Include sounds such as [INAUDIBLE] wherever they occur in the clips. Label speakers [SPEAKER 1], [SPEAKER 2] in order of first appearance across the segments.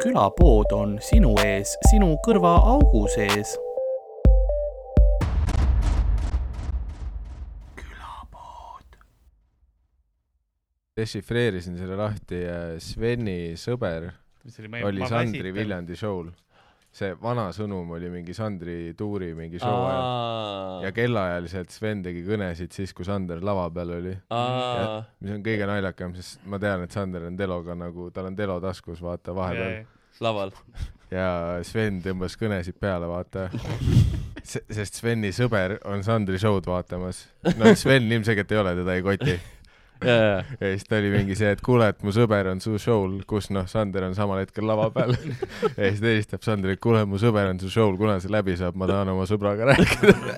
[SPEAKER 1] külapood on sinu ees, sinu kõrvaaugu sees
[SPEAKER 2] dešifreerisin selle lahti ja Sveni sõber
[SPEAKER 3] mis oli
[SPEAKER 2] oli Sandri . Viljandi show'l . see vana sõnum oli mingi Sandri tuuri mingi show ajal ja
[SPEAKER 4] aa ,
[SPEAKER 2] kellaajaliselt Sven tegi kõnesid siis , kui Sander lava peal oli ,
[SPEAKER 4] aa ,
[SPEAKER 2] mis on kõige naljakam , sest ma tean , et Sander on Teloga nagu , tal on Telo taskus , vaata vahepeal
[SPEAKER 4] laval .
[SPEAKER 2] ja Sven tõmbas kõnesid peale , vaata . sest Sveni sõber on Sandri show'd vaatamas . no Sven ilmselgelt ei ole , teda ei koti .
[SPEAKER 4] ja , ja ,
[SPEAKER 2] ja siis ta oli mingi see , et kuule , et mu sõber on su show'l , kus noh , Sander on samal hetkel lava
[SPEAKER 3] [LAUGHS]
[SPEAKER 2] peal . ja siis ta helistab Sandrile , et kuule , mu sõber on su show'l , kuna see läbi saab , ma tahan oma sõbraga
[SPEAKER 3] [LAUGHS]
[SPEAKER 2] rääkida .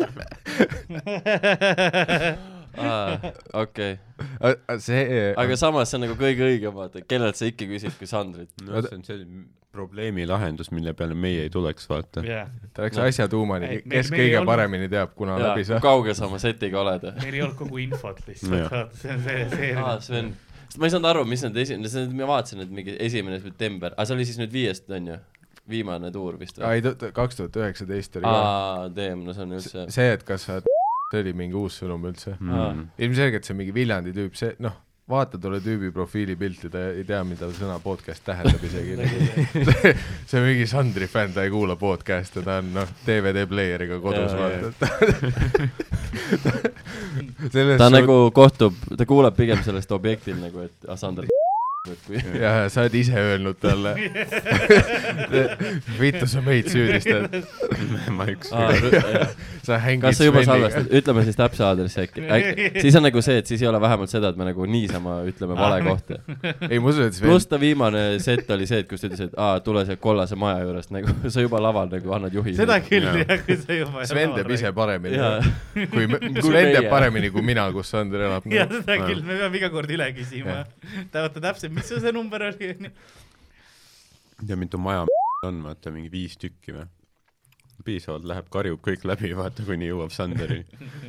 [SPEAKER 4] aa , okei .
[SPEAKER 2] see ,
[SPEAKER 4] aga samas see on nagu kõige õigem , vaata , kellelt sa ikka küsid , kui Sandrit .
[SPEAKER 2] Oota-
[SPEAKER 5] no see on selline probleemi lahendus , mille peale meie ei tuleks , vaata .
[SPEAKER 3] jah ,
[SPEAKER 2] ta läks asja tuumani
[SPEAKER 3] Ei, , me-
[SPEAKER 2] kes
[SPEAKER 3] meil ei
[SPEAKER 2] kõige
[SPEAKER 3] olnud-
[SPEAKER 2] paremini teab , kuna
[SPEAKER 4] jaa ,
[SPEAKER 2] läbi
[SPEAKER 4] kui
[SPEAKER 2] saab .
[SPEAKER 4] kaugel sa oma setiga oled ?
[SPEAKER 3] meil ei olnud kogu infot
[SPEAKER 5] Jah.
[SPEAKER 3] lihtsalt , vaata , see on see , see
[SPEAKER 4] aa , Sven . sest ma ei saanud aru , mis need esimene , see , ma vaatasin , et mingi esimene september , aga see oli siis nüüd viiest , on ju ? viimane tuur vist
[SPEAKER 2] ei
[SPEAKER 4] või ?,
[SPEAKER 2] kaks tuhat üheksateist oli ka .
[SPEAKER 4] aa , damn , no see on üldse .
[SPEAKER 2] see , et kas sa , see oli mingi uus sõnum üldse .
[SPEAKER 5] Mm.
[SPEAKER 2] ilmselgelt see mingi Viljandi tüüp , see noh , vaata tolle tüübi profiilipilti , ta ei tea , mida sõna podcast tähendab
[SPEAKER 3] [LAUGHS]
[SPEAKER 2] isegi . see on mingi Sandri fänn , ta ei kuula podcast'e , ta on noh , DVD pleieriga kodus
[SPEAKER 4] Jaa, jaa.
[SPEAKER 2] vaata . [LAUGHS] selles
[SPEAKER 4] ta
[SPEAKER 2] suht-
[SPEAKER 4] nagu kohtub , ta kuuleb pigem sellest objektil nagu , et ah ,
[SPEAKER 2] [LAUGHS]
[SPEAKER 4] Sander , [LAUGHS] et kui
[SPEAKER 2] jah , sa oled ise öelnud talle . vittu sa meid süüdistad ,
[SPEAKER 5] [LAUGHS] ma üks
[SPEAKER 4] aa ,
[SPEAKER 2] sa hängid
[SPEAKER 4] kas sa juba
[SPEAKER 2] Sveniga .
[SPEAKER 4] salvestad , ütleme siis täpse aadressi äkki äk, , siis on nagu see , et siis ei ole vähemalt seda , et me nagu niisama ütleme vale
[SPEAKER 2] Ah.
[SPEAKER 4] kohta .
[SPEAKER 2] ei , ma usun , et Sven
[SPEAKER 4] pluss ta viimane set oli see , et kus ta ütles , et aa , tule sealt kollase maja juurest nagu , [LAUGHS] sa juba laval nagu annad juhi .
[SPEAKER 3] seda küll
[SPEAKER 5] Jaa.
[SPEAKER 3] jah , kui sa juba .
[SPEAKER 2] Sven teeb
[SPEAKER 3] [LAUGHS]
[SPEAKER 2] ise . paremini
[SPEAKER 4] jaa ,
[SPEAKER 2] kui me ,
[SPEAKER 4] Kui
[SPEAKER 2] Sven teeb
[SPEAKER 4] meie.
[SPEAKER 2] paremini kui mina , kus Sander elab .
[SPEAKER 3] ja seda küll , me peame iga kord üle küsima . ta vaata täpselt , mis sul see number oli , onju . [LAUGHS]
[SPEAKER 5] ei tea , mitu maja [LAUGHS] on , vaata mingi viis tükki või ? piisavalt läheb , karjub kõik läbi , vaata kuni jõuab
[SPEAKER 3] [LAUGHS]
[SPEAKER 5] Sanderini .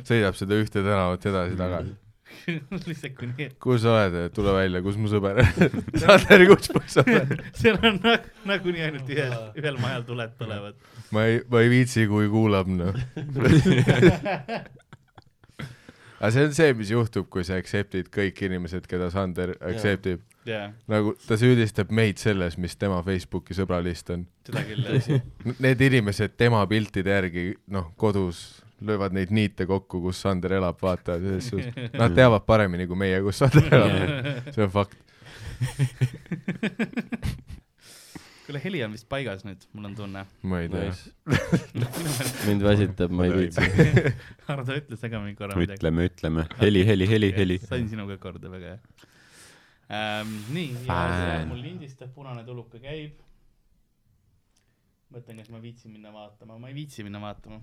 [SPEAKER 2] sõidab seda ühte tänavat edasi-tagasi .
[SPEAKER 3] lihtsalt kuni ,
[SPEAKER 2] kus sa oled , tule välja , kus mu sõber [LAUGHS] on ? Sander , kus mu sõber ?
[SPEAKER 3] seal on nag- nagunii ainult ühel , ühel majal tuled põlevad .
[SPEAKER 2] ma ei , ma ei viitsi , kui kuulab , noh . aga see on see , mis juhtub , kui sa accept'id kõik inimesed , keda Sander accept ib .
[SPEAKER 3] jaa ,
[SPEAKER 2] nagu ta süüdistab meid selles , mis tema Facebooki sõbralist on .
[SPEAKER 3] seda küll jah .
[SPEAKER 2] Need inimesed tema piltide järgi , noh , kodus löövad neid niite kokku , kus Sander elab , vaata , selles suhtes . Nad teavad paremini kui meie , kus Sander elab . see on fakt .
[SPEAKER 3] [LAUGHS] kuule , heli on vist paigas nüüd , mul on
[SPEAKER 2] [LAUGHS]
[SPEAKER 3] tunne .
[SPEAKER 2] ma ei tea .
[SPEAKER 4] nice . [LAUGHS] mind väsitab , ma ei viitsi .
[SPEAKER 3] Hardo ütles ka mingi korra midagi .
[SPEAKER 5] ütleme , ütleme , heli , heli , heli , heli .
[SPEAKER 3] [LAUGHS] sain sinuga korda , väga hea ähm, . nii , ja
[SPEAKER 5] Fine.
[SPEAKER 3] mul lindistab , punane tuluka käib . mõtlen , kas ma viitsin minna vaatama , ma ei viitsi minna vaatama .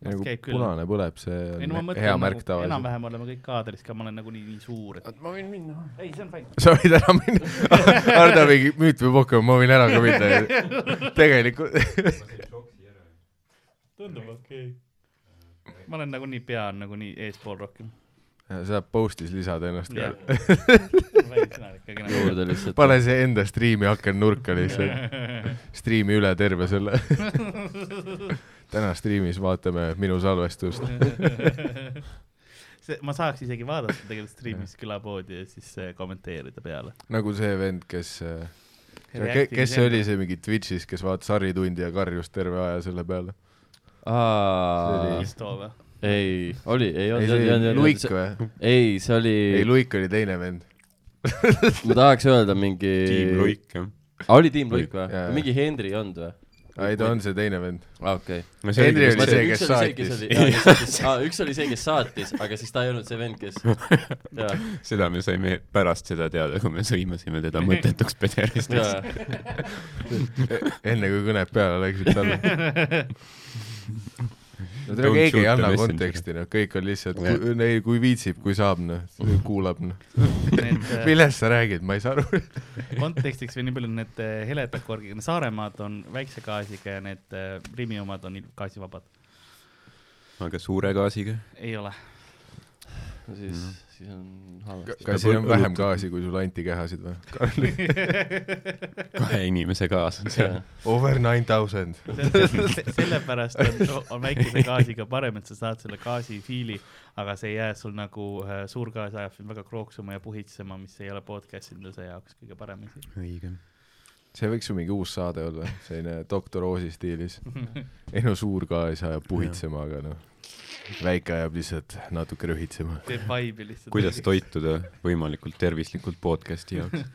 [SPEAKER 2] ja kui
[SPEAKER 3] Käib küll.
[SPEAKER 2] Nagu punane põleb , see
[SPEAKER 3] ei no ma
[SPEAKER 2] on hea
[SPEAKER 3] mõtlen ,
[SPEAKER 2] märk
[SPEAKER 3] nagu,
[SPEAKER 2] tavaliselt .
[SPEAKER 3] enam-vähem oleme kõik kaadris ka , ma olen nagunii nii suur , et .
[SPEAKER 5] ma võin minna .
[SPEAKER 3] ei , see on fine .
[SPEAKER 2] sa võid ära minna , [LAUGHS] Hardo mingi müüt või pokk , ma võin ära ka
[SPEAKER 3] [LAUGHS]
[SPEAKER 2] minna . tegelikult [LAUGHS]
[SPEAKER 3] tundub okei okay. . ma olen nagunii , pea on nagunii eespool rohkem .
[SPEAKER 2] sa postis lisad ennast
[SPEAKER 3] jah
[SPEAKER 2] yeah. ..
[SPEAKER 3] väike sõna on ikkagi nagu .
[SPEAKER 4] juurde lihtsalt .
[SPEAKER 2] pane see enda striimi aken nurka lihtsalt , striimi üle terve selle . [LAUGHS] täna striimis vaatame minu salvestust .
[SPEAKER 3] [LAUGHS] see , ma saaks isegi vaadata tegelikult striimis külapoodi ja siis äh, kommenteerida peale .
[SPEAKER 2] nagu see vend , kes , kes see oli , see mingi Twitch'is , kes vaatas haritundi ja karjus terve aja selle peale ?
[SPEAKER 4] aa ,
[SPEAKER 3] Kristo või ?
[SPEAKER 4] ei , oli , ei
[SPEAKER 2] ei , see oli
[SPEAKER 4] olnud
[SPEAKER 2] Luik . või ?
[SPEAKER 4] ei , see oli
[SPEAKER 2] ei ,, Luik oli teine vend .
[SPEAKER 4] ma tahaks öelda mingi .
[SPEAKER 5] tiim . Luik , jah .
[SPEAKER 4] oli tiim Luik või
[SPEAKER 2] Jaa. ?
[SPEAKER 4] mingi Henri ei olnud või ?
[SPEAKER 2] ei , ta on see teine vend .
[SPEAKER 4] aa , okei .
[SPEAKER 5] no
[SPEAKER 2] Henri
[SPEAKER 5] see
[SPEAKER 2] oli
[SPEAKER 5] oli ,
[SPEAKER 2] see- kes saatis.
[SPEAKER 4] üks oli see , kes saatis , aga siis ta ei olnud see vend , kes ,
[SPEAKER 3] [LAUGHS]
[SPEAKER 4] jaa ,
[SPEAKER 5] seda me saime pärast seda teada , kui me sõimasime teda mõttetuks pederist .
[SPEAKER 4] jaa .
[SPEAKER 2] enne kui kõned peale läksid
[SPEAKER 5] [LAUGHS]
[SPEAKER 2] talle no
[SPEAKER 5] Don't
[SPEAKER 2] tule keegi
[SPEAKER 5] shoot
[SPEAKER 2] ei
[SPEAKER 5] the
[SPEAKER 2] anna
[SPEAKER 5] messenger.
[SPEAKER 2] konteksti noh kõik on lihtsalt
[SPEAKER 5] Jah.
[SPEAKER 2] kui, ei, kui viitsib kui saab noh
[SPEAKER 5] Mhm.
[SPEAKER 2] kuulab noh
[SPEAKER 3] Need äh,
[SPEAKER 2] millest sa räägid ma ei saa aru
[SPEAKER 3] kontekstiks või nii palju need äh, heleda korgiga , need Saaremaad on väikse gaasiga ja need äh, Rimi omad on il- gaasivabad . [LAUGHS]
[SPEAKER 5] aga suure gaasiga ?
[SPEAKER 3] ei ole .
[SPEAKER 4] no siis , siis on halvasti .
[SPEAKER 2] kas siin on vähem gaasi , kui sul antikehasid või ?
[SPEAKER 5] kahe inimese kaas on seal .
[SPEAKER 2] Over nine thousand .
[SPEAKER 3] sellepärast on, on väikese gaasiga parem , et sa saad selle gaasi fiili , aga see ei jää sul nagu äh, suur gaas ajab sind väga krooksuma ja puhitsema , mis ei ole podcast induse jaoks kõige parem asi .
[SPEAKER 5] õige .
[SPEAKER 2] see võiks ju mingi uus saade olla , selline doktor Oosi stiilis . ei no suur gaas ajab puhitsema , aga noh , väike ajab lihtsalt natuke rühitsema .
[SPEAKER 3] teeb vibe'i lihtsalt .
[SPEAKER 5] kuidas ? toituda võimalikult tervislikult podcast'i jaoks ?
[SPEAKER 3] [LAUGHS]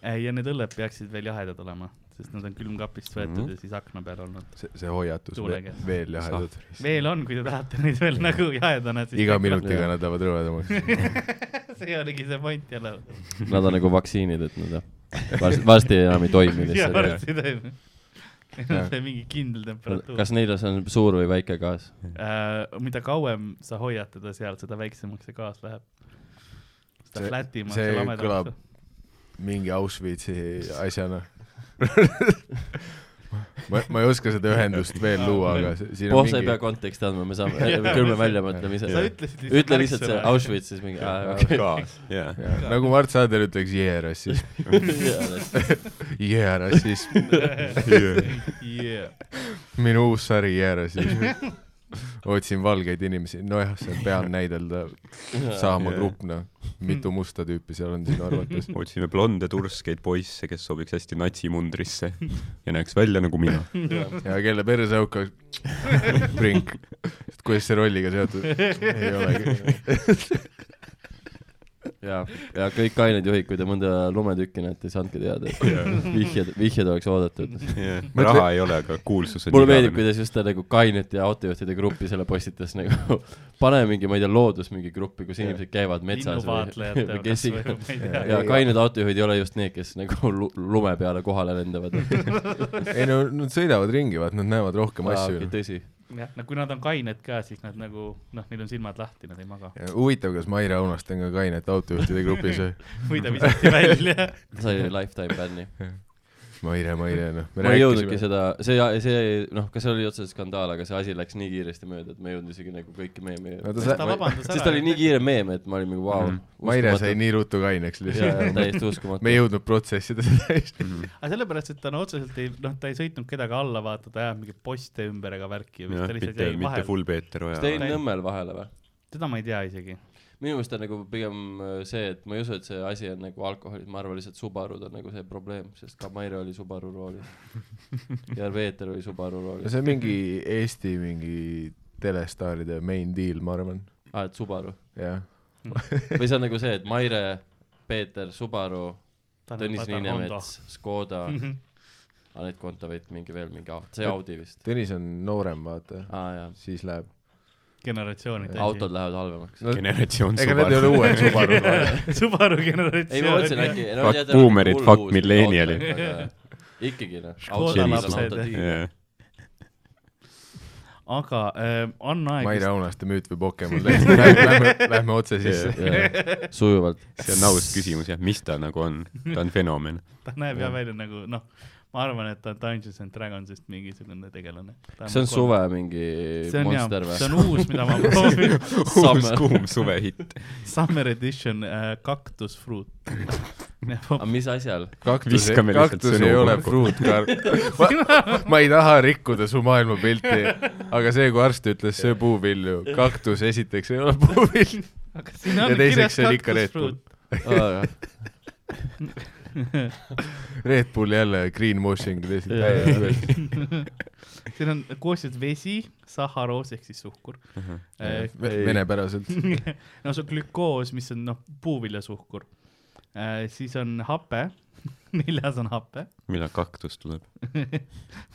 [SPEAKER 3] Äh, ja need õlled peaksid veel jahedad olema , sest nad on külmkapist võetud mm
[SPEAKER 5] Mhm.
[SPEAKER 3] -hmm. ja siis akna peal olnud .
[SPEAKER 2] see , see hoiatus
[SPEAKER 3] Tuulega. ,
[SPEAKER 2] veel jahedad .
[SPEAKER 3] veel on , kui te tahate neid veel nagu jahedana .
[SPEAKER 2] iga . minutiga nad lähevad rõvedamaks .
[SPEAKER 3] [LAUGHS] see oligi see point jälle .
[SPEAKER 4] Nad on nagu vaktsiinid , et nad jah , varsti , varsti enam ei toimi
[SPEAKER 3] ja
[SPEAKER 4] lihtsalt .
[SPEAKER 3] varsti toimub . see mingi kindel temperatuur .
[SPEAKER 4] kas neil on see on suur või väike gaas ?
[SPEAKER 3] äh, mida kauem sa hoiad teda seal , seda väiksemaks see gaas läheb . seda
[SPEAKER 2] See-
[SPEAKER 3] flätimaks
[SPEAKER 2] see
[SPEAKER 3] ja lamedamaks
[SPEAKER 2] kõlab- . mingi Auschwitzi asjana . ma , ma ei oska seda ühendust veel luua , aga see- siin on
[SPEAKER 4] oh , sa ei pea
[SPEAKER 2] mingi ,
[SPEAKER 4] konteksti andma , me [LAUGHS] saame
[SPEAKER 3] Jaa, ,
[SPEAKER 4] küll me
[SPEAKER 3] see-
[SPEAKER 4] välja mõtleme ise .
[SPEAKER 3] sa ütlesid
[SPEAKER 4] ütle lihtsalt see . Auschwitz siis mingi , aa , okei . [LAUGHS]
[SPEAKER 5] kaas , jaa .
[SPEAKER 2] nagu Mart Saader ütleks , jee rassism , jee rassism ,
[SPEAKER 3] Yeah.
[SPEAKER 2] minu uus sari jee rassism . otsin valgeid inimesi , nojah , see on pealnäidelda , sama
[SPEAKER 5] Jaa.
[SPEAKER 2] grupp , noh , mitu musta tüüpi seal on sinu arvates .
[SPEAKER 5] [LAUGHS] otsime blonde turskeid poisse , kes sobiks hästi natsimundrisse ja näeks välja nagu mina .
[SPEAKER 2] ja kelle perse haukas prink , et kuidas see rolliga seotud , ei olegi .
[SPEAKER 4] ja , ja kõik kained juhid , kui te mõnda lumetükki näete , siis andke teada , et vihjed , vihjed oleks oodatud .
[SPEAKER 5] raha ei ole , aga kuulsus on
[SPEAKER 4] mulle meeldib ,. kuidas just ta nagu kainete ja autojuhtide gruppi selle postitas nagu , [LAUGHS] pane mingi , ma ei tea , loodus mingi gruppi , kus inimesed käivad metsas või,
[SPEAKER 3] linnuvaatlejate
[SPEAKER 4] [LAUGHS] või kes
[SPEAKER 3] hulgas või
[SPEAKER 4] iganes
[SPEAKER 3] ma ei tea .
[SPEAKER 4] ja kained autojuhid ei ole just need , kes nagu [LAUGHS] lu- lume peale kohale
[SPEAKER 2] [LAUGHS]
[SPEAKER 4] lendavad .
[SPEAKER 2] ei no nad sõidavad ringi , vaat nad näevad rohkem asju .
[SPEAKER 4] tõsi .
[SPEAKER 3] jah , no kui nad on kained ka , siis nad nagu noh , neil on silmad lahti , nad ei maga .
[SPEAKER 2] Ja huvitav , kas Maire Aunaste on ka kainet autojuhtide grupis või ?
[SPEAKER 3] või ta visati välja .
[SPEAKER 4] sai lifetime bänni .
[SPEAKER 2] Maire , Maire , noh .
[SPEAKER 4] ma ei jõudnudki . seda , see , see noh , kas see oli otseselt skandaal , aga see asi läks nii kiiresti mööda , et ma ei jõudnud isegi nagu kõiki meeme
[SPEAKER 2] no ta
[SPEAKER 3] ta
[SPEAKER 2] sai ,
[SPEAKER 3] vabandas ära .
[SPEAKER 4] sest ta oli nii . kiire meem , et ma olin nagu vau .
[SPEAKER 2] Maire sai . nii ruttu kaineks
[SPEAKER 4] jaa ,
[SPEAKER 2] lihtsalt .
[SPEAKER 4] täiesti Mhm. uskumatu .
[SPEAKER 2] me ei jõudnud protsessida seda [LAUGHS] hästi .
[SPEAKER 3] aga sellepärast , et ta no otseselt ei , noh , ta ei sõitnud kedagi alla , vaata , ta ajab mingeid poste ümber ega värki ja mis
[SPEAKER 5] jah
[SPEAKER 3] ta , lihtsalt
[SPEAKER 5] mitte
[SPEAKER 3] jäi ,
[SPEAKER 5] mitte
[SPEAKER 3] vahele .
[SPEAKER 5] full Peeter
[SPEAKER 4] kas
[SPEAKER 5] Oja
[SPEAKER 4] ta jäi . Nõmmel vahele või ?
[SPEAKER 3] seda ma ei tea isegi .
[SPEAKER 4] minu meelest on nagu pigem äh, see , et ma ei usu , et see asi on nagu alkoholis , ma arvan lihtsalt Subarud on nagu see probleem , sest ka Maire oli Subaru
[SPEAKER 5] [LAUGHS]
[SPEAKER 4] roolis ja Peeter oli Subaru roolis .
[SPEAKER 2] see on mingi Eesti mingi telestaaride main deal , ma arvan .
[SPEAKER 4] aa , Ah, et Subaru .
[SPEAKER 2] jah .
[SPEAKER 4] või see on nagu see , et Maire , Peeter , Subaru , Tõnis Niinemets , Škoda ,
[SPEAKER 5] Mhm.
[SPEAKER 4] Anett Kontaveit , mingi veel mingi , see Audi vist .
[SPEAKER 2] Tõnis on noorem , vaata .
[SPEAKER 4] aa jaa ,
[SPEAKER 2] siis läheb .
[SPEAKER 3] generatsioonid .
[SPEAKER 4] autod lähevad halvemaks .
[SPEAKER 2] no
[SPEAKER 5] generatsioon
[SPEAKER 2] ega need ei ole
[SPEAKER 5] [LAUGHS] Subaru .
[SPEAKER 2] uued Subarud .
[SPEAKER 3] [LAUGHS] Subaru
[SPEAKER 4] ei , ma mõtlesin
[SPEAKER 3] generatsioon .
[SPEAKER 4] äkki .
[SPEAKER 5] Fuck boomerid, fuck millenialid.
[SPEAKER 4] ikkagi noh .
[SPEAKER 3] Škoda lapsed. aga äh, on aeg
[SPEAKER 2] Maire . Aunaste müüt või Pokemon , lähme , lähme otse sisse .
[SPEAKER 4] sujuvalt .
[SPEAKER 5] see on aus küsimus jah , mis ta nagu on , ta on fenomen .
[SPEAKER 3] ta näeb jah välja nagu noh , ma arvan , et ta on Dungeons and Dragonsist mingisugune tegelane .
[SPEAKER 4] see on suve mingi
[SPEAKER 3] see on jah
[SPEAKER 4] monster , või ?
[SPEAKER 3] see on uus ,
[SPEAKER 4] [LAUGHS]
[SPEAKER 3] mida ma proovin .
[SPEAKER 5] uus kuum suvehitt .
[SPEAKER 3] Summer edition äh, kaktusfruit .
[SPEAKER 4] [LAUGHS] aga mis asjal ?
[SPEAKER 2] kaktus ,
[SPEAKER 5] Viskame lihtsalt
[SPEAKER 2] kaktus
[SPEAKER 5] sõnu
[SPEAKER 2] ei ole
[SPEAKER 5] kokku.
[SPEAKER 2] fruutkarp . Ma, ma ei taha rikkuda su maailmapilti , aga see , kui arst ütles , söö puuvilju , kaktus esiteks ei ole puuvill .
[SPEAKER 3] aga siin
[SPEAKER 2] Ja
[SPEAKER 3] on
[SPEAKER 2] teiseks
[SPEAKER 3] kirjas
[SPEAKER 2] see on ikka Red Bull.
[SPEAKER 3] kaktusfruit .
[SPEAKER 2] Red Bull jälle green washing
[SPEAKER 4] Jaa, jaa.
[SPEAKER 2] lihtsalt .
[SPEAKER 3] siin on koostöös vesi , saharoos ehk siis suhkur uh . -huh.
[SPEAKER 2] venepäraselt .
[SPEAKER 3] no see on glükoos , mis on noh , puuviljasuhkur äh, . siis on hape , [LAUGHS] neljas on hape ,
[SPEAKER 5] millal kaktus tuleb ?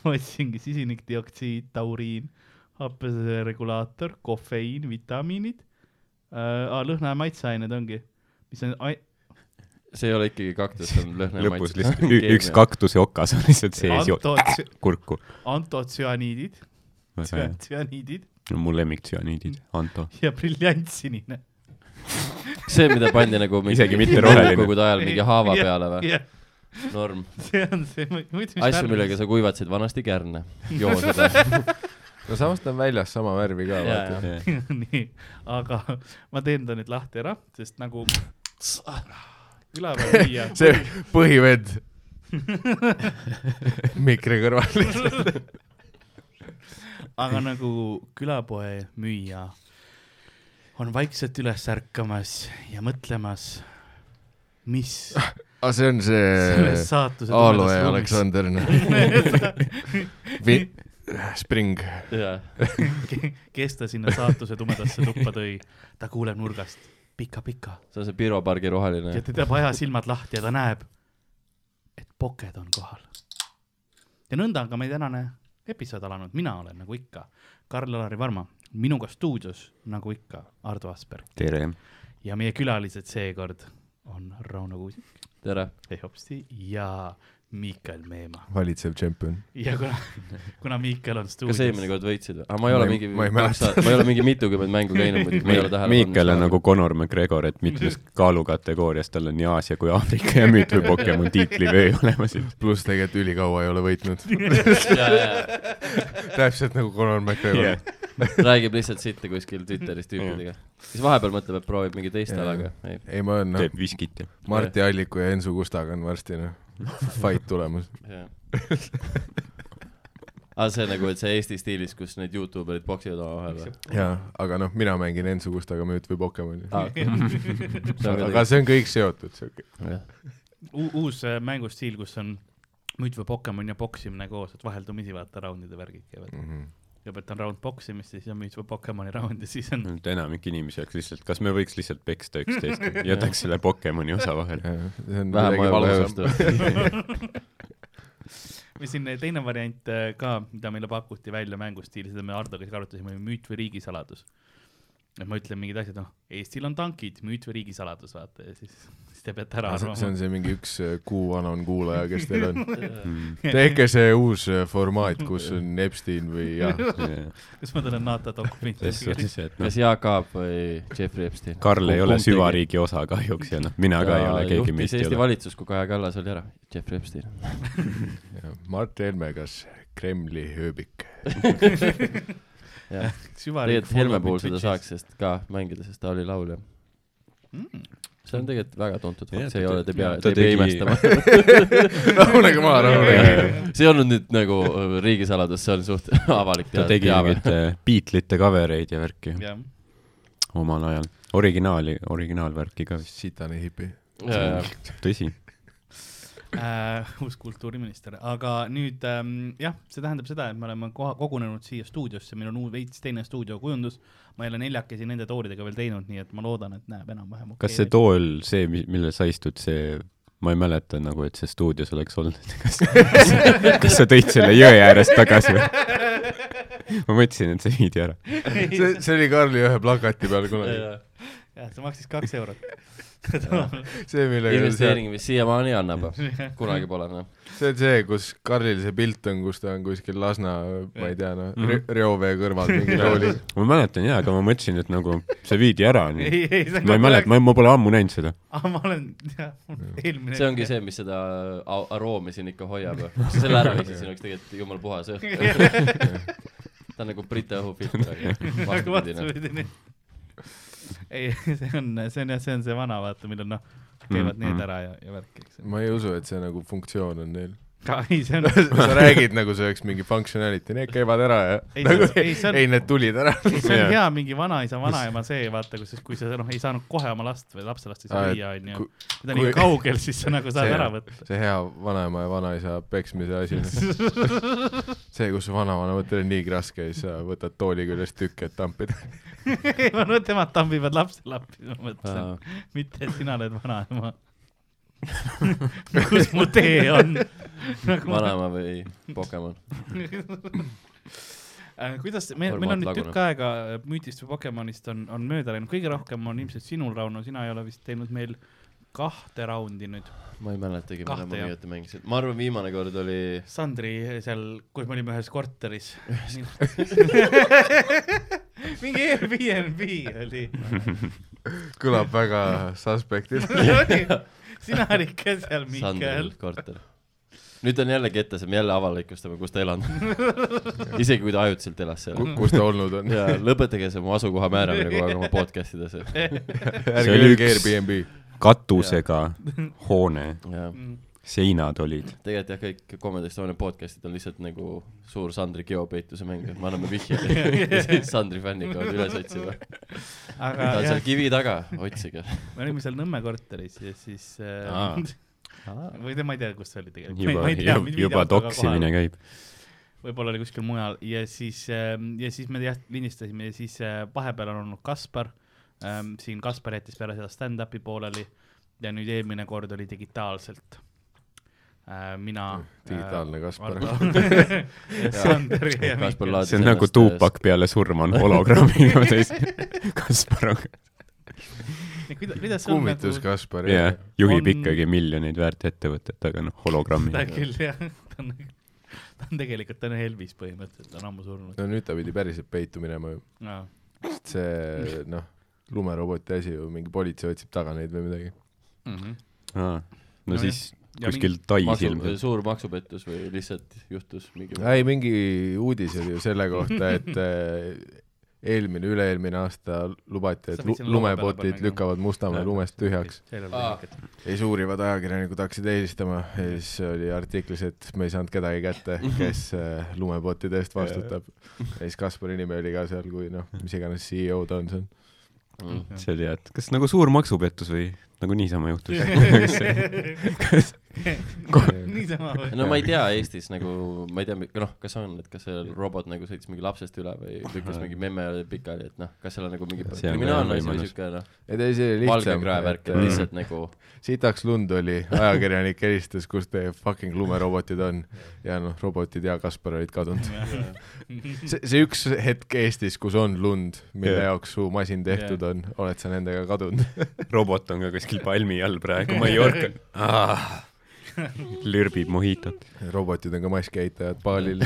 [SPEAKER 3] ma otsingi sisinikdioksiid , tauriin , happese regulaator , kofeiin , vitamiinid äh, , lõhna- ja maitseained ongi , mis on ai-
[SPEAKER 4] see ei ole ikkagi kaktus , see on lõhna ja
[SPEAKER 5] lõpus
[SPEAKER 4] maitse . [LAUGHS]
[SPEAKER 5] lihtsalt ü- üks . kaktuse okas on lihtsalt sees , jood
[SPEAKER 3] antots-
[SPEAKER 5] kurku .
[SPEAKER 3] antotsüaniidid ,
[SPEAKER 5] väga hea .
[SPEAKER 3] tsüaniidid
[SPEAKER 5] mu lemmiktsüaniidid , Anto .
[SPEAKER 3] ja briljantsinine .
[SPEAKER 4] see , mida pandi nagu mingi-
[SPEAKER 5] Isegi mitte roheline.
[SPEAKER 4] nõukogude ajal mingi haava
[SPEAKER 3] [LAUGHS] Jah,
[SPEAKER 4] peale või ?
[SPEAKER 3] jah ,
[SPEAKER 4] norm .
[SPEAKER 3] see on see , muidu [LAUGHS]
[SPEAKER 4] asju , millega . sa kuivatasid vanasti kärne . joo seda .
[SPEAKER 2] no samas ta on väljas sama värvi ka ,
[SPEAKER 4] Jaa,
[SPEAKER 2] vaata .
[SPEAKER 3] nii , aga ma teen ta nüüd lahti ära , sest nagu üleval viia .
[SPEAKER 2] see põhivend mikri kõrval .
[SPEAKER 3] aga nagu külapoe müüja on vaikselt üles ärkamas ja mõtlemas , mis
[SPEAKER 2] aa , see on see
[SPEAKER 3] selles saatuse
[SPEAKER 2] Aalo ja
[SPEAKER 3] tumedas ruumis-
[SPEAKER 2] Aleksander . noh. Spring .
[SPEAKER 4] jaa .
[SPEAKER 3] [LAUGHS] Ke- kes ta sinna saatuse tumedasse tuppa tõi , ta kuuleb nurgast pika-pika
[SPEAKER 4] see on see Piro pargi roheline
[SPEAKER 3] ja . ta teeb ajasilmad lahti ja ta näeb , et poked on kohal . ja nõnda on ka meie tänane episood alanud , mina olen nagu ikka Karl-Alari Varma , minuga stuudios nagu ikka Ardo Asperg
[SPEAKER 5] tere .
[SPEAKER 3] ja meie külalised seekord on Rauno Kuusik ,
[SPEAKER 4] tere .
[SPEAKER 3] Hopsti ja Miikal Meemaa
[SPEAKER 2] valitsev tšempion .
[SPEAKER 3] ja kuna , kuna Miikal on
[SPEAKER 4] kas eelmine
[SPEAKER 3] stuudios ,
[SPEAKER 4] kord võitsid või ? aga ma ei ole
[SPEAKER 2] Ma ei-
[SPEAKER 4] mingi ,
[SPEAKER 2] ma ei mäleta.
[SPEAKER 4] ma ei ole mingi mitukümmend mängu käinud muidugi , ma ei ole tähele
[SPEAKER 5] Miikel on nagu Conor McGregor , et mitmes kaalukategoorias tal on nii Aasia kui Aafrika ja müüt või Pokemon tiitlivöö olemas .
[SPEAKER 2] pluss tegelikult ülikaua ei ole võitnud . [LAUGHS]
[SPEAKER 4] nagu .
[SPEAKER 2] täpselt nagu Conor McGregor .
[SPEAKER 4] räägib lihtsalt sitta kuskil Twitteris tüüpidega . siis vahepeal mõtleb , et proovib mingi teist
[SPEAKER 2] Jaa.
[SPEAKER 4] ala , aga ei .
[SPEAKER 2] ei , ma olen noh ,
[SPEAKER 5] teeb viskit ja .
[SPEAKER 2] Marti Alliku ja Enso Kustaga on varsti noh , fight tulemas .
[SPEAKER 4] aga see nagu , et see Eesti stiilis , kus need Youtuberid poksivad omavahel või ?
[SPEAKER 2] jaa , aga noh , mina mängin Enso Kustaga müüt või Pokemoni .
[SPEAKER 4] Ah,
[SPEAKER 2] aga
[SPEAKER 4] aga
[SPEAKER 2] Ah, see on kõik seotud , siuke .
[SPEAKER 3] uus äh, mängustiil , kus on müüt või Pokemon ja poksimine koos , et vaheldumisi vaata raundide värgid käivad .
[SPEAKER 2] Mhm.
[SPEAKER 3] kõigepealt on round poksimist , siis on müüt või Pokemoni round ja siis on
[SPEAKER 5] et enamik inimesi oleks lihtsalt , kas me võiks lihtsalt peksta üksteist , jätaks selle Pokemoni osa vahele .
[SPEAKER 2] see on
[SPEAKER 4] vähem
[SPEAKER 2] midagi valusam .
[SPEAKER 4] ajavõõrustust .
[SPEAKER 3] või siin teine variant äh, ka , mida meile pakuti välja mängustiilis , seda me Hardoga siis arutasime , oli müüt või riigisaladus . et ma ütlen mingid asjad , noh , Eestil on tankid , müüt või riigisaladus , vaata ja siis , [LAUGHS] siis te peate ära
[SPEAKER 2] Ah, see see
[SPEAKER 3] arvama
[SPEAKER 2] on . see mingi üks äh, kuu vana on kuulaja , kes teil [LAUGHS] on . tehke see uus äh, formaat , kus on Epstein või [LAUGHS] jah ,
[SPEAKER 3] [LAUGHS] kas ma tulen NATO dokumenti
[SPEAKER 5] selles ? suhtes , et noh
[SPEAKER 4] kas , Jaak Aab või Jeffrey Epstein ?
[SPEAKER 5] Karl ei ole . süvariigi osa kahjuks ja noh , mina ka ei ole , keegi meist ei
[SPEAKER 4] Eesti
[SPEAKER 5] ole .
[SPEAKER 4] valitsus , kui Kaja Kallas oli ära , Jeffrey Epstein .
[SPEAKER 2] Mart Helme , kas Kremli ööbik ?
[SPEAKER 4] jah , tegelikult Helme puhul seda saaks , sest ka mängida , sest ta oli laulja . see on tegelikult väga tuntud
[SPEAKER 5] Jah,
[SPEAKER 4] fakt , see ei
[SPEAKER 5] ta
[SPEAKER 4] ole , te
[SPEAKER 5] tegi-
[SPEAKER 4] pea ,
[SPEAKER 5] ta
[SPEAKER 4] te ei pea
[SPEAKER 5] tegi-
[SPEAKER 4] imestama .
[SPEAKER 5] [LAUGHS]
[SPEAKER 2] rahunege maha , rahunege .
[SPEAKER 4] see ei olnud nüüd nagu äh, riigisaladus , see on suht [LAUGHS] avalik
[SPEAKER 5] ta
[SPEAKER 4] tea-
[SPEAKER 5] tegi
[SPEAKER 4] teave .
[SPEAKER 5] mingeid äh, Beatlesite covereid ja värki
[SPEAKER 3] jah ,
[SPEAKER 5] omal ajal . originaali , originaalvärki ka vist ,
[SPEAKER 2] sitane hipi .
[SPEAKER 5] tõsi .
[SPEAKER 3] äh, uus kultuuriminister , aga nüüd ähm, jah , see tähendab seda , et me oleme koha , kogunenud siia stuudiosse , meil on uus veits teine stuudiokujundus . ma ei ole neljakesi nende toolidega veel teinud , nii et ma loodan , et näeb enam-vähem okei
[SPEAKER 5] kas see tool , see , millel sa istud , see , ma ei mäleta nagu , et see stuudios oleks olnud . [LAUGHS] kas , kas sa tõid selle jõe äärest tagasi või ? ma mõtlesin , et sa viidi ära .
[SPEAKER 2] see , see oli Karli ühe plakati peal kunagi .
[SPEAKER 3] jah , see maksis kaks eurot . [LAUGHS]
[SPEAKER 2] see , millega see ,
[SPEAKER 4] investeering , mis siiamaani annab , kunagi pole noh .
[SPEAKER 2] see on see , kus Karlil see pilt on , kus ta on kuskil Lasna , ma ei tea , noh
[SPEAKER 5] Mhm.
[SPEAKER 2] re, , reovee
[SPEAKER 5] [LAUGHS]
[SPEAKER 2] kõrval mingi roolis .
[SPEAKER 5] ma mäletan jaa , aga ma mõtlesin , et nagu see viidi ära . ma
[SPEAKER 3] ei , ei , see on
[SPEAKER 5] ei
[SPEAKER 3] [LAUGHS]
[SPEAKER 5] mäleta ,. ma , ma pole ammu näinud seda .
[SPEAKER 3] aga ma olen , jah , eelmine .
[SPEAKER 4] see ongi see , mis seda a- aroomi siin ikka hoiab .
[SPEAKER 3] [LAUGHS]
[SPEAKER 4] kui sa selle ära viisid , siin oleks tegelikult jumal puhas õhk . ta on nagu Briti
[SPEAKER 3] [LAUGHS]
[SPEAKER 4] õhufilter , noh. aga vastupidine .
[SPEAKER 3] vastupidine . ei , see on , see on jah , see on see vana , vaata , millal noh , käivad
[SPEAKER 5] Mm,
[SPEAKER 3] need
[SPEAKER 5] mm.
[SPEAKER 3] ära ja , ja värk , eks .
[SPEAKER 2] ma ei usu , et see nagu funktsioon on
[SPEAKER 5] [LAUGHS]
[SPEAKER 2] neil .
[SPEAKER 3] ei , see on ,
[SPEAKER 2] sa räägid nagu see oleks mingi functionality , need käivad ära ja ei,
[SPEAKER 3] Ei, see on-
[SPEAKER 2] nagu,
[SPEAKER 3] ei,
[SPEAKER 2] ei,
[SPEAKER 3] see on-
[SPEAKER 2] ei , need tulid ära .
[SPEAKER 3] see on
[SPEAKER 5] Jah.
[SPEAKER 3] hea mingi vanaisa , vanaema see , vaata , kus , kui sa noh , ei saanud kohe oma last või lapselast ei saa
[SPEAKER 2] Aa, et
[SPEAKER 3] viia , onju
[SPEAKER 2] ku- .
[SPEAKER 3] kui ta on nii
[SPEAKER 2] kui-
[SPEAKER 3] kaugel , siis sa nagu saad
[SPEAKER 2] See-
[SPEAKER 3] ära võtta . [LAUGHS]
[SPEAKER 2] see hea vanaema ja vanaisa peksmise
[SPEAKER 5] [LAUGHS]
[SPEAKER 2] asi . see , kus vanavanematel on niigi raske ja siis sa võtad tooli küljest tükk , et tampida .
[SPEAKER 3] ei , ma arvan , et nemad tambivad lapselappi , ma mõtlesin . mitte , et sina oled vanaema . [LAUGHS] kus mu tee on ?
[SPEAKER 4] [LAUGHS] vanaema või Pokemon .
[SPEAKER 3] [LAUGHS] Äh, kuidas meil , meil on
[SPEAKER 4] Formaat
[SPEAKER 3] nüüd tükk
[SPEAKER 4] laguneb.
[SPEAKER 3] aega äh, müütist või Pokemonist on , on mööda läinud , kõige rohkem on ilmselt sinul , Rauno , sina ei ole vist teinud meil kahte raundi nüüd .
[SPEAKER 4] ma ei mäletagi , millal
[SPEAKER 3] Kahte,
[SPEAKER 4] ma
[SPEAKER 3] jah.
[SPEAKER 4] viimati mängisin . ma arvan , viimane kord oli ,
[SPEAKER 3] Sandri eh, seal , kus me olime ühes korteris .
[SPEAKER 4] [LAUGHS]
[SPEAKER 3] mingi Airbnb
[SPEAKER 4] [LAUGHS]
[SPEAKER 3] oli . [LAUGHS]
[SPEAKER 2] kõlab väga suspektilt .
[SPEAKER 3] sina olid ka seal ,
[SPEAKER 4] Sandril
[SPEAKER 3] Mihkel .
[SPEAKER 4] korter . nüüd on jälle ketas ja me jälle avalikustame , kus ta elanud
[SPEAKER 3] [LAUGHS]
[SPEAKER 4] on . isegi kui ta ajutiselt elas seal .
[SPEAKER 2] kus ta olnud on .
[SPEAKER 4] ja lõpetage see mu asukoha määramine kogu aeg oma podcast ides , et
[SPEAKER 3] [LAUGHS]
[SPEAKER 5] See
[SPEAKER 2] ärge
[SPEAKER 5] oli
[SPEAKER 2] öelge
[SPEAKER 5] üks-
[SPEAKER 2] Airbnb .
[SPEAKER 5] katusega hoone ,
[SPEAKER 4] ja
[SPEAKER 5] seinad olid .
[SPEAKER 4] tegelikult jah , kõik Comedy Estonia podcast'id on lihtsalt nagu suur Sandri geopeituse mäng , et me anname
[SPEAKER 3] [LAUGHS]
[SPEAKER 4] vihjeid ja siis [LAUGHS] Sandri fännid peavad üles otsima . ta on
[SPEAKER 3] aga
[SPEAKER 4] seal
[SPEAKER 3] Ah, jah ,
[SPEAKER 4] kivi taga , otsige .
[SPEAKER 3] me olime seal Nõmme korteris ja siis äh,
[SPEAKER 4] Aa.
[SPEAKER 3] [LAUGHS] või te , ma ei tea , kus see oli tegelikult .
[SPEAKER 5] juba , juba, juba toksimine . käib .
[SPEAKER 3] võib-olla oli kuskil mujal ja siis , ja siis me jah , lindistasime ja siis äh, vahepeal on olnud Kaspar . siin Kaspar jättis peale seda stand-up'i pooleli ja nüüd eelmine kord oli digitaalselt . mina .
[SPEAKER 2] Mm, Digitaalne Kaspar. .
[SPEAKER 3] Sander [LAUGHS] ja
[SPEAKER 4] Kaspar
[SPEAKER 3] Mihkel .
[SPEAKER 4] Laat-
[SPEAKER 5] see on nagu
[SPEAKER 2] äh,
[SPEAKER 5] Tupac peale surma on [LAUGHS] hologrammiga täis . Kaspar on ,
[SPEAKER 3] kuidas see on nagu
[SPEAKER 2] kummitus ? Kaspar .
[SPEAKER 5] jah , juhib
[SPEAKER 3] On-
[SPEAKER 5] ikkagi miljoneid väärt ettevõtet , aga noh ,
[SPEAKER 3] ta
[SPEAKER 5] hologrammiga .
[SPEAKER 3] küll jah , ta on , ta on tegelikult , ta on Elvis põhimõtteliselt , ta on ammu surnud .
[SPEAKER 2] no nüüd ta pidi päriselt peitu minema ju , sest
[SPEAKER 3] [LAUGHS]
[SPEAKER 2] see noh , lumeroboti asi ju , mingi politsei otsib taga neid või midagi .
[SPEAKER 5] no
[SPEAKER 2] Mhm.
[SPEAKER 3] Nojah.
[SPEAKER 5] siis
[SPEAKER 3] Ja äh,
[SPEAKER 5] kuskil Tais ilmselt .
[SPEAKER 4] suur maksupettus või lihtsalt juhtus mingi
[SPEAKER 2] ei , mingi uudis oli ju selle kohta ,
[SPEAKER 3] [LAUGHS]
[SPEAKER 2] et eh, eelmine , üle-eelmine aasta lubati ,
[SPEAKER 3] Sa
[SPEAKER 2] et
[SPEAKER 3] võid
[SPEAKER 2] lu-
[SPEAKER 3] sinna laua peale
[SPEAKER 2] lumepotid
[SPEAKER 3] panna,
[SPEAKER 2] lükkavad Mustamäe lumest tühjaks .
[SPEAKER 3] seal ei ole
[SPEAKER 4] Aa.
[SPEAKER 2] [LAUGHS]
[SPEAKER 3] [LAUGHS] mingit ,
[SPEAKER 2] siis uurivad ajakirjanikud hakkasid helistama ja siis oli artiklis , et me ei saanud kedagi kätte , kes eh, lumepottide eest vastutab . ja siis Kaspari nimi oli ka seal , kui noh , mis iganes CEO ta on , see on
[SPEAKER 4] mm.
[SPEAKER 5] see oli jah , et kas nagu suur maksupettus või nagu niisama juhtus ?
[SPEAKER 3] niisama või ?
[SPEAKER 4] no ma ei tea Eestis nagu , ma ei tea , noh , kas on , et kas see robot nagu sõitis mingi lapsest üle või lükkas mingi memme pikali , et noh , kas seal on nagu mingi
[SPEAKER 5] See on
[SPEAKER 4] kriminaalne asi või
[SPEAKER 5] võimalus. Mm.
[SPEAKER 4] siuke noh ,
[SPEAKER 2] ei ta ise oli
[SPEAKER 4] valge
[SPEAKER 2] lihtsam , äh,
[SPEAKER 4] krae värk , et lihtsalt nagu
[SPEAKER 2] sitaks lund oli , ajakirjanik helistas , kus teie fucking lumerobotid on ja noh , robotid ja Kaspar olid kadunud . see , see üks hetk Eestis , kus on lund , mille
[SPEAKER 5] Jah.
[SPEAKER 2] yeah. jaoks su masin tehtud yeah. on , oled sa nendega kadunud ?
[SPEAKER 5] [LAUGHS] robot on ka kuskil palmi all praegu , Mallorca ah. . lürbib mohitot .
[SPEAKER 2] robotid on ka maskieitajad baalil .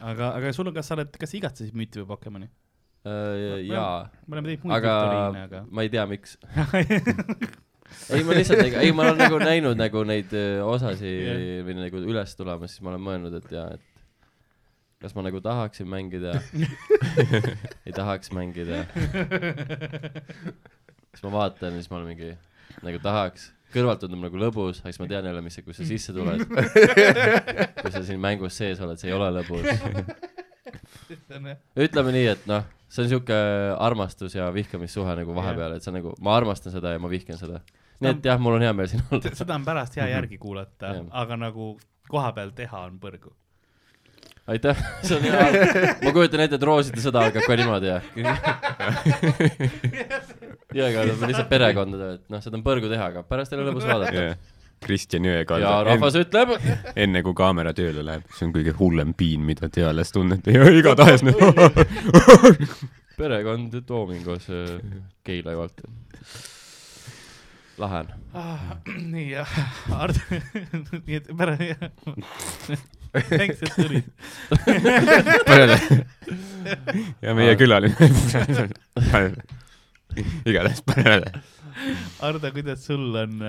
[SPEAKER 3] aga , aga sul on , kas sa oled , kas sa igatsesid müüti või Pokemoni ?
[SPEAKER 4] äh, jaa ,
[SPEAKER 3] me oleme teinud muid
[SPEAKER 4] aga
[SPEAKER 3] viktoriine , aga .
[SPEAKER 4] ma ei tea , miks . ei , ma lihtsalt , ei , ma olen nagu näinud nagu neid öö, osasi
[SPEAKER 3] Jah.
[SPEAKER 4] või nagu üles tulemas , siis ma olen mõelnud , et jaa , et kas ma nagu tahaksin mängida , ei tahaks mängida . siis ma vaatan ja siis ma olen mingi nagu tahaks , kõrvalt tundub nagu lõbus , aga siis ma tean jälle , mis , kui sa sisse tuled . kui sa siin mängus sees oled , see ei ole lõbus . [LAUGHS] ütleme nii , et noh , see on sihuke armastus ja vihkamissuhe nagu vahepeal , et sa nagu , ma armastan seda ja ma vihkan seda . nii et jah , mul on hea meel siin olla .
[SPEAKER 3] seda on pärast hea järgi kuulata
[SPEAKER 4] Mhm. Jah. ,
[SPEAKER 3] aga nagu koha peal teha on põrgu .
[SPEAKER 4] aitäh , [LAUGHS] see on hea . ma kujutan ette , et rooside sõda algab ka niimoodi [LAUGHS] ja . ja , aga nad on lihtsalt perekondade , et noh , seda on põrgu teha , aga pärast ei ole lõbus vaadata .
[SPEAKER 5] Kristjan
[SPEAKER 4] ja
[SPEAKER 5] Jõekald ,
[SPEAKER 4] rahvas ütleb ,
[SPEAKER 5] enne kui kaamera tööle läheb , see on kõige hullem piin , mida te alles tunnete ja igatahes
[SPEAKER 3] [LAUGHS]
[SPEAKER 5] noh ,
[SPEAKER 4] perekond Toomingus äh, Keila juurde . lahe on .
[SPEAKER 3] [CLEARS THROAT] nii jah , Ardo , [LAUGHS] nii et pärast jah .
[SPEAKER 4] [LAUGHS]
[SPEAKER 3] tänks , et tulid .
[SPEAKER 5] ja
[SPEAKER 3] Ah.
[SPEAKER 5] meie külaline . [LAUGHS] igatahes panele .
[SPEAKER 3] Ardo , kuidas sul on ,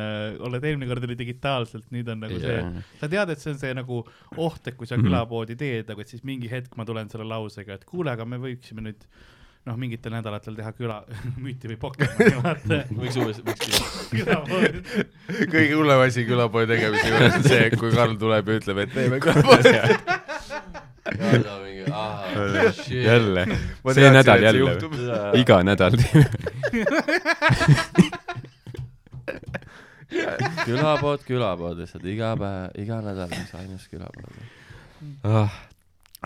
[SPEAKER 3] oled eelmine kord oli digitaalselt , nüüd on nagu see , sa tead , et see on see nagu oht , et kui sa külapoodi teed , aga et siis mingi hetk ma tulen selle lausega , et kuule , aga me võiksime nüüd noh , mingitel nädalatel teha küla [LAUGHS] müüti või Pokemoni , vaata
[SPEAKER 4] võiks uuesti , võiks [LAUGHS] küll .
[SPEAKER 3] külapoodi .
[SPEAKER 2] [LAUGHS] kõige hullem asi külapoe tegemise juures on see , kui Karl tuleb ja ütleb , et teeme külapoe .
[SPEAKER 3] [LAUGHS]
[SPEAKER 5] jälle , see nädal jälle ,
[SPEAKER 4] [LAUGHS]
[SPEAKER 5] iga nädal teeme .
[SPEAKER 4] külapood , külapood lihtsalt iga päev , iga nädal on see ainus külapood .
[SPEAKER 5] ah, .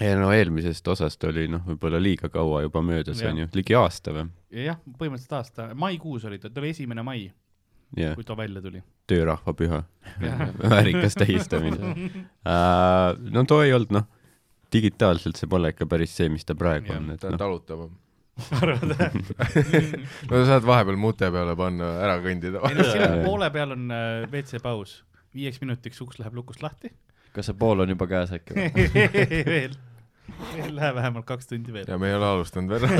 [SPEAKER 5] ei no eelmisest osast oli noh , võib-olla liiga kaua juba möödas
[SPEAKER 3] Jah.
[SPEAKER 5] on ju , ligi aasta või ?
[SPEAKER 3] jah , põhimõtteliselt aasta , maikuus oli ta , ta oli esimene mai ,
[SPEAKER 5] jah ,
[SPEAKER 3] kui ta välja tuli . [LAUGHS]
[SPEAKER 5] töörahvapüha , [LAUGHS] väärikas tähistamine
[SPEAKER 3] [LAUGHS]
[SPEAKER 5] uh, . no too ei olnud noh , digitaalselt see pole ikka päris see , mis ta praegu
[SPEAKER 3] Jah,
[SPEAKER 5] on , et
[SPEAKER 2] ta on
[SPEAKER 5] noh ,
[SPEAKER 2] talutama .
[SPEAKER 3] arvad ?
[SPEAKER 2] no sa saad vahepeal mute peale panna , ära kõndida .
[SPEAKER 3] [LAUGHS] ei noh , sinna poole peal on äh, WC-paus , viieks minutiks uks läheb lukust lahti [LAUGHS]
[SPEAKER 4] kas see pool on juba käes äkki või ?
[SPEAKER 3] veel , veel läheb vähemalt kaks tundi veel .
[SPEAKER 2] ja me ei ole alustanud veel .
[SPEAKER 4] ei ,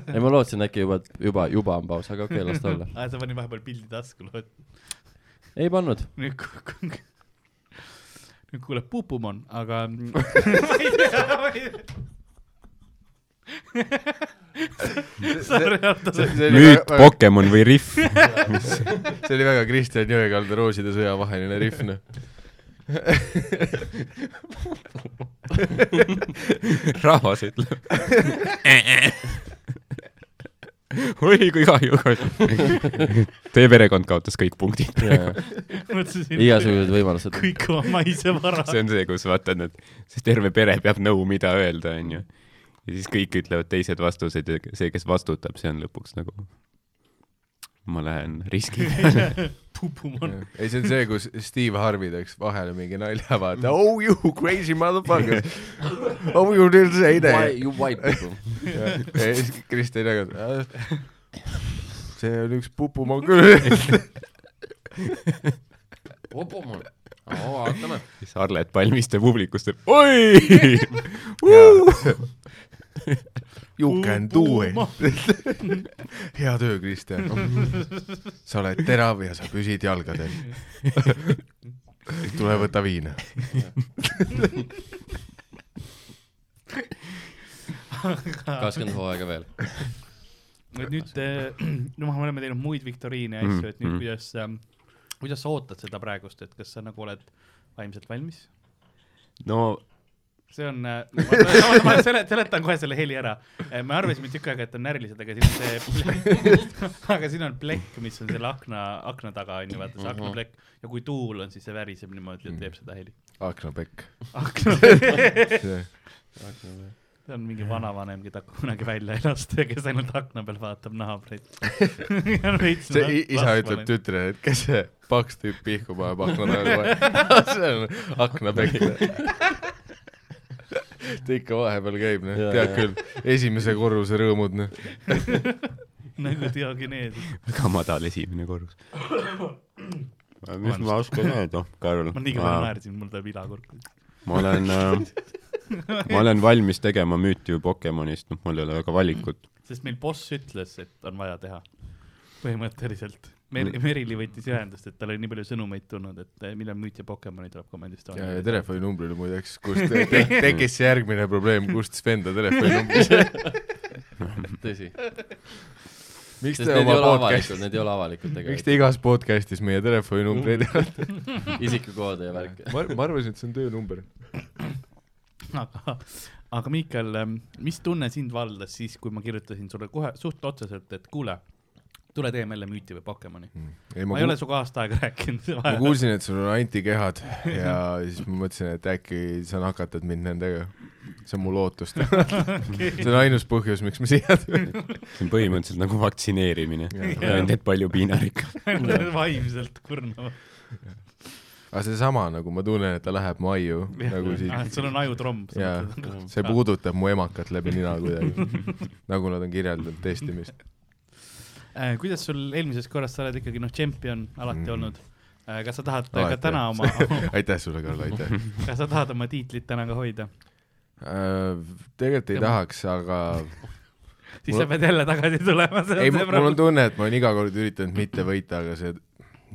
[SPEAKER 3] Ah,
[SPEAKER 4] ma lootsin äkki juba , juba , juba on paus , aga okei okay, , las ta olla .
[SPEAKER 3] aa , sa panid vahepeal pildi tasku , lood .
[SPEAKER 4] ei [LAUGHS] pannud .
[SPEAKER 3] nüüd ku- [LAUGHS] ku- nüüd kuuleb Pupumon , aga [LAUGHS] ma ei tea , ma ei tea . Sorry , Ardo , see
[SPEAKER 5] müüt , Pokemon või Riff .
[SPEAKER 3] [LAUGHS]
[SPEAKER 2] see oli väga Kristjan Jõekalda Rooside sõja vaheline rihv , noh .
[SPEAKER 5] rahvas
[SPEAKER 3] [LAUGHS]
[SPEAKER 5] ütleb oi kui kahju , kahju . Teie perekond kaotas kõik punktid praegu .
[SPEAKER 3] mõtlesin ,
[SPEAKER 4] igasugused võimalused .
[SPEAKER 3] kõik oma maise vara .
[SPEAKER 5] see on see , kus vaata nad , siis terve pere peab nõu , mida öelda , onju . ja siis kõik ütlevad teised vastused ja see , kes vastutab , see on lõpuks nagu , ma lähen riski peale .
[SPEAKER 3] Pupumon .
[SPEAKER 2] ei , see [LAUGHS] on see , kus Steve Harvey teeks vahele mingi nalja , vaata . Oh you crazy [LAUGHS] motherfucker . Oh you didn't say that . [LAUGHS]
[SPEAKER 4] You white people .
[SPEAKER 2] ja ja siis Kristjan Jõekalda . Ah, see on üks [LAUGHS] Pupumaa küll .
[SPEAKER 4] Popomon . vaatame .
[SPEAKER 5] siis Arlet Palmiste publikust teeb oi ,
[SPEAKER 2] [LAUGHS]
[SPEAKER 5] [LAUGHS]
[SPEAKER 2] You can do it . hea töö , Kristjan . sa oled terav ja sa püsid jalgadel . tule võta viina .
[SPEAKER 4] kakskümmend hooaega veel .
[SPEAKER 3] et nüüd , [CLEARS THROAT] noh , me oleme teinud muid viktoriine ja asju , et nüüd
[SPEAKER 5] Mm.
[SPEAKER 3] kuidas , kuidas sa ootad seda praegust , et kas sa nagu oled vaimselt valmis ?
[SPEAKER 5] no
[SPEAKER 3] see on , ma, ma sele- , seletan kohe selle heli ära . me arvasime tükk aega , et on närvilised , aga siin on see , [LAUGHS] aga siin on plekk , mis on selle akna , akna taga on ju , vaata see
[SPEAKER 2] Mhm.
[SPEAKER 3] aknaplekk ja kui tuul on , siis see väriseb niimoodi ja teeb seda heli .
[SPEAKER 2] aknapekk . [LAUGHS]
[SPEAKER 3] akna , see on mingi vanavanem , keda kunagi välja ei lasta ja kes ainult akna peal vaatab naabreid .
[SPEAKER 2] [LAUGHS] see i- isa ütleb . tütrele , et kes see paks tüüp pihku paneb akna taga kohe . [LAUGHS] see on aknapekk . ta ikka vahepeal käib , noh ,
[SPEAKER 4] Jaa,
[SPEAKER 2] tead
[SPEAKER 4] jaa.
[SPEAKER 2] küll , esimese korruse rõõmud , noh .
[SPEAKER 3] nagu Diogenees ,
[SPEAKER 5] väga madal esimene korrus . mis ma oskan öelda , Karl ?
[SPEAKER 3] ma nii kõva naersin , mul tuleb ilakurk .
[SPEAKER 5] ma olen äh, , ma olen valmis tegema müüti ju Pokemonist , noh , mul ei ole väga valikut .
[SPEAKER 3] sest meil boss ütles , et on vaja teha , põhimõtteliselt . Mer- , Merili võttis ühendust , et tal oli nii palju sõnumeid tulnud , et eh, millal müüt ja Pokemoni tuleb Command
[SPEAKER 2] ja ,
[SPEAKER 3] Estonia
[SPEAKER 2] ja . telefoninumbri oli muideks , kust te- te- tekkis see järgmine probleem , kust Sven ta telefoninumbri sai .
[SPEAKER 4] tõsi .
[SPEAKER 2] miks
[SPEAKER 4] sest
[SPEAKER 2] te
[SPEAKER 4] need
[SPEAKER 2] oma
[SPEAKER 4] ei ole avalikud ,
[SPEAKER 2] podcast'is ,
[SPEAKER 4] need ei ole avalikud
[SPEAKER 2] miks
[SPEAKER 4] tegelikult .
[SPEAKER 2] te igas podcast'is meie telefoninumbreid
[SPEAKER 3] Mm.
[SPEAKER 2] ei olnud ?
[SPEAKER 4] isikukoode ja värk .
[SPEAKER 2] ma , ma arvasin , et see on töönumber .
[SPEAKER 3] aga , aga Miikal , mis tunne sind valdas siis , kui ma kirjutasin sulle kohe suht otseselt , et kuule , tule teeme jälle müüti või Pokemoni .
[SPEAKER 2] ei ,
[SPEAKER 3] Mm. ma ei ole sinuga aasta aega rääkinud . [LAUGHS]
[SPEAKER 2] ma kuulsin , et sul on antikehad ja siis ma mõtlesin , et äkki sa nakatad mind nendega . see on mu
[SPEAKER 3] [LAUGHS]
[SPEAKER 2] lootus . see on ainus põhjus , miks ma siia tulin .
[SPEAKER 5] see on põhimõtteliselt nagu vaktsineerimine .
[SPEAKER 2] Jaa.
[SPEAKER 5] ma olen tegelikult palju piinarikum .
[SPEAKER 3] vaimselt kurnama .
[SPEAKER 2] aga seesama nagu ma tunnen , et ta läheb mu aiu nagu siit
[SPEAKER 3] Ah, sul on ajutromb .
[SPEAKER 2] ja see puudutab mu emakat läbi nina
[SPEAKER 3] [LAUGHS]
[SPEAKER 2] kuidagi , nagu nad on kirjeldanud testimist .
[SPEAKER 3] Äh, kuidas sul eelmisest korrast , sa oled ikkagi noh , tšempion alati
[SPEAKER 2] Mhm.
[SPEAKER 3] mm. olnud . kas sa tahad ka
[SPEAKER 2] Alati.
[SPEAKER 3] täna oma ,
[SPEAKER 2] aitäh sulle , Karl , aitäh .
[SPEAKER 3] kas sa tahad oma tiitlit täna ka hoida ?
[SPEAKER 2] Äh, tegelikult ei tahaks , aga
[SPEAKER 3] siis
[SPEAKER 2] Mul-
[SPEAKER 3] sa pead jälle tagasi tulema .
[SPEAKER 2] ei , mul on tunne , et ma olen iga kord üritanud mitte võita , aga see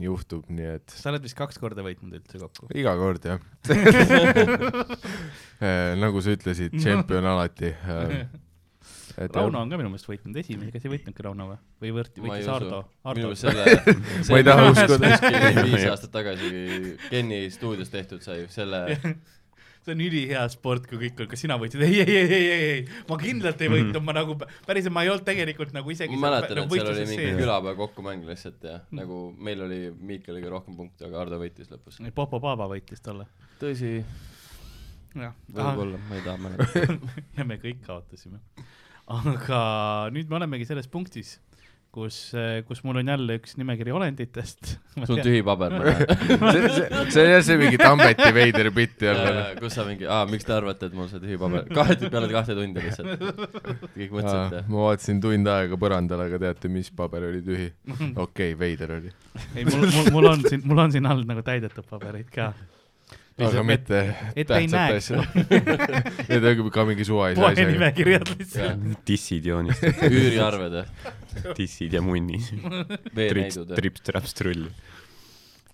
[SPEAKER 2] juhtub , nii et
[SPEAKER 3] sa oled vist kaks korda võitnud üldse kokku .
[SPEAKER 2] iga kord
[SPEAKER 3] [LAUGHS]
[SPEAKER 2] jah Eh, nagu sa ütlesid , tšempion alati . et
[SPEAKER 3] Rauno on ka minu meelest võitnud esimese , kas ei võitnudki Rauno või ? või võrt- ,
[SPEAKER 4] Ma ei
[SPEAKER 3] võitis
[SPEAKER 4] usu.
[SPEAKER 3] Ardo ?
[SPEAKER 4] minu
[SPEAKER 3] Ardo ,
[SPEAKER 4] selle ,
[SPEAKER 2] [LAUGHS] Ma ei taha uskuda. [LAUGHS]
[SPEAKER 4] viis aastat tagasi Kenny stuudios tehtud sai ju selle ,
[SPEAKER 3] [LAUGHS] see on ülihea sport , kui kõik on , kas sina võitsid ? ei , ei , ei , ei , ei , ei , ma kindlalt ei võitnud , ma nagu pä- päriselt , ma ei olnud tegelikult nagu isegi
[SPEAKER 4] Mhm. ma mäletan , et seal oli mingi . külapäeva kokkumäng lihtsalt ja
[SPEAKER 3] Mm.
[SPEAKER 4] nagu meil oli , Miikal oli rohkem punkte , aga Ardo võitis lõpus .
[SPEAKER 3] Popo Paaba võitis talle .
[SPEAKER 4] tõsi ,
[SPEAKER 3] jah ,
[SPEAKER 4] võib-olla , ma [LAUGHS] ei taha mäletada .
[SPEAKER 3] [LAUGHS] ja me kõik kaotasime . aga nüüd me olemegi selles punktis , kus , kus mul on jälle üks nimekiri olenditest .
[SPEAKER 4] sul on tühi paber , ma näen .
[SPEAKER 2] see , see , see on jah see mingi Tambeti veider bitt jälle .
[SPEAKER 4] Äh, kus sa mingi , aa , miks te arvate , et mul see tühi paber , kahe , peale kahte tundi lihtsalt . kõik mõtlesid , et
[SPEAKER 2] ma vaatasin tund aega põrandal , aga teate , mis paber oli
[SPEAKER 3] [LAUGHS]
[SPEAKER 2] tühi ? okei okay, , veider oli .
[SPEAKER 3] ei , mul , mul , mul on siin , mul on siin all nagu täidetud pabereid ka .
[SPEAKER 2] aga mitte
[SPEAKER 3] et ei
[SPEAKER 2] tähtsat
[SPEAKER 3] näeks
[SPEAKER 2] asja . [LAUGHS] Need on ka mingi suvalise
[SPEAKER 3] poe
[SPEAKER 2] asjaga .
[SPEAKER 3] nimekirjad lihtsalt .
[SPEAKER 5] dissid joonistasid , [LAUGHS]
[SPEAKER 4] üüriarved ja
[SPEAKER 5] dissid ja munnid .
[SPEAKER 4] veenäidud
[SPEAKER 5] trips ,
[SPEAKER 4] ja
[SPEAKER 5] trips , traps , trull .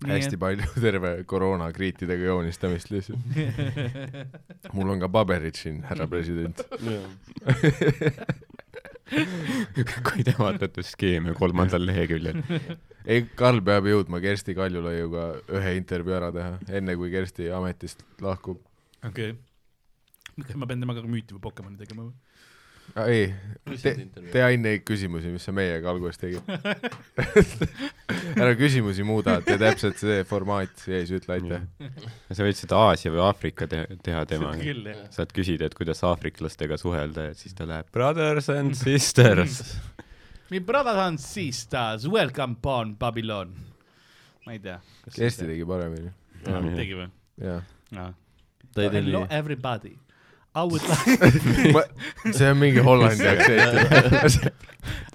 [SPEAKER 2] hästi palju [LAUGHS] terve koroonakriitidega joonistamist lihtsalt . mul on ka paberid siin , härra president .
[SPEAKER 5] [LAUGHS] kui te vaatate skeemi kolmandal leheküljel .
[SPEAKER 2] ei , Karl peab jõudma Kersti Kaljulaiuga ühe intervjuu ära teha , enne kui Kersti ametist lahkub .
[SPEAKER 3] okei . kas ma pean temaga müüti või Pokemoni tegema või ?
[SPEAKER 2] Ah, ei , Te-
[SPEAKER 4] jah .
[SPEAKER 2] tea enne neid küsimusi , mis sa meiega alguses tegid . ära küsimusi muuda , tee täpselt see formaat sees , ütle aitäh .
[SPEAKER 5] sa võid seda Aasia või Aafrika te- teha temaga .
[SPEAKER 3] küll jah .
[SPEAKER 5] saad küsida , et kuidas aafriklastega suhelda ja siis ta läheb brothers and sisters . [LAUGHS]
[SPEAKER 3] Mi brothers and sisters , welcome on Babylon . ma ei tea .
[SPEAKER 2] Eesti tegi paremini ,
[SPEAKER 3] tegi või ?
[SPEAKER 2] jah .
[SPEAKER 4] ta ei telli
[SPEAKER 3] Hello . everybody . I would like ,
[SPEAKER 2] see on mingi Hollandi aktsent .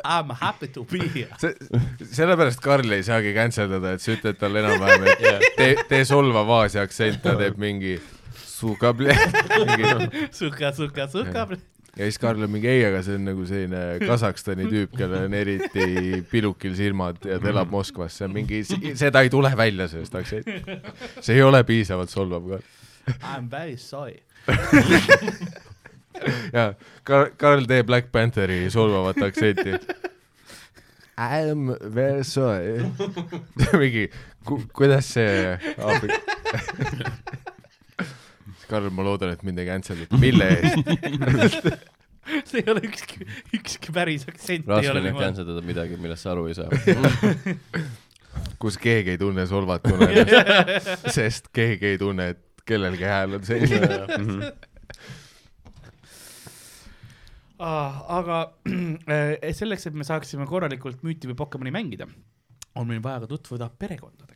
[SPEAKER 3] I am happy to be here .
[SPEAKER 2] see , sellepärast Karl ei saagi canceldada , et sa ütled talle enam-vähem , et tee , tee solvav Aasia aktsent , ta teeb mingi suga ble- [LAUGHS] mingi noh ,
[SPEAKER 3] suka , suka , suka .
[SPEAKER 2] ja siis Karl on mingi ei , aga see on nagu selline Kasahstani tüüp , kellel on eriti pilukil silmad ja ta elab Moskvas , see on mingi , seda ei tule välja sellest aktsentist . see ei ole piisavalt solvav ka .
[SPEAKER 3] I am very sorry . [LAUGHS]
[SPEAKER 2] jaa , Karl , Karl teeb Black Pantheri solvavat aktsenti . I am very sorry . [LAUGHS] mingi , kuidas see Aafrika Karl , ma loodan , et mind ei cancel ita , mille eest ?
[SPEAKER 3] see ei ole ükski , ükski päris aktsent ei
[SPEAKER 4] raske on
[SPEAKER 3] ole
[SPEAKER 4] jah
[SPEAKER 3] niimoodi .
[SPEAKER 4] canceldada midagi , millest sa aru
[SPEAKER 2] [LAUGHS]
[SPEAKER 4] ei saa .
[SPEAKER 2] kus keegi ei tunne solvatuna ennast , sest keegi ei tunne , et kellelgi hääl on selline .
[SPEAKER 3] Ah, aga [CLEARS THROAT] äh, selleks , et me saaksime korralikult müüti või Pokemoni mängida , on meil vaja ka tutvuda perekondadega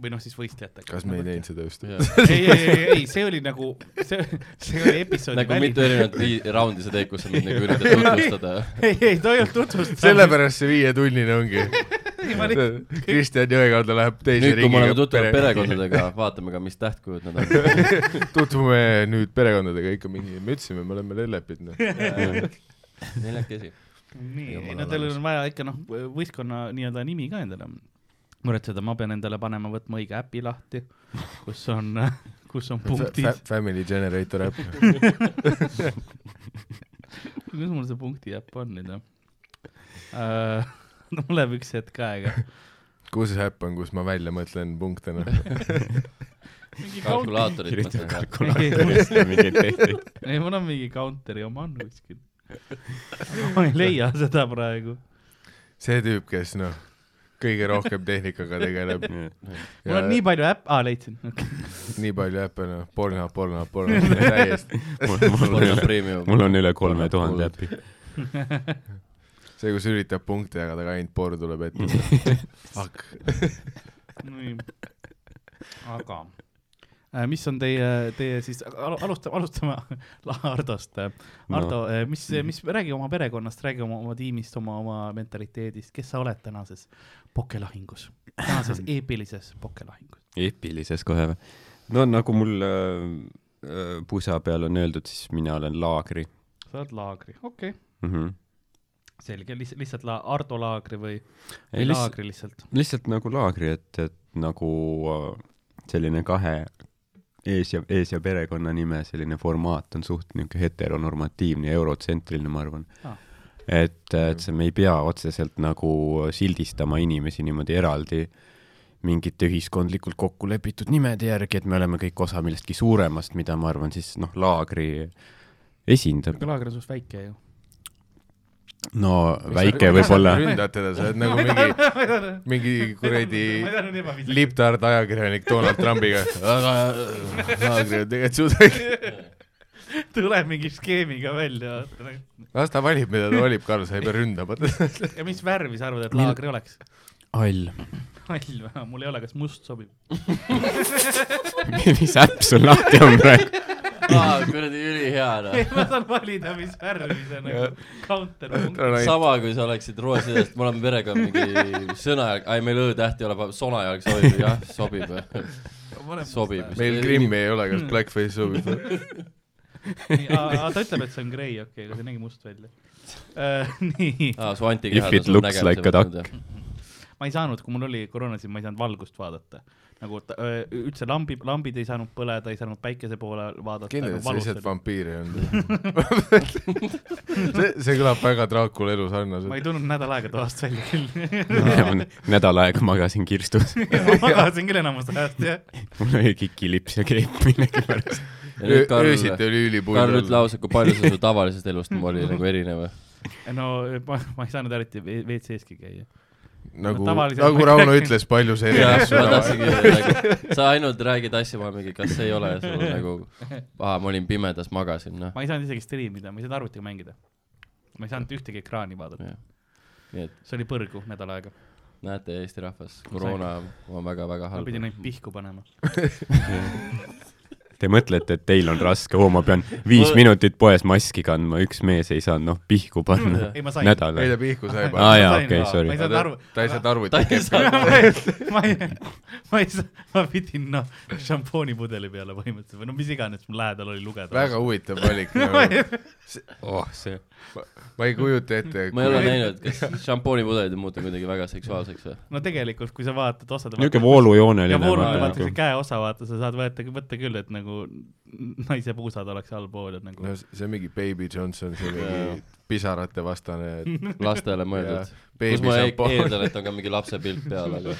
[SPEAKER 3] või noh , siis võistlejatega .
[SPEAKER 2] kas me ei teinud seda just ?
[SPEAKER 3] ei , ei , ei , ei , see oli nagu , see , see oli episoodi
[SPEAKER 4] nagu
[SPEAKER 3] väli-
[SPEAKER 4] mitu erinevat vii- raundi sa teed , kus sa mind nagu üritad tutvustada .
[SPEAKER 3] ei , ei , ta ei olnud tutvustav .
[SPEAKER 2] sellepärast see viietunnine ongi .
[SPEAKER 3] ma lihtsalt ,
[SPEAKER 2] Kristjan Jõekalda läheb teise
[SPEAKER 4] nüüd , kui me oleme tutvunud
[SPEAKER 2] pere-
[SPEAKER 4] perekondadega , vaatame ka , mis
[SPEAKER 2] [LAUGHS]
[SPEAKER 4] tähtkujud nad on .
[SPEAKER 2] tutvume nüüd perekondadega ikka mingi , me ütlesime , me oleme lellepid , noh .
[SPEAKER 4] neljakesi .
[SPEAKER 3] nii , ei
[SPEAKER 4] Jumala
[SPEAKER 3] no tal
[SPEAKER 4] laus.
[SPEAKER 3] on vaja ikka noh , võistkonna nii-öelda nimi ka endale muretseda , ma pean endale panema , võtma õige äpi lahti , kus on , [LAUGHS] kus on punktid ,
[SPEAKER 2] Family Generator äpp .
[SPEAKER 3] kus mul see punkti äpp on nüüd jah ? no [LAUGHS] mul läheb üks hetk aega .
[SPEAKER 2] kus see äpp on , kus ma välja mõtlen punkte , noh .
[SPEAKER 4] kalkulaatorid
[SPEAKER 5] kirjuta
[SPEAKER 4] mõtlen .
[SPEAKER 5] kalkulaatorist ja mingeid tehteid .
[SPEAKER 3] ei , mul on mingi counteri oma on kuskil . ma ei leia seda praegu .
[SPEAKER 2] see tüüp , kes , noh , kõige rohkem tehnikaga tegeleb .
[SPEAKER 3] mul on nii palju äpp , aa leidsin , okei .
[SPEAKER 2] nii palju äppe , noh , Pornhub , Pornhub , Pornhub , täiesti .
[SPEAKER 5] mul on üle kolme tuhande äpi .
[SPEAKER 2] see , kus üritab punkte jagada , aga ainult por tuleb ette . Fuck .
[SPEAKER 3] nii , aga äh, mis on teie , teie siis al- alustame , alustame [LAUGHS] Hardost . Hardo , mis , mis , räägi oma perekonnast , räägi oma , oma tiimist , oma , oma mentaliteedist , kes sa oled tänases pokelahingus , [CLEARS THROAT] tänases eepilises pokelahingus .
[SPEAKER 5] epilises kohe või ? no nagu mul äh, äh, pusa peal on öeldud , siis mina olen laagri
[SPEAKER 3] sa oled laagri , okei okay. ,
[SPEAKER 5] mm . -hmm.
[SPEAKER 3] selge , lihtsalt , lihtsalt la- , Ardo laagri või ,
[SPEAKER 5] Ei,
[SPEAKER 3] või
[SPEAKER 5] lihtsalt-
[SPEAKER 3] laagri lihtsalt .
[SPEAKER 5] lihtsalt nagu laagri , et , et nagu äh, selline kahe ees ja , ees ja perekonnanime selline formaat on suht niisugune heteronormatiivne ja eurotsentriline , ma arvan
[SPEAKER 3] Aa.
[SPEAKER 5] ah. . et , et see , me ei pea otseselt nagu sildistama inimesi niimoodi eraldi mingite ühiskondlikult kokku lepitud nimede järgi , et me oleme kõik osa millestki suuremast , mida ma arvan siis noh , laagri esindab .
[SPEAKER 3] aga laagri on suht väike ju .
[SPEAKER 5] no väike võib-olla ,
[SPEAKER 2] ründad teda , sa oled nagu mingi , mingi kuradi liptard ajakirjanik Donald Trumpiga . aga Laagri on tegelikult suht väike .
[SPEAKER 3] tuleb mingi skeemiga välja , vaata nagu.
[SPEAKER 2] las ta valib , mida ta valib , Karl , sa ei pea ründama .
[SPEAKER 3] ja mis värvi sa arvad , et laagri oleks ?
[SPEAKER 5] all ,
[SPEAKER 3] hall või ? mul ei ole , kas must
[SPEAKER 2] [LAUGHS]
[SPEAKER 3] sobib ?
[SPEAKER 5] [LAUGHS] mis äpp sul lahti on praegu ?
[SPEAKER 4] aa , kuradi ülihea noh .
[SPEAKER 3] ma saan valida , mis värvi see nagu counter punkt .
[SPEAKER 4] sama , kui sa oleksid Rootsi eest , me oleme perega mingi sõna , ai meil Õ-täht ei ole , sonajalg sobib , jah , sobib . sobib .
[SPEAKER 2] meil Krimmi ei ole ,
[SPEAKER 4] Hmm.
[SPEAKER 2] kas Blackface sobib või ?
[SPEAKER 3] ta ütleb , et see on grey , okei , aga see nägi must välja . Äh, [LAUGHS] nii ,
[SPEAKER 4] aa , Ah, su antikehad
[SPEAKER 5] If it looks like a duck .
[SPEAKER 3] ma ei saanud , kui mul oli koroona , siis ma ei saanud valgust vaadata . nagu ta, öö, üldse lambi , lambid ei saanud põleda , ei saanud päikese poole vaadata . nagu
[SPEAKER 2] kindlasti sa lihtsalt vampiir ei
[SPEAKER 3] [LAUGHS]
[SPEAKER 2] olnud . see , see kõlab väga Draakula elu
[SPEAKER 3] ma ei
[SPEAKER 2] sarnaselt .
[SPEAKER 3] tulnud nädal aega toast välja
[SPEAKER 2] [LAUGHS]
[SPEAKER 3] küll .
[SPEAKER 5] nädal aega magasin kirstus .
[SPEAKER 3] ma magasin küll enamus ajast , jah .
[SPEAKER 5] mul oli kikilips ja kreep millegipärast .
[SPEAKER 2] öösiti oli
[SPEAKER 4] Karl , ütle
[SPEAKER 2] ülipull .
[SPEAKER 4] ausalt , kui palju see su tavalisest
[SPEAKER 3] [LAUGHS]
[SPEAKER 4] elust oli nagu erinev ?
[SPEAKER 3] no ma , ma ei saanud eriti ve- WC-ski käia .
[SPEAKER 2] nagu ,
[SPEAKER 3] tavaliselt ma
[SPEAKER 2] nagu
[SPEAKER 3] ei
[SPEAKER 2] Rauno
[SPEAKER 3] rääkinud.
[SPEAKER 2] ütles , palju see
[SPEAKER 4] jah ,
[SPEAKER 2] erinev
[SPEAKER 4] ma
[SPEAKER 2] sulle
[SPEAKER 4] tahtsingi nagu , sa ainult räägid asju , ma mingi , kas ei ole sul nagu , aa , ma olin pimedas , magasin , noh .
[SPEAKER 3] ma ei saanud isegi striimida , ma ei saanud arvutiga mängida . ma ei saanud ühtegi ekraani vaadata ,
[SPEAKER 4] nii et
[SPEAKER 3] see oli põrgu nädal aega ,
[SPEAKER 4] näete , Eesti rahvas , koroona on väga-väga
[SPEAKER 3] ma
[SPEAKER 4] halb .
[SPEAKER 3] pidin neid pihku panema .
[SPEAKER 5] Te mõtlete , et teil on raske , oo , ma pean viis
[SPEAKER 4] Ma-
[SPEAKER 5] minutit poes maski kandma , üks mees ei saanud , noh , pihku panna
[SPEAKER 3] ei , ma sain .
[SPEAKER 5] nädal
[SPEAKER 2] ei ta . pihku [LAUGHS] sai
[SPEAKER 5] Aa,
[SPEAKER 2] panna .
[SPEAKER 5] Ah, jaa,
[SPEAKER 3] Ma sain
[SPEAKER 5] okei,
[SPEAKER 3] ka.
[SPEAKER 5] sorry.
[SPEAKER 3] ma ei saanud
[SPEAKER 2] ta
[SPEAKER 3] aru , [LAUGHS]
[SPEAKER 2] ta ei saanud aru , et
[SPEAKER 4] ta
[SPEAKER 2] ta
[SPEAKER 4] ei
[SPEAKER 2] käib .
[SPEAKER 4] saa ,
[SPEAKER 3] ma ei , ma ei saa , ma pidin noh , šampoonipudeli peale põhimõtteliselt või no mis iganes mul lähedal oli lugeda . [LAUGHS]
[SPEAKER 2] väga huvitav valik .
[SPEAKER 5] oh , see .
[SPEAKER 2] ma ei kujuta ette .
[SPEAKER 4] ma ei ole näinud , kas šampoonipudelid on muutunud kuidagi väga seksuaalseks
[SPEAKER 3] [LAUGHS]
[SPEAKER 4] või ?
[SPEAKER 3] no tegelikult , kui sa vaatad , osad
[SPEAKER 5] niisugune
[SPEAKER 3] vaatavad- ja
[SPEAKER 5] voolujooneline . nagu-
[SPEAKER 3] voolu vaata see käeosa vaata , sa saad võtta , võtta küll , et nagu naise puusad oleks allpool , et nagu
[SPEAKER 2] no
[SPEAKER 3] no,
[SPEAKER 2] see on mingi Baby Johnson , see on
[SPEAKER 4] Jaa.
[SPEAKER 2] mingi pisarate vastane .
[SPEAKER 4] lastele mõeldud . kus ma e-
[SPEAKER 2] jah ,
[SPEAKER 4] eeldan , et on ka mingi lapse pilt peal ,
[SPEAKER 3] [LAUGHS]
[SPEAKER 4] aga ,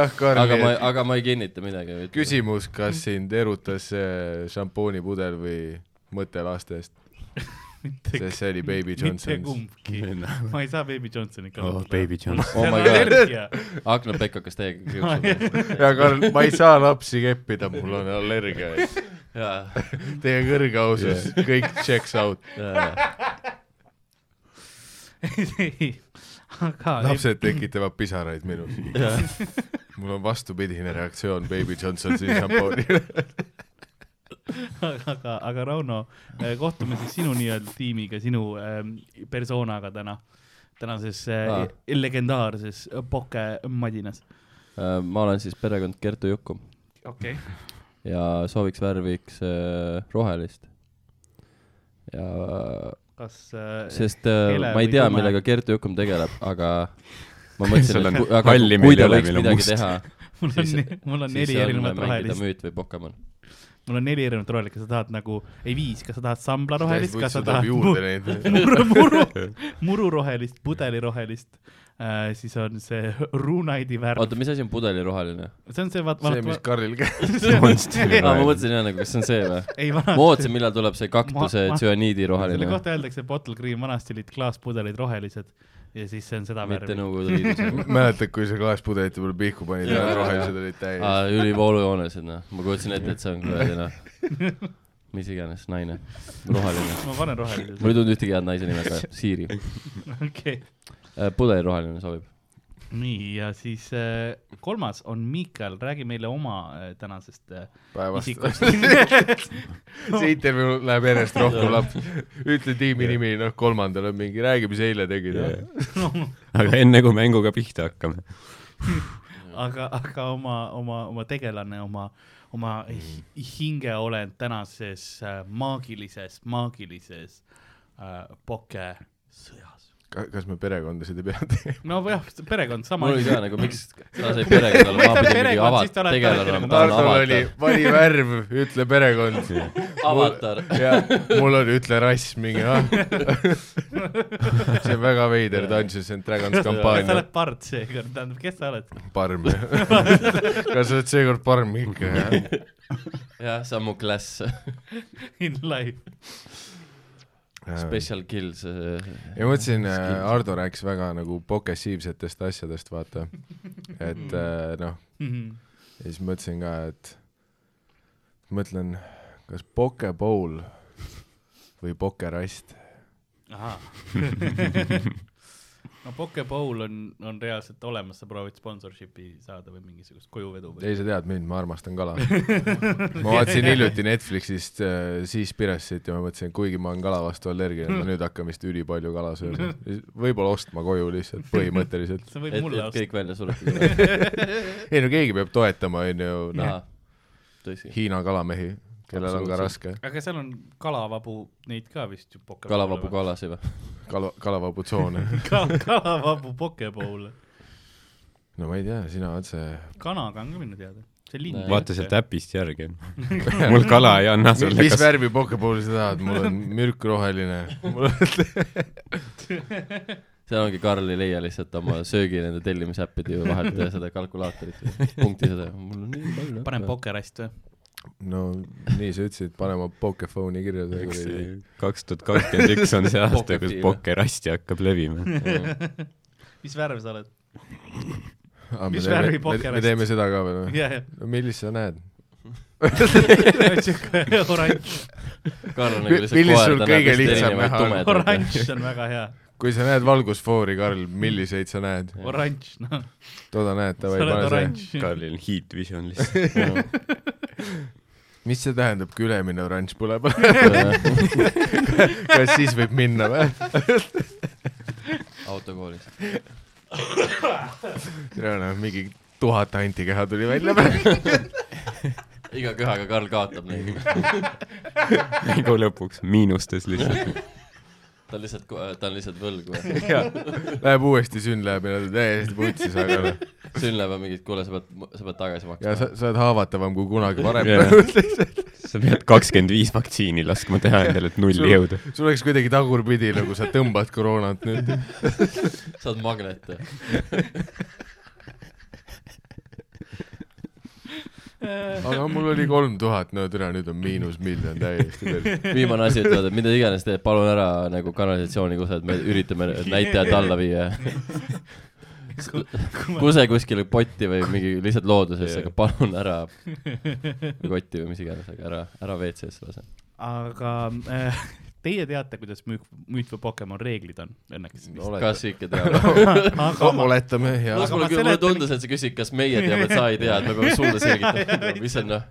[SPEAKER 4] aga ma
[SPEAKER 2] Karl ,
[SPEAKER 4] aga ma ei kinnita midagi .
[SPEAKER 2] küsimus ,
[SPEAKER 3] Mm.
[SPEAKER 2] kas sind erutas see šampoonipudel või mõte lastest ,
[SPEAKER 3] [LAUGHS] mitte,
[SPEAKER 2] sest see oli Baby
[SPEAKER 3] mitte
[SPEAKER 2] Johnson .
[SPEAKER 3] kumbki . ma ei saa Baby Johnsoni ka
[SPEAKER 5] oh , Baby
[SPEAKER 3] [LAUGHS]
[SPEAKER 5] Johnson .
[SPEAKER 4] noh. Oh my god.
[SPEAKER 3] god .
[SPEAKER 4] Akna Pekk hakkas
[SPEAKER 3] [LAUGHS]
[SPEAKER 4] täiega kiusama .
[SPEAKER 2] ja Karl , ma ei saa lapsi keppida , mul on allergia .
[SPEAKER 4] jaa ,
[SPEAKER 2] Teie kõrgeausus , kõik checks
[SPEAKER 3] [LAUGHS]
[SPEAKER 2] out .
[SPEAKER 4] jaa .
[SPEAKER 3] aga
[SPEAKER 2] lapsed tekitavad pisaraid minus .
[SPEAKER 3] [LAUGHS]
[SPEAKER 2] mul on vastupidine reaktsioon Baby Johnsoni
[SPEAKER 3] [LAUGHS]
[SPEAKER 2] šampoonile .
[SPEAKER 3] aga , aga , aga Rauno , kohtume siis sinu nii-öelda tiimiga , sinu ähm, persoonaga täna , tänases äh,
[SPEAKER 4] Aa.
[SPEAKER 3] legendaarses pokemadinas .
[SPEAKER 4] Äh, ma olen siis perekond Kertu Jukum
[SPEAKER 3] okei okay. ,
[SPEAKER 4] ja sooviks värviks äh, rohelist . ja
[SPEAKER 3] kas äh,
[SPEAKER 4] sest äh,
[SPEAKER 3] Hele
[SPEAKER 4] ma ei
[SPEAKER 3] või
[SPEAKER 4] tea ,
[SPEAKER 3] tume?
[SPEAKER 4] millega Kertu Jukum tegeleb , aga ma
[SPEAKER 3] [LAUGHS]
[SPEAKER 4] mõtlesin ,
[SPEAKER 5] Sul on
[SPEAKER 4] et ku- aga
[SPEAKER 5] halli
[SPEAKER 4] kui
[SPEAKER 5] meil ei
[SPEAKER 4] ta
[SPEAKER 5] ole,
[SPEAKER 4] võiks
[SPEAKER 5] meil on
[SPEAKER 4] midagi
[SPEAKER 5] must.
[SPEAKER 4] teha ,
[SPEAKER 3] mul on
[SPEAKER 4] siis- ,
[SPEAKER 3] mul on
[SPEAKER 4] siis
[SPEAKER 3] [LAUGHS] neli
[SPEAKER 4] on
[SPEAKER 3] erinevat
[SPEAKER 4] mängida
[SPEAKER 3] rohelist ,
[SPEAKER 4] müüt või Pokemon .
[SPEAKER 3] mul on neli erinevat rohelist , kas sa tahad nagu , ei viis , kas sa tahad sambla rohelist , kas sa tahad mu-
[SPEAKER 2] juurde
[SPEAKER 3] [LAUGHS]
[SPEAKER 2] neid .
[SPEAKER 3] muru , muru , muru rohelist , pudeli rohelist äh, , siis on see Runeidi värv ,
[SPEAKER 4] oota , mis asi on pudeliroheline ?
[SPEAKER 3] see on see vaat- ,
[SPEAKER 2] see , mis Karlil [LAUGHS] käis .
[SPEAKER 4] aa ,
[SPEAKER 5] Monsteri
[SPEAKER 4] ma
[SPEAKER 5] roheline .
[SPEAKER 4] mõtlesin jah nagu , kas see on see või ?
[SPEAKER 3] ei
[SPEAKER 4] ma
[SPEAKER 3] vanasti
[SPEAKER 4] ootasin , millal tuleb see kaktuse
[SPEAKER 3] Ma- ma-
[SPEAKER 4] tsüaniidi
[SPEAKER 3] selle
[SPEAKER 4] roheline ,
[SPEAKER 3] kohta öeldakse bottle green , vanasti olid klaaspudelid rohelised ja siis see on seda
[SPEAKER 4] mitte
[SPEAKER 3] värvi .
[SPEAKER 4] Nõukogude Liidus .
[SPEAKER 3] [LAUGHS]
[SPEAKER 2] mäletad , kui sa klaaspudelite peale pihku panid ja
[SPEAKER 4] Jaa.
[SPEAKER 2] need rohelised olid täis ?
[SPEAKER 4] aa , ülivoolujoonelised noh , ma kujutasin ette , et see on kuradi noh ,
[SPEAKER 3] [LAUGHS]
[SPEAKER 4] mis iganes naine , roheline .
[SPEAKER 3] ma panen rohelise
[SPEAKER 4] mul . ei tulnud ühtegi head naise nime ka , Siiri .
[SPEAKER 3] [LAUGHS] okei ,
[SPEAKER 4] pudeliroheline sobib .
[SPEAKER 3] nii ja siis äh, kolmas on Miikal , räägi meile oma äh, tänasest äh,
[SPEAKER 2] päevast .
[SPEAKER 3] isikust . [LAUGHS]
[SPEAKER 2] see intervjuu läheb järjest rohkem lapsi . ütle tiimi nimi , noh , kolmandal on mingi , räägi , mis eile tegid .
[SPEAKER 5] aga enne kui mänguga pihta hakkame .
[SPEAKER 3] aga , aga oma , oma , oma tegelane , oma , oma
[SPEAKER 4] Mhm.
[SPEAKER 3] hi- hingeolend tänases äh, maagilises , maagilises äh,
[SPEAKER 4] [LAUGHS]
[SPEAKER 3] pokesõjas .
[SPEAKER 2] kas me perekondasid ei pea tegema ?
[SPEAKER 3] nojah , perekond sama
[SPEAKER 4] mul oli . ka nagu , miks sa said perekonnale , ma
[SPEAKER 3] Võtame
[SPEAKER 4] pidin mingi
[SPEAKER 3] perekond, siis te
[SPEAKER 4] avatar , tegelane on ,
[SPEAKER 3] olete alati
[SPEAKER 4] ta
[SPEAKER 3] nagu
[SPEAKER 4] on
[SPEAKER 2] Tartul oli
[SPEAKER 4] avatar .
[SPEAKER 2] vali värv , ütle perekond .
[SPEAKER 4] avatar .
[SPEAKER 2] ja mul on ütle rass mingi , ah . see on väga veider Dungeons and Dragons
[SPEAKER 3] kas sa
[SPEAKER 2] kampaania .
[SPEAKER 3] oled part seekord , tähendab , kes sa oled ? [LAUGHS]
[SPEAKER 2] parm . [LAUGHS] kas sa oled seekord parm ikka , jah ?
[SPEAKER 4] jah , see on mu klass .
[SPEAKER 3] Äh. In life .
[SPEAKER 4] Special kills .
[SPEAKER 2] ja ma mõtlesin , Ardo rääkis väga nagu progressiivsetest asjadest , vaata . et äh, noh , ja siis mõtlesin ka , et mõtlen , kas pokebowl või pokerast .
[SPEAKER 3] ahah [LAUGHS] no Pokeball on , on reaalselt olemas , sa proovid sponsorship'i saada või mingisugust kojuvedu või ?
[SPEAKER 2] ei , sa tead mind , ma armastan kala . ma vaatasin hiljuti Netflixist äh, Siis Piressit ja ma mõtlesin , kuigi ma olen kala vastu allergiline , ma nüüd hakkan vist ülipalju kala sööma . võib-olla ostma koju lihtsalt põhimõtteliselt .
[SPEAKER 3] sa võid
[SPEAKER 4] et ,
[SPEAKER 3] mulle
[SPEAKER 4] et
[SPEAKER 3] osta .
[SPEAKER 4] kõik välja suretada .
[SPEAKER 2] ei no keegi peab toetama , onju , noh ,
[SPEAKER 4] tõsi .
[SPEAKER 2] Hiina kalamehi , kellel on ka raske .
[SPEAKER 3] aga seal on kalavabu , neid ka vist ju Pokeball .
[SPEAKER 4] kalavabu kalasi või ?
[SPEAKER 2] kala , kalavabutsoone .
[SPEAKER 3] ka . kalavabu Pokeball .
[SPEAKER 2] no ma ei tea , sina oled see ,
[SPEAKER 3] kanaga on ka minu teada . see lind .
[SPEAKER 4] Näe.
[SPEAKER 5] vaata sealt . äpist järgi . mul kala ei anna sulle ,
[SPEAKER 2] mis
[SPEAKER 5] kas
[SPEAKER 2] värvi pokepooli sa tahad , mul [LAUGHS] on mürkroheline .
[SPEAKER 4] seal ongi , Karl ei leia lihtsalt oma söögi nende tellimisäppide ju vahelt ja seda kalkulaatorit ja punkti seda . mul on nii palju .
[SPEAKER 3] panen . pokerist või ?
[SPEAKER 2] no nii sa ütlesid , pane oma pokefone'i kirja .
[SPEAKER 5] kaks tuhat kakskümmend üks on see aasta , kus
[SPEAKER 4] Pokertiim.
[SPEAKER 5] pokkerasti hakkab levima .
[SPEAKER 3] mis värv sa oled ? Mis värvi
[SPEAKER 2] Ah, me
[SPEAKER 3] pokerist?
[SPEAKER 2] me teeme seda ka veel või ?
[SPEAKER 3] jah ,
[SPEAKER 2] millist sa näed ?
[SPEAKER 3] jah , siuke oranž ,
[SPEAKER 4] Karl
[SPEAKER 2] Mi-
[SPEAKER 4] on nagu lihtsalt
[SPEAKER 2] millist sul
[SPEAKER 4] koer tänab
[SPEAKER 2] kõige
[SPEAKER 4] lihtsalt
[SPEAKER 2] lihtsam
[SPEAKER 4] erinevaid
[SPEAKER 2] näha on?
[SPEAKER 4] tumedaid .
[SPEAKER 3] oranž on väga hea ,
[SPEAKER 2] kui sa näed valgusfoori , Karl , milliseid sa näed ?
[SPEAKER 3] oranž , noh ,
[SPEAKER 2] toda näed ,
[SPEAKER 3] sa
[SPEAKER 2] davai ,
[SPEAKER 3] oled
[SPEAKER 2] pane see .
[SPEAKER 3] oranž .
[SPEAKER 5] Karlil on heat vision lihtsalt .
[SPEAKER 2] mis see tähendab , kui ülemine oranž [LAUGHS] põleb ? kas siis võib minna või ?
[SPEAKER 4] autokoolis .
[SPEAKER 2] noh , mingi tuhat antikeha tuli välja . [LAUGHS]
[SPEAKER 4] iga köhaga Karl kaotab neid .
[SPEAKER 5] mängu Nagu lõpuks miinustes lihtsalt .
[SPEAKER 4] ta on lihtsalt , ta on lihtsalt võlgu .
[SPEAKER 2] Läheb uuesti sünn läheb ja täiesti putsis , aga noh ,
[SPEAKER 4] sünn läheb ja mingi , et kuule , sa pead , sa pead
[SPEAKER 2] ja
[SPEAKER 4] tagasi
[SPEAKER 2] sa
[SPEAKER 4] maksma .,
[SPEAKER 2] sa oled haavatavam kui kunagi varem .
[SPEAKER 5] sa pead kakskümmend viis vaktsiini laskma teha endale , et nulli jõuda .
[SPEAKER 2] [LAUGHS] sul oleks kuidagi tagurpidi , nagu sa tõmbad koroonat nüüd .
[SPEAKER 4] sa oled magnet .
[SPEAKER 3] Äh,
[SPEAKER 2] aga mul oli kolm tuhat , no türa , nüüd on miinus miljon täiesti veel .
[SPEAKER 3] [LAUGHS]
[SPEAKER 4] viimane asi ütlevad , et mida iganes teed , palun ära nagu kanalisatsiooni kusagil , me üritame näitajat alla viia . kuse kuskile potti või mingi lihtsalt loodusesse , aga palun ära kotti või mis iganes , aga ära , ära WC-sse lase .
[SPEAKER 3] aga äh, teie teate , kuidas müük , müüt või Pokemon reeglid on , õnneks .
[SPEAKER 4] kas ikka teab ?
[SPEAKER 2] [LAUGHS]
[SPEAKER 3] aga ma ,
[SPEAKER 2] oletame ja
[SPEAKER 4] las mul
[SPEAKER 3] ma
[SPEAKER 4] küll , mulle
[SPEAKER 3] seletan-
[SPEAKER 4] tundus , et sa küsid , kas meie teame , et sa ei tea , et me peame sulle selgitama , mis on noh ,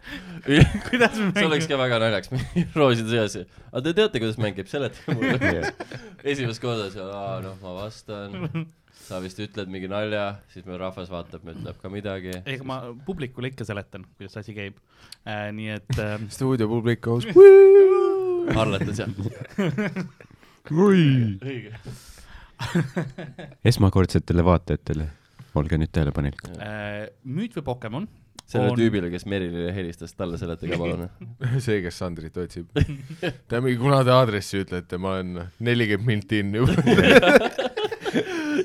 [SPEAKER 4] [LAUGHS]
[SPEAKER 3] kuidas me
[SPEAKER 4] see oleks
[SPEAKER 3] mängime ,
[SPEAKER 4] ka väga naljakas , rooside seas . aga te teate , kuidas mängib , seletage mulle . esimest korda seal , aa noh , ma vastan , sa vist ütled mingi nalja , siis meil rahvas vaatab , ütleb ka midagi .
[SPEAKER 3] ega ma publikule ikka seletan , kuidas asi käib äh, , nii et äh,
[SPEAKER 2] stuudiopublik koos .
[SPEAKER 4] arletan seal .
[SPEAKER 5] esmakordsetele vaatajatele , olge nüüd tähelepanelikud .
[SPEAKER 3] äh, müüt või Pokemon
[SPEAKER 4] sellele
[SPEAKER 3] on-
[SPEAKER 4] tüübile , kes Merilile helistas , talle
[SPEAKER 3] [LAUGHS]
[SPEAKER 4] seletage palun .
[SPEAKER 2] see , kes Sandrit otsib . ta mingi , kuna te aadressi ütlete , ma olen nelikümmend minti [LAUGHS] in juba .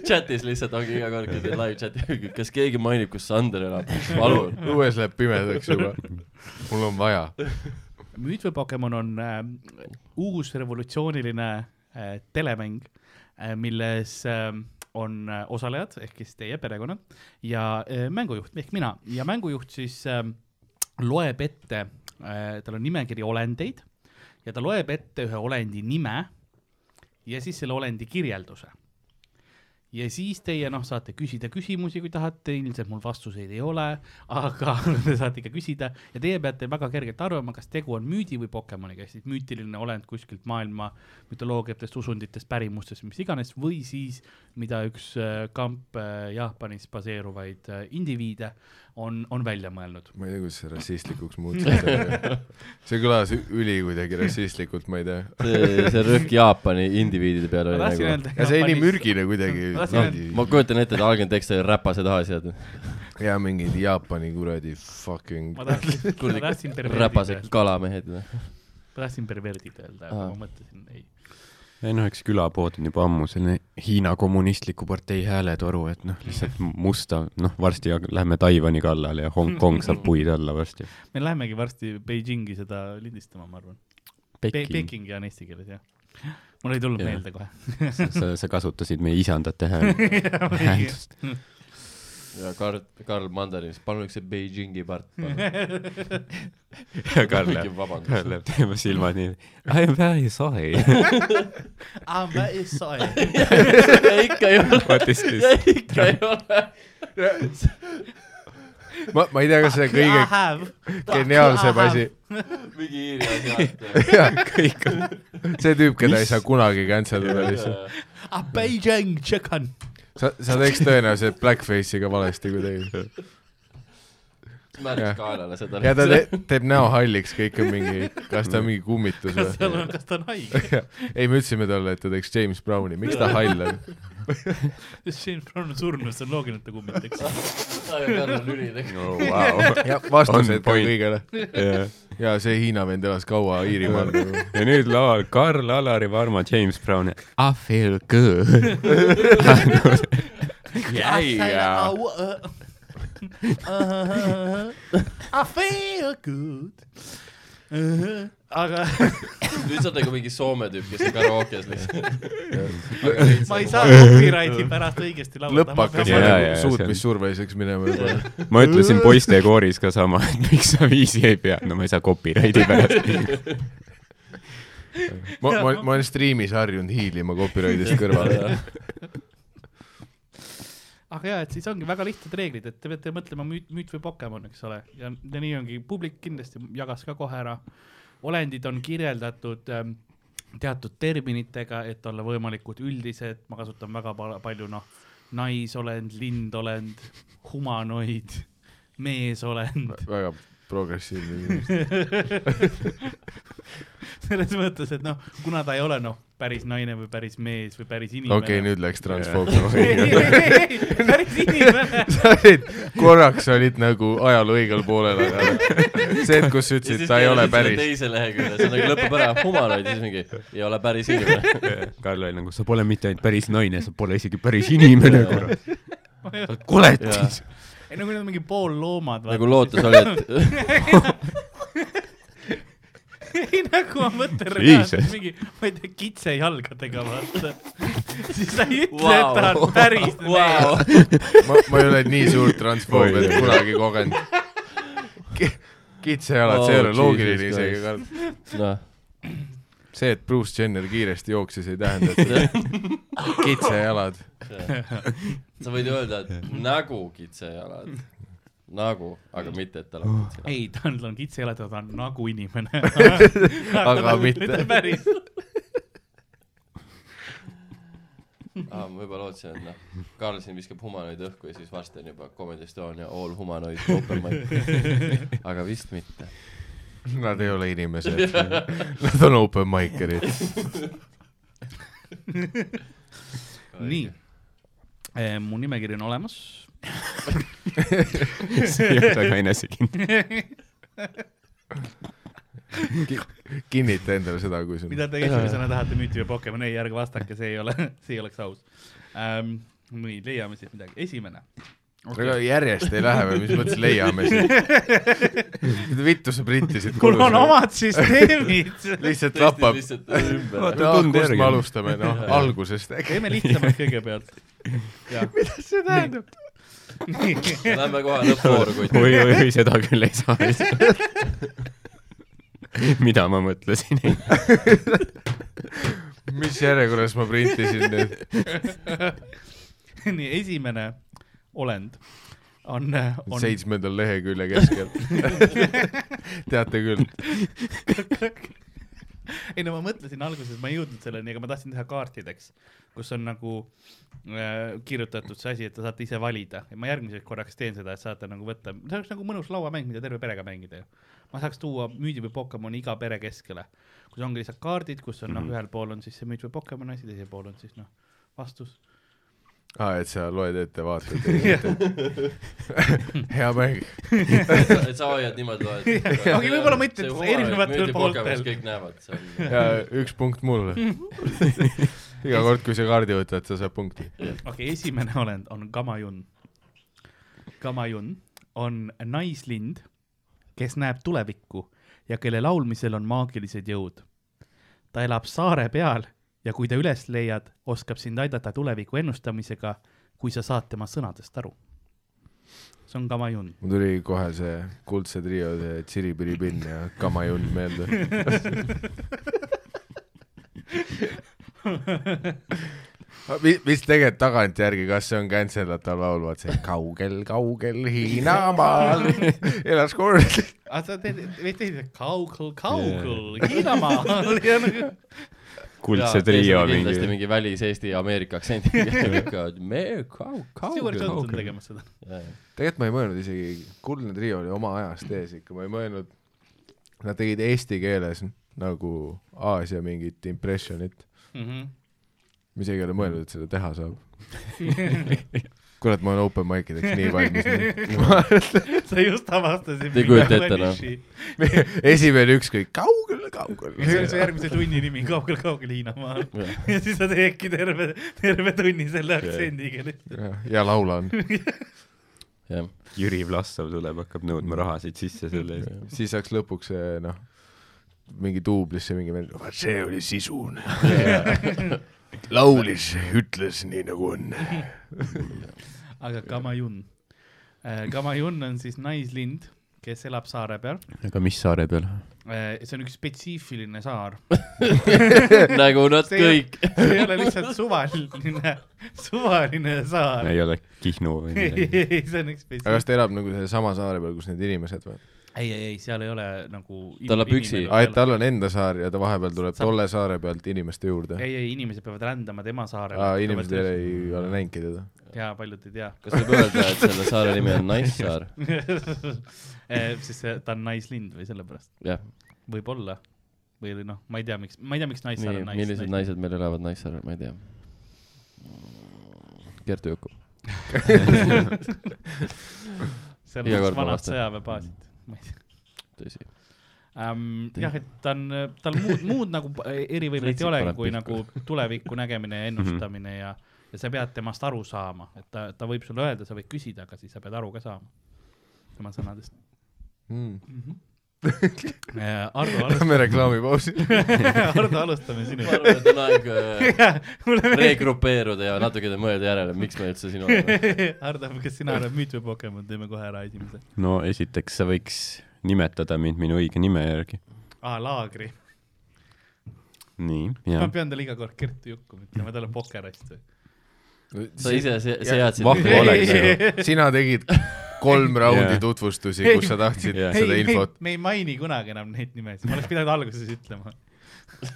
[SPEAKER 4] chatis lihtsalt ongi iga kord , kui teed live chati , kas keegi mainib , kus Sander elab , palun .
[SPEAKER 2] õues läheb pimedaks juba . mul on vaja .
[SPEAKER 3] müüt või Pokemon on äh, uus revolutsiooniline äh, telemäng äh, , milles äh, on äh, osalejad ehk siis teie perekonnad ja äh, mängujuht ehk mina ja mängujuht siis äh, loeb ette äh, , tal on nimekiri olendeid ja ta loeb ette ühe olendi nime ja siis selle olendi kirjelduse ja siis teie noh , saate küsida küsimusi , kui tahate , ilmselt mul vastuseid ei ole , aga [LAUGHS] te saate ikka küsida ja teie peate väga kergelt arvama , kas tegu on müüdi või Pokemoniga , ehk siis müütiline olend kuskilt maailma mütoloogiatest , usunditest , pärimustest , mis iganes , või siis mida üks äh, kamp äh, Jaapanis baseeruvaid äh, indiviide on , on välja mõelnud .
[SPEAKER 2] ma ei tea , kuidas see rassistlikuks
[SPEAKER 3] [LAUGHS]
[SPEAKER 2] muutus . see kõlas ü- üli kuidagi rassistlikult , ma ei tea .
[SPEAKER 4] see , see rõhk Jaapani indiviidide peale
[SPEAKER 3] ma tahtsin
[SPEAKER 4] oli nagu .
[SPEAKER 3] öelda .
[SPEAKER 2] ja see oli nii . mürgine kuidagi Noh,
[SPEAKER 3] Noh, Ma tahtsin öelda- .
[SPEAKER 4] ma kujutan ette , et algne tekst oli räpase taha seatud .
[SPEAKER 2] ja mingid Jaapani kuradi fucking
[SPEAKER 3] [LAUGHS] ma
[SPEAKER 2] [LAUGHS]
[SPEAKER 3] tahtsin , ma tahtsin perverdi
[SPEAKER 4] räpased , kalamehed .
[SPEAKER 3] ma tahtsin perverdi öelda , aga ma mõtlesin ei .
[SPEAKER 5] ei noh , eks külapood on juba ammu selline Hiina kommunistliku partei hääletoru , et noh , lihtsalt musta , noh , varsti ja- lähme Taiwan'i kallale ja Hongkong saab puid alla varsti .
[SPEAKER 3] me lähemegi varsti Beijingi seda lindistama , ma arvan . Peking,
[SPEAKER 5] Peking ,
[SPEAKER 3] Peking ja on eesti keeles jah . mul ei tulnud
[SPEAKER 5] Jah.
[SPEAKER 3] meelde [LAUGHS] kohe .
[SPEAKER 5] sa , sa kasutasid meie isandate [LAUGHS] hääl- hääldust .
[SPEAKER 4] ja Karl , Karl Mandarin , palun üks see Beijingi part .
[SPEAKER 5] ja Karl läheb , Karl
[SPEAKER 4] vabandust .
[SPEAKER 5] läheb tema silmad nii , [LAUGHS] I am very sorry .
[SPEAKER 3] Ah, ma ei saa .
[SPEAKER 4] ikka ei ole ,
[SPEAKER 5] What is this ?
[SPEAKER 4] ikka ei ole .
[SPEAKER 2] ma , ma ei tea , kas see kõige geniaalsem asi ,
[SPEAKER 4] [LAUGHS] mingi Iiri asiaat .
[SPEAKER 5] kõik [LAUGHS] on ,
[SPEAKER 2] see tüüp , keda ei saa kunagi cancel ida lihtsalt .
[SPEAKER 3] Ah, Beijing chicken .
[SPEAKER 5] [LAUGHS]
[SPEAKER 2] sa , sa teeks tõenäoliselt blackface'i ka valesti kuidagi .
[SPEAKER 4] märks kaelale seda .
[SPEAKER 2] ja ta te teeb näo halliks , kõik on mingi , kas ta on mingi kummitus
[SPEAKER 3] [LAUGHS] kas tal
[SPEAKER 2] või ?
[SPEAKER 3] on , kas ta on haige ?
[SPEAKER 2] ei , me ütlesime talle , et ta teeks James Browni , miks ta hall
[SPEAKER 5] [LAUGHS]
[SPEAKER 2] on ?
[SPEAKER 3] Shane Brown on surnud , see on loogiline , et ta kummitaks .
[SPEAKER 4] [LAUGHS] taga lülidega .
[SPEAKER 5] oh, . Wow.
[SPEAKER 2] jah , vastused
[SPEAKER 5] On
[SPEAKER 2] ka
[SPEAKER 5] point.
[SPEAKER 2] kõigele .
[SPEAKER 5] Yeah.
[SPEAKER 2] ja see Hiina vend elas kaua
[SPEAKER 5] [LAUGHS]
[SPEAKER 2] Iirimaal .
[SPEAKER 5] ja nüüd laval Karl Alari Varma , James Brown ja I feel
[SPEAKER 4] [LAUGHS]
[SPEAKER 5] good .
[SPEAKER 3] Yeah. [LAUGHS] I uh, feel good . Uh-huh. aga
[SPEAKER 4] nüüd sa oled nagu mingi Soome tüüp , kes on karaokes lihtsalt .
[SPEAKER 3] ma ei saa copyrighti pärast õigesti laulda .
[SPEAKER 2] lõpp hakkab
[SPEAKER 5] Jaa, jaa,
[SPEAKER 2] nagu
[SPEAKER 5] jaa,
[SPEAKER 2] suutmissurveliseks minema juba .
[SPEAKER 5] ma ütlesin poiste kooris ka sama , et miks sa viisi ei pea , no ma ei saa copyrighti pärast .
[SPEAKER 2] ma , ma , ma olen striimis harjunud hiilima
[SPEAKER 4] [LAUGHS]
[SPEAKER 2] copyright'ist kõrvale .
[SPEAKER 3] aga jaa , et siis ongi väga lihtsad reeglid , et te peate mõtlema müüt , müüt või Pokemon , eks ole , ja ja nii ongi , publik kindlasti jagas ka kohe ära . olendid on kirjeldatud ähm, teatud terminitega , et olla võimalikult üldised , ma kasutan väga pal- palju , noh , naisolend , lindolend , humanoid ,
[SPEAKER 2] [LAUGHS]
[SPEAKER 3] meesolend ,
[SPEAKER 2] väga progressiivne inimene .
[SPEAKER 3] selles mõttes , et noh , kuna ta ei ole noh , päris naine või päris mees või päris inimene .
[SPEAKER 2] okei okay, , nüüd läks
[SPEAKER 3] [LAUGHS] ei ,
[SPEAKER 2] transfoobia .
[SPEAKER 3] ei , ei , ei , päris inimene .
[SPEAKER 2] [LAUGHS] sa olid , korraks olid nagu ajaloo õigel poolel , aga see , et kus sa ütlesid , ta ei ole päris .
[SPEAKER 4] teise lehekülje , see nagu lõpeb ära , humanoid ja siis mingi ei ole päris
[SPEAKER 2] [LAUGHS]
[SPEAKER 4] inimene .
[SPEAKER 5] Karl oli nagu , sa pole mitte ainult päris naine , sa pole isegi päris inimene , kurat . sa oled koletis .
[SPEAKER 3] ei no kui nad on mingi pool loomad .
[SPEAKER 4] nagu lootus oli ,
[SPEAKER 2] [LAUGHS]
[SPEAKER 4] et
[SPEAKER 3] [LAUGHS] ei nagu ma mõtlen
[SPEAKER 5] Jesus.
[SPEAKER 3] reaalselt mingi , ma ei tea , kitsejalgadega vaata . siis sa
[SPEAKER 4] [LAUGHS]
[SPEAKER 3] ei ütle wow. , et ta on päris wow.
[SPEAKER 4] vau ,
[SPEAKER 2] ma , ma ei ole nii suurt transfoobiat kunagi kogenud . kitsajalad , see ei ole
[SPEAKER 4] Oh,
[SPEAKER 2] loogiline
[SPEAKER 4] Jesus
[SPEAKER 2] isegi
[SPEAKER 4] Christ. ,
[SPEAKER 2] Karl .
[SPEAKER 4] [LAUGHS] noh ,
[SPEAKER 2] see , et Bruce Jenner kiiresti jooksis , ei tähenda , et tal [LAUGHS] on kitsajalad .
[SPEAKER 4] sa võid öelda , et nägu kitsejalad , nagu , aga mitte , et tal on kitsejalad .
[SPEAKER 3] ei , tal on kitsejalad ja ta on nagu inimene .
[SPEAKER 2] Aga mitte.
[SPEAKER 3] päris .
[SPEAKER 4] aa , ma juba lootsin , et noh , Karl siin viskab humanoid õhku ja siis varsti on juba Comedy Estonia all humanoid open mic .
[SPEAKER 3] [LAUGHS]
[SPEAKER 4] aga vist mitte .
[SPEAKER 2] Nad ei ole
[SPEAKER 4] [LAUGHS]
[SPEAKER 2] inimesed . Nad on open mic'erid .
[SPEAKER 3] nii , mu nimekiri on olemas .
[SPEAKER 5] see ei ole väga enesekindel .
[SPEAKER 2] kinnita endale seda , kui see on .
[SPEAKER 3] mida te esimesena tahate müüti või Pokemon , ei ärge vastake , see ei ole , [LAUGHS] see ei oleks aus ähm, . nii , leiame siit midagi , esimene
[SPEAKER 2] aga järjest ei lähe või mis mõttes leiame siis ? [LAUGHS] vittu sa printisid
[SPEAKER 3] mul on . omad
[SPEAKER 2] [LAUGHS]
[SPEAKER 3] süsteemid .
[SPEAKER 2] lihtsalt tapab .
[SPEAKER 4] lihtsalt ümber .
[SPEAKER 5] Vaata, tund
[SPEAKER 2] kust
[SPEAKER 5] järgi.
[SPEAKER 2] me alustame , noh , algusest äkki .
[SPEAKER 3] teeme lihtsamalt kõigepealt . mida see tähendab ? nii ,
[SPEAKER 4] Lähme kohe lõppvooru , kui
[SPEAKER 5] oi , oi , oi , seda küll ei saa . mida ma mõtlesin ?
[SPEAKER 2] mis järjekorras ma printisin nüüd ?
[SPEAKER 3] [LAUGHS] nii esimene olend on , on
[SPEAKER 2] seitsmendal lehekülje [LAUGHS] keskel . teate küll ,
[SPEAKER 3] ei no ma mõtlesin alguses , ma ei jõudnud selleni , aga ma tahtsin teha kaartideks , kus on nagu äh, kirjutatud see asi , et te saate ise valida ja ma järgmiseks korraks teen seda , et saate nagu võtta , see oleks nagu mõnus lauamäng , mida terve perega mängida ju . ma saaks tuua müüdi või Pokemoni iga pere keskele , kus ongi lihtsalt kaardid , kus on mm -hmm. noh , ühel pool on siis see müüt või Pokemoni asi , teisel pool on siis noh , vastus .
[SPEAKER 2] aa , et sa loed ette , vaatad . hea mäng .
[SPEAKER 4] et sa hoiad niimoodi loed .
[SPEAKER 3] [LAUGHS] Okei, võib-olla ma ütlen, et erinevatel pooltel.
[SPEAKER 4] kõik näevad , see on .
[SPEAKER 2] ja üks punkt [LAUGHS] mulle . iga kord , kui sa kaardi võtad , sa saad punkti .
[SPEAKER 3] okei okay, , esimene olend on Kamajun . Kamajun on naislind , kes näeb tulevikku ja kelle laulmisel on maagilised jõud . ta elab saare peal ja kui ta üles leiad , oskab sind aidata tuleviku ennustamisega , kui sa saad tema sõnadest aru . see on Kamajun .
[SPEAKER 2] mul tuli kohe see Kuldse trio , see Tsiripiripinn ja Kamajun [LAUGHS] meelde . mis tegelikult tagantjärgi , kas see on kantseldatav laul , vaat see kaugel , kaugel Hiinamaal [LAUGHS] elas kord .
[SPEAKER 3] Ah, [LAUGHS] nagu aga sa teed , teed kaugel , kaugel , Hiinamaal .
[SPEAKER 5] kuldse trio
[SPEAKER 4] kindlasti
[SPEAKER 5] mingi .
[SPEAKER 4] mingi väliseesti Ameerika
[SPEAKER 3] [LAUGHS]
[SPEAKER 4] aktsendiga . me kau- ,
[SPEAKER 3] Stewart
[SPEAKER 4] kaugel .
[SPEAKER 3] Johnson tegemas seda . [LAUGHS]
[SPEAKER 2] tegelikult ma ei mõelnud isegi , Kuldne Trio oli oma ajast ees ikka , ma ei mõelnud , nad tegid eesti keeles nagu Aasia mingit impressionit ,
[SPEAKER 3] Mhm.
[SPEAKER 2] ma isegi ei ole mõelnud , et seda teha
[SPEAKER 3] [LAUGHS]
[SPEAKER 2] saab . kurat , ma olen open mic ideks nii valmis .
[SPEAKER 3] sa just avastasid .
[SPEAKER 4] Te ei kujuta ette, noh.
[SPEAKER 2] esimene ükskõik , kaugel , kaugel .
[SPEAKER 3] see on su järgmise tunni nimi , kaugel-kaugel Hiinamaa . [LAUGHS] ja siis sa teedki terve , terve tunni selle aktsendiga lihtsalt .
[SPEAKER 2] ja laulan ,
[SPEAKER 4] jah ,
[SPEAKER 5] Jüri Vlassov tuleb , hakkab nõudma rahasid sisse selle eest .
[SPEAKER 2] siis saaks lõpuks see, noh , mingi duublisse mingi vend , vaat see oli sisune .
[SPEAKER 3] [LAUGHS]
[SPEAKER 2] laulis , ütles nii nagu on .
[SPEAKER 3] aga Kamajun . Kamajun on siis naislind , kes elab saare peal .
[SPEAKER 5] aga mis saare peal ?
[SPEAKER 3] see on üks spetsiifiline saar .
[SPEAKER 4] nagu nad
[SPEAKER 3] See ei-
[SPEAKER 4] kõik .
[SPEAKER 3] [LAUGHS] see ei ole lihtsalt suvaline , suvaline saar .
[SPEAKER 5] ei ole Kihnu või midagi .
[SPEAKER 3] [LAUGHS] ei , see on üks
[SPEAKER 2] aga kas
[SPEAKER 3] spetsiifiline .
[SPEAKER 2] ta elab nagu sellesama saare peal , kus need inimesed või ?
[SPEAKER 3] ei , ei , ei , seal ei ole nagu .
[SPEAKER 4] Ta elab üksi.
[SPEAKER 2] aa , et tal on enda saar ja ta vahepeal tuleb
[SPEAKER 3] Sa-
[SPEAKER 2] tolle saare pealt inimeste juurde ?
[SPEAKER 3] ei , ei , inimesed peavad rändama tema saarele .
[SPEAKER 2] aa , inimesed ei, ei ole näinudki teda .
[SPEAKER 3] jaa , paljud ei tea .
[SPEAKER 4] kas võib öelda , et selle saare nimi on Naissaar ?
[SPEAKER 3] [LAUGHS] Eh, siis see- ta on naislind või sellepärast ,
[SPEAKER 4] jah ,
[SPEAKER 3] võib-olla . või oli noh , ma ei tea , miks , ma ei tea , miks naissaar
[SPEAKER 4] nii
[SPEAKER 3] on ,
[SPEAKER 4] millised
[SPEAKER 3] nais- .
[SPEAKER 4] naised meil elavad Naissaarel , ma ei tea . Kertu Juku .
[SPEAKER 3] seal
[SPEAKER 4] Iga
[SPEAKER 3] on
[SPEAKER 4] kord
[SPEAKER 3] üks
[SPEAKER 4] ma
[SPEAKER 3] vanad
[SPEAKER 4] vastan.
[SPEAKER 3] sõjaväebaasid , ma ei tea
[SPEAKER 4] tõsi .
[SPEAKER 3] ähm, . jah , et ta on , tal muud , muud nagu p- erivõimeid ei
[SPEAKER 4] Leidsid
[SPEAKER 3] ole
[SPEAKER 4] parem
[SPEAKER 3] kui
[SPEAKER 4] pilku.
[SPEAKER 3] nagu tuleviku nägemine
[SPEAKER 4] Mhm.
[SPEAKER 3] ja ennustamine ja , ja sa pead temast aru saama , et ta , ta võib sulle öelda , sa võid küsida , aga siis sa pead aru ka saama tema sõnadest . [LAUGHS]
[SPEAKER 4] [LAUGHS]
[SPEAKER 3] Ardo ,
[SPEAKER 2] Hmm. Lähme
[SPEAKER 3] [LAUGHS]
[SPEAKER 2] reklaamipausi .
[SPEAKER 3] Ardo ,
[SPEAKER 4] [LAUGHS]
[SPEAKER 3] alustame
[SPEAKER 4] ma [LAUGHS]
[SPEAKER 3] sinuga .
[SPEAKER 4] arvan , et on aeg äh,
[SPEAKER 3] [LAUGHS] mulle
[SPEAKER 4] regrupeeruda ja natukene mõelda järele , miks me üldse siin oleme .
[SPEAKER 3] Hardo , kas sina arvad müüt või Pokemon , teeme kohe ära esimese .
[SPEAKER 5] [LAUGHS] no esiteks sa võiks nimetada mind minu õige nime järgi .
[SPEAKER 3] aa , laagri .
[SPEAKER 5] nii ,
[SPEAKER 3] ma
[SPEAKER 5] ja .
[SPEAKER 3] pean talle iga kord Kertu Jukku ütlema , tal on pokerass või ?
[SPEAKER 4] sa ise se- seadsid .
[SPEAKER 5] vahva
[SPEAKER 4] [LAUGHS]
[SPEAKER 5] oleks nagu ju .
[SPEAKER 2] sina tegid
[SPEAKER 3] [LAUGHS]
[SPEAKER 2] kolm raundi
[SPEAKER 5] Jah.
[SPEAKER 2] tutvustusi , kus sa tahtsid
[SPEAKER 5] Jah.
[SPEAKER 2] seda
[SPEAKER 3] ei ,
[SPEAKER 2] infot ,
[SPEAKER 3] me ei maini kunagi enam neid nimesid , ma oleks pidanud alguses ütlema .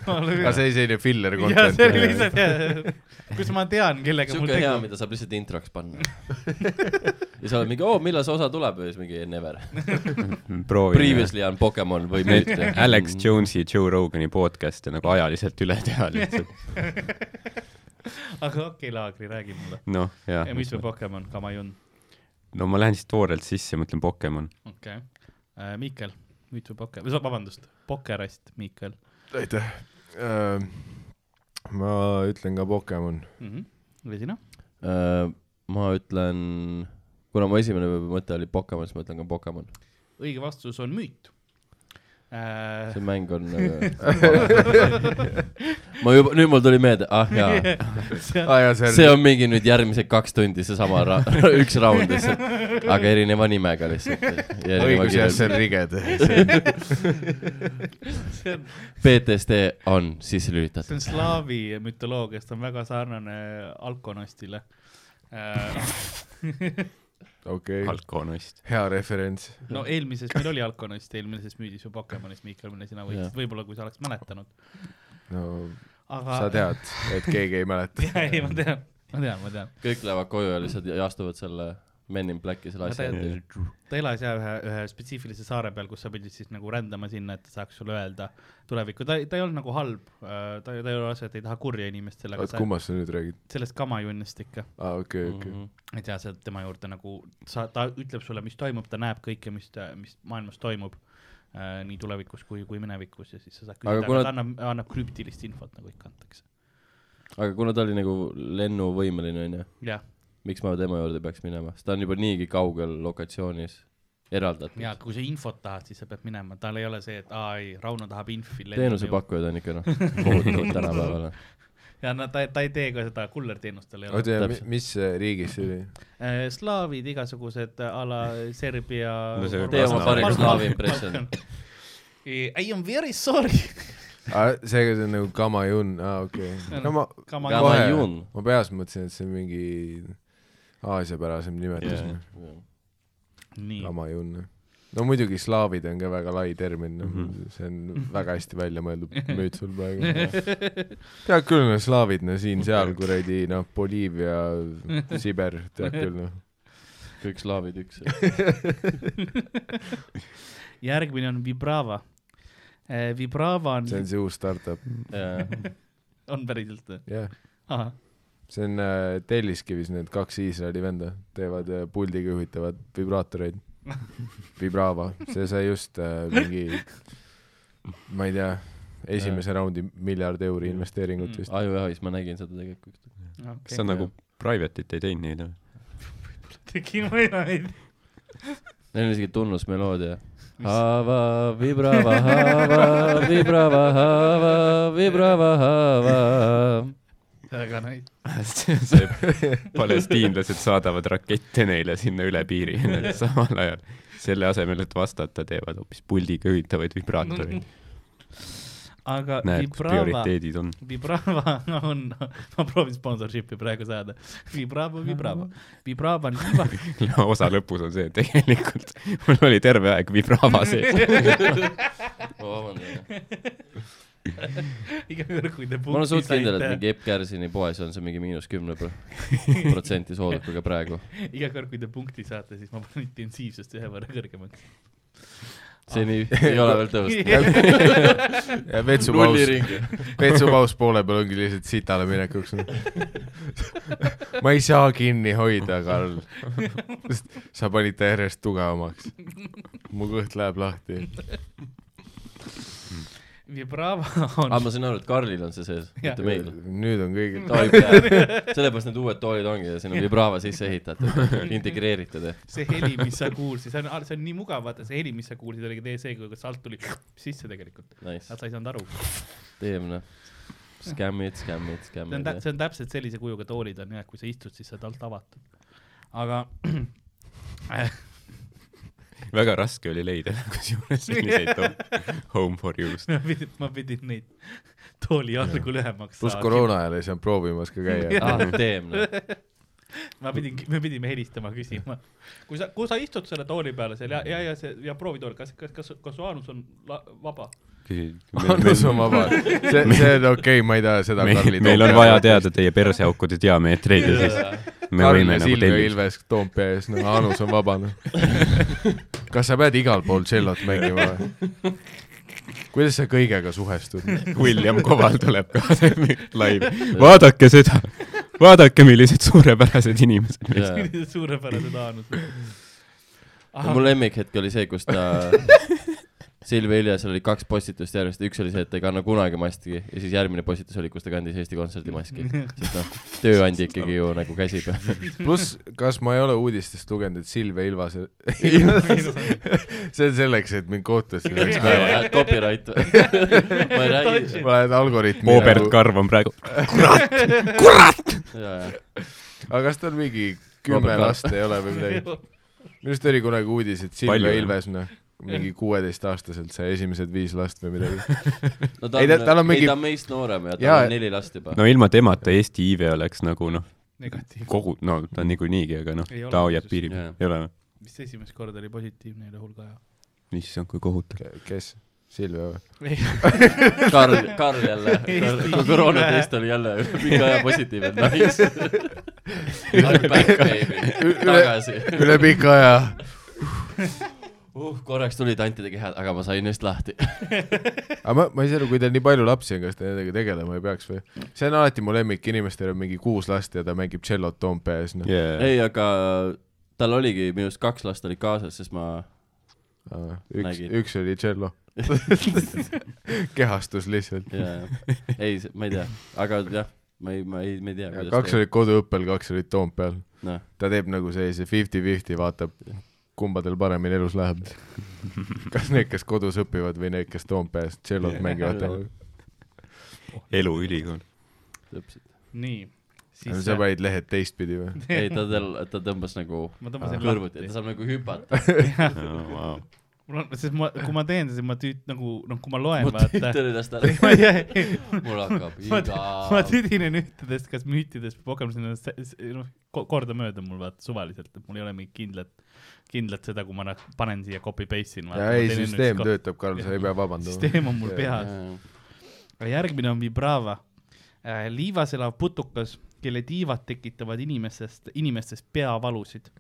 [SPEAKER 2] aga see oli selline filler
[SPEAKER 3] jah , see oli
[SPEAKER 2] content .
[SPEAKER 3] lihtsalt , kus ma tean , kellega mul
[SPEAKER 4] siuke hea , mida saab lihtsalt introks panna . ja sa oled mingi , oo , millal see osa tuleb ja siis mingi never .
[SPEAKER 5] proovi .
[SPEAKER 4] Previously on Pokemon või
[SPEAKER 5] Need
[SPEAKER 4] mitte . Mm.
[SPEAKER 5] Alex Jones'i ja Joe Rogani podcast'e nagu ajaliselt üle teha lihtsalt .
[SPEAKER 3] aga okei , Laagri , räägi mulle .
[SPEAKER 5] noh , jah .
[SPEAKER 3] mis või Pokemon , Kamajun ,
[SPEAKER 5] no ma lähen siis toorelt sisse , mõtlen Pokemon .
[SPEAKER 3] okei . Miikel , müüt või Pokemon , vabandust , pokerass , Miikel
[SPEAKER 2] aitäh . ma ütlen ka Pokemon .
[SPEAKER 3] mm .
[SPEAKER 4] Mhm.
[SPEAKER 3] -hmm. või sina ?
[SPEAKER 4] Äh, ma ütlen , kuna mu esimene mõte oli Pokemon , siis ma ütlen ka Pokemon .
[SPEAKER 3] õige vastus on müüt . Äh,
[SPEAKER 4] see mäng on . [LAUGHS] ma juba , nüüd mul tuli meelde , ah jaa ,
[SPEAKER 2] aa jaa ,
[SPEAKER 4] see
[SPEAKER 2] see on
[SPEAKER 4] on mingi nüüd järgmised kaks tundi seesama ra- , [LAUGHS] üks raund lihtsalt , aga erineva nimega lihtsalt .
[SPEAKER 2] õigus jah , see on riged .
[SPEAKER 3] see on ,
[SPEAKER 4] PTSD on sisse
[SPEAKER 3] see
[SPEAKER 4] lülitatud .
[SPEAKER 3] on slaavi mütoloogiast on väga sarnane äh, Alkonostile .
[SPEAKER 2] okei ,
[SPEAKER 5] Alkonost .
[SPEAKER 2] hea referents .
[SPEAKER 3] [LAUGHS] no eelmises meil oli Alkonost , eelmises müüdis ju Pokemonist , Miikal , mille sina võitsid , võib-olla kui sa oleks mäletanud ,
[SPEAKER 2] no
[SPEAKER 3] aga . [LAUGHS]
[SPEAKER 2] sa . tead , et keegi ei mäleta .
[SPEAKER 3] ja ei , ma tean , ma tean , ma tean ,
[SPEAKER 4] kõik lähevad koju ja lihtsalt ja astuvad selle Men in Blacki selle
[SPEAKER 3] Ma
[SPEAKER 4] asja
[SPEAKER 3] tean-
[SPEAKER 4] ette .
[SPEAKER 3] ta elas ja ühe , ühe spetsiifilise saare peal , kus sa pidid siis nagu rändama sinna , et ta saaks sulle öelda tulevikku , ta , ta ei olnud nagu halb , ta , ta ei ole asjad , ei taha kurja inimestele , aga
[SPEAKER 2] oot ,
[SPEAKER 3] sa
[SPEAKER 2] kummast sa nüüd räägid ?
[SPEAKER 3] sellest kamajunnist ikka
[SPEAKER 2] aa , okei , okei .
[SPEAKER 3] et jah , sealt tema juurde nagu sa , ta ütleb sulle , mis toimub , ta näeb kõike , mis , mis maailmas toimub äh, . nii tulevikus kui , kui minevikus ja siis sa saad
[SPEAKER 4] Aga
[SPEAKER 3] küsida ,
[SPEAKER 4] kuna-
[SPEAKER 3] kuna... ta annab , annab krüptilist infot nagu ikka antakse .
[SPEAKER 4] aga kuna ta oli nagu lennuvõimeline , onju ,
[SPEAKER 3] jah ,
[SPEAKER 4] miks ma tema juurde peaks minema , sest ta on juba niigi kaugel lokatsioonis , eraldatud
[SPEAKER 3] ja . kui sa infot tahad , siis sa pead minema , tal ei ole see , et aa ei , Rauno tahab infi .
[SPEAKER 4] teenusepakkujad on ikka noh , kohutavad tänapäeval .
[SPEAKER 3] ja no ta , ta ei tee ka seda kullerteenust , tal ei ole .
[SPEAKER 2] oota , ja mi-
[SPEAKER 4] Täpselt.
[SPEAKER 2] mis äh, riigis see oli ?
[SPEAKER 3] slaavid igasugused äh, a la Serbia
[SPEAKER 5] No see-
[SPEAKER 4] tee oma parim slaavi impression .
[SPEAKER 3] [LAUGHS] I am very sorry .
[SPEAKER 2] seega see on nagu Kamajun , aa okei
[SPEAKER 3] [LAUGHS] See on
[SPEAKER 2] okay. . no ma
[SPEAKER 3] Kama-
[SPEAKER 2] kohe
[SPEAKER 4] Kamajun. ,
[SPEAKER 2] ma peas mõtlesin , et see on mingi aasiapärasem nimetus
[SPEAKER 5] Jah.
[SPEAKER 4] noh.
[SPEAKER 2] yeah. ,
[SPEAKER 3] nii ,
[SPEAKER 2] Kamajun . no muidugi slaavid on ka väga lai termin mm ,
[SPEAKER 5] Mhm.
[SPEAKER 2] -hmm. see on väga hästi välja mõeldud
[SPEAKER 3] [LAUGHS]
[SPEAKER 2] müüt sul praegu . tead küll , no slaavid , no siin-seal kuradi noh , Boliivia , Siber , tead küll noh .
[SPEAKER 4] kõik slaavid üks .
[SPEAKER 3] järgmine on Vibrava . Vibrava on
[SPEAKER 2] see , on see uus startup ,
[SPEAKER 3] [LAUGHS] on päriselt või ?
[SPEAKER 2] jah .
[SPEAKER 3] ahah ,
[SPEAKER 2] see on äh, Telliskivis need kaks Iisraeli venda teevad äh, puldiga juhitavad
[SPEAKER 4] [LAUGHS]
[SPEAKER 2] vibraatoreid . Vibrava , see sai just äh, mingi , ma ei tea , esimese
[SPEAKER 4] Äh.
[SPEAKER 2] raundi miljard euri investeeringut
[SPEAKER 4] Mm. Ah.
[SPEAKER 2] vist .
[SPEAKER 4] ajujahis ma nägin seda tegelikult .
[SPEAKER 5] kas sa
[SPEAKER 3] okei .
[SPEAKER 5] nagu private'it ei teinud neid või ?
[SPEAKER 3] tegin ma enam ei tea .
[SPEAKER 4] Neil on isegi tunnusmeloodia . haava , vibrava , haava , vibrava , haava , vibrava , haava .
[SPEAKER 3] väga nice .
[SPEAKER 5] see palestiinlased saadavad rakette neile sinna üle piiri samal ajal . selle asemel , et vastata , teevad hoopis puldiga juhitavaid vibraatoreid .
[SPEAKER 3] aga
[SPEAKER 5] näed , kus
[SPEAKER 3] Vibrava ,
[SPEAKER 5] prioriteedid on .
[SPEAKER 3] Vibrava [LAUGHS] on , ma proovin sponsorship'i praegu saada . Vibrava , Vibrava , Vibrava on
[SPEAKER 4] [LAUGHS]
[SPEAKER 3] Liiva- ,
[SPEAKER 5] osa lõpus on see , tegelikult mul oli terve aeg vibrava sees .
[SPEAKER 4] ma
[SPEAKER 3] iga kord , kui te
[SPEAKER 4] olen
[SPEAKER 3] punkti
[SPEAKER 4] suht kindel , et
[SPEAKER 3] saite ,
[SPEAKER 4] mingi Epp Kärsini poes on see mingi miinus kümne
[SPEAKER 3] [LAUGHS]
[SPEAKER 4] protsenti soodukuga praegu .
[SPEAKER 3] iga kord , kui te punkti saate , siis ma panen intensiivsust ühe võrra kõrgemaks . Ah.
[SPEAKER 4] seni ei ole veel
[SPEAKER 3] [LAUGHS]
[SPEAKER 4] tõusnud .
[SPEAKER 2] ja vetsupaus , [LAUGHS]
[SPEAKER 4] nulliringi .
[SPEAKER 2] vetsupaus poole peal ongi lihtsalt sitale
[SPEAKER 4] [LAUGHS]
[SPEAKER 2] minekuks . ma ei saa kinni hoida , Karl . sa panid ta järjest tugevamaks . mu kõht läheb lahti .
[SPEAKER 3] Vibrava on
[SPEAKER 4] aa , Ah, ma sain aru , et Karlil on see sees ,
[SPEAKER 3] Jah.
[SPEAKER 4] mitte meil .
[SPEAKER 2] nüüd on kõigil .
[SPEAKER 4] toolid
[SPEAKER 3] [LAUGHS]
[SPEAKER 4] peal , sellepärast need uued toolid ongi ja sinna vibrava sisse ehitatud , integreeritud .
[SPEAKER 3] see heli , mis sa kuulsid , see on , see on nii mugav , vaata see heli , mis sa kuulsid , oligi tee see , kui salt tuli sisse tegelikult .
[SPEAKER 4] Nice ,
[SPEAKER 3] Nad sa ei saanud aru .
[SPEAKER 4] teeme noh . Scammid , scammid ,
[SPEAKER 3] see on
[SPEAKER 4] scammid .
[SPEAKER 3] tä- , see on täpselt sellise kujuga toolid on jah , kui sa istud , siis sa oled alt avatud . aga [CLEARS THROAT]
[SPEAKER 5] väga raske oli leida kusjuures selliseid home- home for you'st .
[SPEAKER 3] ma pidin , ma pidin neid tooli algul lühemaks
[SPEAKER 2] pluss . koroona ajal ei saanud proovimas ka
[SPEAKER 4] [LAUGHS]
[SPEAKER 2] käia .
[SPEAKER 4] aa , teeme noh .
[SPEAKER 3] [LAUGHS] ma pidin , me pidime helistama , küsima . kui sa , kui sa istud selle tooli peale seal ja , ja , ja see ja proovitool , kas , kas , kas , kas su aanus on la, vaba ?
[SPEAKER 2] annus on vaba .
[SPEAKER 5] [LAUGHS]
[SPEAKER 2] see , see on okei okay, , ma ei taha seda
[SPEAKER 5] meil , meil on vaja . teada teie perseaukude diameetreid ja siis me
[SPEAKER 2] Karl
[SPEAKER 5] võime
[SPEAKER 2] ja
[SPEAKER 5] nagu
[SPEAKER 2] Silvia
[SPEAKER 5] tellida .
[SPEAKER 2] Ilves Toompea ees , no annus on vaba ,
[SPEAKER 5] [LAUGHS]
[SPEAKER 2] noh . kas sa pead igal pool tšellot mängima või ? kuidas sa kõigega suhestud ?
[SPEAKER 5] William Koval tuleb ka [LAUGHS] live . vaadake seda , vaadake , millised suurepärased inimesed meil
[SPEAKER 4] Jaa.
[SPEAKER 3] millised [LAUGHS] suurepärased aanused .
[SPEAKER 4] Ja mu lemmikhetk oli see , kus ta , Silvia Iljasel oli kaks postitust järjest , üks oli see , et ta ei kanna kunagi maski ja siis järgmine postitus oli , kus ta kandis Eesti Kontserdi maski . sest noh , tööandja ikkagi ju nagu käsi
[SPEAKER 2] [LAUGHS]
[SPEAKER 4] peal .
[SPEAKER 2] pluss , kas ma ei ole uudistest lugenud , et Silvia Ilvase ,
[SPEAKER 5] [LAUGHS]
[SPEAKER 2] see on selleks , et mind kohtusse ei saaks kaevata . [LAUGHS]
[SPEAKER 4] Copyright . ma ei räägi .
[SPEAKER 2] ma lähen algoritmi . nagu-
[SPEAKER 5] Robert Karv on praegu ,
[SPEAKER 2] aga kas tal mingi
[SPEAKER 4] Robert
[SPEAKER 2] kümme
[SPEAKER 4] Karp.
[SPEAKER 2] last ei ole või midagi ? minu arust oli kunagi uudis , et Silvia
[SPEAKER 5] Palju, jah.
[SPEAKER 2] Ilves , noh , mingi kuueteistaastaselt sai esimesed viis last või midagi .
[SPEAKER 4] no ta
[SPEAKER 2] Ei, ta- tal on
[SPEAKER 4] on , ei
[SPEAKER 2] mingi-
[SPEAKER 4] ta on meist noorem ja
[SPEAKER 2] Jaa.
[SPEAKER 4] tal on neli last juba .
[SPEAKER 5] no ilma temata Eesti iive oleks nagu noh ,
[SPEAKER 3] [LAUGHS] negatiivne .
[SPEAKER 5] kogu , no ta niikuinigi , aga noh
[SPEAKER 3] Ei , ole
[SPEAKER 5] ta hoiab
[SPEAKER 3] muuseas.
[SPEAKER 5] piiri
[SPEAKER 4] Jaa.
[SPEAKER 5] peal , ei ole või ?
[SPEAKER 3] mis esimest korda oli positiivne üle hulga aja .
[SPEAKER 5] issand , kui kohutav .
[SPEAKER 2] kes ? Silvia või ?
[SPEAKER 4] Karl , Karl
[SPEAKER 2] [LAUGHS]
[SPEAKER 4] jälle ,
[SPEAKER 3] Eesti
[SPEAKER 4] kui koroonatest
[SPEAKER 3] iive.
[SPEAKER 4] oli jälle pika aja positiivne ,
[SPEAKER 2] [LAUGHS]
[SPEAKER 4] nice . tagasi .
[SPEAKER 2] üle pika aja .
[SPEAKER 4] uh , korraks tulid antide kehad , aga ma sain neist lahti .
[SPEAKER 2] aga ma , ma ei saa aru , kui teil nii palju lapsi on , kas te nendega tegelema ei peaks või ? see on alati mu lemmik , inimestel on mingi kuus last ja ta mängib tšellot Toompea ees , noh .
[SPEAKER 5] ei ,
[SPEAKER 4] ei , aga tal oligi minu arust kaks last olid kaasas , sest ma ,
[SPEAKER 2] üks ,
[SPEAKER 4] Nägin.
[SPEAKER 2] üks oli tšello . kehastus lihtsalt .
[SPEAKER 4] [LAUGHS] ei , ma ei tea , aga jah , ma ei , ma ei , ma ei tea , kuidas
[SPEAKER 2] kaks olid koduõppel , kaks olid Toompeal .
[SPEAKER 4] noh ,
[SPEAKER 2] ta teeb nagu sellise fifty-fifty , vaatab , kumba tal paremini elus läheb . kas need , kes kodus õpivad või need , kes Toompeas tšellot mängivad .
[SPEAKER 5] eluülikool .
[SPEAKER 4] täpselt .
[SPEAKER 3] nii , siis äh,
[SPEAKER 2] sa panid lehed teistpidi või ?
[SPEAKER 4] ei , ta tal , ta tõmbas nagu
[SPEAKER 3] ma tõmbasin
[SPEAKER 4] kõrvuti ,
[SPEAKER 3] lahti. [LAUGHS]
[SPEAKER 4] ta saab nagu hüpata .
[SPEAKER 5] Oh, wow.
[SPEAKER 3] mul on , sest ma , kui ma teen , siis ma tüüt- nagu noh , kui ma loen ,
[SPEAKER 4] ma
[SPEAKER 3] vaata .
[SPEAKER 4] tüütan ennast ära .
[SPEAKER 3] ma [LAUGHS] ei , ei ,
[SPEAKER 4] mul hakkab
[SPEAKER 3] [LAUGHS] ma
[SPEAKER 4] iga .
[SPEAKER 3] ma tüdinen ühtedest , kas müütidest või kogemustest , noh , kordamööda mul vaata suvaliselt , et mul ei ole mingit kindlat , kindlat seda , kui ma nad- panen siia copy paste in .
[SPEAKER 2] ja ei , süsteem . töötab , Karl , sa ei pea vabandama .
[SPEAKER 3] süsteem on mul
[SPEAKER 2] Jah.
[SPEAKER 3] peas . aga järgmine on Vibrava . liivas elav putukas , kelle tiivad tekitavad inimestest , inimestest peavalusid .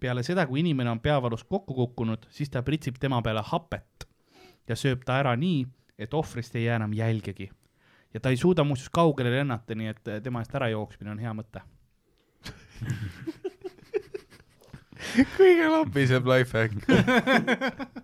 [SPEAKER 3] peale seda , kui inimene on peavalus kokku kukkunud , siis ta pritsib tema peale hapet ja sööb ta ära nii , et ohvrist ei jää enam jälgegi . ja ta ei suuda muuseas kaugele lennata , nii et äh, tema eest ära jooksmine on hea mõte .
[SPEAKER 2] kõige lapisem life hack .
[SPEAKER 3] [LAUGHS]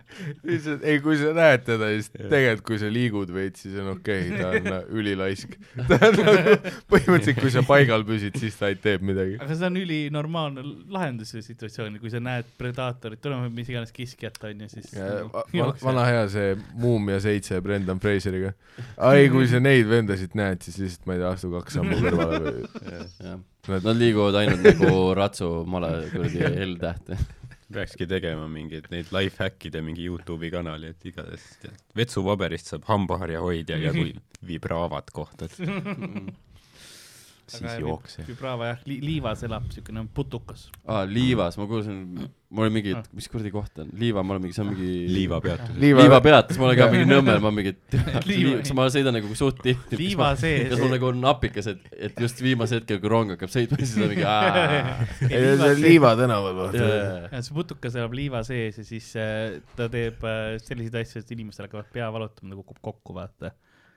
[SPEAKER 2] lihtsalt , ei kui sa näed teda , siis tegelikult kui sa liigud veits , siis on okei okay, ,
[SPEAKER 3] [LAUGHS]
[SPEAKER 2] ta on ülilaisk . [LAUGHS] ta on nagu , põhimõtteliselt kui sa paigal püsid , siis ta ei tee midagi .
[SPEAKER 3] aga see on ülinormaalne lahendus ju situatsiooni , kui sa näed predaatorit tulemas , mis iganes kiskjat on ju , siis . nagu
[SPEAKER 2] vana hea see Muumia seitse Brendan Fraseriga . ai , kui sa neid vendasid näed , siis lihtsalt ma ei tea , astu kaks sammu kõrvale või
[SPEAKER 3] [LAUGHS]
[SPEAKER 2] Nad-
[SPEAKER 4] Nad liiguvad ainult nagu ratsu male kuradi L-tähte .
[SPEAKER 5] peakski tegema mingeid neid life hack'ide mingi Youtube'i kanali , et igatahes tead, vetsupaberist saab hambaharja hoidja ja
[SPEAKER 3] [LAUGHS]
[SPEAKER 5] kui vibraavat kohtad , siis jookse .
[SPEAKER 3] Vibrava jah li , liivas elab siukene putukas .
[SPEAKER 4] aa , liivas , ma kuulsin , mul oli mingi , mis kuradi koht on , liiva , ma olen mingi , see on mingi .
[SPEAKER 5] liivapeatus .
[SPEAKER 4] liiva peatus , ma olen ka mingi Nõmmel , ma mingi ,
[SPEAKER 3] [LAUGHS] Liiva-
[SPEAKER 4] kas ma sõidan nagu suht tihti .
[SPEAKER 3] liiva sees
[SPEAKER 4] kas . mul nagu on napikas , et , et just viimasel hetkel , kui rong hakkab sõitma , siis on mingi
[SPEAKER 3] [LAUGHS]
[SPEAKER 4] aa,
[SPEAKER 2] ei , see on . Liiva tänaval vaata .
[SPEAKER 4] jaa.
[SPEAKER 3] see putukas elab liiva sees ja siis äh, ta teeb äh, selliseid asju , et inimestel hakkavad pea valutama , ta kukub kokku , vaata .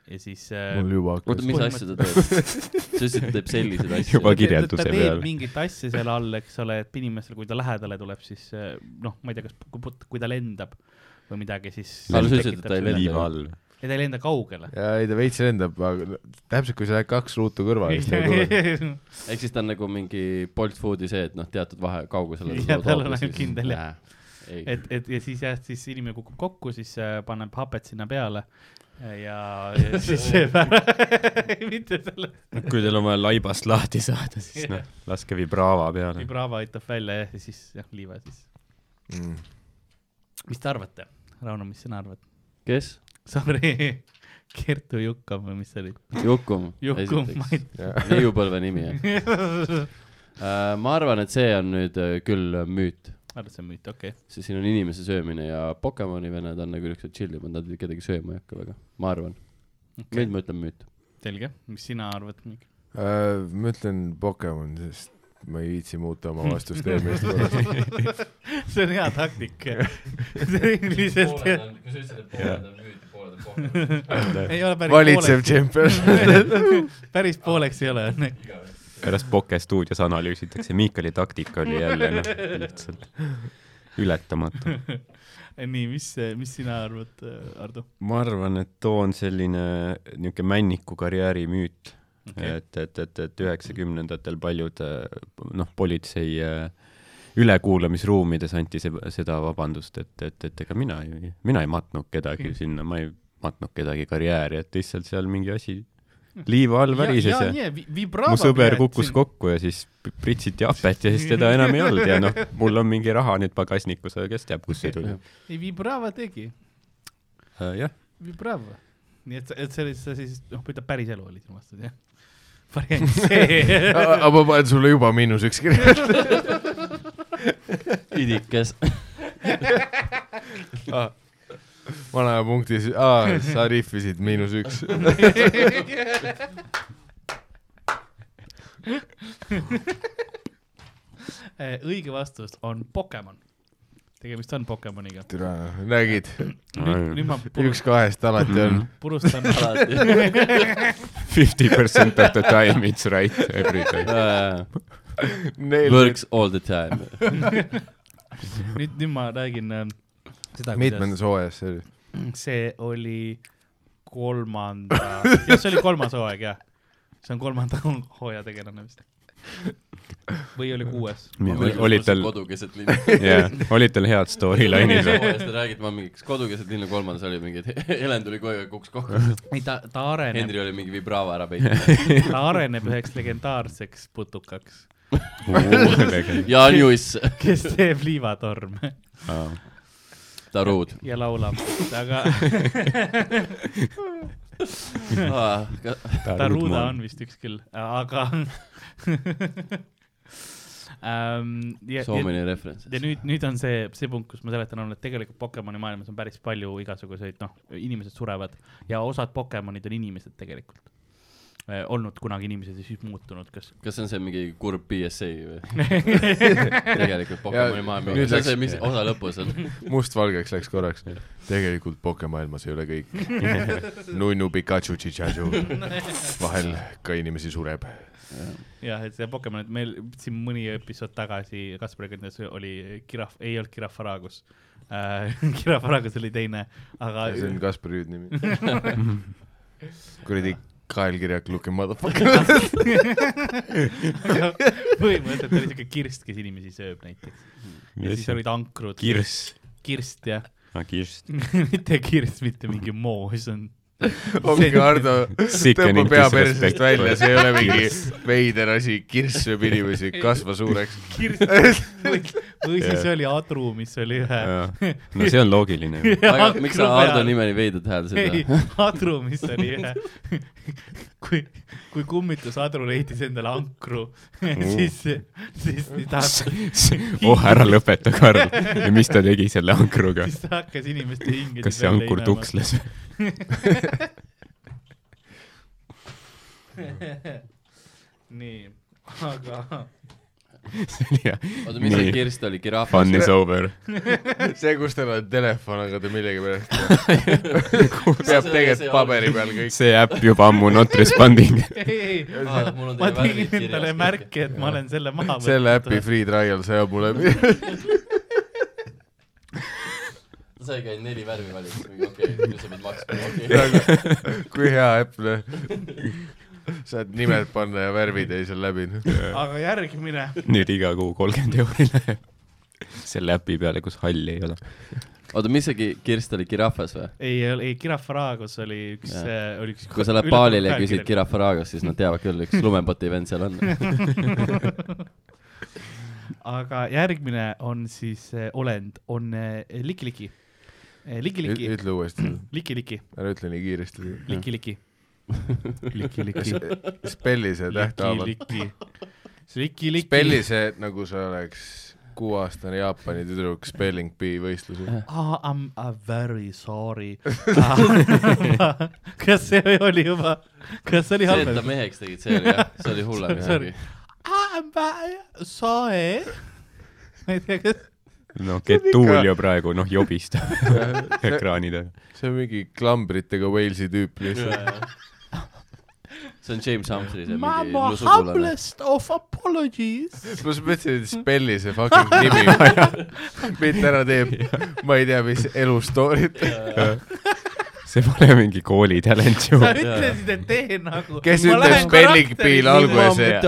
[SPEAKER 3] ja siis äh,
[SPEAKER 2] mul juba
[SPEAKER 4] oota ,
[SPEAKER 2] hakkas .
[SPEAKER 4] mis asju ta teeb ? sa ütlesid , et teeb selliseid asju .
[SPEAKER 5] Juba
[SPEAKER 3] ta teeb-
[SPEAKER 5] kirjelduse
[SPEAKER 3] ta teeb
[SPEAKER 5] peale.
[SPEAKER 3] mingit asja seal all , eks ole , et inimesel , kui ta lähedale tuleb , siis äh, noh , ma ei tea , kas , kui put- , kui ta lendab või midagi , siis .
[SPEAKER 4] Aga sa ütlesid, et ta ei lenda.
[SPEAKER 5] liiva all .
[SPEAKER 3] ei , ta ei lenda kaugele .
[SPEAKER 2] ja ei , ta veits lendab , aga täpselt kui sa lähed kaks ruutu kõrvale , siis ta ei
[SPEAKER 3] [LAUGHS]
[SPEAKER 2] tule .
[SPEAKER 3] jah ,
[SPEAKER 4] ehk siis ta on nagu mingi Bolt Foodi see , et noh , teatud vahe kaugusel .
[SPEAKER 3] Jah, tal on ainult kindel, jah.
[SPEAKER 4] jah . ei ,
[SPEAKER 3] et , et ja siis jah , siis inimene kukub kokku , siis äh, paneb hapet sinna peale
[SPEAKER 2] [LAUGHS]
[SPEAKER 3] ja, ja siis sööb ära . [LAUGHS] mitte selle ,
[SPEAKER 5] kui teil on vaja laibast lahti saada , siis noh , laske vibraava peale .
[SPEAKER 3] Vibrava aitab välja jah , ja siis jah , liiva siis .
[SPEAKER 5] Mm.
[SPEAKER 3] mis te arvate ? Rauno , mis sina arvad ? [LAUGHS]
[SPEAKER 4] kes ?
[SPEAKER 3] Sorry , Kertu Jukka või mis see oli ?
[SPEAKER 4] Jukum .
[SPEAKER 3] Juku , ma ei .
[SPEAKER 4] neiupõlve nimi , jah .
[SPEAKER 3] [LAUGHS]
[SPEAKER 4] ma arvan , et see on nüüd äh, küll müüt ,
[SPEAKER 3] arvad , see on müüt , okei okay. .
[SPEAKER 4] sest siin on inimese söömine ja Pokemoni vennad on nagu niisugused chillimad , nad kedagi sööma ei hakka väga , ma arvan . nüüd ma ütlen müüt .
[SPEAKER 3] selge , mis sina arvad ?
[SPEAKER 2] Äh, ma ütlen Pokemon , sest ma ei viitsi muuta oma vastust eelmisest
[SPEAKER 3] [LAUGHS]
[SPEAKER 2] korrast .
[SPEAKER 3] [LAUGHS] see on hea taktika . lihtsalt
[SPEAKER 4] kui sa ütlesid , et pooled on müüt ja pooled on Pokemon .
[SPEAKER 3] ei ole päris
[SPEAKER 2] valitsev
[SPEAKER 3] pooleks ,
[SPEAKER 2] tšempion .
[SPEAKER 3] [LAUGHS] päris pooleks [LAUGHS] ei ole , onju .
[SPEAKER 5] pärast Poke stuudios analüüsitakse , Miikali taktika oli jälle noh , lihtsalt ületamatu .
[SPEAKER 3] [LAUGHS] nii , mis , mis sina arvad , Ardo ?
[SPEAKER 5] ma arvan , et too on selline niisugune männiku karjääri müüt
[SPEAKER 3] Okei.
[SPEAKER 5] okay. , et , et , et , et üheksakümnendatel paljud äh, noh , politsei äh, ülekuulamisruumides anti se seda vabandust , et , et , et ega mina ei , mina ei matnud kedagi
[SPEAKER 3] Mm.
[SPEAKER 5] sinna , ma ei matnud kedagi karjääri , et lihtsalt seal mingi asi liiva all värises ja, ja mu sõber kukkus kokku ja siis p- pritsiti hapet ja siis teda enam ei olnud ja noh , mul on mingi raha nüüd pagasnikus , aga kes teab , kust see tuli .
[SPEAKER 3] ei , Vibrava tegi ,
[SPEAKER 5] jah ,
[SPEAKER 3] Vibrava . nii et , et selles , see siis , noh , ütleb päris elu oli sinu vastus , jah ? variant [LAUGHS] see . eh,
[SPEAKER 2] aga ma panen sulle juba miinus üks kirja . [LAUGHS]
[SPEAKER 4] [LAUGHS] idikes .
[SPEAKER 2] vana aja punktis , aa , sa rihvisid miinus üks .
[SPEAKER 3] õige vastus on Pokemon . tegemist on Pokemoniga .
[SPEAKER 2] türa , nägid ,
[SPEAKER 3] nüüd , nüüd ma
[SPEAKER 2] üks
[SPEAKER 3] purust-
[SPEAKER 2] kahest alati on .
[SPEAKER 3] purustan ,
[SPEAKER 5] fifty percent of the time it's right every time .
[SPEAKER 4] Works all the time .
[SPEAKER 3] nüüd , nüüd ma räägin äh, seda ,
[SPEAKER 2] mitmendas hooajas see oli ?
[SPEAKER 3] see oli kolmanda , [LAUGHS] jah , see oli kolmas hooaeg , jah . see on kolmanda hooaja tegelane vist . või oli kuues ?
[SPEAKER 5] olid tal ,
[SPEAKER 4] kodukeset linna .
[SPEAKER 5] jah , olid tal head storyline'id
[SPEAKER 4] [LAUGHS]
[SPEAKER 5] või ?
[SPEAKER 4] või ? sa räägid , ma mingi , kas kodukeset linna kolmandas oli mingi , [LAUGHS] et Helen tuli koju ja kukkus kokku .
[SPEAKER 3] [LAUGHS] ei , ta , ta areneb ,
[SPEAKER 4] Henri oli mingi vibraava
[SPEAKER 3] [LAUGHS]
[SPEAKER 4] ära peitnud .
[SPEAKER 3] ta areneb üheks legendaarseks putukaks ,
[SPEAKER 4] Jaan Juss .
[SPEAKER 3] kes teeb liivatorme . [LAUGHS]
[SPEAKER 4] taruud .
[SPEAKER 3] ja laulab , aga
[SPEAKER 4] Ah,
[SPEAKER 3] Taruda on vist üks küll , aga [LAUGHS] Ähm, ja, ja,
[SPEAKER 4] soomine referents .
[SPEAKER 3] ja nüüd , nüüd on see , see punkt , kus ma seletan olnud , et tegelikult Pokemoni maailmas on päris palju igasuguseid , noh , inimesed surevad ja osad Pokemonid on inimesed tegelikult . olnud kunagi inimesed ja siis muutunud , kas
[SPEAKER 4] kas see on see mingi kurb PSA
[SPEAKER 3] [LAUGHS]
[SPEAKER 4] või ? tegelikult
[SPEAKER 2] Ja
[SPEAKER 4] Pokemoni maailm ,
[SPEAKER 2] nüüd
[SPEAKER 4] see on
[SPEAKER 2] läks-
[SPEAKER 4] see , mis osa lõpus
[SPEAKER 3] [LAUGHS]
[SPEAKER 4] on .
[SPEAKER 2] mustvalgeks läks korraks . tegelikult pokemaailmas ei ole kõik . nunnu Pikachu , Chichachu . vahel ka inimesi sureb .
[SPEAKER 3] jah , et see Pokemon , et meil siin mõni episood tagasi Kaspariga ütles , oli Kiraf , ei olnud Kirafaragus äh, . [LAUGHS] Kirafaragus oli teine , aga
[SPEAKER 2] see on Kaspari hüüdnimi . kuradi kaelkirjak Luke Motherfucker .
[SPEAKER 3] põhimõtteliselt oli siuke kirst , kes inimesi sööb näiteks . ja siis olid ankrud .
[SPEAKER 5] kirss .
[SPEAKER 3] kirst jah , [LAUGHS]
[SPEAKER 5] aa , kirss .
[SPEAKER 3] mitte kirst , mitte mingi moos on .
[SPEAKER 2] ongi Hardo , tõmbab
[SPEAKER 5] Sickening
[SPEAKER 2] pea
[SPEAKER 5] disrespect.
[SPEAKER 2] persest välja , see ei ole mingi veider asi , kirss sööb inimesi , kasva suureks .
[SPEAKER 3] kirst või, [LAUGHS] või siis oli adru , mis oli ühe . [LAUGHS]
[SPEAKER 5] no see on loogiline . [LAUGHS]
[SPEAKER 4] aga miks sa Hardo ? nime nii veidrat
[SPEAKER 3] ei
[SPEAKER 4] hääldasid ?,
[SPEAKER 3] adru , mis oli ühe , [LAUGHS] kui , kui kummitus adru leidis endale ankru , [LAUGHS] siis , siis ta
[SPEAKER 5] oh , ära lõpeta , Karl . ja mis ta tegi selle ankruga ?
[SPEAKER 3] siis ta hakkas inimeste hinge .
[SPEAKER 5] kas see ankur ? tuksles ?
[SPEAKER 3] [LAUGHS]
[SPEAKER 5] [LAUGHS]
[SPEAKER 3] nii , aga [LAUGHS]
[SPEAKER 4] oota , mis see
[SPEAKER 5] Nii.
[SPEAKER 4] kirst oli , giraaf ?
[SPEAKER 5] Fun is over .
[SPEAKER 2] see , kus tal on telefon , aga ta millegipärast peab tegelikult paberi peal kõik .
[SPEAKER 5] see äpp juba ammu not responding .
[SPEAKER 3] ei , ei ,
[SPEAKER 4] Ah, mul on
[SPEAKER 3] ma
[SPEAKER 4] teie värvid
[SPEAKER 3] tegin endale
[SPEAKER 4] kirjas.
[SPEAKER 3] märki , et ma olen selle maha võtnud .
[SPEAKER 2] selle äpi free trial sajab mulle [LAUGHS]
[SPEAKER 4] sa ei käinud neli värvi valimas , okei okay, , nüüd sa pead maksma , okei okay. .
[SPEAKER 2] nagu, . kui hea äpp , noh . saad nimed panna ja värvid ei saa läbi . noh.
[SPEAKER 3] aga järgmine ,
[SPEAKER 5] nüüd iga kuu kolmkümmend euri läheb selle äpi peale , kus halli ei ole .
[SPEAKER 4] oota , mis see ki- kirst oli , giraafas või ?
[SPEAKER 3] ei , ei Kirafaragus oli üks , oli üks .
[SPEAKER 4] kui sa lähed baalile ja küsid . giraafaraagast , siis nad teavad küll , üks lumepoti vend
[SPEAKER 3] [LAUGHS]
[SPEAKER 4] seal on .
[SPEAKER 3] aga järgmine on siis äh, olend , on äh, Liki-Liki , Liki-Liki ,
[SPEAKER 2] ütle uuesti ,
[SPEAKER 3] Liki-Liki ,
[SPEAKER 2] ära ütle nii kiiresti .
[SPEAKER 3] Liki-Liki , Liki-Liki ,
[SPEAKER 2] spelli see tähthaavalt .
[SPEAKER 3] Liki-Liki , Liki-Liki .
[SPEAKER 2] spelli see , nagu sa oleks kuueaastane Jaapani tüdruk spelling bee võistlusel .
[SPEAKER 3] Ah, I am very sorry . [LAUGHS] kas see oli juba , kas see
[SPEAKER 4] see ,
[SPEAKER 3] oli
[SPEAKER 4] et
[SPEAKER 3] halvem
[SPEAKER 4] ta ? meheks tegid , see oli jah , see oli hullem
[SPEAKER 3] Sorry.
[SPEAKER 4] järgi .
[SPEAKER 3] I am very Ah, sorry . ma ei tea , kas ,
[SPEAKER 5] no Getuul ju praegu , noh , jobistab ekraani taga .
[SPEAKER 2] see on mingi klambritega Walesi tüüp lihtsalt .
[SPEAKER 4] see on James Humphreys , see mingi
[SPEAKER 3] mama
[SPEAKER 4] lusupulane .
[SPEAKER 3] humblest of
[SPEAKER 2] [LAUGHS]
[SPEAKER 3] apologies .
[SPEAKER 2] ma just mõtlesin , et spelli see fucking nimi , mitte ära teeb , ma ei tea , mis elu story't .
[SPEAKER 5] see pole mingi kooli talent show
[SPEAKER 3] sa . ütlesid , et tee nagu .
[SPEAKER 2] kes ütleb spelling bee'le
[SPEAKER 3] [LAUGHS]
[SPEAKER 2] alguses ,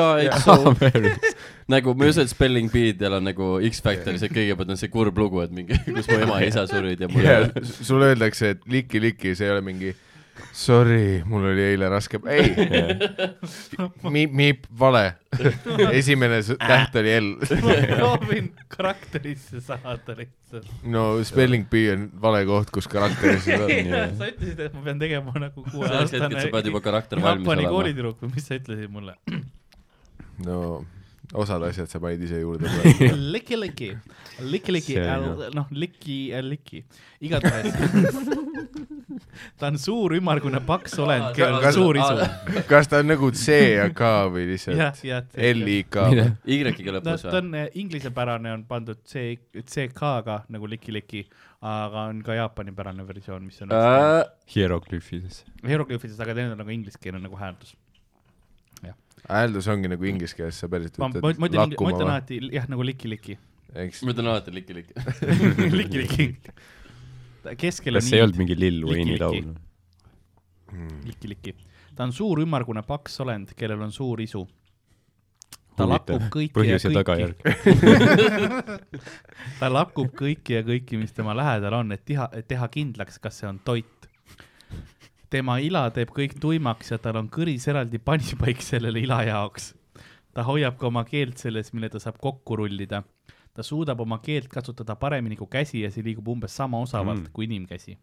[SPEAKER 4] nagu ma ei usu , et Spelling Bee'del on nagu X-Factoris , et kõigepealt on see kurb lugu , et mingi , [LAUGHS] kus mu ema ja isa surid ja mul
[SPEAKER 2] ja
[SPEAKER 4] yeah.
[SPEAKER 3] [LAUGHS]
[SPEAKER 2] s- sulle öeldakse , et liki-liki , see ei ole mingi sorry , mul oli eile raske , ei mi, , miip , vale . esimene s- täht oli L .
[SPEAKER 3] ma proovin karakterisse saada lihtsalt .
[SPEAKER 2] no spelling bee on vale koht , kus karakteris seda on .
[SPEAKER 3] [LAUGHS] sa ütlesid , et ma pean tegema
[SPEAKER 4] [LAUGHS]
[SPEAKER 3] nagu
[SPEAKER 4] selleks hetkeks
[SPEAKER 3] kuueaastane
[SPEAKER 4] sa pead juba karakter valmis
[SPEAKER 3] Jaapani
[SPEAKER 4] olema .
[SPEAKER 3] koolitüdruk või mis sa ütlesid mulle ?
[SPEAKER 2] no osad asjad sa panid ise juurde .
[SPEAKER 3] [LAUGHS] Liki-liki , liki-liki
[SPEAKER 5] See on hea. ,
[SPEAKER 3] noh , liki , liki , [LAUGHS] igatahes ta on suur , ümmargune , paks olend , kellel on
[SPEAKER 2] Kas-
[SPEAKER 3] suur isu .
[SPEAKER 2] kas ta on nagu C ja K või
[SPEAKER 3] jah
[SPEAKER 2] lihtsalt ,
[SPEAKER 3] jah .
[SPEAKER 2] L-I-K ?
[SPEAKER 4] Y-ga
[SPEAKER 3] ta
[SPEAKER 4] lõpus
[SPEAKER 3] ta
[SPEAKER 4] või ?
[SPEAKER 3] on eh, inglisepärane , on pandud C , CK-ga nagu liki-liki , aga on ka jaapanipärane versioon , mis
[SPEAKER 2] Äh.
[SPEAKER 5] Äh.
[SPEAKER 3] on
[SPEAKER 5] hieroglüüfides .
[SPEAKER 3] hieroglüüfides , aga teine on nagu ingliskeelne nagu hääldus .
[SPEAKER 2] hääldus ongi nagu inglise keeles , sa päriselt
[SPEAKER 3] ma , ma
[SPEAKER 2] ütled
[SPEAKER 3] ütlen , ma ütlen
[SPEAKER 2] lakkuma ,
[SPEAKER 3] alati jah , nagu
[SPEAKER 5] [LAUGHS]
[SPEAKER 3] liki-liki ,
[SPEAKER 2] eks .
[SPEAKER 4] ma ütlen alati liki-liki .
[SPEAKER 3] liki-liki . keskel on
[SPEAKER 5] kas see ei
[SPEAKER 3] hiid ,
[SPEAKER 5] olnud mingi Lil Wayne'i
[SPEAKER 3] Liki-liki.
[SPEAKER 5] laul ?
[SPEAKER 2] hmm.
[SPEAKER 3] liki-liki . ta on suur , ümmargune , paks olend , kellel on suur isu . ta
[SPEAKER 5] Huvitav.
[SPEAKER 3] lakub kõiki ja
[SPEAKER 5] põhjus ja
[SPEAKER 3] kõiki ,
[SPEAKER 5] tagajärg .
[SPEAKER 3] [LAUGHS] ta lakub kõiki ja kõiki , mis tema lähedal on , et tiha, et teha kindlaks , kas see on toit . tema ila teeb kõik tuimaks ja tal on kõris eraldi panipaik sellele ila jaoks . ta hoiab ka oma keelt selles , mille ta saab kokku rullida . ta suudab oma keelt kasutada paremini kui käsi ja see liigub umbes sama osavalt mm. kui inimkäsi .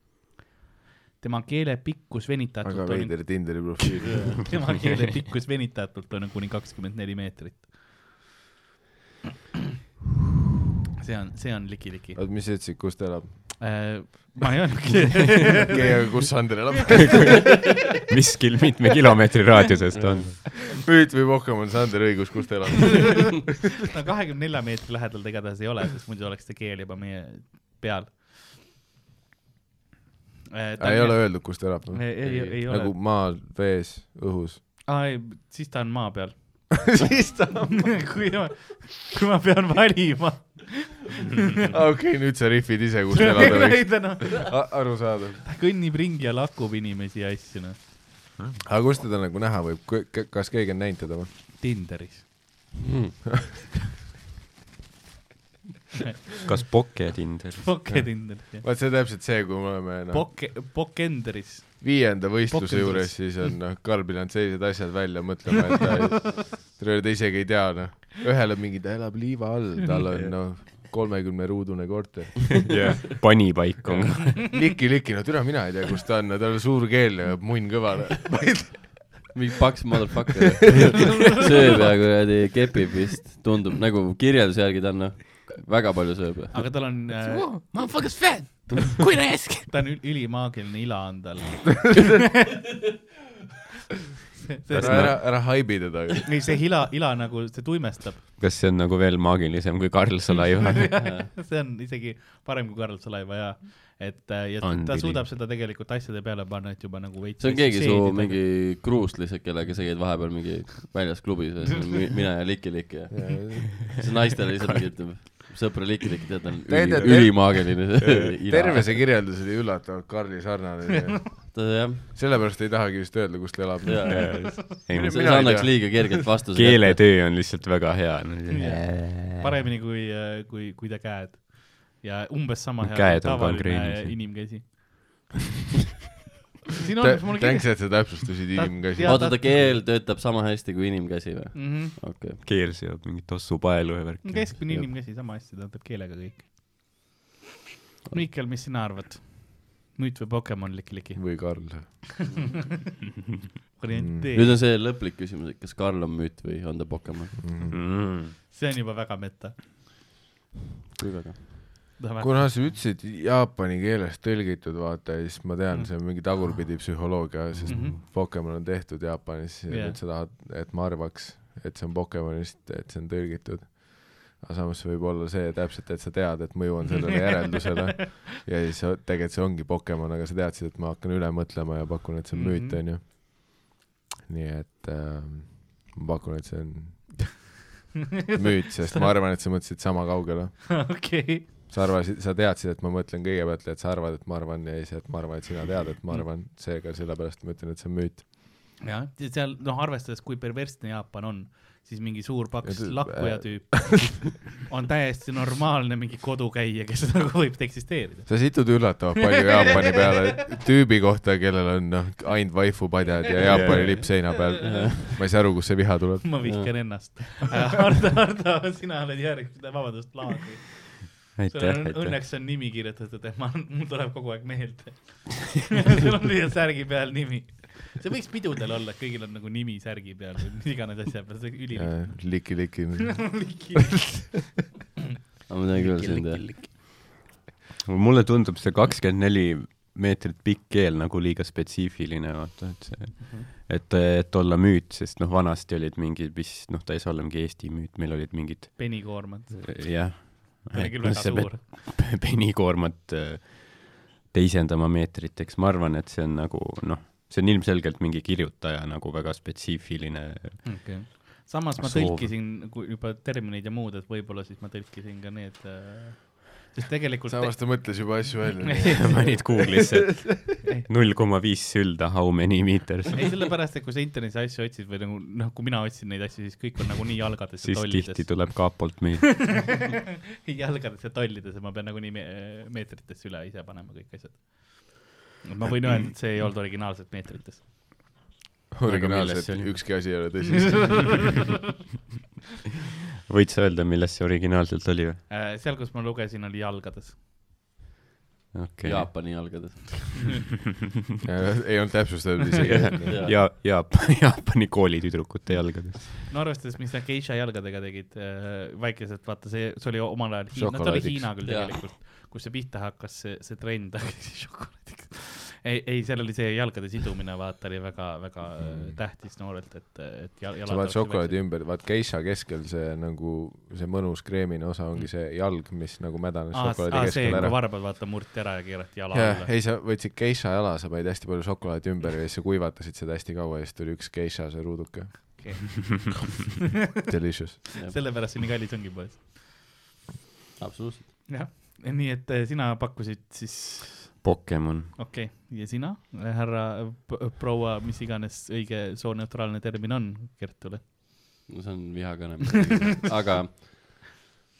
[SPEAKER 3] tema keele pikkus venitatult
[SPEAKER 2] väga
[SPEAKER 3] on ,
[SPEAKER 2] veider Tinderi profiil .
[SPEAKER 3] [LAUGHS]
[SPEAKER 2] [LAUGHS]
[SPEAKER 3] tema keele pikkus venitatult on kuni kakskümmend neli meetrit . see on , see on liki-liki .
[SPEAKER 2] oot , mis sa ütlesid , kus
[SPEAKER 3] [LAUGHS]
[SPEAKER 2] ta elab ?
[SPEAKER 3] ma
[SPEAKER 2] [LAUGHS]
[SPEAKER 3] ei öelnudki .
[SPEAKER 2] keegi , kus Sander elab ? [LAUGHS]
[SPEAKER 5] miskil mitme kilomeetri raadiusest on .
[SPEAKER 2] nüüd või rohkem on Sander õigus , kus ta elab .
[SPEAKER 3] [LAUGHS] no kahekümne nelja meetri lähedal ta igatahes ei ole , sest muidu oleks ta keel juba meie peal . Äh,
[SPEAKER 2] ei ole öeldud , kus ta elab .
[SPEAKER 3] ei , ei , ei ole
[SPEAKER 2] nagu
[SPEAKER 3] nagu... ,
[SPEAKER 2] maal , vees ,
[SPEAKER 3] [LAUGHS]
[SPEAKER 2] õhus .
[SPEAKER 3] siis ta on maa peal .
[SPEAKER 2] [LAUGHS] siis ta ,
[SPEAKER 3] [LAUGHS] kui ma , kui ma pean valima .
[SPEAKER 2] okei , nüüd sa rihvid ise , kus
[SPEAKER 3] [LAUGHS]
[SPEAKER 2] ta elada võiks . arusaadav .
[SPEAKER 3] ta kõnnib ringi ja lakub inimesi ja asju , noh .
[SPEAKER 2] aga kust teda nagu näha võib , kas keegi on näinud teda või ?
[SPEAKER 3] Tinderis .
[SPEAKER 5] kas Poke ja Tinder ?
[SPEAKER 3] Poke Tinderis , jah .
[SPEAKER 2] vaat see on täpselt see , kui me oleme noh ,
[SPEAKER 3] Poke , Pokenderis .
[SPEAKER 2] viienda võistluse
[SPEAKER 3] Pokendis.
[SPEAKER 2] juures , siis on noh , Karbil on sellised asjad välja mõtlema , et ta , ta isegi ei tea noh , ühel on mingi , ta elab liiva all , tal on noh , kolmekümne ruudune korter .
[SPEAKER 5] [LAUGHS] jah , panipaik on ka .
[SPEAKER 2] liki-liki , no türa mina ei tea , kus ta on , tal on suur keel ja munn kõva .
[SPEAKER 4] [LAUGHS]
[SPEAKER 2] noh.
[SPEAKER 3] [LAUGHS]
[SPEAKER 4] mingi paks motherfucker sööb ja kuradi kepib vist , tundub nagu kirjelduse järgi ta on noh , väga palju sööb .
[SPEAKER 3] aga tal on äh, ,
[SPEAKER 6] Motherfucker's fat. Quit asking.
[SPEAKER 3] [LAUGHS] ta on ül- ülimaagiline ila on tal .
[SPEAKER 2] ära , ära haibi teda .
[SPEAKER 3] ei , see ila , ila nagu , see tuimestab .
[SPEAKER 5] kas see on nagu veel maagilisem kui Karl Salaiva ? [LAUGHS]
[SPEAKER 3] see on isegi parem kui Karl Salaiva ja , et äh, ja
[SPEAKER 5] On
[SPEAKER 3] ta
[SPEAKER 5] pidi.
[SPEAKER 3] suudab seda tegelikult asjade peale panna , et juba nagu veits .
[SPEAKER 4] see on keegi su . mingi kruus lihtsalt , kellega sa käid vahepeal mingi väljas klubis ja siis on mi- mina ja Liki-Liki ja see naistele lihtsalt mingi ütleb , sõpra Liki-Liki , tead ta on üli
[SPEAKER 2] Tähendab, , ter- [LAUGHS]
[SPEAKER 4] ülimaagiline .
[SPEAKER 2] terve see kirjeldus oli üllatavalt Karli sarnane .
[SPEAKER 4] ta äh, jah ,
[SPEAKER 2] sellepärast ei tahagi vist öelda , kus ta elab .
[SPEAKER 4] ja ,
[SPEAKER 2] Mina
[SPEAKER 4] see
[SPEAKER 2] ei tea.
[SPEAKER 4] annaks liiga kergelt vastuse .
[SPEAKER 5] keeletöö on lihtsalt väga hea .
[SPEAKER 3] paremini kui , kui , kui ta käed . ja umbes sama hea
[SPEAKER 5] Käed
[SPEAKER 3] kui
[SPEAKER 5] on
[SPEAKER 3] tavaline
[SPEAKER 5] gangreenis.
[SPEAKER 4] [LAUGHS]
[SPEAKER 3] inimkäsi . siin on , mul
[SPEAKER 2] tänks , et sa täpsustasid
[SPEAKER 3] Ta-
[SPEAKER 2] inimkäsi
[SPEAKER 3] jah. .
[SPEAKER 4] oota , ta keel töötab sama hästi kui inimkäsi või ?
[SPEAKER 3] on .
[SPEAKER 4] okei okay. ,
[SPEAKER 5] keel seob mingit tossupaelu ja värki .
[SPEAKER 3] keskmine inimkäsi , sama hästi , ta teeb keelega kõik . Mihkel , mis sina arvad ? müüt või Pokemon liki-liki ?
[SPEAKER 2] või Karl .
[SPEAKER 4] nüüd
[SPEAKER 3] orienteeri ,
[SPEAKER 4] on see lõplik küsimus , et kas Karl on müüt või on ta Pokemon ?
[SPEAKER 3] Mhm. see on juba väga meta .
[SPEAKER 4] kui väga ?
[SPEAKER 2] kuna sa ütlesid jaapani keeles tõlgitud , vaata , siis ma tean , see on mingi tagurpidi psühholoogia , sest mm
[SPEAKER 3] Mhm.
[SPEAKER 2] -hmm. Pokemon on tehtud Jaapanis ja
[SPEAKER 3] Jah.
[SPEAKER 2] yeah. nüüd sa tahad , et ma arvaks , et see on Pokemonist , et see on tõlgitud . aga samas võib olla see täpselt , et sa tead , et mõju on sellele järeldusele
[SPEAKER 3] [LAUGHS]
[SPEAKER 2] ja siis sa- tegelikult see ongi Pokemon , aga sa teadsid , et ma hakkan üle mõtlema ja pakun , et see on
[SPEAKER 3] Mhm.
[SPEAKER 2] müüt , onju . nii et äh, ma pakun , et see on
[SPEAKER 3] [LAUGHS]
[SPEAKER 2] müüt , sest ma arvan , et sa mõtlesid sama kaugele .
[SPEAKER 3] [LAUGHS] okei ,
[SPEAKER 2] sa arvasid , sa teadsid , et ma mõtlen kõigepealt , et sa arvad , et ma arvan ja siis , et ma arvan , et sina tead , et ma arvan , seega sellepärast ma ütlen , et see on müüt .
[SPEAKER 3] jah , seal noh , arvestades , kui perversne Jaapan on , siis mingi suur paks
[SPEAKER 2] Ja see-
[SPEAKER 3] lakkuja tüüp [LAUGHS] on täiesti normaalne mingi kodukäija , kes [LAUGHS] nagu võib eksisteerida .
[SPEAKER 2] sa situd üllatavalt palju Jaapani peale tüübi kohta , kellel on noh , ainult vaifu padjad ja Jaapani lipp seina peal . ma ei saa aru , kust see viha tuleb .
[SPEAKER 3] ma vihkan ennast . Ardo , Ardo , sina oled järgmine , vabandust , laagri . sul
[SPEAKER 5] aitäh
[SPEAKER 3] on ,
[SPEAKER 5] aitäh .
[SPEAKER 3] õnneks on nimi kirjutatud , et ma , mul tuleb kogu aeg
[SPEAKER 5] [LAUGHS]
[SPEAKER 3] meelde . sul on lihtsalt särgi peal nimi . see võiks pidudel olla , et kõigil on nagu nimi särgi peal või mis iganes asja peal , see on ülilihtne .
[SPEAKER 2] liki-liki .
[SPEAKER 4] ma tean küll sind jah .
[SPEAKER 5] mulle tundub see kakskümmend neli meetrit pikk keel nagu liiga spetsiifiline , vaata , et see ,
[SPEAKER 3] Mhm.
[SPEAKER 5] et , et olla müüt , sest noh , vanasti olid mingid , mis , noh , ta ei saa olla mingi Eesti müüt , meil olid mingid ,
[SPEAKER 3] penikoormad ,
[SPEAKER 5] jah .
[SPEAKER 3] see on küll väga suur .
[SPEAKER 5] [LAUGHS] penikoormat äh, teisendama meetriteks , ma arvan , et see on nagu noh , see on ilmselgelt mingi kirjutaja nagu väga spetsiifiline
[SPEAKER 3] okay. . samas ma
[SPEAKER 5] Soov.
[SPEAKER 3] tõlkisin nagu juba termineid ja muud , et võib-olla siis ma tõlkisin ka need äh, , sest tegelikult
[SPEAKER 2] samas ta mõtles juba asju välja .
[SPEAKER 5] [LAUGHS] panid Google'isse , et null koma viis sülda how many meters ,
[SPEAKER 3] [LAUGHS] ei , sellepärast , et kui sa internetis asju otsid või nagu noh , kui mina otsin neid asju , siis kõik on nagunii jalgades ja
[SPEAKER 5] siis tihti
[SPEAKER 3] tollides .
[SPEAKER 5] tuleb kapolt müüa .
[SPEAKER 3] [LAUGHS] jalgades ja tollides ja ma pean nagunii me meetritesse üle ise panema kõik asjad . ma võin öelda , et see ei olnud originaalselt meetrites .
[SPEAKER 2] originaalselt
[SPEAKER 5] Aga milles see oli?
[SPEAKER 2] ükski asi ei ole tõsi .
[SPEAKER 5] võid sa öelda , millest see originaalselt oli või ?
[SPEAKER 3] Äh, seal , kus ma lugesin , oli jalgades .
[SPEAKER 5] okei okay. ,
[SPEAKER 4] Jaapani jalgades .
[SPEAKER 2] ei olnud täpsustatud isegi .
[SPEAKER 5] ja , ja [LAUGHS] Jaapani koolitüdrukute jalgades .
[SPEAKER 3] no arvestades , mis nad geisha jalgadega tegid äh, , väikeselt , vaata see , see oli omal ajal Hiina , ta oli
[SPEAKER 2] Šokolaadiks.
[SPEAKER 3] Hiina küll
[SPEAKER 4] Jaa.
[SPEAKER 3] tegelikult , kus see pihta hakkas , see , see trend , [LAUGHS] aga siis šokolaadiks . ei , ei , seal oli see jalgade sidumine , vaata , oli väga , väga äh, tähtis noorelt , et , et jal- ,
[SPEAKER 2] Mm. sa paned šokolaadi . ümber , vaat geisha keskel see nagu , see mõnus kreemine osa ongi see jalg , mis nagu mädanes
[SPEAKER 3] aa ,
[SPEAKER 2] šokolaadi
[SPEAKER 3] Ah, see ,
[SPEAKER 2] keskel
[SPEAKER 3] kui
[SPEAKER 2] ära .
[SPEAKER 3] varbad , vaata , murti ära ja keerati jala
[SPEAKER 2] jah ,
[SPEAKER 3] alla .
[SPEAKER 2] ei sa võtsid geisha jala , sa panid hästi palju šokolaadi ümber ja siis sa kuivatasid seda hästi kaua ja siis tuli üks geisha , see ruuduke . Delicious .
[SPEAKER 3] sellepärast see nii kallis ongi poes .
[SPEAKER 4] absoluutselt .
[SPEAKER 3] jah , nii et äh, sina pakkusid siis ,
[SPEAKER 5] Pokemon .
[SPEAKER 3] okei okay. , ja sina , härra p- proua , mis iganes õige sooneutraalne termin on Kertule ?
[SPEAKER 4] no see on vihakõne ,
[SPEAKER 3] [LAUGHS]
[SPEAKER 4] aga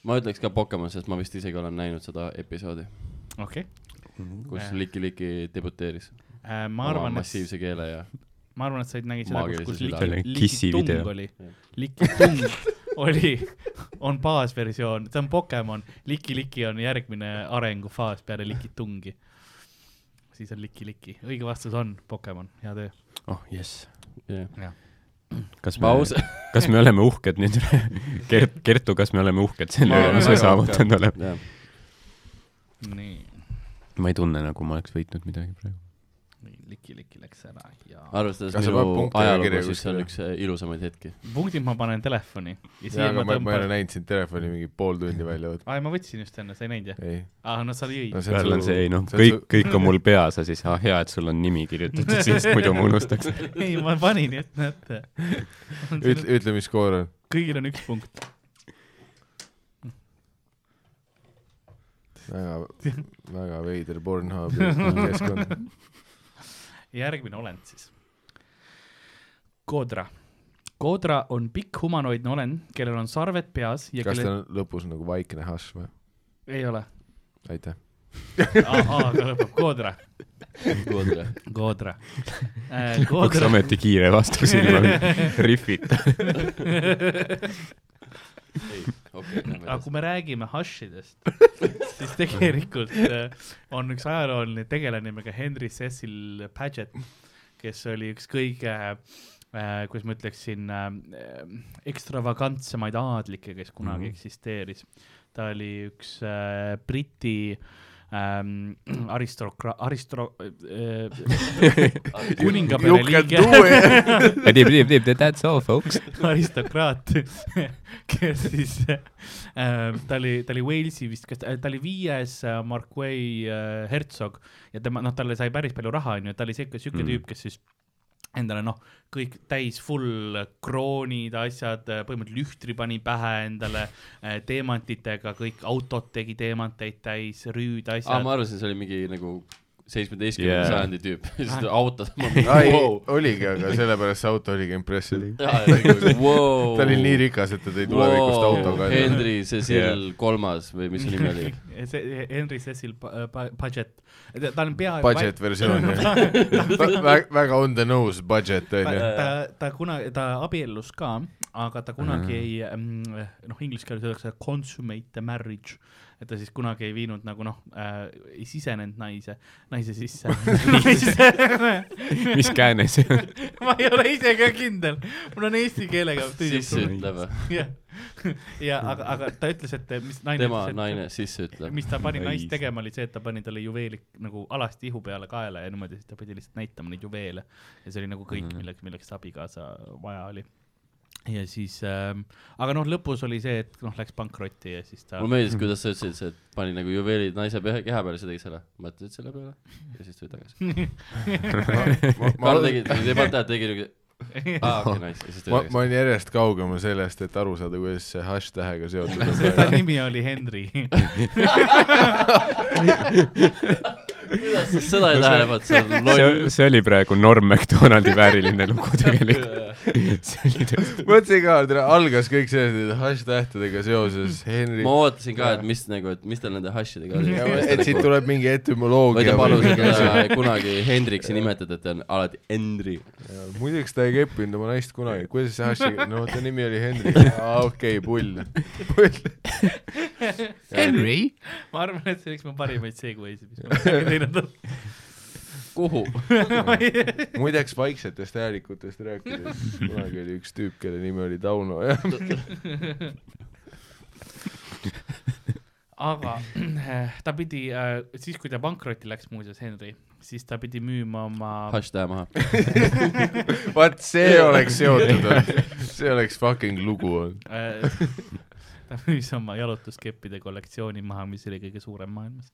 [SPEAKER 4] ma ütleks ka Pokemon , sest ma vist isegi olen näinud seda episoodi ,
[SPEAKER 3] okei
[SPEAKER 4] kus
[SPEAKER 3] Jah.
[SPEAKER 4] Liki Liki debuteeris
[SPEAKER 3] okay. , Äh,
[SPEAKER 4] oma
[SPEAKER 3] ma arvan , et
[SPEAKER 4] massiivse keele ja
[SPEAKER 3] ma arvan , et sa nägid seda , kus ,
[SPEAKER 4] Maagilise
[SPEAKER 3] kus
[SPEAKER 4] südame.
[SPEAKER 5] See
[SPEAKER 3] liki
[SPEAKER 5] oli ,
[SPEAKER 3] liki
[SPEAKER 5] Kissi video.
[SPEAKER 3] tung oli , liki tung [LAUGHS] oli , on baasversioon , see on Pokemon , liki liki on järgmine arengufaas peale liki tungi . siis on liki liki , õige vastus on Pokemon , hea töö .
[SPEAKER 5] oh jess .
[SPEAKER 4] yeah.
[SPEAKER 5] kas me
[SPEAKER 4] paus ,
[SPEAKER 5] [LAUGHS] kas me oleme uhked nüüd ? Kert , Kertu , kas me oleme uhked selle
[SPEAKER 2] Ma
[SPEAKER 5] üle ,
[SPEAKER 2] olen
[SPEAKER 5] mis me
[SPEAKER 2] väga
[SPEAKER 5] saavutanud oleme ?
[SPEAKER 4] [LAUGHS] jah ,
[SPEAKER 3] nii ,
[SPEAKER 5] ma ei tunne , nagu ma oleks võitnud midagi praegu .
[SPEAKER 3] liki liki läks ära ja
[SPEAKER 4] arvestades
[SPEAKER 2] Kas sa paned
[SPEAKER 4] minu
[SPEAKER 2] punkte
[SPEAKER 4] ajalugu
[SPEAKER 2] kirja ,
[SPEAKER 4] siis see on
[SPEAKER 2] kuskile?
[SPEAKER 4] üks äh, ilusamaid hetki . [LAUGHS]
[SPEAKER 3] punktid ma panen telefoni ja
[SPEAKER 2] jaa ,
[SPEAKER 3] siia
[SPEAKER 2] aga ma ,
[SPEAKER 3] ma
[SPEAKER 2] ma ei ole
[SPEAKER 3] tõmban ,
[SPEAKER 2] näinud sind telefoni mingi pool tundi välja võtma .
[SPEAKER 3] aa ma võtsin just enne , sa ei näinud jah ?
[SPEAKER 2] ei .
[SPEAKER 3] aa no sa jõid ,
[SPEAKER 5] seal on see , ei noh , kõik , kõik on mul peas ja siis , ah hea , et sul on nimi kirjutatud , sest muidu ma unustaks .
[SPEAKER 3] ei ma panin , et näete .
[SPEAKER 2] ütle , ütle , mis skoor on .
[SPEAKER 3] kõigil on üks punkt ,
[SPEAKER 2] väga , väga veider Pornhubi keskkond .
[SPEAKER 3] järgmine olend siis . koodra . koodra on pikk humanoidne olend , kellel on sarved peas ja
[SPEAKER 2] kas
[SPEAKER 3] kellel
[SPEAKER 2] ta on lõpus nagu vaikne hašš või ?
[SPEAKER 3] ei ole .
[SPEAKER 2] aitäh .
[SPEAKER 3] A-ga lõpeb koodra , koodra .
[SPEAKER 2] [LAUGHS]
[SPEAKER 3] Äh,
[SPEAKER 5] üks
[SPEAKER 3] [LAUGHS] koodra ,
[SPEAKER 5] ometi kiire vastus ilma rihvita .
[SPEAKER 3] aga kui me räägime hašidest , siis tegelikult äh, on üks ajalooline tegelane nimega Henry Cecil Paget , kes oli üks kõige äh, kuidas ma ütleksin äh, , ekstravagantsemaid aadlikke , kes kunagi mm
[SPEAKER 5] Mhm.
[SPEAKER 3] -hmm. eksisteeris . ta oli üks äh, Briti ähm, aristokra- , aristro- äh, , kuningapere liige ,
[SPEAKER 5] That's all folks .
[SPEAKER 3] [LAUGHS] aristokraat , kes siis äh, , ta oli , ta oli Walesi vist , kas ta , ta oli viies äh, Markway äh, hertsog ja tema , noh , talle sai päris palju raha , onju , ta oli siuke , siuke
[SPEAKER 5] Mm.
[SPEAKER 3] mm. tüüp , kes siis endale noh , kõik täis full kroonid , asjad , põhimõtteliselt lühtri pani pähe endale äh, teemantitega , kõik autod tegi teemanteid täis ,
[SPEAKER 4] aa ,
[SPEAKER 3] rüüdasjad
[SPEAKER 4] Ah, ma . arvasin , see oli mingi nagu seitsmeteistkümnenda
[SPEAKER 5] Yeah.
[SPEAKER 4] sajandi tüüp , [LAUGHS] siis
[SPEAKER 3] Ah.
[SPEAKER 4] ta autos .
[SPEAKER 2] ai , oligi , aga sellepärast see auto oligi impressive . [LAUGHS] ta oli nii rikas , et ta tõi tulevikust autoga .
[SPEAKER 4] Henry Cecil kolmas või mis see nimi oli ?
[SPEAKER 3] see Henry Cecil Pa- Pa- Paget , ta on pea .
[SPEAKER 2] Budget versioon jah . väga on the nose budget
[SPEAKER 3] ta
[SPEAKER 2] onju .,
[SPEAKER 3] Äh, ta , ta kunagi , ta abiellus ka , aga ta kunagi ei mm, , noh , inglise keeles öeldakse consummate the marriage , et ta siis kunagi ei viinud nagu noh äh, , ei sisenenud naise , naise
[SPEAKER 4] [LAUGHS]
[SPEAKER 3] sisse [LAUGHS]
[SPEAKER 5] mis kääne see [LAUGHS] on ?
[SPEAKER 3] ma ei ole ise ka kindel , mul on eesti keelega
[SPEAKER 4] sisse ütleb ,
[SPEAKER 3] jah , ja aga , aga ta ütles , et mis naine
[SPEAKER 4] tema
[SPEAKER 3] ütles, et-
[SPEAKER 4] naine sisse ütleb .
[SPEAKER 3] mis ta pani
[SPEAKER 5] Ai.
[SPEAKER 3] naist tegema , oli see , et ta pani talle juveeli nagu alasti ihu peale kaela ja niimoodi , siis ta pidi lihtsalt näitama neid juveele . ja see oli nagu kõik , milleks , milleks abikaasa vaja oli . ja siis ähm, , aga noh , lõpus oli see , et noh , läks pankrotti ja siis ta
[SPEAKER 4] mulle
[SPEAKER 3] [LAUGHS]
[SPEAKER 4] meeldis , kuidas sa ütlesid , et pani nagu juveelid naise pehe , keha peale , sa tegid selle , mõtled selle peale ja siis tuli tagasi . Karl tegi ,
[SPEAKER 3] [LAUGHS]
[SPEAKER 4] ei pannud tähele , tegi niuke , aa okei , nice , ja siis tuli
[SPEAKER 2] ma , ma
[SPEAKER 4] tagasi .
[SPEAKER 2] olen järjest kaugemal sellest , et aru saada , kuidas see hašš tähega
[SPEAKER 4] [LAUGHS]
[SPEAKER 2] seotud on .
[SPEAKER 3] ta nimi oli Henry .
[SPEAKER 4] kuidas sa
[SPEAKER 2] [LAUGHS]
[SPEAKER 4] seda ei tähele pannud , sa oled
[SPEAKER 5] see,
[SPEAKER 4] loll .
[SPEAKER 5] see oli praegu Norm MacDonaldi vääriline lugu [LAUGHS] tegelikult . see oli tõesti .
[SPEAKER 2] mõtlesin ka , et algas kõik sellest , et hash-tähtedega seoses Henry
[SPEAKER 4] ma ootasin ka , et mis nagu , et mis tal nende
[SPEAKER 2] [LAUGHS]
[SPEAKER 4] hašidega oli .
[SPEAKER 2] et siit tuleb mingi
[SPEAKER 4] ma ei
[SPEAKER 2] etümoloogia
[SPEAKER 4] tea , palus , et teda kunagi Hendriksi nimetada , et ta on alati Henri .
[SPEAKER 2] muideks ta ei keppinud oma naist kunagi , kuidas see Hashi , no ta nimi oli
[SPEAKER 4] [LAUGHS]
[SPEAKER 2] Henry , okei , pull .
[SPEAKER 6] Henry ,
[SPEAKER 3] [LAUGHS] ma arvan , et see oli üks mu parimaid segue'sid , mis ma kunagi teinud [LAUGHS] olen .
[SPEAKER 4] kuhu ?
[SPEAKER 2] muideks vaiksetest häälikutest rääkides , kunagi oli üks tüüp , kelle nimi oli Tauno , [LAUGHS] jah .
[SPEAKER 3] aga äh, ta pidi , siis kui ta pankrotti läks muuseas , Henry , siis ta pidi müüma oma ,
[SPEAKER 4] hašš tähe maha .
[SPEAKER 2] vaat see oleks seotud olnud , see oleks fucking lugu olnud .
[SPEAKER 3] äh, [LAUGHS] ta müüs oma jalutuskeppide kollektsiooni maha , mis oli kõige suurem maailmas .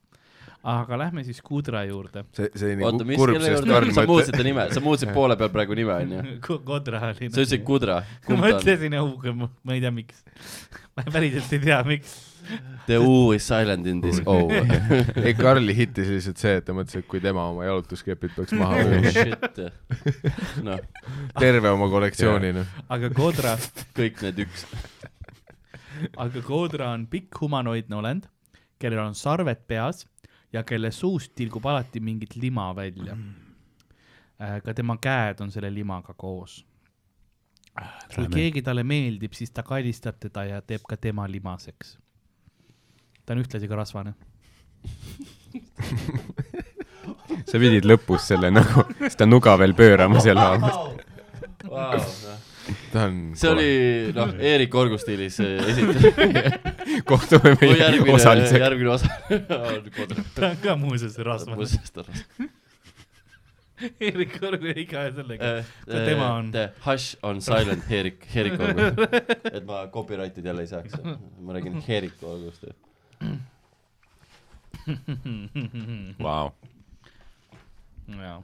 [SPEAKER 3] aga lähme siis Kudra juurde .
[SPEAKER 2] see , see oli
[SPEAKER 4] oota ,
[SPEAKER 2] nii
[SPEAKER 4] mis ,
[SPEAKER 2] kurb ,
[SPEAKER 4] kelle
[SPEAKER 2] sest
[SPEAKER 4] juurde
[SPEAKER 2] Karl ,
[SPEAKER 4] [LAUGHS] sa
[SPEAKER 2] mõtleb ,
[SPEAKER 4] muutsid ta nime , sa muutsid poole peal praegu nime ,
[SPEAKER 3] [LAUGHS]
[SPEAKER 4] onju .
[SPEAKER 3] Kudra oli .
[SPEAKER 4] sa ütlesid Kudra ,
[SPEAKER 3] [LAUGHS] ma
[SPEAKER 4] kumb ta on ?
[SPEAKER 3] mõtlesin õuga , ma ei tea , miks . ma päriselt ei tea , miks .
[SPEAKER 4] The U is silent in
[SPEAKER 3] [LAUGHS]
[SPEAKER 4] this O .
[SPEAKER 2] [LAUGHS]
[SPEAKER 3] Oh,
[SPEAKER 4] [LAUGHS]
[SPEAKER 2] ei Karli hittis lihtsalt see , et ta mõtles , et kui tema oma jalutuskepid peaks maha
[SPEAKER 4] [LAUGHS]
[SPEAKER 2] müüma ,
[SPEAKER 4] Shit . noh ,
[SPEAKER 2] terve oma kollektsiooni , noh .
[SPEAKER 3] aga Kudra
[SPEAKER 4] kõik need üks .
[SPEAKER 3] aga koodra on pikk humanoidne olend , kellel on sarved peas ja kelle suust tilgub alati mingit lima välja . ka tema käed on selle limaga koos . kui keegi talle meeldib , siis ta kallistab teda ja teeb ka tema limaseks . ta on ühtlasi ka rasvane .
[SPEAKER 5] sa pidid lõpus selle nagu , seda nuga veel pöörama seal haamas . [LAUGHS]
[SPEAKER 2] ta on .
[SPEAKER 4] see oli , noh , Eerik Orgu stiilis eh,
[SPEAKER 3] [LAUGHS]
[SPEAKER 4] esitatud .
[SPEAKER 5] kohtume [LAUGHS] meie
[SPEAKER 4] järgmine ,
[SPEAKER 5] osalisega .
[SPEAKER 4] järgmine osa on Kudra .
[SPEAKER 3] ta on ka muuseas rasvane . [LAUGHS] Erik Orgu jäi ka sellega . Ka tema on-
[SPEAKER 4] Eh, The Hush on silent Eerik ,
[SPEAKER 3] [LAUGHS]
[SPEAKER 4] Eerik Orgu . et ma copyright'id jälle ei saaks . ma räägin Eerik Orgust .
[SPEAKER 5] Vau ,
[SPEAKER 3] jaa ,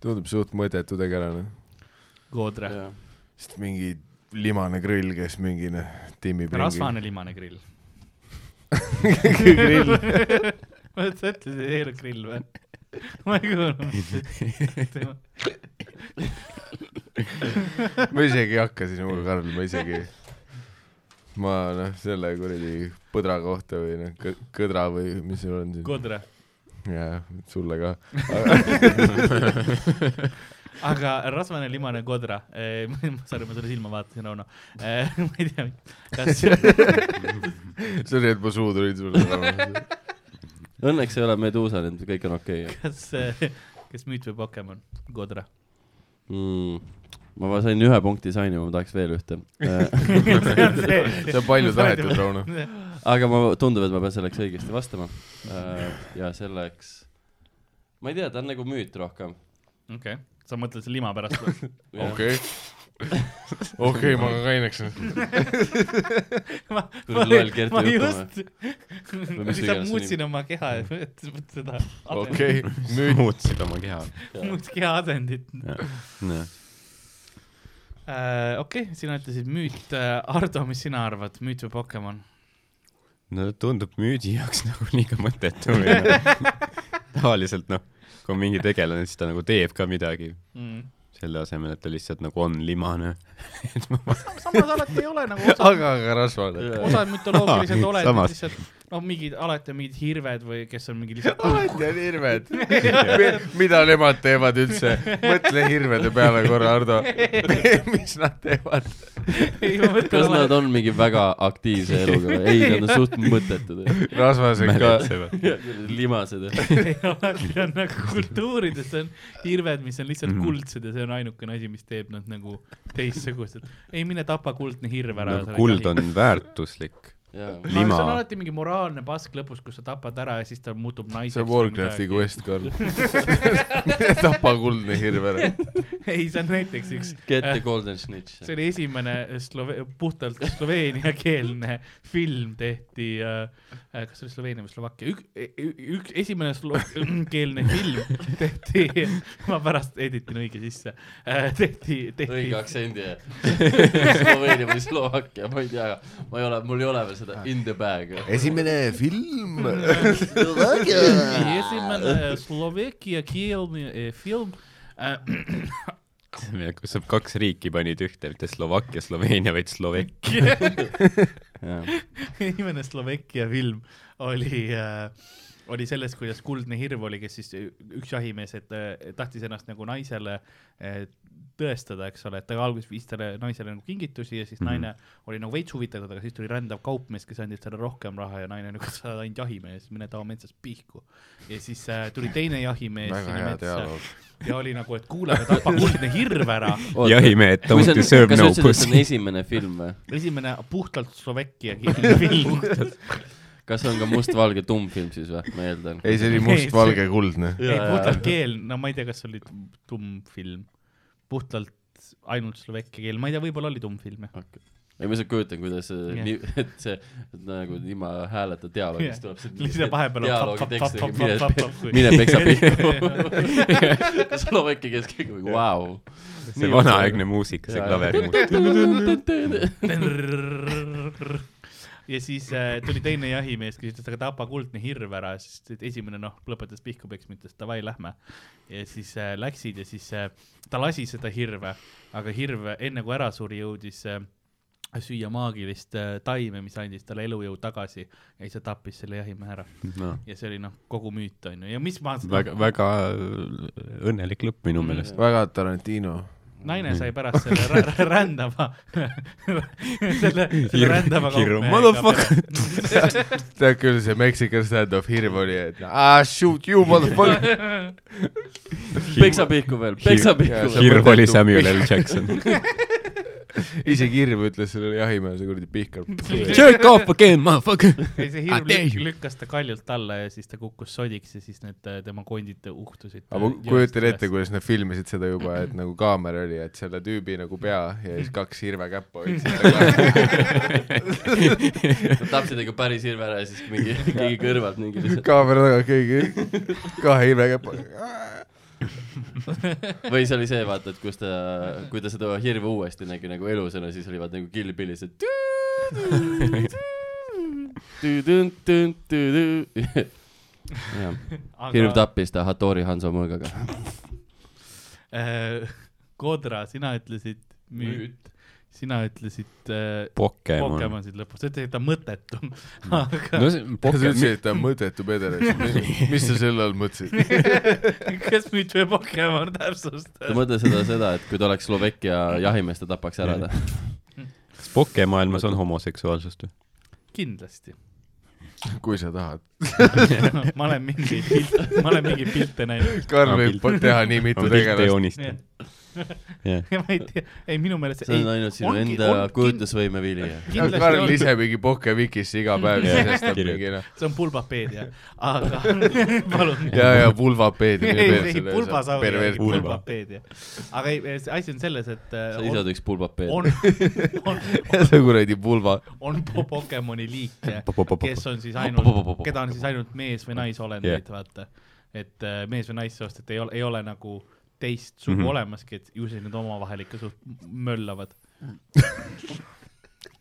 [SPEAKER 2] tundub suht mõttetu tegelane ,
[SPEAKER 3] koodra .
[SPEAKER 2] sest mingi limane grill , kes mingi , noh , timmib ringi .
[SPEAKER 3] rasvane limane grill .
[SPEAKER 2] grill ,
[SPEAKER 3] [LAUGHS] ma ütlesin , sa ütlesid , et ei ole grill või ? ma ei kuulnud , mis sa ütlesid .
[SPEAKER 2] [LAUGHS] ma isegi ei hakka siis mulle , Karl , ma isegi , ma noh , selle kuradi põdra kohta või noh , kõdra või mis sul on siin ,
[SPEAKER 3] kodra .
[SPEAKER 2] jaa , sulle ka .
[SPEAKER 3] aga rasvane limane kodra , sorry , ma sulle silma vaatasin , Rauno . ma ei tea , kas
[SPEAKER 2] sorry , et ma suu tulin sulle .
[SPEAKER 4] Õnneks ei ole Meduusa , nüüd kõik on okei okay.
[SPEAKER 3] kas , kas müüt või Pokemon , kodra .
[SPEAKER 4] mm. . ma va- sain ühe punkti sain ja ma tahaks veel ühte .
[SPEAKER 3] [LAUGHS]
[SPEAKER 2] see on palju tahetud , Rauno .
[SPEAKER 4] aga ma , tundub , et ma pean selleks õigesti vastama . ja selleks , ma ei tea , ta on nagu müüt rohkem .
[SPEAKER 3] okei , sa mõtled selle lima pärast või ?
[SPEAKER 2] okei . okei , ma ka kaineks .
[SPEAKER 3] ma
[SPEAKER 4] Tuli loll Kerti
[SPEAKER 3] ma
[SPEAKER 4] juttu
[SPEAKER 3] just , [LAUGHS] ma
[SPEAKER 4] mis
[SPEAKER 3] lihtsalt
[SPEAKER 4] iganes
[SPEAKER 3] muutsin oma keha , et et seda ,
[SPEAKER 2] okei , nüüd .
[SPEAKER 5] muutsid oma keha .
[SPEAKER 3] muutsin keha asendit . Äh, okei , sina ütlesid müüt , Ardo , mis sina arvad , müüt või Pokemon ?
[SPEAKER 5] no tundub müüdi jaoks [LAUGHS] nagu liiga mõttetu või noh . [LAUGHS] tavaliselt noh , kui on mingi tegelane , siis ta nagu teeb ka midagi , selle asemel , et ta lihtsalt nagu on limane . [LAUGHS]
[SPEAKER 3] samas alati ei ole nagu osa
[SPEAKER 2] aga , aga rasvane .
[SPEAKER 3] osad mütoloogilised
[SPEAKER 5] Ahah,
[SPEAKER 3] olendid
[SPEAKER 5] samas.
[SPEAKER 3] lihtsalt , no mingid alati on mingid hirved või kes on mingi lihtsalt
[SPEAKER 2] [LAUGHS] alati on hirved . mida nemad teevad üldse ? mõtle hirvede peale korra , Ardo . [LAUGHS] mis nad teevad ?
[SPEAKER 3] ei ma mõtlen
[SPEAKER 4] kas nad
[SPEAKER 3] alati ,
[SPEAKER 4] on mingi väga aktiivse eluga või ? ei , nad on suht mõttetud .
[SPEAKER 2] rasvased
[SPEAKER 5] [LAUGHS]
[SPEAKER 2] ka .
[SPEAKER 4] limased .
[SPEAKER 3] [LAUGHS] alati on nagu kultuurides on hirved , mis on lihtsalt kuldsed ja see on ainukene asi , mis teeb nad nagu teistsugused . ei mine tapa kuldne hirv ära .
[SPEAKER 5] nagu kuld on väärtuslik . lima.
[SPEAKER 3] see on alati mingi moraalne pask lõpus , kus sa tapad ära ja siis ta muutub naiseks .
[SPEAKER 2] see on Warcrafti . quest , [LAUGHS] Karl . tapa kuldne hirv ära .
[SPEAKER 3] [LAUGHS] ei , see on näiteks üks ,
[SPEAKER 4] Get the golden snitch .
[SPEAKER 3] see oli esimene slove- , puhtalt sloveeniakeelne film tehti äh, , kas see oli Sloveenia või Slovakkia , ük- , üks , esimene sloveeniakeelne film tehti , ma pärast editan õige sisse äh, , tehti , tehti
[SPEAKER 4] õige . aktsendi . Sloveenia või Slovakkia , ma ei tea , ma ei ole , mul ei ole veel seda in the bag .
[SPEAKER 2] esimene [LAUGHS] film .
[SPEAKER 3] esimene Slovakkia keelne eh, film äh, .
[SPEAKER 5] kus sa kaks riiki panid ühte , mitte Slovakkia , Sloveenia , vaid Slovakkia .
[SPEAKER 3] [LAUGHS] esimene Slovakkia film oli äh, , oli sellest , kuidas Kuldne Hirv oli , kes siis üks jahimees , et äh, tahtis ennast nagu naisele äh, tõestada , eks ole , et ta alguses viis talle naisele nagu kingitusi ja siis mm
[SPEAKER 2] Mhm.
[SPEAKER 3] -hmm. naine oli nagu veits huvitatud , aga siis tuli rändav kaupmees , kes andis talle rohkem raha ja naine nagu , [LAUGHS] sa oled ainult jahimees , mine tao metsas pihku . ja siis äh, tuli teine jahimees
[SPEAKER 2] Väga hea
[SPEAKER 3] sinna metsa
[SPEAKER 2] dialoog.
[SPEAKER 3] ja oli nagu , et kuule , aga tapa
[SPEAKER 2] [LAUGHS]
[SPEAKER 3] Kuldne Hirv ära .
[SPEAKER 5] Jahimehed don't deserve no
[SPEAKER 4] kas see on
[SPEAKER 5] pussy.
[SPEAKER 4] esimene film või ?
[SPEAKER 3] esimene puhtalt
[SPEAKER 2] [LAUGHS]
[SPEAKER 3] Slovakkia film .
[SPEAKER 4] kas on ka mustvalge tummfilm siis või , ma eeldan ?
[SPEAKER 2] ei , see oli mustvalge kuldne .
[SPEAKER 3] ei , puhtalt
[SPEAKER 4] see
[SPEAKER 3] keel , no ma ei tea , kas oli tum- tumm film , puhtalt ainult slovakkia keel , ma ei tea , võib-olla oli tumm film jah .
[SPEAKER 4] ma lihtsalt kujutan , kuidas see
[SPEAKER 3] Jah.
[SPEAKER 4] nii- [LAUGHS] et see et nagu ilma hääleta dialoogist tuleb
[SPEAKER 3] [LAUGHS]
[SPEAKER 4] see
[SPEAKER 3] lihtsalt vahepeal on
[SPEAKER 4] dialoogi tekst , mine
[SPEAKER 3] tap-tap-tap-tap-tap .
[SPEAKER 4] mine peksa
[SPEAKER 3] [LAUGHS]
[SPEAKER 4] [LAUGHS] pihku . [LAUGHS] Slovakki keskel , vau .
[SPEAKER 3] [LAUGHS]
[SPEAKER 5] see vanaaegne muusika , see
[SPEAKER 4] Jaa, jaa.
[SPEAKER 5] klaverimuusika .
[SPEAKER 3] ja siis äh, tuli teine jahimees , kes ütles , aga tapa kuldne hirv ära , sest et esimene noh , lõpetas pihku peksma , ütles davai , lähme . ja siis äh, läksid ja siis äh, ta lasi seda hirve , aga hirv enne kui ära suri , jõudis äh, süüa maagilist äh, taime , mis andis talle elujõu tagasi ja siis ta tappis selle jahimehe ära . ja see oli noh , kogu müüt on ju , ja mis ma
[SPEAKER 5] väga , väga õnnelik lõpp
[SPEAKER 4] Mm.
[SPEAKER 5] minu meelest .
[SPEAKER 2] väga Tarantino .
[SPEAKER 3] naine sai pärast selle rä- rä- rändava , selle , selle
[SPEAKER 5] Hir-
[SPEAKER 3] rändava
[SPEAKER 5] hirm,
[SPEAKER 3] kaupmehega
[SPEAKER 5] motherfucker.
[SPEAKER 3] peale-
[SPEAKER 2] tead küll , see Mexican stand-off hirm oli , et ah shoot you
[SPEAKER 5] [LAUGHS]
[SPEAKER 2] motherfucker .
[SPEAKER 4] peksa pihku veel , peksa pihku veel .
[SPEAKER 5] hirv oli Samuel L
[SPEAKER 4] [LAUGHS]
[SPEAKER 5] Jackson .
[SPEAKER 2] isegi hirm ütles sellele jahimehele , see kuradi pihkab .
[SPEAKER 5] Jerk off again , motherfucker .
[SPEAKER 3] ei , see
[SPEAKER 2] Ah,
[SPEAKER 5] I
[SPEAKER 3] hirm
[SPEAKER 5] dare
[SPEAKER 3] lük-
[SPEAKER 5] you.
[SPEAKER 3] lükkas ta kaljult alla ja siis ta kukkus sodiks ja siis need äh, tema kondid uhtusid .
[SPEAKER 2] aga ma kujutan ette ,. kuidas nad filmisid seda juba , et nagu kaamera oli , et selle tüübi nagu pea ja siis kaks hirve käppa
[SPEAKER 5] [LAUGHS]
[SPEAKER 2] hoidsid .
[SPEAKER 4] Nad tapsid ikka päris hirve ära ja siis mingi , [LAUGHS] keegi kõrvalt mingi lihtsalt
[SPEAKER 2] kaamera taga keegi , kahe hirve käpaga .
[SPEAKER 4] või see oli see , vaata , et kus ta , kui ta seda hirve uuesti nägi nagu elusena , siis oli vaata nagu Kill Billis , et tü-tü-tü-tü-tü. Jah. hirv
[SPEAKER 3] aga
[SPEAKER 4] tappis ta Hattori Hanso mõõgaga .
[SPEAKER 3] äh, [LAUGHS] Kodra , sina ütlesid müüt , sina ütlesid äh,
[SPEAKER 5] Pokemon .
[SPEAKER 3] Pokemonid lõpus , sa ütlesid , et ta on mõttetu . [LAUGHS] aga
[SPEAKER 5] no see on
[SPEAKER 2] sa
[SPEAKER 5] Pokemon .
[SPEAKER 2] ütlesid , et ta on mõttetu
[SPEAKER 5] [LAUGHS]
[SPEAKER 2] pederast . mis sa selle all mõtlesid ?
[SPEAKER 3] kes müüt või Pokemon täpsustab
[SPEAKER 4] ta ? mõtles seda , seda , et kui ta oleks Slovakkia jahimees , ta tapaks ära ta .
[SPEAKER 5] kas pokemaailmas on homoseksuaalsust või ?
[SPEAKER 2] [LAUGHS]
[SPEAKER 3] kindlasti .
[SPEAKER 2] kui sa tahad .
[SPEAKER 3] ma olen mingeid pilte , ma olen mingeid pilte näinud .
[SPEAKER 2] Karl
[SPEAKER 5] Ma
[SPEAKER 2] võib
[SPEAKER 5] pilt-
[SPEAKER 2] teha nii mitu tegelast .
[SPEAKER 3] Jah.
[SPEAKER 5] joonistanud . jah ,
[SPEAKER 3] [LAUGHS] ma ei tea , ei minu meelest
[SPEAKER 4] see on ainult sinu enda . kujutlusvõime vili .
[SPEAKER 3] kindlasti
[SPEAKER 2] Karl
[SPEAKER 3] on ,
[SPEAKER 2] ise mingi Pokevikisse iga päev
[SPEAKER 5] Jah,
[SPEAKER 2] sisestab
[SPEAKER 5] kirjutab.
[SPEAKER 2] mingi noh ,
[SPEAKER 3] see on pulbapeedia , aga [LAUGHS] palun .
[SPEAKER 2] ja , ja pulvapeedi .
[SPEAKER 3] ei , ei pulbasaur ,
[SPEAKER 5] Pulba.
[SPEAKER 2] [LAUGHS]
[SPEAKER 3] pulbapeedia . aga ei , see asi on selles , et
[SPEAKER 4] sa
[SPEAKER 3] äh,
[SPEAKER 4] ise oled üks pulbapeed .
[SPEAKER 3] on , on ,
[SPEAKER 2] see kuradi pulva .
[SPEAKER 3] on po- Pokemoni liike , kes on siis ainult
[SPEAKER 4] Pop-pop-pop-pop. ,
[SPEAKER 3] keda on siis ainult mees või naisolendeid yeah. , vaata . et äh, mees või naissoost , et ei ole , ei ole nagu teist sugu mm
[SPEAKER 5] Mhm.
[SPEAKER 3] -hmm. olemaski , et ju siis nad omavahel ikka suht möllavad .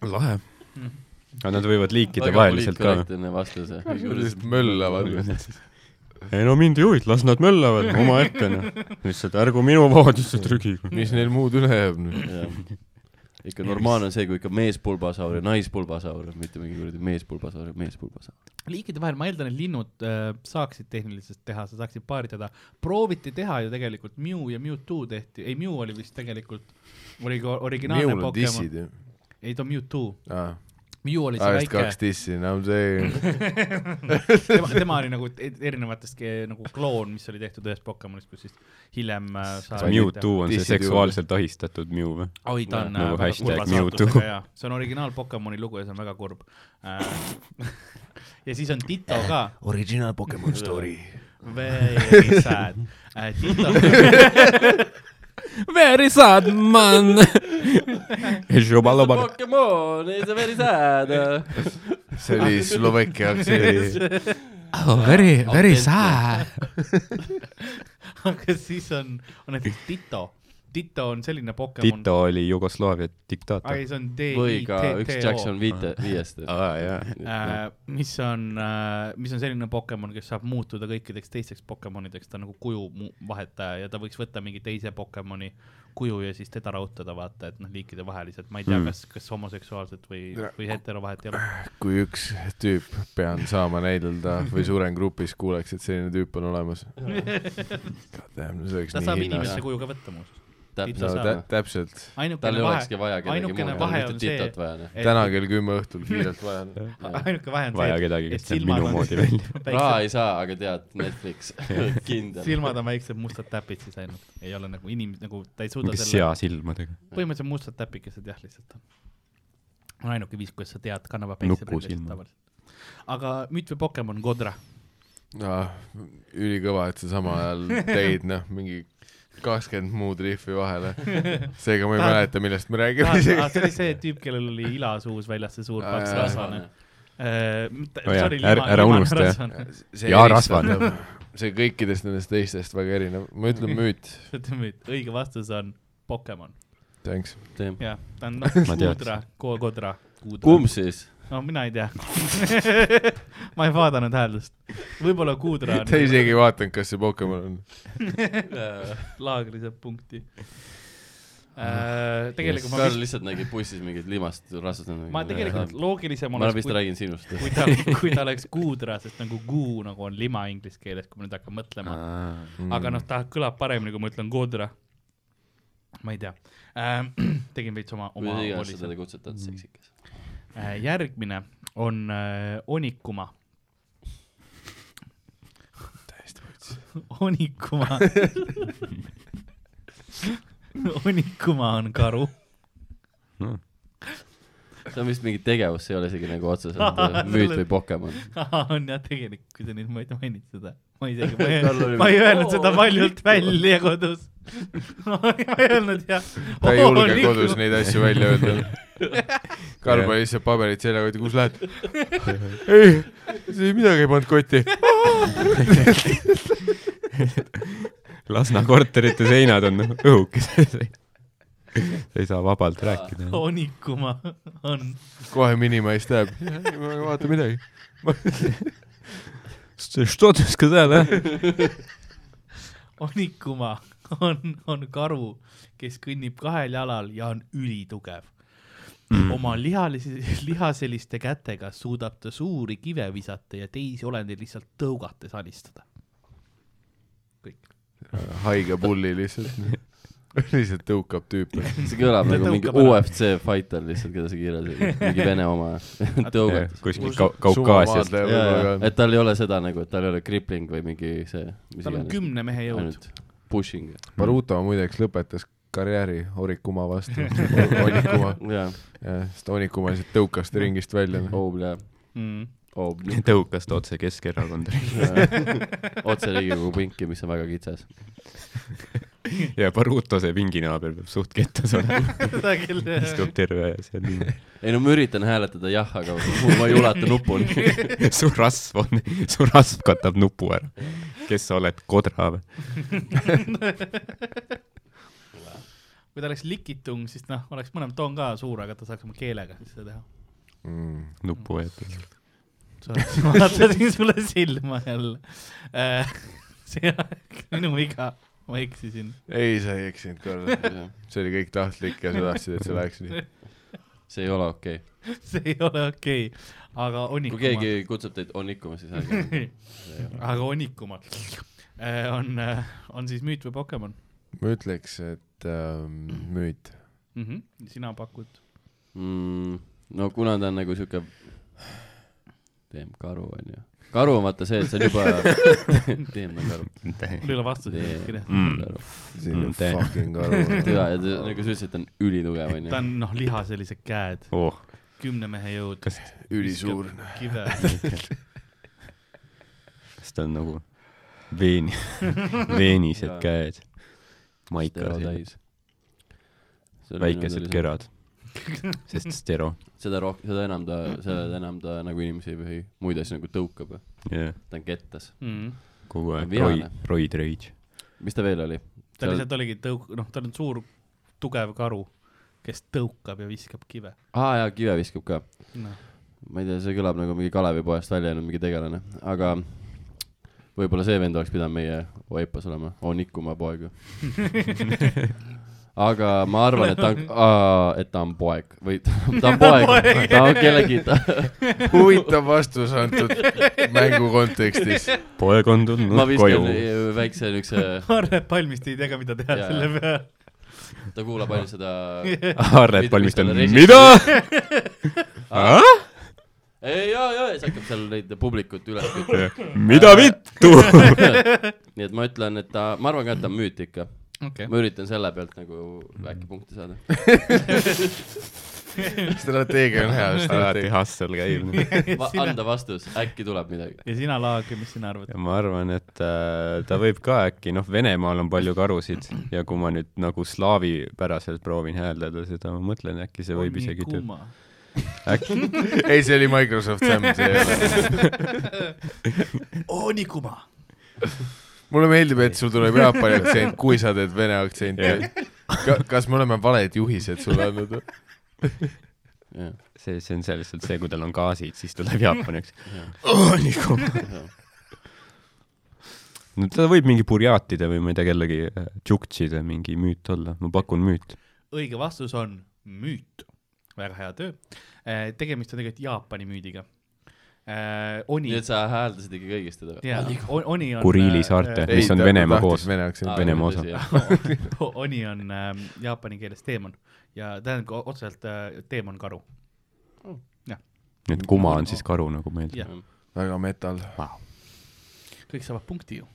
[SPEAKER 5] lahe . aga nad võivad liikide vaheliselt ka .
[SPEAKER 4] vastus .
[SPEAKER 2] möllavad .
[SPEAKER 5] ei no mind ei huvita , las nad möllavad omaette , noh . lihtsalt [LAUGHS] ärgu minu voodisse trügigu .
[SPEAKER 2] mis neil muud üle jääb nüüd ?
[SPEAKER 4] ikka normaalne on see , kui ikka meespulbasaur ja naispulbasaur , mitte mingi kuradi meespulbasaur ja meespulbasaur .
[SPEAKER 3] liikide vahel , ma eeldan , et linnud äh, saaksid tehniliselt teha , sa saaksid paaridada . prooviti teha ju tegelikult Mew ja Mewtwo tehti , ei Mew oli vist tegelikult , oli ka originaalne
[SPEAKER 2] minul on
[SPEAKER 3] Pokemon
[SPEAKER 2] dissid . ju .
[SPEAKER 3] ei ta on Mewtwo ,
[SPEAKER 2] aa ,
[SPEAKER 3] Mew oli see
[SPEAKER 2] ajast Ah, kaks
[SPEAKER 3] väike ,
[SPEAKER 2] dissi , no see ,
[SPEAKER 3] tema , tema oli nagu e- erinevatest ke- nagu kloon , mis oli tehtud ühest Pokemonist , kus siis hiljem äh,
[SPEAKER 5] kas
[SPEAKER 3] sai
[SPEAKER 5] Mewtwo on see
[SPEAKER 2] Dissid
[SPEAKER 5] seksuaalselt ahistatud Mew või ?
[SPEAKER 3] oi , ta on
[SPEAKER 5] Nagu
[SPEAKER 3] äh, väga
[SPEAKER 5] hashtag
[SPEAKER 3] kurva
[SPEAKER 5] Mewtwo.
[SPEAKER 3] saatusega, jaa. see on originaal Pokemoni lugu ja see on väga kurb äh, . [LAUGHS] ja siis on Tito ka .
[SPEAKER 2] originaal Pokemon story .
[SPEAKER 3] Very sad äh, . Tito
[SPEAKER 5] Very sad [LAUGHS] man .
[SPEAKER 4] Pokemon , it's a very sad .
[SPEAKER 2] see
[SPEAKER 3] [LAUGHS]
[SPEAKER 2] oli Slovakkia aktsent .
[SPEAKER 5] Oh, Very ,
[SPEAKER 4] very
[SPEAKER 5] sad .
[SPEAKER 3] aga siis on , on näiteks Tito , Tito on selline Pokemon .
[SPEAKER 5] Tito oli Jugoslaavia diktaator
[SPEAKER 3] ei , see on D
[SPEAKER 4] või
[SPEAKER 3] I
[SPEAKER 4] ka
[SPEAKER 3] T
[SPEAKER 4] üks
[SPEAKER 3] T O
[SPEAKER 4] Jackson . viite , viiest .
[SPEAKER 5] aa jaa ,
[SPEAKER 3] Äh, mis on äh, , mis on selline Pokemon , kes saab muutuda kõikideks teisteks Pokemonideks , ta on nagu kuju mu- vahetaja ja ta võiks võtta mingi teise Pokemoni kuju ja siis teda rahutada , vaata , et noh , liikidevaheliselt , ma ei tea ,
[SPEAKER 5] Mm.
[SPEAKER 3] kas , kas homoseksuaalset või , või hetero vahet ei ole .
[SPEAKER 2] kui üks tüüp pean saama näidelda või suren grupis , kuuleks , et selline tüüp on
[SPEAKER 3] [LAUGHS]
[SPEAKER 2] olemas . see oleks
[SPEAKER 3] ta
[SPEAKER 2] nii
[SPEAKER 3] saab
[SPEAKER 2] hinnas
[SPEAKER 3] inimese . kuju ka võtta muuseas .
[SPEAKER 2] no
[SPEAKER 3] sa
[SPEAKER 4] täpselt
[SPEAKER 3] saad. .
[SPEAKER 2] tä- täpselt ,
[SPEAKER 4] tal
[SPEAKER 3] ainukene
[SPEAKER 4] ei
[SPEAKER 3] vahe ,
[SPEAKER 4] olekski vaja kedagi
[SPEAKER 3] ainukene
[SPEAKER 4] muud ,
[SPEAKER 3] vahe
[SPEAKER 4] mitte
[SPEAKER 3] on see-
[SPEAKER 4] Titot vaja . noh.
[SPEAKER 3] et-
[SPEAKER 2] täna kell kümme õhtul kiirelt vajan .
[SPEAKER 3] [LAUGHS] ainuke vahe on
[SPEAKER 5] vaja
[SPEAKER 3] see ,
[SPEAKER 5] kedagi ,
[SPEAKER 3] et
[SPEAKER 5] kes näeb minu
[SPEAKER 3] silmad on-
[SPEAKER 5] moodi välja .
[SPEAKER 3] et
[SPEAKER 4] raha
[SPEAKER 3] [LAUGHS] väiksed-
[SPEAKER 4] ei saa , aga tead ,
[SPEAKER 3] [LAUGHS]
[SPEAKER 4] Netflix , [LAUGHS] kindel .
[SPEAKER 3] silmad on väiksed mustad täpid siis ainult , ei ole nagu inimesed , nagu ta ei suuda
[SPEAKER 5] mingi
[SPEAKER 3] selle ,
[SPEAKER 5] seasilmadega ,
[SPEAKER 3] põhimõtteliselt mustad täpikesed jah , lihtsalt on . on ainuke viis , kuidas sa tead , kannavad päikseprillid
[SPEAKER 5] Nukusilmad.
[SPEAKER 3] tavaliselt . aga müüt või Pokemon ,
[SPEAKER 5] [LAUGHS]
[SPEAKER 3] Kodra ?
[SPEAKER 2] Noh, ülikõva , et sa samal ajal teid noh , mingi kakskümmend muud rihvi vahele . seega ma ei
[SPEAKER 3] Tahad-
[SPEAKER 2] mäleta , millest me
[SPEAKER 3] Ah, see
[SPEAKER 2] räägime isegi .
[SPEAKER 3] oli see tüüp , kellel oli ila suus väljas , see suur
[SPEAKER 2] Aa,
[SPEAKER 3] paks
[SPEAKER 2] jaa,
[SPEAKER 3] rasvane . Äh,
[SPEAKER 5] Oh jaa, ära- ära unusta, jah.
[SPEAKER 3] [LAUGHS]
[SPEAKER 5] Ja rasvane. .
[SPEAKER 2] see kõikidest nendest teistest väga erinev , ma ütlen müüt ,
[SPEAKER 3] õige vastus on Pokemon ,
[SPEAKER 2] thanks .
[SPEAKER 3] jah , ta on noh ,
[SPEAKER 5] Ma
[SPEAKER 3] Kudra , Kodra .
[SPEAKER 4] kumb siis ?
[SPEAKER 3] no mina ei tea . [LAUGHS] ma ei vaadanud hääldust , võib-olla Kudra
[SPEAKER 2] ta
[SPEAKER 3] [LAUGHS] on
[SPEAKER 2] isegi ei vaadanud , kas see Pokemon on .
[SPEAKER 3] laagri saab Äh, punkti . tegelikult ma
[SPEAKER 4] Karl
[SPEAKER 3] vist ,
[SPEAKER 4] lihtsalt nägi bussis mingit limast nagu rasvast .
[SPEAKER 3] ma tegelikult . loogilisem
[SPEAKER 4] ma
[SPEAKER 3] oleks ,
[SPEAKER 4] vist
[SPEAKER 3] kui ,
[SPEAKER 4] räägin sinust .
[SPEAKER 3] kui ta , kui ta oleks Kudra , sest nagu kuu nagu on lima inglise keeles , kui ma nüüd hakkan mõtlema .
[SPEAKER 4] mm.
[SPEAKER 3] aga noh , ta kõlab paremini , kui ma ütlen Kudra . ma ei tea ähm, , [CLEARS THROAT] tegin veits oma , Mm.
[SPEAKER 4] või
[SPEAKER 3] oma
[SPEAKER 4] iganes
[SPEAKER 3] voolise
[SPEAKER 4] seda te kutsute , on seksikas .
[SPEAKER 3] Äh, järgmine on äh, Onikuma . täiesti võtsin . [LAUGHS] Onikuma . Onikuma on karu .
[SPEAKER 4] see on vist mingi tegevus , see ei ole isegi nagu
[SPEAKER 3] [LAUGHS]
[SPEAKER 4] otseselt
[SPEAKER 3] Aa,
[SPEAKER 4] müüt
[SPEAKER 3] selle-
[SPEAKER 4] või Pokemon .
[SPEAKER 3] on jah , tegelikult , kui sa nüüd ma- mainid seda , ma isegi ,
[SPEAKER 4] Karl oli-
[SPEAKER 3] ma ei öelnud seda valjult välja kodus . [LAUGHS] ma ei öelnud jah .
[SPEAKER 2] ta
[SPEAKER 3] Oh,
[SPEAKER 2] ei julge kodus neid asju välja öelda . Karl pani lihtsalt paberid seljakotti , kus lähed ? ei , midagi ei pannud kotti .
[SPEAKER 5] Lasna korterite seinad on noh, õhukesed . sa ei saa vabalt rääkida .
[SPEAKER 3] Onikuma on
[SPEAKER 2] kohe minimaist läheb . ma ei vaata midagi .
[SPEAKER 5] Что ты сказала ?
[SPEAKER 3] Onikuma on , on karu , kes kõnnib kahel jalal ja on ülitugev . oma lihalisi , lihaseliste kätega suudab ta suuri kive visata ja teisi olendeid lihtsalt tõugates alistada . kõik .
[SPEAKER 2] haige pulli lihtsalt . [LAUGHS] lihtsalt tõukab tüüpe .
[SPEAKER 4] see kõlab
[SPEAKER 3] Ta
[SPEAKER 4] nagu mingi
[SPEAKER 3] tõukab ära.
[SPEAKER 4] UFC fighter lihtsalt , keda sa kirjeldasid , mingi vene
[SPEAKER 3] [LAUGHS]
[SPEAKER 4] oma tõugad .
[SPEAKER 5] kuskil kau- , Kaukaasias .
[SPEAKER 4] et tal ei ole seda nagu , et tal ei ole crippling või mingi see , mis
[SPEAKER 3] tal on
[SPEAKER 4] iganes ,
[SPEAKER 3] kümne mehe jõud .
[SPEAKER 4] ainult pushing .
[SPEAKER 2] Baruto muideks lõpetas karjääri Orikuma
[SPEAKER 5] [LAUGHS]
[SPEAKER 2] vastu , Onikuma ,
[SPEAKER 4] jaa ,
[SPEAKER 2] sest Onikuma lihtsalt tõukas ta ringist
[SPEAKER 5] [LAUGHS]
[SPEAKER 2] välja .
[SPEAKER 4] Obla ,
[SPEAKER 3] Mm. [LAUGHS]
[SPEAKER 4] Obla ,
[SPEAKER 5] tõukas ta otse Keskerakonda
[SPEAKER 4] [LAUGHS] otse Riigikogu pinki , mis on väga kitsas .
[SPEAKER 5] ja Baruto , see pinginaaber peab suht kettas olema ,
[SPEAKER 3] seda küll
[SPEAKER 5] istub terve seal nii .
[SPEAKER 4] ei no ma üritan hääletada jah , [LAUGHS] aga ma ei ulata [LAUGHS] nupuni .
[SPEAKER 5] su rasv on , su rasv katab nupu ära . kes sa oled , kodra või ?
[SPEAKER 3] kui ta oleks likitung , siis noh , oleks mõlem toon ka suur , aga ta saaks oma keelega siis seda teha .
[SPEAKER 2] Mm.
[SPEAKER 5] nupu võetud .
[SPEAKER 3] sa ma vaatasin sulle silma jälle . [LAUGHS] see , minu viga , ma eksisin .
[SPEAKER 2] ei , sa ei eksinud , Karl . see oli kõik tahtlik ja sa tahtsid , et see läheks nii .
[SPEAKER 4] see ei ole okei okay. .
[SPEAKER 3] see ei ole okei okay. , aga
[SPEAKER 4] kui
[SPEAKER 3] onikuma .
[SPEAKER 4] keegi kutsub teid onikuma , siis ärge .
[SPEAKER 3] [LAUGHS] aga onikuma äh, on , on siis müüt või Pokemon
[SPEAKER 2] ma ütleks , et ähm, müüt .
[SPEAKER 3] mm ? -hmm. sina pakud .
[SPEAKER 4] mm, . no kuna ta on nagu siuke , teem karu onju . karu on vaata see , et see on juba , [LAUGHS] teem on karu ,
[SPEAKER 3] mul ei ole vastuseid
[SPEAKER 4] teem
[SPEAKER 3] kirjas .
[SPEAKER 4] on karu .
[SPEAKER 2] selline
[SPEAKER 5] Mm, tee.
[SPEAKER 2] fucking karu .
[SPEAKER 4] ja , ja ta- nagu sa ütlesid , ta on ülitugev
[SPEAKER 3] ta
[SPEAKER 4] onju .
[SPEAKER 3] on noh , lihaselised käed ,
[SPEAKER 5] oh ,
[SPEAKER 3] kümne mehe jõud ,
[SPEAKER 5] kas ,
[SPEAKER 2] ülisuur .
[SPEAKER 3] kive . [LAUGHS]
[SPEAKER 5] kas ta on nagu veeni , veenised
[SPEAKER 4] Jaa.
[SPEAKER 5] käed , maika sees , väikesed . kerad , sest stero ,
[SPEAKER 4] nagu seda rohkem , seda enam ta , seda enam ta nagu inimesi ei põhi , muid asju nagu tõukab .
[SPEAKER 5] jah ,
[SPEAKER 4] ta on kettas .
[SPEAKER 3] Mm.
[SPEAKER 5] kogu aeg
[SPEAKER 4] Vihane.
[SPEAKER 5] roi- , roid rage .
[SPEAKER 4] mis ta veel oli ?
[SPEAKER 3] ta
[SPEAKER 4] Seal-
[SPEAKER 3] lihtsalt oligi tõuk- , noh , ta on suur tugev karu , kes tõukab ja viskab kive .
[SPEAKER 4] aa jaa , kive viskab ka .
[SPEAKER 3] noh ,
[SPEAKER 4] ma ei tea , see kõlab nagu mingi Kalevipoest välja jäänud mingi tegelane , aga võib-olla see vend oleks pidanud meie Oipas olema , Onikuma poeg [LAUGHS] ju . aga ma arvan , et ta [LAUGHS] on , et ta on poeg või ta ta on [LAUGHS] poeg , ta on kellegi ,
[SPEAKER 2] huvitav vastus antud mängu kontekstis .
[SPEAKER 5] poeg on
[SPEAKER 4] ma
[SPEAKER 5] tulnud
[SPEAKER 4] viskan
[SPEAKER 5] koju .
[SPEAKER 4] väikse niukse ,
[SPEAKER 3] Arne Palmist ei tea , mida teha
[SPEAKER 4] Jaa.
[SPEAKER 3] selle peale .
[SPEAKER 4] ta kuulab ainult seda , [LAUGHS]
[SPEAKER 5] Arlet
[SPEAKER 4] Mit-
[SPEAKER 5] valmistab ,
[SPEAKER 4] mis tal
[SPEAKER 5] mida ?
[SPEAKER 4] ei jaa jaa , siis hakkab seal neid publikut üles kütma .
[SPEAKER 5] mida vittu ?
[SPEAKER 4] nii et ma ütlen , et ta , ma arvan ka , et ta on müüt ikka .
[SPEAKER 3] [LAUGHS] okei ,
[SPEAKER 4] ma üritan selle pealt nagu äkki punkte saada .
[SPEAKER 2] strateegia on hea ,
[SPEAKER 5] alati
[SPEAKER 2] strateegia .
[SPEAKER 5] hustle käib .
[SPEAKER 4] anda vastus , äkki tuleb midagi .
[SPEAKER 3] ja sina , Laag , mis sina arvad ?
[SPEAKER 5] ja ma arvan , et äh, ta võib ka äkki , noh , Venemaal on palju karusid ja kui ma nüüd nagu slaavipäraselt proovin hääldada seda , ma mõtlen , äkki see võib isegi töötada . äkki ,
[SPEAKER 2] ei , see oli Microsoft Sam , see ei ole .
[SPEAKER 3] Onikuma .
[SPEAKER 2] mulle meeldib , et sul tuleb Jaapani aktsent , kui sa teed vene aktsenti . kas me oleme valed juhised sulle andnud ?
[SPEAKER 5] see , see on see lihtsalt see , kui tal on gaasid , siis tuleb jaapaniks . Oh, no ta võib mingi burjaatide või ma ei tea , kellegi äh, tšuktšide mingi müüt olla , ma pakun müüt .
[SPEAKER 3] õige vastus on müüt . väga hea töö . tegemist on tegelikult Jaapani müüdiga . Oni
[SPEAKER 4] nii , et sa hääldasid ikka kõigist Ah, teda ?
[SPEAKER 3] jaa , Oni on . eh,
[SPEAKER 5] Kuriili saarte.
[SPEAKER 3] [LAUGHS]
[SPEAKER 5] Mis on Venemaa koos.
[SPEAKER 2] vene aktsent .
[SPEAKER 5] Venemaa osa. .
[SPEAKER 3] Oni on ähm, jaapani keeles teemon ja tähendab ka otseselt äh, teemon karu .
[SPEAKER 5] nii et kuma on siis karu , nagu meil . [LAUGHS]
[SPEAKER 3] Jah.
[SPEAKER 4] Mhm.
[SPEAKER 2] väga metal ,
[SPEAKER 3] kõik saavad punkti ju .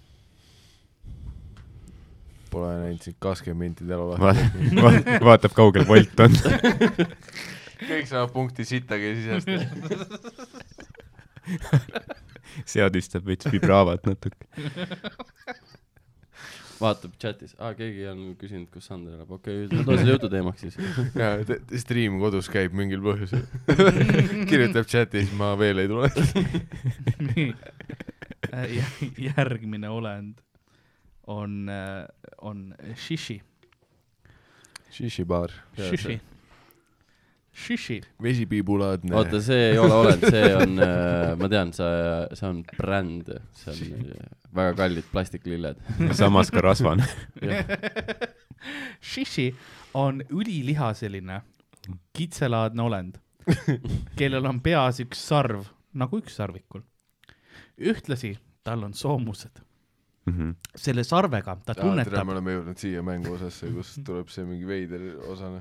[SPEAKER 2] pole näinud sind kakskümmend minti tänu lahti .
[SPEAKER 5] vaatab , kaugel Volt on . [LAUGHS]
[SPEAKER 2] kõik saavad punkti sittagi sisest .
[SPEAKER 5] seadistab veits vibraavat natuke .
[SPEAKER 4] vaatab chatis , aa , keegi on küsinud , kus Sander elab , okei , too selle jutu teemaks siis .
[SPEAKER 2] [LAUGHS] jaa , stream kodus käib mingil põhjusel . [LAUGHS] kirjutab chatis , ma veel ei tule .
[SPEAKER 3] [LAUGHS] Äh, järgmine olend on , on shishi ,
[SPEAKER 2] Shishi baar .
[SPEAKER 3] shishi , shishi .
[SPEAKER 2] vesipiibulaadne .
[SPEAKER 4] oota , see ei ole olend , see on , ma tean , sa , see on bränd , see on äh, väga kallid plastiklilled .
[SPEAKER 5] samas ka rasvane . [LAUGHS]
[SPEAKER 3] Shishi on ülilihaseline kitselaadne olend , kellel on peas üks sarv nagu ükssarvikul . ühtlasi tal on soomused .
[SPEAKER 5] Mhm.
[SPEAKER 3] selle sarvega ta
[SPEAKER 2] tere ,
[SPEAKER 3] tunnetab
[SPEAKER 2] me , oleme jõudnud siia mängu osasse , kus tuleb see mingi veider osane .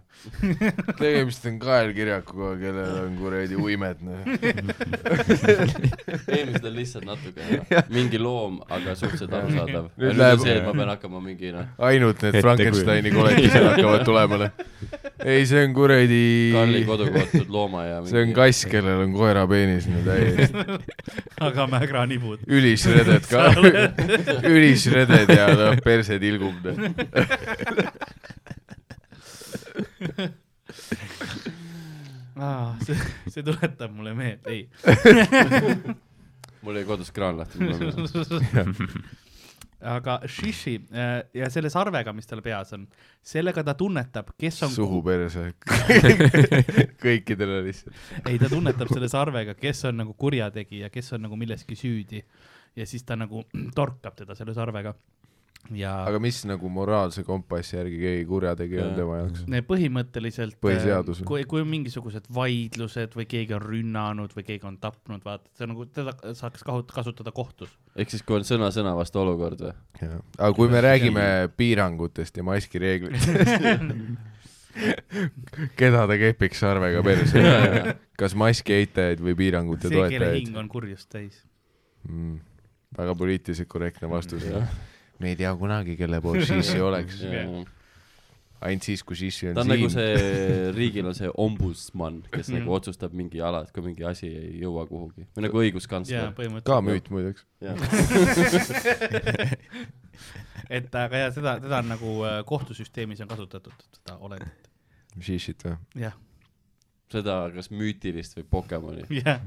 [SPEAKER 2] tegemist on kaelkirjakuga , kellel on kuradi uimed , noh .
[SPEAKER 4] eelmised on lihtsalt
[SPEAKER 2] [LAUGHS]
[SPEAKER 4] natuke mingi loom , aga suhteliselt arusaadav .
[SPEAKER 2] Nüüd
[SPEAKER 4] nüüd
[SPEAKER 2] läheb-
[SPEAKER 4] on see , et ma pean hakkama mingi noh ,
[SPEAKER 2] ainult need
[SPEAKER 5] Ette
[SPEAKER 2] Frankensteini koletised hakkavad tulema , noh . ei , see on
[SPEAKER 4] Karli
[SPEAKER 2] kuradi ,
[SPEAKER 4] kodukohatud looma ja
[SPEAKER 2] see on kass , kellel on koera peenis , no täiesti .
[SPEAKER 3] [LAUGHS] aga mägranibud .
[SPEAKER 2] ülisreded ka , ülisreded ja noh , perse tilgub , noh .
[SPEAKER 3] see , see tuletab mulle meelde , ei .
[SPEAKER 4] mul oli kodus kraan lahti .
[SPEAKER 3] [LAUGHS] aga Shishi äh, ja selle sarvega , mis tal peas on , sellega ta tunnetab , kes on ,
[SPEAKER 2] suhu perse . [LAUGHS] kõikidele lihtsalt .
[SPEAKER 3] [LAUGHS] ei , ta tunnetab selle sarvega , kes on nagu kurjategija , kes on nagu milleski süüdi . ja siis ta nagu [CLEARS THROAT] torkab teda selle sarvega . ja
[SPEAKER 2] aga mis nagu moraalse kompassi järgi keegi kurjategija on
[SPEAKER 4] Jaa.
[SPEAKER 2] tema jaoks ?
[SPEAKER 3] Ne- põhimõtteliselt
[SPEAKER 2] Põhiseadus.
[SPEAKER 3] äh, kui , kui on mingisugused vaidlused või keegi on rünnanud või keegi on tapnud , vaata , see on nagu teda saaks kahut- kasutada kohtus .
[SPEAKER 4] ehk siis , kui on sõna-sõna vastu olukord või ?
[SPEAKER 2] jah , aga kui me räägime piirangutest ja maskireeglitest , keda ta kepiks sarvega perse ? kas maski eitajaid või piirangute
[SPEAKER 3] see , kelle hing
[SPEAKER 2] toetajaid ?
[SPEAKER 3] on kurjust täis .
[SPEAKER 2] Mm, väga poliitiliselt korrektne vastus . me ei tea kunagi , kelle
[SPEAKER 4] [LAUGHS]
[SPEAKER 2] poolt sissi oleks , ainult siis , kui sissi on
[SPEAKER 4] ta on
[SPEAKER 2] siin
[SPEAKER 4] nagu . see , riigil on see ombudsman , kes
[SPEAKER 3] Mhm.
[SPEAKER 4] nagu otsustab mingi ala , et kui mingi asi ei jõua kuhugi või nagu õiguskantsler
[SPEAKER 3] jaa ,. põhimõtteliselt .
[SPEAKER 2] ka müüt muideks .
[SPEAKER 4] jah ,
[SPEAKER 3] et aga ja seda , teda on nagu äh, kohtusüsteemis on kasutatud , seda olendit .
[SPEAKER 2] sissit või ?
[SPEAKER 3] jah ,
[SPEAKER 4] seda kas müütilist või Pokemoni ,
[SPEAKER 3] jah .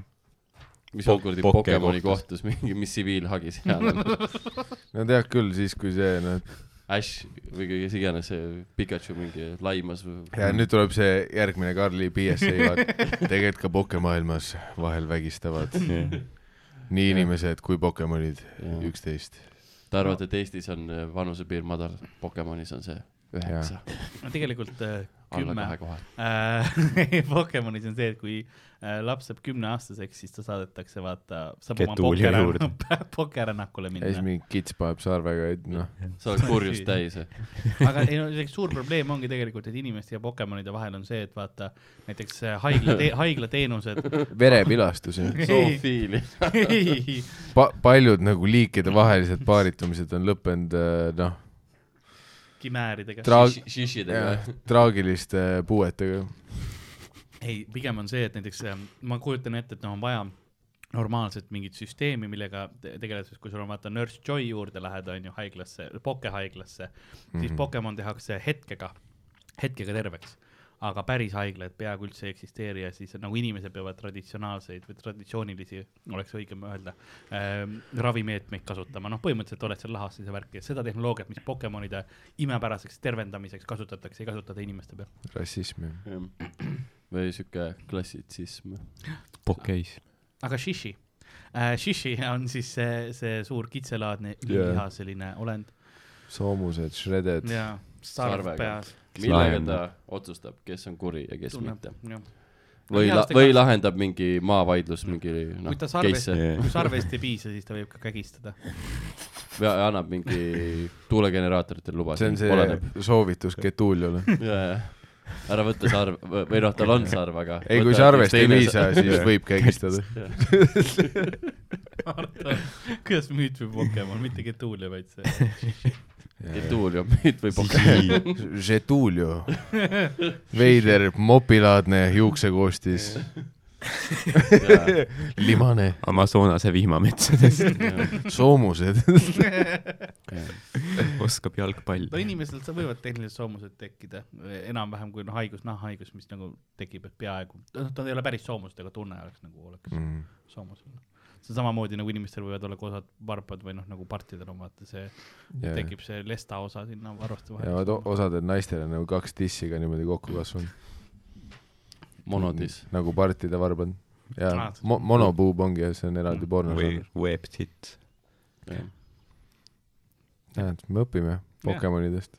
[SPEAKER 4] mis
[SPEAKER 5] Po-
[SPEAKER 4] olukord
[SPEAKER 5] poke
[SPEAKER 4] Pokemoni
[SPEAKER 5] kohtus.
[SPEAKER 3] [LAUGHS]
[SPEAKER 4] kohtus mingi , mis tsiviilhagi seal on .
[SPEAKER 2] no tead küll , siis kui see , noh ,
[SPEAKER 4] Ash või kes iganes , see Pikachu mingi laimas või
[SPEAKER 2] ja nüüd tuleb see järgmine Karli PSA , vaat tegelikult ka pokemaailmas vahel
[SPEAKER 4] [LAUGHS]
[SPEAKER 2] vägistavad nii inimesed kui Pokemonid
[SPEAKER 4] Jaa.
[SPEAKER 2] üksteist .
[SPEAKER 4] Te arvate , et Eestis on äh, vanusepiir madal , Pokemonis on see üheksa ,
[SPEAKER 3] no tegelikult äh,
[SPEAKER 4] alla
[SPEAKER 3] kümme
[SPEAKER 4] kahe . koha .
[SPEAKER 3] Äh, [LAUGHS] Pokemonis on see , et kui äh, laps saab kümneaastaseks , siis ta saadetakse , vaata , saab oma
[SPEAKER 5] Ketuuli
[SPEAKER 3] pokeränna- [LAUGHS]
[SPEAKER 5] juurde.
[SPEAKER 3] pokerrännakule
[SPEAKER 2] ja siis
[SPEAKER 3] minna .
[SPEAKER 2] mingi kits paneb sarvega , et noh ,
[SPEAKER 4] sa oled kurjust täis , eh. jah ?
[SPEAKER 3] aga ei no see suur probleem ongi tegelikult , et inimeste ja Pokemonide vahel on see , et vaata näiteks äh, haigla te , haiglateenused . [LAUGHS]
[SPEAKER 2] verepilastus ja
[SPEAKER 4] zoofiili .
[SPEAKER 3] ei ,
[SPEAKER 2] pa- , paljud nagu liikidevahelised paaritumised on lõppenud äh, noh ,
[SPEAKER 3] kimääridega .
[SPEAKER 2] traag- ,
[SPEAKER 4] Shishidega . eh.
[SPEAKER 2] traagiliste puuetega .
[SPEAKER 3] ei , pigem on see , et näiteks ähm, ma kujutan ette , et noh , on vaja normaalset mingit süsteemi , millega te- tegeleda , sest kui sul on vaata Nurse Joy juurde lähed , on ju , haiglasse , pokehaiglasse , siis mm -hmm. Pokemon tehakse hetkega , hetkega terveks . aga päris haiglad peaaegu üldse ei eksisteeri ja siis nagu inimesed peavad traditsionaalseid või traditsioonilisi , oleks õigem öelda ähm, , ravimeetmeid kasutama , noh , põhimõtteliselt oled seal lahas ja see värk ja seda tehnoloogiat , mis Pokemonide imepäraseks tervendamiseks kasutatakse , ei kasutata inimeste peal .
[SPEAKER 2] rassism .
[SPEAKER 4] või sihuke klassitsism .
[SPEAKER 5] Pokeis .
[SPEAKER 3] aga shishi äh, , shishi [LAUGHS] on siis see , see suur kitselaadne
[SPEAKER 2] Jaa.
[SPEAKER 3] ülihaseline yeah. olend
[SPEAKER 2] soomused , shredded .
[SPEAKER 3] ja sarv
[SPEAKER 4] Sarvega.
[SPEAKER 3] peas .
[SPEAKER 4] millega
[SPEAKER 5] Lahendab.
[SPEAKER 4] ta otsustab , kes on kuri ja kes mitte . [LAUGHS]
[SPEAKER 3] Minu
[SPEAKER 4] või ,
[SPEAKER 3] arust ta
[SPEAKER 4] või
[SPEAKER 3] ka-
[SPEAKER 4] lahendab mingi maavaidlus mingi
[SPEAKER 3] kui
[SPEAKER 4] noh
[SPEAKER 3] ta , sarvest ,
[SPEAKER 4] case
[SPEAKER 5] Jah.
[SPEAKER 3] kui sarvest ei piisa , siis ta võib ka kägistada .
[SPEAKER 4] või annab mingi tuulegeneraatoritele luba .
[SPEAKER 2] see on
[SPEAKER 4] [LAUGHS]
[SPEAKER 2] see soovitus Getuliole .
[SPEAKER 4] ära võta sarv võ- või noh , tal on sarv , aga .
[SPEAKER 2] ei , kui sarvest ei piisa , siis
[SPEAKER 4] [LAUGHS]
[SPEAKER 2] võib kägistada .
[SPEAKER 3] kuidas müüt või Pokemon , mitte Getulio , vaid see .
[SPEAKER 4] Getulium , müüt või Pokemon .
[SPEAKER 2] Getulio . veider mopilaadne juuksekoostis , limane ,
[SPEAKER 5] Amazonase
[SPEAKER 3] [LAUGHS]
[SPEAKER 5] vihmametsades
[SPEAKER 2] soomused . [LAUGHS]
[SPEAKER 5] oskab jalgpalli
[SPEAKER 3] no . inimesel sa- võivad tehnilised soomused tekkida eh, enam-vähem kui noh , haigus , nahahaigus , mis nagu tekib , et peaaegu , noh , ta ei ole päris soomused , aga tunne oleks nagu oleks
[SPEAKER 2] Mm.
[SPEAKER 4] Mm.
[SPEAKER 3] soomus . see on samamoodi nagu inimestel võivad olla ka osad varbad või noh , nagu partidel on vaata see yeah. tekib see lesta osa sinna varvaste
[SPEAKER 2] ja vaat o-
[SPEAKER 3] vahele .
[SPEAKER 2] osadel naistel on nagu kaks tissi ka niimoodi kokku kasvanud .
[SPEAKER 4] monodis .
[SPEAKER 2] nagu partide varbad . ja
[SPEAKER 3] Ah.
[SPEAKER 2] mo- , monopuub ongi ja see on eraldi
[SPEAKER 5] või
[SPEAKER 2] pornosarv .
[SPEAKER 5] webtit .
[SPEAKER 2] näed , me õpime Pokemonidest .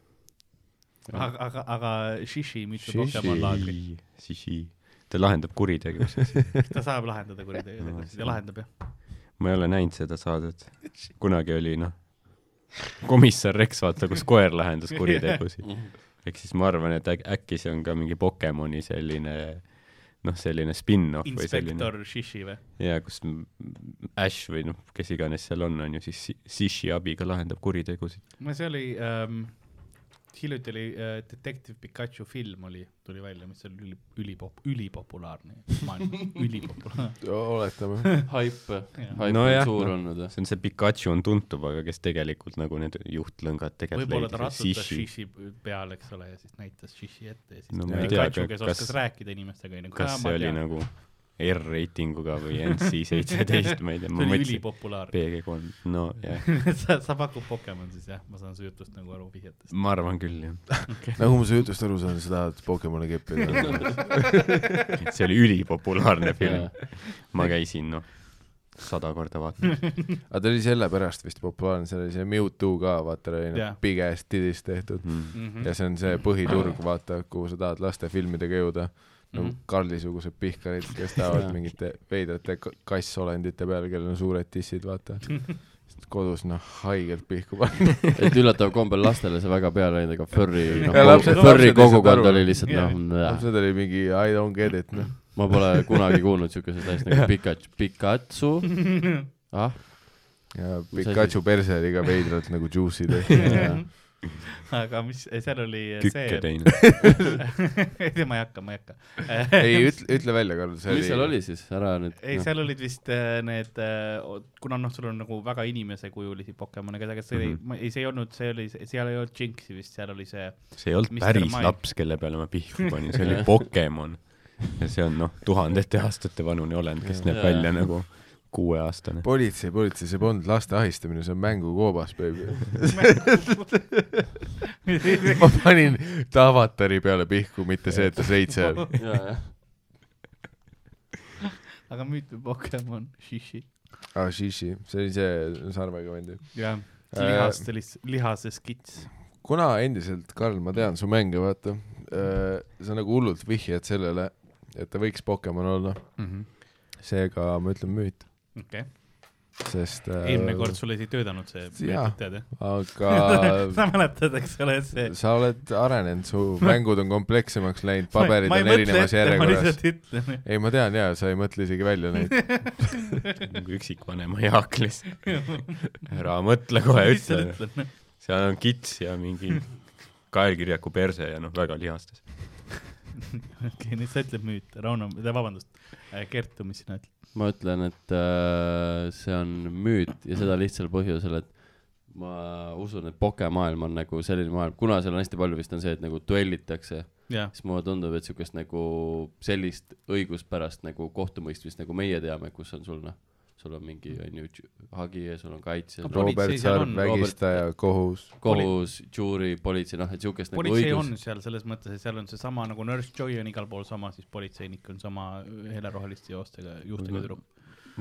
[SPEAKER 3] aga , aga , aga Shishi , mitte
[SPEAKER 2] Shishi.
[SPEAKER 3] Pokemon laagri ,
[SPEAKER 5] Shishi . ta lahendab kuritegevuse .
[SPEAKER 3] ta saab lahendada kuritegusid ja lahendab jah .
[SPEAKER 5] ma ei ole näinud seda saadet . kunagi oli , noh , komissar Rex , vaata , kus koer lahendas
[SPEAKER 3] [LAUGHS]
[SPEAKER 5] kuritegusid . ehk siis ma arvan , et äk- äkki see on ka mingi Pokemoni selline noh , selline spin-off või selline
[SPEAKER 3] inspektor Shishi või ?
[SPEAKER 5] jaa , kus m- Ash või noh , kes iganes seal on , on ju , siis si- Sishi abiga lahendab kuritegusid .
[SPEAKER 3] no see oli ähm, , hiljuti oli äh, Detective Pikachu film oli , tuli välja , mis oli üli , ülipop- , ülipopulaarne
[SPEAKER 5] [LAUGHS]
[SPEAKER 3] maailmas , ülipopulaarne .
[SPEAKER 2] oletame .
[SPEAKER 4] Hype , hype
[SPEAKER 5] Nojah,
[SPEAKER 4] on suur
[SPEAKER 5] noh.
[SPEAKER 4] olnud .
[SPEAKER 5] see on see Pikachu on tuntud , aga kes tegelikult nagu need juhtlõngad tegelikult
[SPEAKER 3] võib-olla ta
[SPEAKER 5] leidis,
[SPEAKER 3] ratsutas
[SPEAKER 5] Sishi.
[SPEAKER 3] Shishi peale , eks ole , ja siis näitas Shishi ette ja siis
[SPEAKER 5] No
[SPEAKER 3] no,
[SPEAKER 5] ma ei tea,
[SPEAKER 3] Pikachu ,
[SPEAKER 5] aga
[SPEAKER 3] kes kas, oskas
[SPEAKER 5] kas-
[SPEAKER 3] rääkida inimestega , onju .
[SPEAKER 5] kas see oli nagu R-reitinguga või NC-seitseteist , ma ei tea , ma
[SPEAKER 3] see oli
[SPEAKER 5] mõtlesin
[SPEAKER 3] ülipopulaarne . [LAUGHS]
[SPEAKER 5] PG3 , no jah ,
[SPEAKER 3] sa , sa pakud Pokemon siis jah , ma saan su jutust nagu aru vihjetest .
[SPEAKER 5] ma arvan küll jah ,
[SPEAKER 2] nagu ma su jutust aru saan , sa tahad Pokemoni keppida .
[SPEAKER 4] [LAUGHS]
[SPEAKER 5] et see oli
[SPEAKER 3] [LAUGHS]
[SPEAKER 5] ülipopulaarne film . ma käisin noh , sada korda
[SPEAKER 3] [LAUGHS]
[SPEAKER 5] vaatamas .
[SPEAKER 2] aga ta oli sellepärast vist populaarne , seal oli see Mewtwo ka , vaata , oli
[SPEAKER 3] Jah. Mhm.
[SPEAKER 2] noh , big ass didis tehtud mm. . ja see on see põhiturg , vaata , kuhu sa tahad lastefilmidega jõuda . nagu
[SPEAKER 3] Mhm.
[SPEAKER 2] Karli-sugused pihkarid , kes tahavad
[SPEAKER 4] Jaa.
[SPEAKER 2] mingite veidrate ka- kassolendite peale , kellel on suured tissid ,
[SPEAKER 3] [LAUGHS]
[SPEAKER 2] vaata . sest kodus noh , haigelt pihku panna .
[SPEAKER 4] et üllataval kombel lastele see väga peale ei läinud , aga Furry ,
[SPEAKER 2] [LAUGHS] Ja
[SPEAKER 4] noh ,
[SPEAKER 2] lapsed-
[SPEAKER 4] Furry
[SPEAKER 2] lapsed lihtsalt
[SPEAKER 4] kogukond
[SPEAKER 2] aru.
[SPEAKER 4] oli lihtsalt
[SPEAKER 3] Jah.
[SPEAKER 2] [LAUGHS]
[SPEAKER 4] noh ,
[SPEAKER 2] see oli mingi I don't get it , noh .
[SPEAKER 4] ma pole kunagi kuulnud siukesest asjast nagu Pikachu , Pikachu , ah ,
[SPEAKER 2] ja
[SPEAKER 4] asi?
[SPEAKER 2] Pikachu perse oli ka veidralt nagu juicy
[SPEAKER 4] [LAUGHS]
[SPEAKER 2] tehtud .
[SPEAKER 3] aga mis , seal oli [LAUGHS]
[SPEAKER 5] kükke
[SPEAKER 3] see ,
[SPEAKER 5] teinud .
[SPEAKER 3] ei tea , ma ei hakka , ma ei hakka .
[SPEAKER 2] ei , Noh. ütle , ütle välja , Karl , see oli .
[SPEAKER 4] mis seal ? oli siis , ära nüüd . noh.
[SPEAKER 3] ei , seal olid vist äh, need , kuna noh , sul on nagu väga inimesekujulisi Pokemone , keda , kes oli ,
[SPEAKER 2] Mhm.
[SPEAKER 3] ei , see ei olnud , see oli , seal ei olnud Jinxi vist , seal oli see ,
[SPEAKER 5] see ei olnud
[SPEAKER 3] Mr.
[SPEAKER 5] päris
[SPEAKER 3] Mime.
[SPEAKER 5] laps , kelle peale ma
[SPEAKER 3] [LAUGHS]
[SPEAKER 5] pihku panin , see oli Pokemon . ja see on noh , tuhandete aastate vanune olend , kes näeb
[SPEAKER 4] Jaa.
[SPEAKER 5] välja nagu kuueaastane .
[SPEAKER 2] politsei , politsei , see polnud laste ahistamine , see on mängukoobas ,
[SPEAKER 3] [LAUGHS]
[SPEAKER 2] baby . ma panin ta avatari peale pihku , mitte see , et ta seitse
[SPEAKER 3] [LAUGHS]
[SPEAKER 2] on .
[SPEAKER 3] aga müütu Pokemon , [LAUGHS] shishi .
[SPEAKER 2] aa , Ah, Shishi , see oli see sarvega vend ju .
[SPEAKER 3] jah , lihast sellist , lihases kits .
[SPEAKER 2] kuna endiselt , Karl , ma tean su mänge , vaata , sa nagu hullult vihjad sellele , et ta võiks Pokemon olla , seega ma ütlen müüt ,
[SPEAKER 3] okei okay. ,
[SPEAKER 2] sest äh,
[SPEAKER 3] eelmine kord sul ei töötanud see ,
[SPEAKER 2] jaa.
[SPEAKER 3] tead jah ?
[SPEAKER 2] aga
[SPEAKER 3] [LAUGHS] sa mäletad , eks ole , see .
[SPEAKER 2] sa oled arenenud ,
[SPEAKER 3] [LAUGHS]
[SPEAKER 2] su mängud on komplekssemaks läinud , paberid on erinevas
[SPEAKER 3] ma
[SPEAKER 2] järjekorras .
[SPEAKER 3] lihtsalt ütlen .
[SPEAKER 2] ei , ma tean jaa , sa ei mõtle isegi välja
[SPEAKER 3] [LAUGHS]
[SPEAKER 2] neid .
[SPEAKER 5] nagu üksikvanema Heaklis . ära mõtle kohe üldse .
[SPEAKER 3] ütlen .
[SPEAKER 5] seal on kits ja mingi kaelkirjaku perse ja noh , väga lihastes .
[SPEAKER 3] okei , [LAUGHS] nüüd sa ütled müüt , Rauno , vabandust , Kertu , mis sina ütled ?
[SPEAKER 4] ma ütlen , et äh, see on müüt ja seda lihtsal põhjusel , et ma usun , et pokemaailm on nagu selline maailm , kuna seal on hästi palju vist on see , et nagu duellitakse ,
[SPEAKER 3] jah ,
[SPEAKER 4] siis mulle tundub , et siukest nagu sellist õiguspärast nagu kohtumõistmist nagu meie teame , kus on sul noh , sul on mingi onju tš- hagi ja sul on kaitse
[SPEAKER 3] No ,
[SPEAKER 2] Robert
[SPEAKER 3] Politsei seal
[SPEAKER 2] Sarv ,
[SPEAKER 3] on,
[SPEAKER 4] Robert-
[SPEAKER 2] vägistaja , kohus .
[SPEAKER 4] kohus , juuri , politsei , noh , et siukest nagu
[SPEAKER 3] politsei on
[SPEAKER 4] õigus .
[SPEAKER 3] seal selles mõttes , et seal on seesama nagu Nurse Joy on igal pool sama , siis politseinik on sama heleroheliste joostega , juustega tüdruk .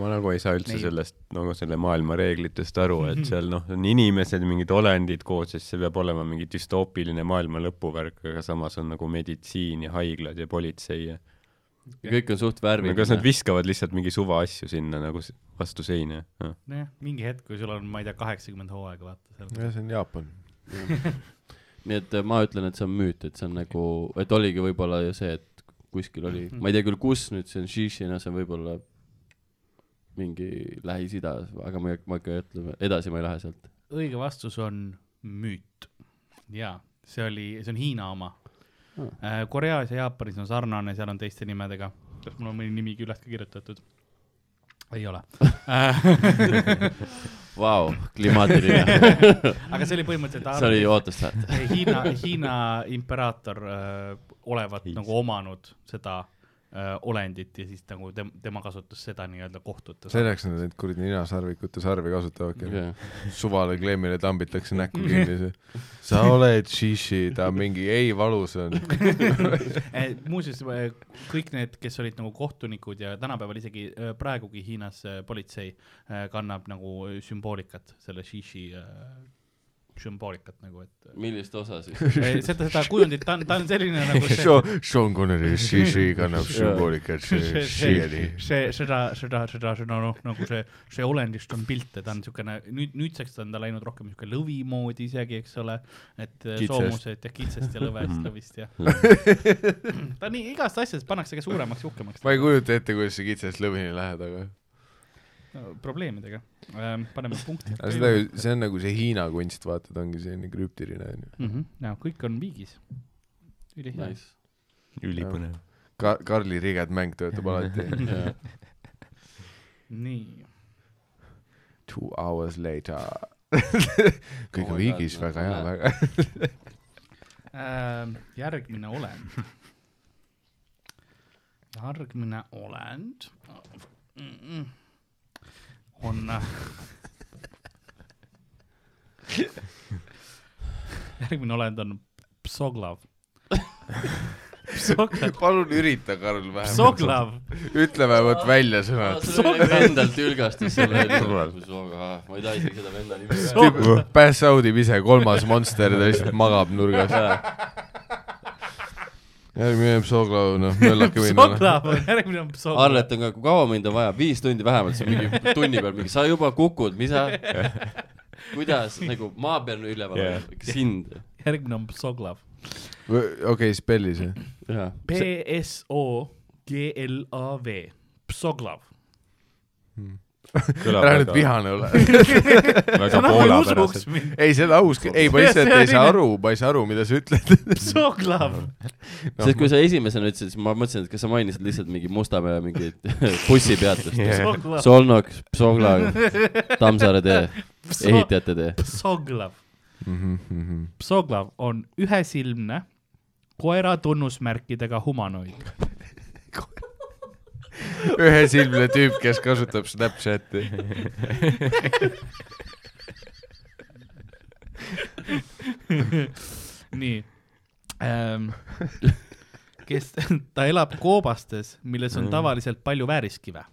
[SPEAKER 5] ma nagu ei saa üldse
[SPEAKER 3] Nii.
[SPEAKER 5] Neil. sellest nagu selle maailma reeglitest aru , et seal noh , on inimesed , mingid olendid koos , siis see peab olema mingi düstoopiline maailma lõpuvärk , aga samas on nagu meditsiin ja haiglad ja politsei ja
[SPEAKER 4] ja kõik on suht
[SPEAKER 5] no kas nad
[SPEAKER 4] värviline .
[SPEAKER 5] viskavad lihtsalt mingi suva asju sinna nagu s- vastu seina ja. ?
[SPEAKER 3] nojah , mingi hetk , kui sul on , ma ei tea , kaheksakümmend hooaega , vaata seal .
[SPEAKER 2] jah , see on Jaapan .
[SPEAKER 4] nii et äh, ma ütlen , et see on müüt , et see on nagu , et oligi võib-olla ju see , et kuskil oli ,
[SPEAKER 3] Mhm.
[SPEAKER 4] ma ei tea küll , kus nüüd see on Shishina , see on võib-olla mingi Lähis-Ida , aga ma ei , ma ei hakka ütlema , edasi ma ei lähe sealt .
[SPEAKER 3] õige vastus on müüt . jaa , see oli , see on Hiina oma .
[SPEAKER 4] Hmm.
[SPEAKER 3] Koreas ja Jaapanis on sarnane , seal on teiste nimedega . kas mul on mõni nimi küljest ka kirjutatud ? ei ole .
[SPEAKER 4] Vau ,
[SPEAKER 3] [LAUGHS]
[SPEAKER 4] klimaatiline ,
[SPEAKER 3] aga see oli
[SPEAKER 4] [LAUGHS]
[SPEAKER 3] põhimõtteliselt
[SPEAKER 4] see oli ootust väärt .
[SPEAKER 3] Hiina , Hiina imperaator öö, olevat
[SPEAKER 5] Hiis.
[SPEAKER 3] nagu omanud seda öö, olendit ja siis nagu tem- , tema kasutas seda nii-öelda kohtutes .
[SPEAKER 2] selleks nad neid kuradi ninasarvikute sarvi kasutavadki .
[SPEAKER 4] jah ,
[SPEAKER 2] suvale kleemile tambitakse näkku kinni . sa oled Shishi , ta on mingi ei valus
[SPEAKER 3] [LAUGHS]
[SPEAKER 2] on . [LAUGHS]
[SPEAKER 3] Äh, muuseas , kõik need , kes olid nagu kohtunikud ja tänapäeval isegi öö, praegugi Hiinas öö, politsei öö, kannab nagu sümboolikat , selle shishi öö, sümboolikat nagu , et
[SPEAKER 4] millist osa siis ?
[SPEAKER 3] Ei, seda , seda kujundit , ta on , ta on selline nagu see
[SPEAKER 2] Sean Connery Shishi kannab sümboolikat
[SPEAKER 3] [LAUGHS] see ,
[SPEAKER 2] siiani .
[SPEAKER 3] see , see , seda , seda , seda , seda noh , nagu see , see olendist on pilt ja ta on niisugune nüüd , nüüdseks on ta läinud rohkem niisugune lõvi moodi isegi , eks ole , et eh,
[SPEAKER 4] Kitsast.
[SPEAKER 3] soomused ja kitsast ja lõvest , lõvist ja [CLEARS THROAT] ta nii igast asjast pannakse ka suuremaks ja uhkemaks
[SPEAKER 2] ma ei kujuta ette , kuidas sa kitsast lõvini lähed , aga
[SPEAKER 3] No, probleemidega , paneme punkti
[SPEAKER 2] aga seda , see on nagu see Hiina kunst , vaata , ta ongi selline krüptiline onju .
[SPEAKER 3] ja Mhm. kõik on viigis . ülihea nice. .
[SPEAKER 4] Nice .
[SPEAKER 5] ülipõnev .
[SPEAKER 2] Ka- , Karli Riget mäng töötab alati .
[SPEAKER 3] nii ,
[SPEAKER 2] Two hours [LAUGHS] later kõik on
[SPEAKER 4] Oh my God,
[SPEAKER 2] viigis ,
[SPEAKER 4] no,
[SPEAKER 2] väga hea ,
[SPEAKER 4] näe.
[SPEAKER 2] väga hea .
[SPEAKER 3] Ähm, järgmine olend . järgmine olend Mm-mm. on äh, järgmine olend on psoglav . psoglav ,
[SPEAKER 2] [LAUGHS] palun ürita , Karl , vähemalt .
[SPEAKER 3] psoglav ,
[SPEAKER 2] ütle vähemalt välja sõnad .
[SPEAKER 4] see oli nagu endalt ülgastus selle , ma ei taha isegi seda venda nime .
[SPEAKER 2] Pass out ib ise , kolmas monster , ta lihtsalt magab nurgas . järgmine psooklaud , noh , möllake minna .
[SPEAKER 3] psoglav on järgmine on psoglav .
[SPEAKER 4] Arlet on ka , kui kaua mind on vaja , viis tundi vähemalt , see on [LAUGHS] mingi tunni peal mingi , sa juba kukud , mis [LAUGHS] sa , kuidas nagu maa peal on üleval
[SPEAKER 5] Jah.
[SPEAKER 4] yeah. , sind .
[SPEAKER 3] järgmine on psoglav .
[SPEAKER 2] okei , spelli see .
[SPEAKER 4] jaa ,
[SPEAKER 3] P S O G L A V , psoglav .
[SPEAKER 2] ära nüüd vihane ole .
[SPEAKER 5] väga poolapäraselt .
[SPEAKER 3] mind ,
[SPEAKER 2] ei , see on aus , ei ,
[SPEAKER 3] [LAUGHS]
[SPEAKER 2] ma lihtsalt ei saa aru , ma ei saa aru , mida sa ütled .
[SPEAKER 3] psoglav .
[SPEAKER 4] sest kui sa esimesena ütlesid , siis ma mõtlesin , et kas sa mainisid lihtsalt mingi Mustamäe mingit [LAUGHS] bussipeatust yeah. .
[SPEAKER 3] psoglav ,
[SPEAKER 4] Solnok , Psogla , Tammsaare tee , ehitajate tee .
[SPEAKER 3] psoglav .
[SPEAKER 2] Mhm.
[SPEAKER 3] psoglav on ühesilmne koera tunnusmärkidega humanoid .
[SPEAKER 2] ühesilmne tüüp , kes kasutab Snapchati .
[SPEAKER 3] [LAUGHS] nii ähm, . kes , ta elab koobastes , milles on tavaliselt palju vääriskive .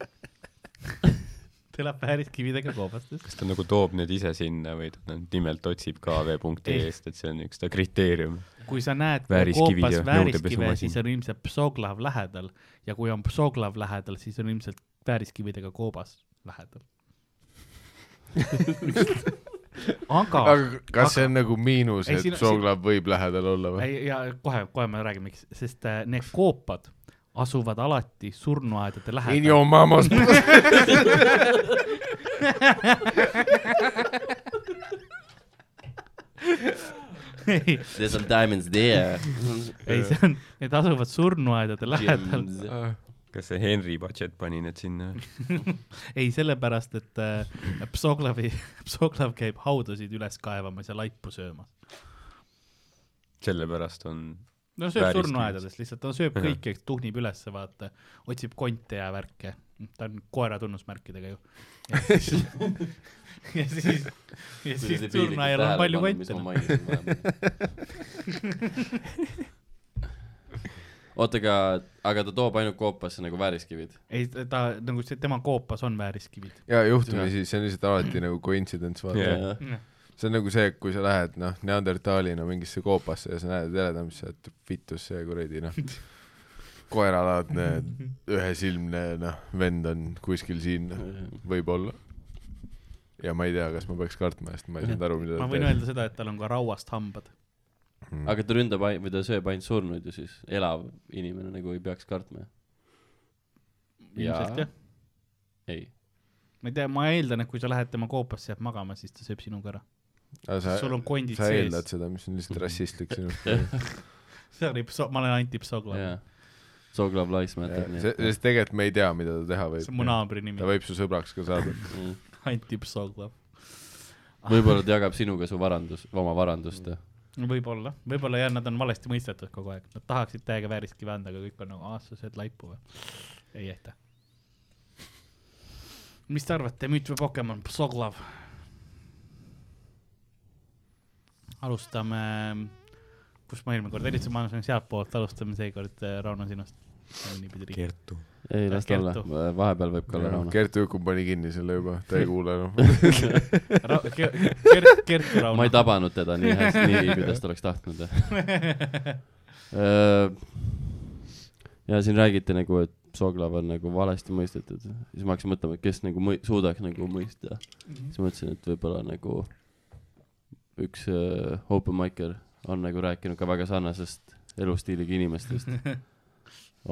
[SPEAKER 3] ta elab vääriskividega koobastes .
[SPEAKER 5] kas ta nagu toob need ise sinna või ta nad nimelt otsib kv.ee-st , et see on üks ta kriteerium ?
[SPEAKER 3] kui sa näed
[SPEAKER 5] Vääriskivid
[SPEAKER 3] koopas
[SPEAKER 5] ja
[SPEAKER 3] vääriskive ,
[SPEAKER 5] nõudepesumasin.
[SPEAKER 3] siis on ilmselt psoglav lähedal ja kui on psoglav lähedal , siis on ilmselt vääriskividega koobas lähedal . aga
[SPEAKER 2] aga kas see on nagu miinus ,
[SPEAKER 3] Ei,
[SPEAKER 2] et
[SPEAKER 3] siin-
[SPEAKER 2] Soglab võib lähedal olla või ?
[SPEAKER 3] ei , ja kohe , kohe ma räägin , miks , sest äh, need koopad asuvad alati surnuaedade
[SPEAKER 2] In
[SPEAKER 3] lähedal .
[SPEAKER 2] your
[SPEAKER 3] [LAUGHS]
[SPEAKER 2] mama's
[SPEAKER 3] ei ,
[SPEAKER 4] There's some diamonds there .
[SPEAKER 3] ei , see on , need asuvad surnuaedade lähedal .
[SPEAKER 5] kas see Henry Budget pani need sinna ?
[SPEAKER 3] ei , sellepärast , et äh, psoglavi , psoglav käib haudasid üles kaevamas ja laipu söömas .
[SPEAKER 5] sellepärast on ,
[SPEAKER 3] no sööb
[SPEAKER 5] Vääriskivis.
[SPEAKER 3] surnuaedadest lihtsalt , ta sööb kõike , tuhnib ülesse , vaata , otsib konte ja värke . ta on koera tunnusmärkidega ju . ja siis , [LAUGHS] ja siis, ja siis surnuaial on palju noh. konte .
[SPEAKER 4] [LAUGHS] oota , aga , aga ta toob ainult koopasse nagu vääriskivid .
[SPEAKER 3] ei , ta nagu see , tema koopas on vääriskivid .
[SPEAKER 2] ja juhtumisi , see on lihtsalt alati nagu coincidence , vaata
[SPEAKER 5] Jah.
[SPEAKER 2] yeah. . see on nagu see , kui sa lähed , noh , neandertaalina mingisse koopasse ja sa näed heledamisse , et vitus see kuradi ,
[SPEAKER 3] [LAUGHS]
[SPEAKER 2] noh , koeralaadne ühesilmne , noh , vend on kuskil siin , võib-olla . ja ma ei tea , kas ma peaks kartma , sest ma ei saanud aru , mida
[SPEAKER 3] ma
[SPEAKER 2] ta
[SPEAKER 3] võin
[SPEAKER 2] teeb .
[SPEAKER 3] öelda seda , et tal on ka rauast hambad .
[SPEAKER 4] aga ta ründab ain- või ta sööb ainult surnuid ju siis , elav inimene nagu ei peaks kartma .
[SPEAKER 3] ilmselt jah .
[SPEAKER 4] ei ,
[SPEAKER 3] ma ei tea , ma eeldan , et kui sa lähed tema koopasse , jääb magama , siis ta sööb sinuga ära . [LAUGHS]
[SPEAKER 2] aga sa
[SPEAKER 3] sul , on kondid
[SPEAKER 2] sa
[SPEAKER 3] sees . Mhm.
[SPEAKER 2] eeldad seda , mis on lihtsalt rassistlik
[SPEAKER 3] [LAUGHS]
[SPEAKER 2] sinust .
[SPEAKER 3] see oli pso- , ma olen antipsoglav yeah. .
[SPEAKER 4] jaa . Soglav Lais mäletab nii et-
[SPEAKER 2] sest tegelikult me ei tea , mida ta teha
[SPEAKER 3] see on mu
[SPEAKER 2] võib .
[SPEAKER 3] naabri
[SPEAKER 2] ta
[SPEAKER 3] nimi ,
[SPEAKER 2] võib su sõbraks ka
[SPEAKER 3] [LAUGHS]
[SPEAKER 2] saada .
[SPEAKER 4] Mm.
[SPEAKER 3] antipsoglav .
[SPEAKER 4] võib-olla ta jagab sinuga su varandus , oma
[SPEAKER 3] Mm.
[SPEAKER 4] varandust .
[SPEAKER 3] võib-olla , võib-olla jah , nad on valesti mõistetud kogu aeg , nad tahaksid täiega vääriskive anda , aga kõik on nagu , aa , sa sööd laipu või ? ei ehta . mis te arvate , müüt või Pokemon , psoglav ? alustame , kus ma eelmine kord helitsin , ma arvan , see on sealtpoolt , alustame seekord äh, Rauno sinust . niipidi riik .
[SPEAKER 5] Kertu .
[SPEAKER 4] ei , las ta olla
[SPEAKER 3] Kertu. ,
[SPEAKER 4] vahepeal võib ka olla Rauno .
[SPEAKER 2] Gert Ökum pani kinni selle juba , ta ei kuule enam .
[SPEAKER 3] Ra- , Kert , Kert ja Rauno .
[SPEAKER 4] ma ei tabanud teda nii hästi , nii kuidas ta oleks tahtnud . ja siin räägiti nagu , et Soglav on nagu valesti mõistetud , siis ma hakkasin mõtlema , et kes nagu mõi- , suudaks nagu mõista . siis mõtlesin , et võib-olla nagu üks äh, open micer on nagu rääkinud ka väga sarnasest elustiiliga inimestest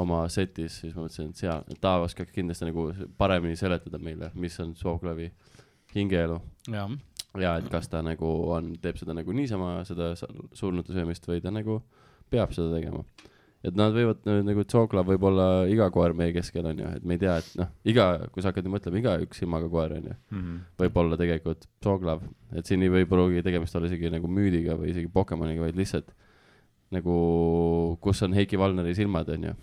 [SPEAKER 4] oma setis , siis ma mõtlesin , et seal , ta oskaks kindlasti nagu paremini seletada meile , mis on Soglavi hingeelu
[SPEAKER 3] jah , [LAUGHS]
[SPEAKER 4] ja et kas ta nagu on , teeb seda nagu niisama , seda sa- surnute söömist või ta nagu peab seda tegema . et nad võivad nö- nagu Tsogla võib olla iga koer meie keskel onju , et me ei tea , et noh , iga , kui sa hakkad nüüd mõtlema , iga üks silmaga koer onju ,
[SPEAKER 5] Mhm.
[SPEAKER 4] võib olla tegelikult Tsoglav , et siin ei või pruugi tegemist olla isegi nagu müüdiga või isegi Pokemoniga , vaid lihtsalt nagu , kus on Heiki Valneri silmad onju .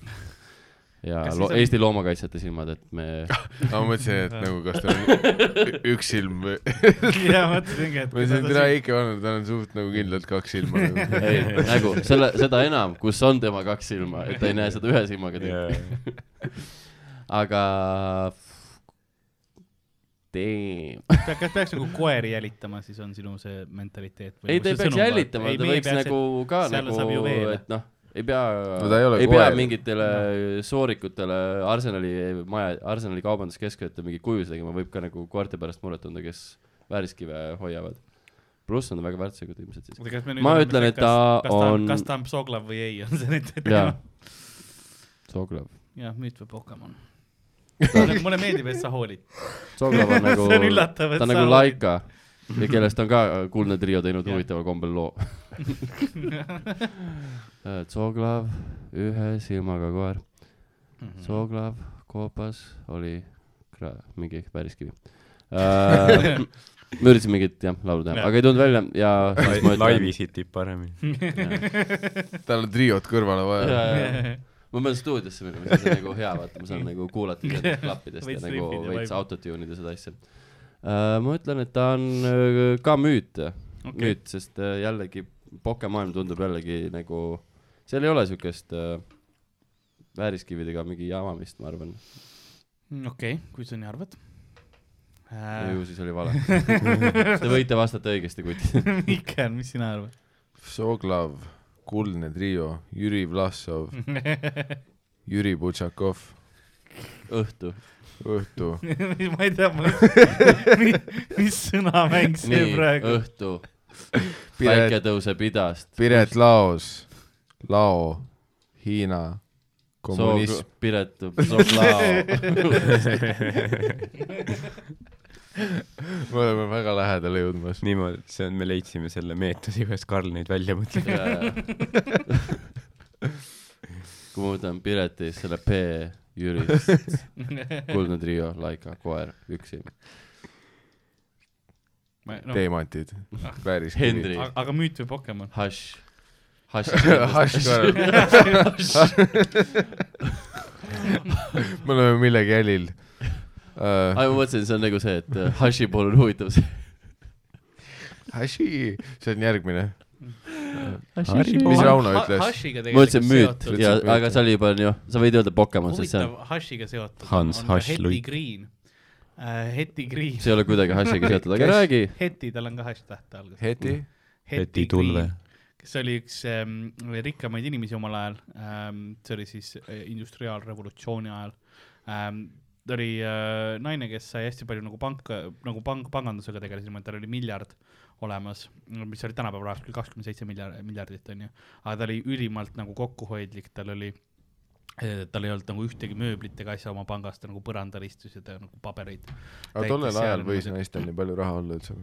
[SPEAKER 4] ja
[SPEAKER 3] Kas siis
[SPEAKER 4] lo-
[SPEAKER 3] on-
[SPEAKER 4] Eesti loomakaitsjate silmad , et
[SPEAKER 3] [LAUGHS]
[SPEAKER 4] me
[SPEAKER 2] aga ma mõtlesin , et nagu kas ta on ü- üks silm
[SPEAKER 4] [LAUGHS]
[SPEAKER 2] või
[SPEAKER 3] ja mõtlesingi , et
[SPEAKER 2] ma ütlesin , et mina Heiki Vannel , tal on suht nagu kindlalt kaks
[SPEAKER 4] [LAUGHS]
[SPEAKER 2] silma nagu. .
[SPEAKER 4] ei , nagu selle , seda enam , kus on tema kaks silma , et ta ei näe seda ühe silmaga
[SPEAKER 5] [LAUGHS]
[SPEAKER 4] tüüpi yeah. . aga . Damn .
[SPEAKER 3] Pea- kas peaks nagu koeri jälitama , siis on sinu nagu see mentaliteet ?
[SPEAKER 4] ei , ta ei peaks jälitama , ta võiks nagu ka
[SPEAKER 3] seal
[SPEAKER 4] nagu
[SPEAKER 3] saab ju , veele.
[SPEAKER 4] et noh , ei pea
[SPEAKER 2] No ta ei ole
[SPEAKER 4] ei pea
[SPEAKER 2] koer.
[SPEAKER 4] mingitele soorikutele Arsenali maja , Arsenali kaubanduskeskujate mingeid kujusid tegema , võib ka nagu koerte pärast muret tunda , kes vääriskive hoiavad . pluss on ta väga väärtuslikud ilmselt siis . Ma ütlen, et ta on-
[SPEAKER 3] kas ta on psoglav või ei , on see nüüd
[SPEAKER 4] [LAUGHS] jaa . Soglav .
[SPEAKER 3] jah , müüt või
[SPEAKER 4] [LAUGHS]
[SPEAKER 3] Pokemon . mulle meeldib , et sa hoolid .
[SPEAKER 4] Soglav on nagu
[SPEAKER 3] [LAUGHS] see on üllatav , et
[SPEAKER 4] ta on nagu . Laika ja kellest on ka kuulne trio teinud
[SPEAKER 3] Jah.
[SPEAKER 4] huvitaval kombel
[SPEAKER 3] [LAUGHS]
[SPEAKER 4] loo . Zoglav , ühe silmaga koer .
[SPEAKER 3] Mhm.
[SPEAKER 4] Zoglav koopas oli kra- , mingi
[SPEAKER 3] [LAUGHS]
[SPEAKER 4] vääriskivi . [LAUGHS] ma üritasin mingit jah , laulu teha ,
[SPEAKER 3] Jah.
[SPEAKER 4] aga ei tulnud välja ja siis ma ütlen .
[SPEAKER 5] laivis hitib paremini .
[SPEAKER 2] tal on triot kõrvale vaja .
[SPEAKER 3] [LAUGHS]
[SPEAKER 4] jaa , jaa , ma pean stuudiosse minema , siis on nagu hea , vaata , ma saan nagu
[SPEAKER 3] [LAUGHS]
[SPEAKER 4] kuulata tead klappidest ja
[SPEAKER 3] Veits
[SPEAKER 4] nagu
[SPEAKER 3] riffid ja
[SPEAKER 4] veits
[SPEAKER 3] vibe.
[SPEAKER 4] autotune ida seda asja . ma ütlen , et ta on öö, ka müüt okay. , müüt , sest öö, jällegi pokemaailm tundub jällegi nagu , seal ei ole siukest öö, vääriskividega mingi jamamist , ma arvan
[SPEAKER 3] Mm, okei , kui sa nii arvad .
[SPEAKER 4] äh. . ju siis oli
[SPEAKER 3] [LAUGHS]
[SPEAKER 4] vale . Te võite vastata õigesti , kuid [LAUGHS]
[SPEAKER 3] Mihkel , mis sina arvad ? [LAUGHS]
[SPEAKER 2] Vsoglav , kuldne trio , Jüri Vlassov ,
[SPEAKER 4] [LAUGHS]
[SPEAKER 2] Jüri Butšakov ,
[SPEAKER 4] õhtu .
[SPEAKER 2] õhtu .
[SPEAKER 3] ma ei tea ,
[SPEAKER 4] [LAUGHS]
[SPEAKER 3] mis sõnamäng see
[SPEAKER 4] nii ,
[SPEAKER 3] praegu .
[SPEAKER 4] õhtu , päike
[SPEAKER 2] Piret ,
[SPEAKER 4] tõuseb idast .
[SPEAKER 2] Piret Laos , Lao , Hiina , kommunism .
[SPEAKER 4] Piret ,
[SPEAKER 3] [LAUGHS]
[SPEAKER 4] Soblao .
[SPEAKER 2] me oleme väga lähedale jõudmas .
[SPEAKER 5] [LAUGHS] niimoodi , see on , me leidsime selle meetodi , kuidas Karl neid välja mõtleb .
[SPEAKER 4] [LAUGHS] kui ma võtan Piretis selle P Jürist , Kuldne Trio , Laika , koer , üksi .
[SPEAKER 2] teemantid , päris .
[SPEAKER 4] Henri ,
[SPEAKER 3] aga müüt või
[SPEAKER 4] [LAUGHS]
[SPEAKER 3] Pokemon ?
[SPEAKER 4] Hush , Hush ,
[SPEAKER 2] Hush , Karl . me oleme millegi jälil uh, .
[SPEAKER 4] ma mõtlesin , see on nagu see , et äh, Hushi puhul on huvitav see .
[SPEAKER 2] Hashi , see on järgmine .
[SPEAKER 4] mis
[SPEAKER 2] mis
[SPEAKER 4] raam-
[SPEAKER 2] Rauno ütles ?
[SPEAKER 3] Hashiga
[SPEAKER 4] ma ütlesin müüt
[SPEAKER 2] seotud.
[SPEAKER 4] ja ,
[SPEAKER 2] Ütlesid müüt,
[SPEAKER 4] aga see oli juba onju , sa võid öelda Pokemon , sest see
[SPEAKER 3] huvitav
[SPEAKER 4] on ,
[SPEAKER 3] Hashiga seotud .
[SPEAKER 5] Hans Hash
[SPEAKER 3] Heti
[SPEAKER 5] Luik.
[SPEAKER 3] Green . Heti Green .
[SPEAKER 4] see ei ole kuidagi Hushiga seotud , aga
[SPEAKER 2] Kes-
[SPEAKER 4] räägi .
[SPEAKER 3] Heti , tal on ka hash tähte alguses .
[SPEAKER 2] Heti ,
[SPEAKER 5] Heti Tulve .
[SPEAKER 3] kes oli üks ähm, rikkamaid inimesi omal ajal ähm, , see oli siis äh, industriaalrevolutsiooni ajal ähm, . ta oli äh, naine , kes sai hästi palju nagu panka , nagu pank , pangandusega tegeles , niimoodi tal oli miljard olemas , mis oli tänapäeva rahas küll kakskümmend seitse miljard , miljardit onju , aga ta oli ülimalt nagu kokkuhoidlik , tal oli eh, tal ei olnud nagu ühtegi mööblit ega asja oma pangast , ta nagu põrandal istus ja ta nagu pabereid .
[SPEAKER 2] aga tollel ajal võis naistel nii palju raha olla üldse .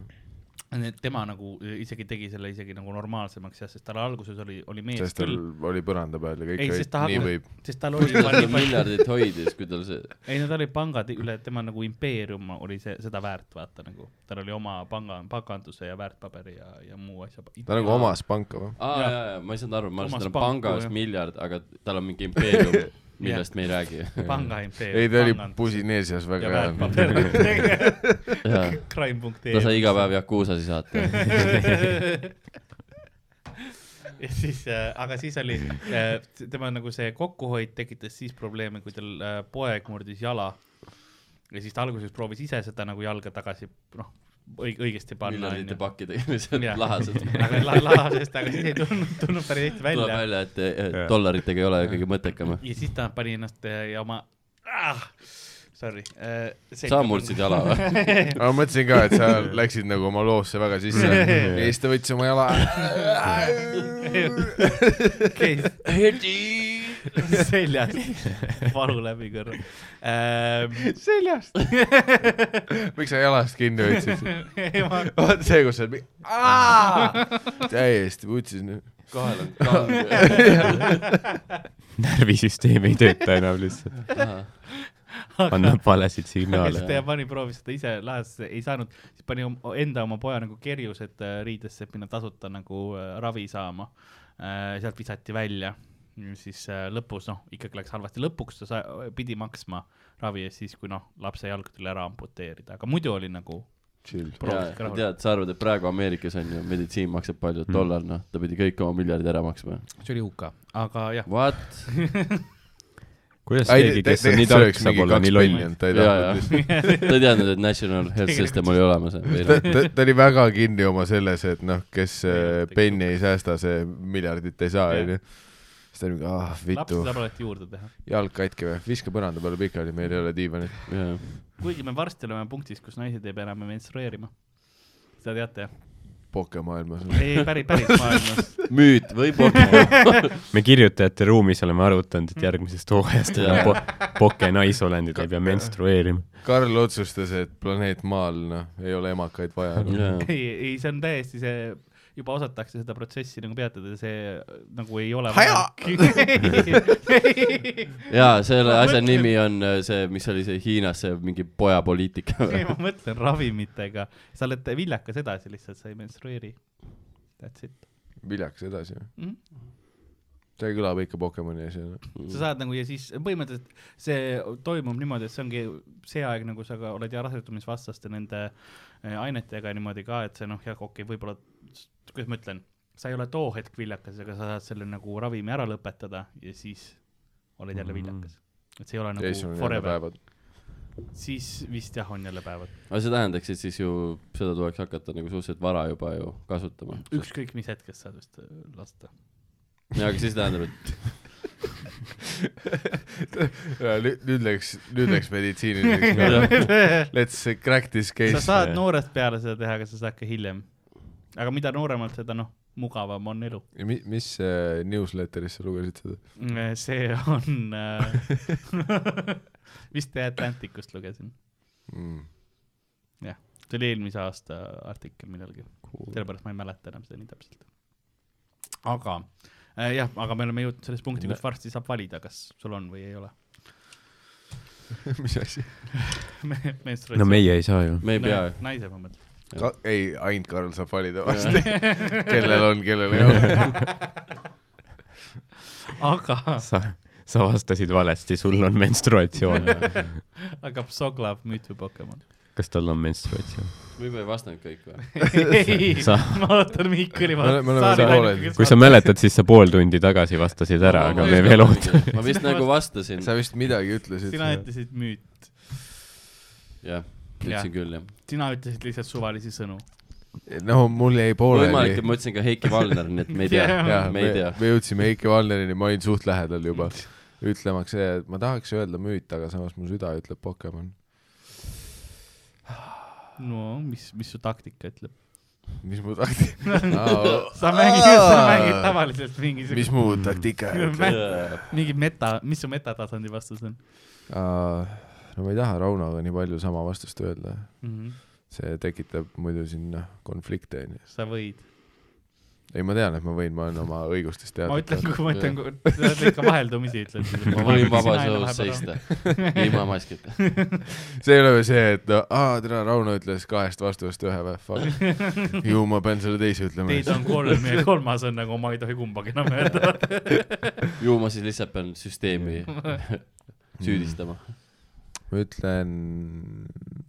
[SPEAKER 3] Nii et tema nagu isegi tegi selle isegi nagu normaalsemaks jah , sest tal alguses oli , oli mees
[SPEAKER 2] sest tal
[SPEAKER 3] küll ,
[SPEAKER 2] oli põranda peal ja kõik
[SPEAKER 3] Ei, sest ta
[SPEAKER 2] olid , nii
[SPEAKER 3] hakkas-
[SPEAKER 2] võib .
[SPEAKER 3] sest tal oli juba
[SPEAKER 4] ta
[SPEAKER 3] nii palju ,
[SPEAKER 4] miljardit hoidis , kui tal see ,
[SPEAKER 3] ei no tal olid pangad üle , tema nagu impeerium oli see , seda väärt , vaata nagu , tal oli oma panga , panganduse ja väärtpaberi ja , ja muu asja .
[SPEAKER 2] ta nagu . omas panka või ?
[SPEAKER 4] aa
[SPEAKER 3] Jah.
[SPEAKER 4] jaa , jaa , ma ei saanud aru , ma arvasin , et tal on
[SPEAKER 3] Omas panku,
[SPEAKER 4] pangas
[SPEAKER 3] jah.
[SPEAKER 4] miljard , aga tal on mingi impeerium , millest me ei räägi .
[SPEAKER 3] panga
[SPEAKER 2] ei , ta oli
[SPEAKER 3] impeerium .
[SPEAKER 2] Pusineesias
[SPEAKER 3] ja
[SPEAKER 2] väga hea .
[SPEAKER 3] väärtpaber .
[SPEAKER 4] jaa , ta sai
[SPEAKER 3] Crime.ee .
[SPEAKER 4] iga päev Yakuusasi saata .
[SPEAKER 3] ja siis äh, , aga siis oli äh, , tema nagu see kokkuhoid tekitas siis probleeme , kui tal äh, poeg murdis jala . ja siis ta alguses proovis ise seda nagu jalga tagasi , noh , õigesti panna .
[SPEAKER 4] miljardite pakki tegemised ,
[SPEAKER 3] Jah.
[SPEAKER 4] [LAUGHS] lahased .
[SPEAKER 3] [LAUGHS] aga la- lahasest , aga siis ei tulnud , tulnud päris hästi
[SPEAKER 4] tuleb
[SPEAKER 3] välja .
[SPEAKER 4] välja , et eh, dollaritega ei ole kõige mõttekam .
[SPEAKER 3] ja siis ta pani ennast eh, ja oma ah, , sorry äh, .
[SPEAKER 4] sa murdsid
[SPEAKER 3] [LAUGHS]
[SPEAKER 4] jala või ?
[SPEAKER 2] [LAUGHS] aga ma mõtlesin ka , et sa läksid nagu oma loosse väga
[SPEAKER 3] [LAUGHS]
[SPEAKER 2] sisse ja siis ta võttis oma jala .
[SPEAKER 3] käis [LAUGHS] seljast valu läbi korra ähm, .
[SPEAKER 2] seljast . miks sa jalast kinni võtsid ? [LAUGHS]
[SPEAKER 3] ma
[SPEAKER 2] vaat see , kus sa oled
[SPEAKER 3] [LAUGHS]
[SPEAKER 2] mingi , täiesti vutsis nüüd .
[SPEAKER 4] kohal on kange .
[SPEAKER 5] närvisüsteem ei tööta enam lihtsalt , annab valesid
[SPEAKER 3] ja
[SPEAKER 5] signaale
[SPEAKER 3] siis . ta pani , proovis seda ise lahest , ei saanud , siis pani om- enda oma poja nagu kerjus , et äh, riidesse et minna tasuta nagu äh, ravi saama . sealt visati välja , siis äh, lõpus noh , ikkagi läks halvasti , lõpuks ta sa- , pidi maksma ravi eest siis , kui noh , lapse jalg tuli ära amputeerida , aga muidu oli nagu .
[SPEAKER 2] chill .
[SPEAKER 3] proovisidki rahul-
[SPEAKER 4] tead , sa arvad , et praegu Ameerikas on ju meditsiin maksab palju , dollar noh , ta pidi kõik oma miljardid ära maksma .
[SPEAKER 3] see oli UK , aga jah ,
[SPEAKER 4] What ?
[SPEAKER 5] kuidas keegi , kes on nii tark , saab olla nii loll ?
[SPEAKER 2] ta ei
[SPEAKER 4] Jaa, jaa.
[SPEAKER 2] tahtnud lihtsalt .
[SPEAKER 4] [LAUGHS] ta ei teadnud , et National Health System oli olemas või
[SPEAKER 2] ta
[SPEAKER 4] noh ,,
[SPEAKER 2] ta , ta oli väga kinni oma selles , et noh , kes äh,
[SPEAKER 3] Miljardit ei
[SPEAKER 2] penni ei säästa , see miljardit ei saa ,
[SPEAKER 3] Jah.
[SPEAKER 2] onju . siis ta oli mingi , ah
[SPEAKER 3] laps
[SPEAKER 2] vitu ,
[SPEAKER 3] saab alati juurde teha .
[SPEAKER 2] jalg katki või , viska põranda peale pikali , meil ei ole diivanit .
[SPEAKER 4] jaa .
[SPEAKER 3] kuigi me varsti oleme punktis , kus naised ei pea enam menstrueerima . seda teate jah ?
[SPEAKER 2] pokemaailmas .
[SPEAKER 3] ei , päris , päris maailmas .
[SPEAKER 4] müüt või Pokemon ?
[SPEAKER 5] me kirjutajate ruumis oleme arutanud , et järgmisest [LAUGHS] hooajast enam po- , poke naisolendid ei pea menstrueerima .
[SPEAKER 2] Karl otsustas , et planeet Maal , noh , ei ole emakaid vaja . noh.
[SPEAKER 3] [LAUGHS] ei , ei , see on täiesti see , juba osatakse seda protsessi nagu peatada , see nagu ei ole . [LAUGHS]
[SPEAKER 4] jaa , selle asja nimi on äh, see , mis oli see Hiinas , see mingi pojapoliitika või
[SPEAKER 3] ei , ma mõtlen ravimitega , sa oled viljakas edasi lihtsalt , sa ei menstrueeri . That's it .
[SPEAKER 2] viljakas edasi või ? see noh. kõlab ikka Pokemoni noh. asjana .
[SPEAKER 3] sa saad nagu ja siis põhimõtteliselt see toimub niimoodi , et see ongi see aeg , nagu sa ka oled ja rasedumisvastaste nende eh, ainetega niimoodi ka , et see noh , jah , okei okay, , võib-olla , kuidas ma ütlen , sa ei ole too hetk viljakas , aga sa saad selle nagu ravimi ära lõpetada ja siis oled jälle viljakas . et see ei ole
[SPEAKER 2] ja siis
[SPEAKER 3] nagu
[SPEAKER 2] on jälle
[SPEAKER 3] forever ,
[SPEAKER 2] päevad .
[SPEAKER 3] siis vist jah , on jälle päevad ,
[SPEAKER 4] aga see tähendaks , et siis ju seda tuleks hakata nagu suhteliselt vara juba ju kasutama .
[SPEAKER 3] ükskõik mis hetkest saad vist eh, lasta .
[SPEAKER 4] jaa , aga siis tähendab , et
[SPEAKER 2] nüüd nüüd läks , nüüd läks meditsiiniliseks . Let's crack this
[SPEAKER 3] sa
[SPEAKER 2] case .
[SPEAKER 3] saad noorest peale seda teha , aga sa saad ka hiljem . aga mida nooremalt , seda noh , mugavam on elu .
[SPEAKER 2] Mi- , mis äh, newsletteris sa lugesid seda ?
[SPEAKER 3] Mm, see on äh, , [LAUGHS] vist The Atlanticust lugesin ,
[SPEAKER 2] mm. .
[SPEAKER 3] see oli eelmise aasta artikkel millalgi cool. , sellepärast ma ei mäleta enam seda nii täpselt . aga äh, jah , aga me oleme jõudnud selles punkti , kus varsti saab valida , kas sul on või ei ole
[SPEAKER 2] [LAUGHS]
[SPEAKER 3] [LAUGHS]
[SPEAKER 2] mis asi ?
[SPEAKER 3] Me-
[SPEAKER 5] no
[SPEAKER 3] menstruatsioon .
[SPEAKER 5] meie ei saa ju .
[SPEAKER 4] me ei pea ju .
[SPEAKER 3] naise ma mõtlen .
[SPEAKER 2] ei , ainult Karl saab valida vast . kellel on , kellel ei ole .
[SPEAKER 3] aga ,
[SPEAKER 5] sa , sa vastasid valesti , sul on [LAUGHS] menstruatsioon .
[SPEAKER 3] aga Psoglav müütu Pokemon .
[SPEAKER 5] kas tal on menstruatsioon ?
[SPEAKER 4] või ma ei vastanud kõik või ?
[SPEAKER 3] ei
[SPEAKER 5] Sa- ,
[SPEAKER 3] [LAUGHS] ma ootan Mihkeli
[SPEAKER 2] Me oleme- me oleme pooleli.
[SPEAKER 5] kui sa mäletad , siis sa pool tundi tagasi vastasid ära , aga me veel ootame .
[SPEAKER 4] ma vist nagu vastasin ,
[SPEAKER 2] sa vist midagi ütlesid .
[SPEAKER 3] sina ütlesid müüt ,
[SPEAKER 4] jah , ütlesin küll jah .
[SPEAKER 3] sina ütlesid lihtsalt suvalisi sõnu .
[SPEAKER 2] no mul jäi
[SPEAKER 4] võimalik , et
[SPEAKER 2] pooleli .
[SPEAKER 4] ma ütlesin ka Heiki Valner , nii et me ei tea , me ei tea .
[SPEAKER 2] me jõudsime Heiki Valnerini , ma olin suht lähedal juba . ütlemaks see , et ma tahaks öelda müüt , aga samas mu süda ütleb Pokemon .
[SPEAKER 3] no mis , mis su taktika ütleb ?
[SPEAKER 2] mis mu takti- , [LAUGHS]
[SPEAKER 3] [LAUGHS] sa mängid , sa mängid tavaliselt mingisugust
[SPEAKER 2] mis mu
[SPEAKER 3] [LAUGHS]
[SPEAKER 2] taktika ütleb ?
[SPEAKER 3] mingi meta , mis su metatasandi vastus on
[SPEAKER 2] no ma ei taha Raunoga nii palju sama vastust öelda .
[SPEAKER 3] mm ? -hmm.
[SPEAKER 2] see tekitab muidu sinna konflikte onju .
[SPEAKER 3] sa võid ,
[SPEAKER 2] ei , ma tean , et ma võin , ma olen oma õigustest
[SPEAKER 3] ma
[SPEAKER 2] teadlik .
[SPEAKER 3] ütlen , kui ma ütlen , sa oled ikka vaheldumisi ütled .
[SPEAKER 4] ma võin vabas õhus .
[SPEAKER 5] [LAUGHS]
[SPEAKER 4] seista , ilma maskita .
[SPEAKER 2] see ei ole ju see , et no, aa , täna Rauno ütles kahest vastusest ühe või , fuck .
[SPEAKER 3] [LAUGHS]
[SPEAKER 2] ju ma pean selle teise ütlema
[SPEAKER 3] Teid . on kolm [LAUGHS] ja kolmas on nagu ma ei tohi kumbagi enam [LAUGHS] öelda .
[SPEAKER 4] ju ma siis lihtsalt pean süsteemi [LAUGHS] süüdistama .
[SPEAKER 2] ma ütlen ,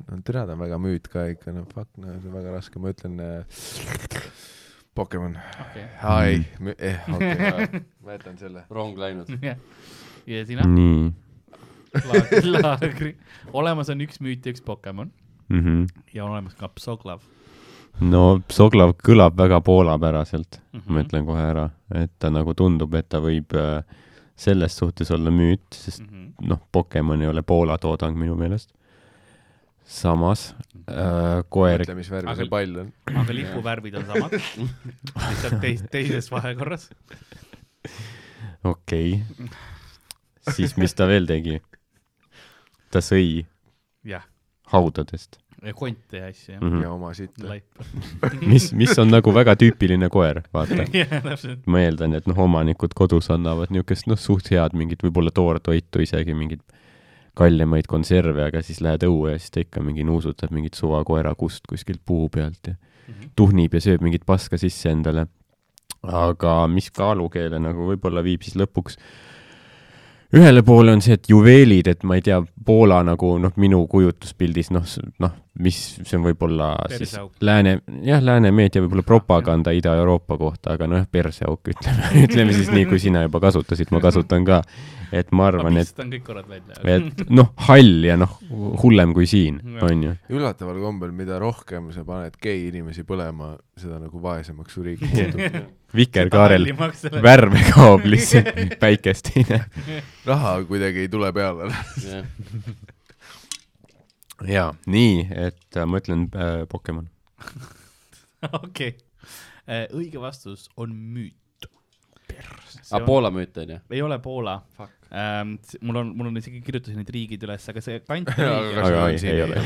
[SPEAKER 2] no täna ta on väga müüt ka ikka , no fuck , no see on väga raske , ma ütlen äh, Pokemon .
[SPEAKER 3] okei ,
[SPEAKER 2] ai , eh ,
[SPEAKER 3] [LAUGHS]
[SPEAKER 2] okei , ma jätan selle .
[SPEAKER 4] rong läinud .
[SPEAKER 3] ja sina ,
[SPEAKER 5] nii
[SPEAKER 3] [LAUGHS] Laagri , olemas on üks müüt ja üks Pokemon
[SPEAKER 5] mm . -hmm.
[SPEAKER 3] ja olemas ka Psoglav .
[SPEAKER 5] no Soglav kõlab väga poolapäraselt mm , -hmm. ma ütlen kohe ära , et ta nagu tundub , et ta võib äh, selles suhtes olla müüt , sest noh , Pokemon ei ole Poola toodang minu meelest . samas äh, koer ,
[SPEAKER 2] mõtle , mis värvi
[SPEAKER 3] Aga-
[SPEAKER 2] see pall on .
[SPEAKER 3] aga lipuvärvid on samad , lihtsalt teis- , teises vahekorras .
[SPEAKER 5] okei [LAUGHS] okay. . siis mis ta veel tegi ? ta sõi
[SPEAKER 3] jah ,
[SPEAKER 5] haudadest ,
[SPEAKER 3] konte ja asju jah ,
[SPEAKER 5] Mhm.
[SPEAKER 2] ja oma sitta .
[SPEAKER 3] laipa .
[SPEAKER 5] mis , mis on nagu väga tüüpiline koer , vaata .
[SPEAKER 3] [LAUGHS] jah , täpselt .
[SPEAKER 5] ma eeldan , et noh , omanikud kodus annavad niisugust noh , suht head mingit võib-olla toortoitu , isegi mingeid kallimaid konserve , aga siis lähed õue ja siis ta ikka mingi nuusutab mingit suva koerakust kuskilt puu pealt ja tuhnib ja sööb mingit paska sisse endale . aga mis kaalukeele nagu võib-olla viib siis lõpuks ühele poole on see , et juveelid , et ma ei tea , Poola nagu noh , minu kujutluspildis noh , noh , mis see on võib-olla siis
[SPEAKER 3] Perseauk.
[SPEAKER 5] lääne , jah , lääne meedia võib-olla propaganda Ida-Euroopa kohta , aga nojah , perseauk ütleme , [LAUGHS] ütleme siis nii , kui sina juba kasutasid , ma kasutan ka . et ma
[SPEAKER 3] ma
[SPEAKER 5] arvan , et ,
[SPEAKER 3] pistan kõik korrad välja .
[SPEAKER 5] et noh , hall ja noh , hullem kui siin , on ju .
[SPEAKER 2] üllataval kombel , mida rohkem sa paned gei inimesi põlema , seda nagu vaesemaks
[SPEAKER 3] [LAUGHS]
[SPEAKER 2] su riik muutub .
[SPEAKER 5] vikerkaarel värve kaob lihtsalt , päikest ei näe .
[SPEAKER 2] raha kuidagi ei tule peale .
[SPEAKER 5] jaa , nii , et äh, ma ütlen äh, Pokemon .
[SPEAKER 3] [LAUGHS] okei , õige vastus on müüt .
[SPEAKER 4] aga Ah, Poola müüt on ju ?
[SPEAKER 3] ei ole Poola Ähm,
[SPEAKER 4] Fuck. .
[SPEAKER 3] mul on , mul on isegi , kirjutasin need riigid üles , aga see
[SPEAKER 2] [LAUGHS]
[SPEAKER 3] kant
[SPEAKER 2] Aga
[SPEAKER 5] aga
[SPEAKER 2] on
[SPEAKER 5] ei ,
[SPEAKER 2] siin-
[SPEAKER 5] ei ole .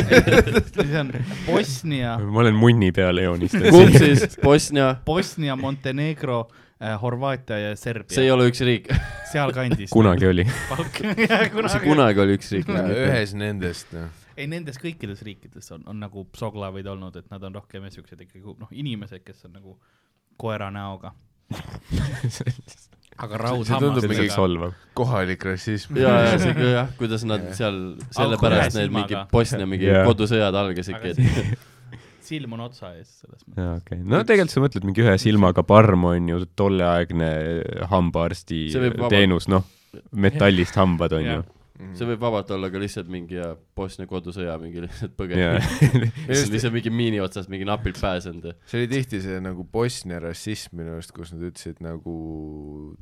[SPEAKER 3] [LAUGHS]
[SPEAKER 5] [LAUGHS]
[SPEAKER 3] see on Bosnia ,
[SPEAKER 5] ma olen munni
[SPEAKER 4] [LAUGHS]
[SPEAKER 5] peale
[SPEAKER 4] kumb
[SPEAKER 5] joonistanud .
[SPEAKER 4] siis , Bosnia ?
[SPEAKER 3] Bosnia , Montenegro , Horvaatia ja
[SPEAKER 4] see ei
[SPEAKER 3] Serbia ,
[SPEAKER 4] ole üks riik ,
[SPEAKER 3] sealkandis .
[SPEAKER 5] kunagi oli .
[SPEAKER 3] [LAUGHS]
[SPEAKER 4] see
[SPEAKER 3] kunagi .
[SPEAKER 4] kunagi oli üks riik .
[SPEAKER 2] ühes nendest , noh .
[SPEAKER 3] ei , nendes kõikides riikides on , on nagu psoglavid olnud , et nad on rohkem siuksed ikkagi noh , inimesed , kes on nagu koera näoga .
[SPEAKER 7] aga raud
[SPEAKER 2] See tundub
[SPEAKER 5] see on
[SPEAKER 2] mingi-
[SPEAKER 5] lihtsalt
[SPEAKER 2] Sellega-
[SPEAKER 3] hammasega .
[SPEAKER 5] solvav .
[SPEAKER 2] kohalik rassism .
[SPEAKER 4] ja , ja see ka jah , kuidas nad seal sellepärast
[SPEAKER 3] kohe
[SPEAKER 4] need mingi
[SPEAKER 3] silmaga.
[SPEAKER 4] Bosnia mingi
[SPEAKER 5] Jaa.
[SPEAKER 4] kodusõjad algasidki , et
[SPEAKER 3] silm on otsa ees selles mõttes .
[SPEAKER 5] jaa , okei okay. . no tegelikult sa mõtled mingi ühe silmaga parm on ju tolleaegne äh, hambaarsti
[SPEAKER 4] See võib vaba-
[SPEAKER 5] teenus , noh , metallist hambad on ju
[SPEAKER 3] Jah. .
[SPEAKER 4] see võib vabalt olla ka lihtsalt mingi ja Bosnia kodusõja mingi lihtsalt
[SPEAKER 5] jaa [LAUGHS]
[SPEAKER 4] põgenik ., [LAUGHS] lihtsalt lihtsalt mingi miini otsast mingi napilt pääsenud .
[SPEAKER 2] see oli tihti see nagu Bosnia rassism minu arust , kus nad ütlesid nagu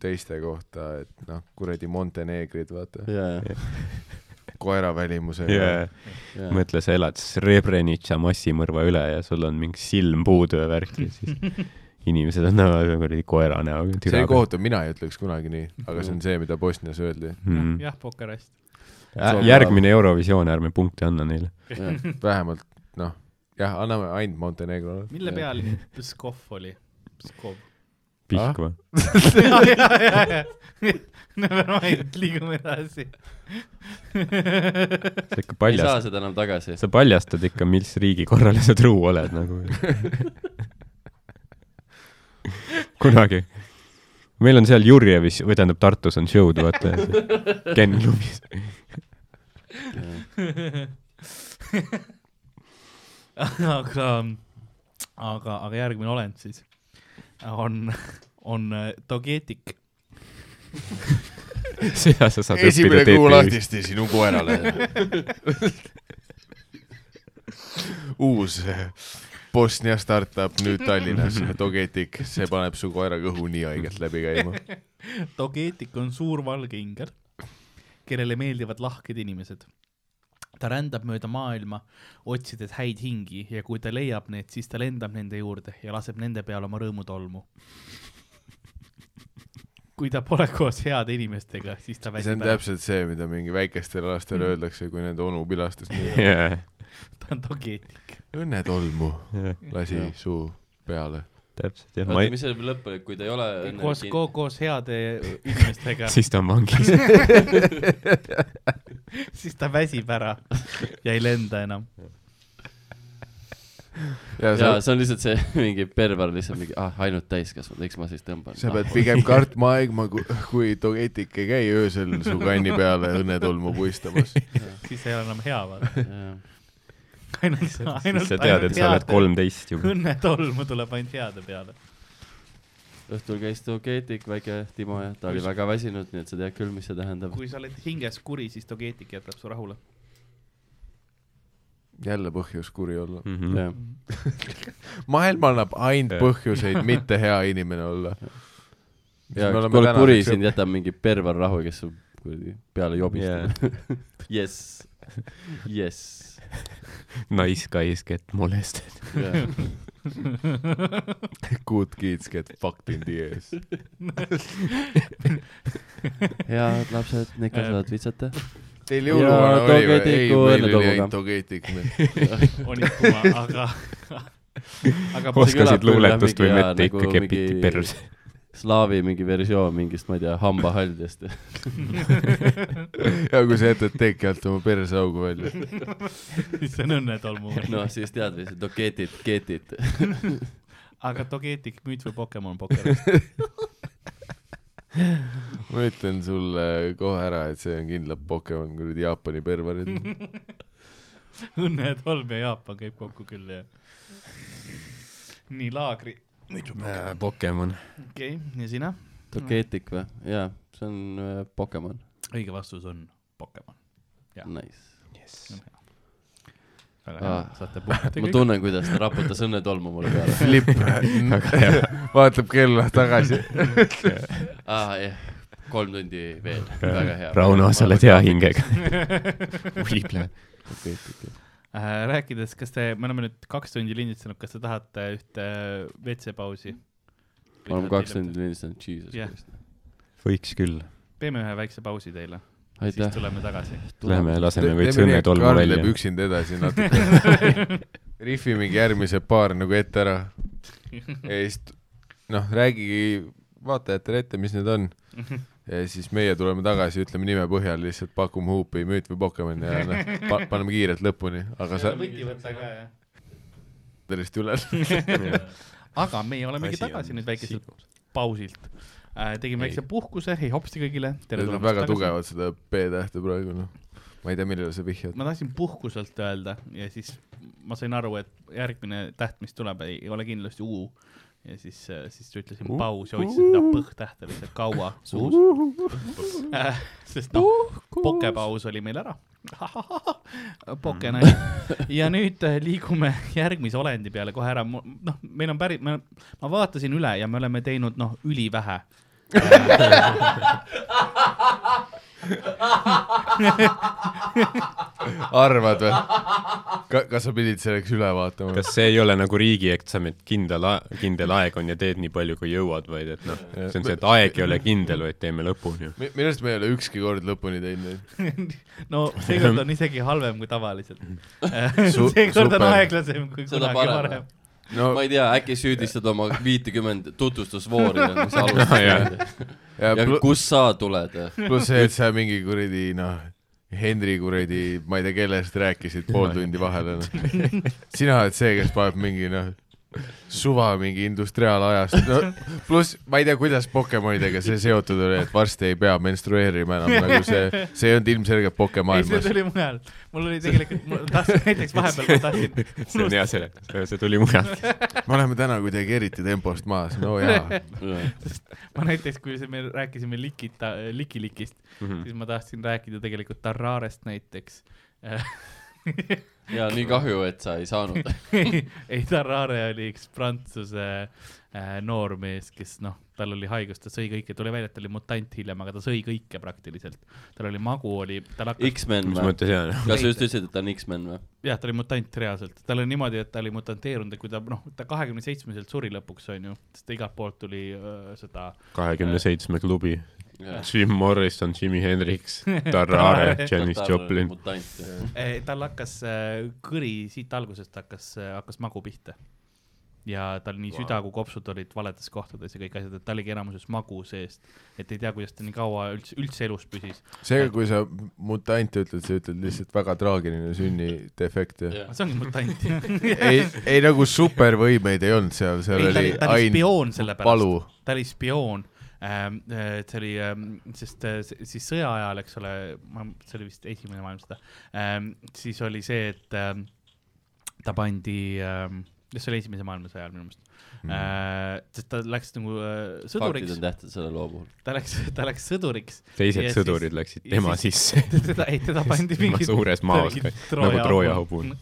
[SPEAKER 2] teiste kohta , et noh , kuradi Montenegrid , vaata ,
[SPEAKER 4] ja ,
[SPEAKER 2] koera välimusega
[SPEAKER 5] jaa ,
[SPEAKER 4] ja , ja .
[SPEAKER 5] mõtle , sa elad Srebrenica massimõrva üle ja sul on mingi silm puudu ja värk ja siis
[SPEAKER 4] [LAUGHS]
[SPEAKER 5] inimesed on nagu kuradi koera näoga .
[SPEAKER 2] see oli kohutav , mina ei ütleks kunagi nii , aga see on see , mida Bosnias öeldi .
[SPEAKER 5] mm. .
[SPEAKER 3] jah , pokerist .
[SPEAKER 5] Ä- järgmine Eurovisioon , ärme punkte anna neile .
[SPEAKER 2] vähemalt noh , jah , anname ainult Montenegrole .
[SPEAKER 3] mille pealinn Pskov oli ?
[SPEAKER 2] [LAUGHS]
[SPEAKER 3] Pskov . [LAUGHS]
[SPEAKER 5] Pihkva .
[SPEAKER 3] Never mind , liigume edasi .
[SPEAKER 5] [LAUGHS] sa
[SPEAKER 4] ei
[SPEAKER 5] ikka
[SPEAKER 4] saa
[SPEAKER 5] paljast- ,
[SPEAKER 4] seda enam tagasi .
[SPEAKER 5] sa paljastad ikka , mis riigi korrale sa truu oled
[SPEAKER 4] [LAUGHS]
[SPEAKER 5] nagu . kunagi . meil on seal Jurjevis , või tähendab Tartus on show'd , vaata . Ken klubis .
[SPEAKER 3] aga , aga , aga järgmine olend siis on , on äh, dogeetik .
[SPEAKER 5] [LAUGHS] seda sa saad
[SPEAKER 2] esimene kuu
[SPEAKER 5] TTÜ-s.
[SPEAKER 2] lahtisti sinu koerale uus eh, Bosnia startup nüüd Tallinnas , Dogetic , see paneb su koera kõhu nii haigelt läbi käima .
[SPEAKER 4] [LAUGHS]
[SPEAKER 3] dogeetik on suur valge ingel , kellele meeldivad lahked inimesed . ta rändab mööda maailma , otsides häid hingi ja kui ta leiab need , siis ta lendab nende juurde ja laseb nende peal oma rõõmutolmu . [LAUGHS] kui ta pole koos heade inimestega , siis
[SPEAKER 2] see
[SPEAKER 3] ta
[SPEAKER 2] on
[SPEAKER 3] väsib ära .
[SPEAKER 2] täpselt see , mida mingi väikestele lastele
[SPEAKER 4] Mm.
[SPEAKER 2] öeldakse , kui nende onu pilastas .
[SPEAKER 5] [LAUGHS] jaa ,
[SPEAKER 3] ta on dogeetik .
[SPEAKER 2] õnne tolmu
[SPEAKER 5] jaa ,
[SPEAKER 2] lasi suu peale .
[SPEAKER 5] täpselt jah .
[SPEAKER 4] oota , mis see lõpp oli , kui ta ei ole
[SPEAKER 3] koos , koos heade inimestega ,
[SPEAKER 5] [LAUGHS] siis ta on
[SPEAKER 4] [LAUGHS]
[SPEAKER 5] vangis .
[SPEAKER 3] siis ta väsib ära ja ei lenda enam .
[SPEAKER 2] ja sa,
[SPEAKER 4] jaa , see on lihtsalt see [LAUGHS] mingi perver lihtsalt mingi , ah , ainult täiskasvanud , eks ma siis tõmban . Ah,
[SPEAKER 2] sa pead pigem kartma aegma , kui Dogetic ei käi öösel su kanni peale õnne tolmu
[SPEAKER 4] [LAUGHS]
[SPEAKER 2] puistamas .
[SPEAKER 3] siis ei ole enam hea , vaata .
[SPEAKER 5] [LAUGHS]
[SPEAKER 4] pigem .
[SPEAKER 3] ainult , ainult ,
[SPEAKER 5] siis sa tead , et sa oled kolmteist juba .
[SPEAKER 3] õnnetolmu tuleb ainult heade peale .
[SPEAKER 4] õhtul käis Dogeetik , väike Timo ja ta oli väga väsinud , nii et sa tead küll , mis see tähendab .
[SPEAKER 3] kui sa oled hinges kuri , siis dogeetik jätab su rahule .
[SPEAKER 2] jälle põhjus kuri olla .
[SPEAKER 5] Mhm.
[SPEAKER 4] jah ,
[SPEAKER 2] maailm annab ainult
[SPEAKER 5] Jah.
[SPEAKER 2] põhjuseid mitte hea inimene olla .
[SPEAKER 4] ja kui oled kuri , sind jätab mingi perver rahu , kes su kuradi peale jobistab . [LAUGHS] jess , jess .
[SPEAKER 5] Nice guys get molested .
[SPEAKER 2] Good kids get fucked in the ass .
[SPEAKER 4] head lapsed , need kasvavad vitsata .
[SPEAKER 2] Teil
[SPEAKER 4] Ja
[SPEAKER 2] jõuluvana oli või ? ei ,
[SPEAKER 4] Dogetiku
[SPEAKER 2] meil oli
[SPEAKER 4] õnnetolmuga.
[SPEAKER 2] ainult Dogetic . [LAUGHS]
[SPEAKER 3] onituma , [LAUGHS] aga , aga
[SPEAKER 4] Oskad kõlab
[SPEAKER 5] oskasid
[SPEAKER 4] küll, jah,
[SPEAKER 5] luuletust või
[SPEAKER 4] mingi jaa,
[SPEAKER 5] mitte , ikka
[SPEAKER 4] nagu
[SPEAKER 5] kepiti
[SPEAKER 4] mingi-
[SPEAKER 5] perse .
[SPEAKER 4] slaavi mingi versioon mingist , ma ei tea , hambahaldjast . [LAUGHS]
[SPEAKER 2] ja kui sa jätad teki alt oma perseaugu välja .
[SPEAKER 3] siis see on õnnetolmu .
[SPEAKER 4] noh , siis tead või see Dogeetit , Geetit .
[SPEAKER 3] aga dogeetik , müüt või Pokemon Pokeris ? [LAUGHS]
[SPEAKER 2] ma ütlen sulle kohe ära , et see on kindlalt Pokemon , kuradi Jaapani perverid .
[SPEAKER 3] õnnetolm ja Jaapan käib kokku küll , jah . nii , laagri , Äh,
[SPEAKER 5] Pokemon .
[SPEAKER 3] okei okay. , ja sina ?
[SPEAKER 4] Dogeetik või ? jaa , see on äh, Pokemon .
[SPEAKER 3] õige vastus on Pokemon . Jah.
[SPEAKER 4] Nice .
[SPEAKER 3] väga hea
[SPEAKER 4] Ah. ,
[SPEAKER 3] saate puhata
[SPEAKER 4] ma . tunnen , kuidas ta raputas õnnetolmu mulle peale .
[SPEAKER 2] [LAUGHS] Flip vaatab kella tagasi .
[SPEAKER 4] aa , jah , kolm tundi veel , väga hea .
[SPEAKER 5] Rauno , sa oled hea . hingega .
[SPEAKER 3] [LAUGHS]
[SPEAKER 5] võible .
[SPEAKER 3] Äh, rääkides , kas te , me oleme nüüd kaks tundi lindistanud , kas te tahate ühte WC-pausi ?
[SPEAKER 4] me oleme kaks tundi . lindistanud , jesus
[SPEAKER 3] Jah.
[SPEAKER 4] Christ .
[SPEAKER 5] võiks küll .
[SPEAKER 3] teeme ühe väikse pausi teile , siis
[SPEAKER 4] aitäh .
[SPEAKER 3] tuleme tagasi .
[SPEAKER 5] Lähme laseme veits õnnetolmu välja .
[SPEAKER 2] üksinda edasi natuke .
[SPEAKER 3] [LAUGHS]
[SPEAKER 2] rihvi mingi järgmised paar nagu ette ära . ja siis t- noh , räägigi vaatajatele ette , mis need on . ja siis meie tuleme tagasi , ütleme nime põhjal lihtsalt pakume huupi , müüt või Pokemon ja noh pa, , paneme kiirelt lõpuni , aga sa
[SPEAKER 3] võti võtta ka , jah .
[SPEAKER 2] lihtsalt üle .
[SPEAKER 3] aga meie olemegi tagasi nüüd väikeselt pausilt tegin
[SPEAKER 2] Ei.
[SPEAKER 3] väikse puhkuse , hei hopsti kõigile , tere
[SPEAKER 2] Need on
[SPEAKER 3] tulemast
[SPEAKER 2] väga
[SPEAKER 3] tagasi.
[SPEAKER 2] tugevad seda B-tähte praegu noh . ma ei tea , millele sa vihjad .
[SPEAKER 3] ma tahtsin puhkuselt öelda ja siis ma sain aru , et järgmine täht , mis tuleb , ei ole kindlasti U . ja siis , siis ütlesin paus ja hoidsin seda põhtähte lihtsalt
[SPEAKER 2] [LAUGHS]
[SPEAKER 3] kaua suus . sest noh , pokepaus oli meil ära . [LAUGHS] Pokenali .
[SPEAKER 2] Mm.
[SPEAKER 3] [LAUGHS] ja nüüd äh, liigume järgmise olendi peale kohe ära , noh , meil on päris , ma ma vaatasin üle ja me oleme teinud noh , ülivähe
[SPEAKER 2] arvad või ? kas sa pidid selleks üle vaatama ?
[SPEAKER 5] kas see ei ole nagu riigieksam , et kindel , kindel aeg on ja teed nii palju , kui jõuad , vaid et noh , see on see , et aeg ei ole kindel , vaid teeme lõpuni .
[SPEAKER 2] Mi- minu arust me ei ole ükski kord lõpuni teinud neid .
[SPEAKER 3] no seekord on isegi halvem kui tavaliselt
[SPEAKER 2] Su- .
[SPEAKER 3] [LAUGHS] seekord on
[SPEAKER 2] super.
[SPEAKER 3] aeglasem kui
[SPEAKER 4] Seda
[SPEAKER 3] kunagi
[SPEAKER 4] parem.
[SPEAKER 3] varem .
[SPEAKER 2] no
[SPEAKER 4] ma ei tea , äkki süüdistad oma viitekümmend
[SPEAKER 2] [LAUGHS]
[SPEAKER 4] tutvustusvoori , mis sa alustasid .
[SPEAKER 2] ja
[SPEAKER 4] ja
[SPEAKER 2] plu-
[SPEAKER 4] kust sa tuled ?
[SPEAKER 2] pluss see , et sa mingi kuradi noh , Henri kuradi , ma ei tea , kellest rääkisid pool tundi vahele noh. . sina oled see , kes paneb mingi noh , suva mingi industriaalajast no, . pluss ma ei tea , kuidas Pokemonidega see seotud oli , et varsti ei pea menstrueerima enam , nagu see , see ei olnud ilmselgelt
[SPEAKER 3] ei , see
[SPEAKER 2] Pokemaailmas .
[SPEAKER 3] tuli mujal . mul oli tegelikult , ma tahtsin näiteks vahepeal , ma tahtsin ,
[SPEAKER 5] see on hea seletus , see tuli mujalt .
[SPEAKER 2] me oleme täna kuidagi eriti tempost maas , no jaa .
[SPEAKER 3] ma näiteks , kui see- me rääkisime Likita , Likilikist mm , -hmm. siis ma tahtsin rääkida tegelikult Tararest näiteks [LAUGHS]
[SPEAKER 4] ja nii kahju , et sa ei
[SPEAKER 2] [LAUGHS]
[SPEAKER 4] saanud .
[SPEAKER 3] ei , Tarare oli üks prantsuse äh, noormees , kes noh , tal oli haigus , ta sõi kõike , tuli välja , et ta oli mutant hiljem , aga ta sõi kõike praktiliselt . tal oli magu , oli , tal hakkas
[SPEAKER 4] X-men
[SPEAKER 5] mis
[SPEAKER 4] või ?
[SPEAKER 5] mõttes jaa , noh .
[SPEAKER 4] kas sa just ütlesid , et ta on X-men või ?
[SPEAKER 3] jah , ta oli mutant reaalselt , tal oli niimoodi , et ta oli mutanteerunud ja kui ta noh , ta kahekümne seitsmeselt suri lõpuks onju , sest ta igalt poolt tuli öö, seda
[SPEAKER 5] kahekümne seitsme klubi .
[SPEAKER 4] Jah.
[SPEAKER 5] Jim Morrison , Jimmy
[SPEAKER 3] [LAUGHS]
[SPEAKER 5] Hendrix , Tarare , Janis Joplin .
[SPEAKER 4] mutant .
[SPEAKER 3] eh, , tal hakkas eh, kõri siit algusest hakkas , hakkas magu pihta . ja tal nii wow. süda kui kopsud olid valedes kohtades ja kõik asjad , et ta oligi enamuses magu seest , et ei tea , kuidas ta nii kaua üldse , üldse elus püsis .
[SPEAKER 2] seega , kui sa mutant ütled , sa ütled lihtsalt väga traagiline sünnidefekt ja
[SPEAKER 3] see ongi mutant . [LAUGHS] ei ,
[SPEAKER 2] ei , ei nagu supervõimeid ei olnud seal , seal
[SPEAKER 3] ta
[SPEAKER 2] oli
[SPEAKER 3] oli , ta oli spioon selle Äh, pärast .
[SPEAKER 2] palu .
[SPEAKER 3] ta oli spioon ähm, , see oli , sest äh, s- siis sõja ajal , eks ole , ma , see oli vist esimene maailmasõda ähm, , siis oli see , et ähm, ta pandi ähm, , see oli esimese maailmasõja ajal minu meelest
[SPEAKER 5] Mhm.
[SPEAKER 3] mm. , sest ta läks nagu äh,
[SPEAKER 4] faktid
[SPEAKER 3] sõduriks
[SPEAKER 4] on , tähtsad selle loo puhul .
[SPEAKER 3] ta läks , ta läks sõduriks ,
[SPEAKER 5] teised
[SPEAKER 3] Ja siis- [LAUGHS]
[SPEAKER 5] sõdurid läksid
[SPEAKER 3] ja
[SPEAKER 5] tema
[SPEAKER 3] siis-
[SPEAKER 5] sisse .
[SPEAKER 3] teda , ei teda [LAUGHS] pandi
[SPEAKER 5] tema
[SPEAKER 3] mingi
[SPEAKER 5] suures maos
[SPEAKER 3] mingi
[SPEAKER 5] ka- nagu Trooja hobune .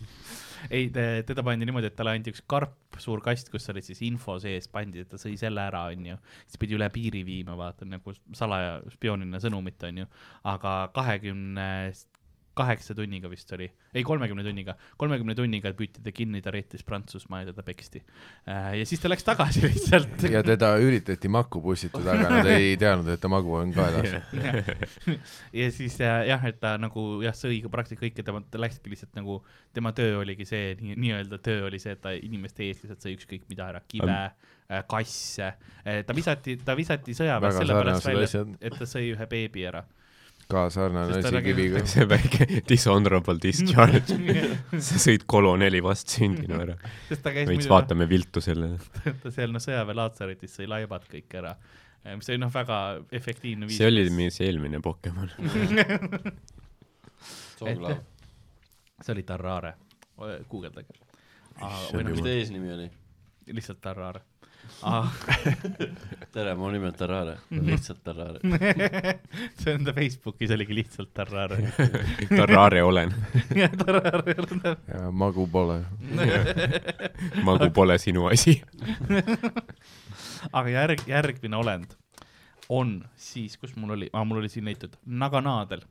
[SPEAKER 3] ei , teda pandi niimoodi , et talle anti üks karp , suur kast , kus oli siis info sees , pandi , et ta sõi selle ära , onju . siis pidi üle piiri viima , vaata nagu salaja spioonina sõnumit , onju . aga kahekümne kaheksa tunniga vist oli , ei kolmekümne tunniga , kolmekümne tunniga püüti ta kinni , ta reetis Prantsusmaa ja teda peksti . ja siis ta läks tagasi [LAUGHS] lihtsalt .
[SPEAKER 2] ja teda üritati makku pussitada , aga nad ei
[SPEAKER 3] [LAUGHS]
[SPEAKER 2] teadnud , et ta magu on kaelas .
[SPEAKER 3] ja [LAUGHS] siis äh, jah , et ta nagu jah , sõi ka praktiliselt kõike , tema , ta läkski lihtsalt nagu , tema töö oligi see nii, , nii-öelda töö oli see , et ta inimeste ees lihtsalt sõi ükskõik mida ära , kive , kasse , ta visati , ta visati sõjaväes
[SPEAKER 2] Väga
[SPEAKER 3] sellepärast
[SPEAKER 2] sarnased
[SPEAKER 3] välja
[SPEAKER 2] asjad. ,
[SPEAKER 3] et ta sõi ühe beebi ära .
[SPEAKER 2] ka sarnane
[SPEAKER 3] Sest ta
[SPEAKER 2] asi
[SPEAKER 3] nägi-
[SPEAKER 2] kiviga .
[SPEAKER 5] see väike dishonorable
[SPEAKER 3] [LAUGHS]
[SPEAKER 5] discharge , sa sõid koloneli vastsündinu ära .
[SPEAKER 3] sest ta käis
[SPEAKER 5] võiks
[SPEAKER 3] muidu ,
[SPEAKER 5] vaatame viltu sellele .
[SPEAKER 3] [LAUGHS] ta seal noh , sõjaväelaatsaretis sõi laibad kõik ära , mis oli noh , väga efektiivne viis .
[SPEAKER 5] see oli . meie see eelmine Pokemon . [LAUGHS]
[SPEAKER 4] Songlav .
[SPEAKER 3] see oli Tarare , guugeldage . või
[SPEAKER 4] mis
[SPEAKER 3] noh ,
[SPEAKER 4] ta eesnimi oli ?
[SPEAKER 3] lihtsalt Tarare . [LAUGHS]
[SPEAKER 4] tere , mu nimi on Tarare , lihtsalt Tarare .
[SPEAKER 3] see on ta Facebookis oligi lihtsalt Tarare .
[SPEAKER 5] [LAUGHS] Tarare olen ,
[SPEAKER 3] jah , Tarare on ta
[SPEAKER 2] magu pole .
[SPEAKER 5] magu pole sinu asi .
[SPEAKER 3] aga järg , järgmine olend on siis , kus mul oli ah, , mul oli siin leitud naganaadel .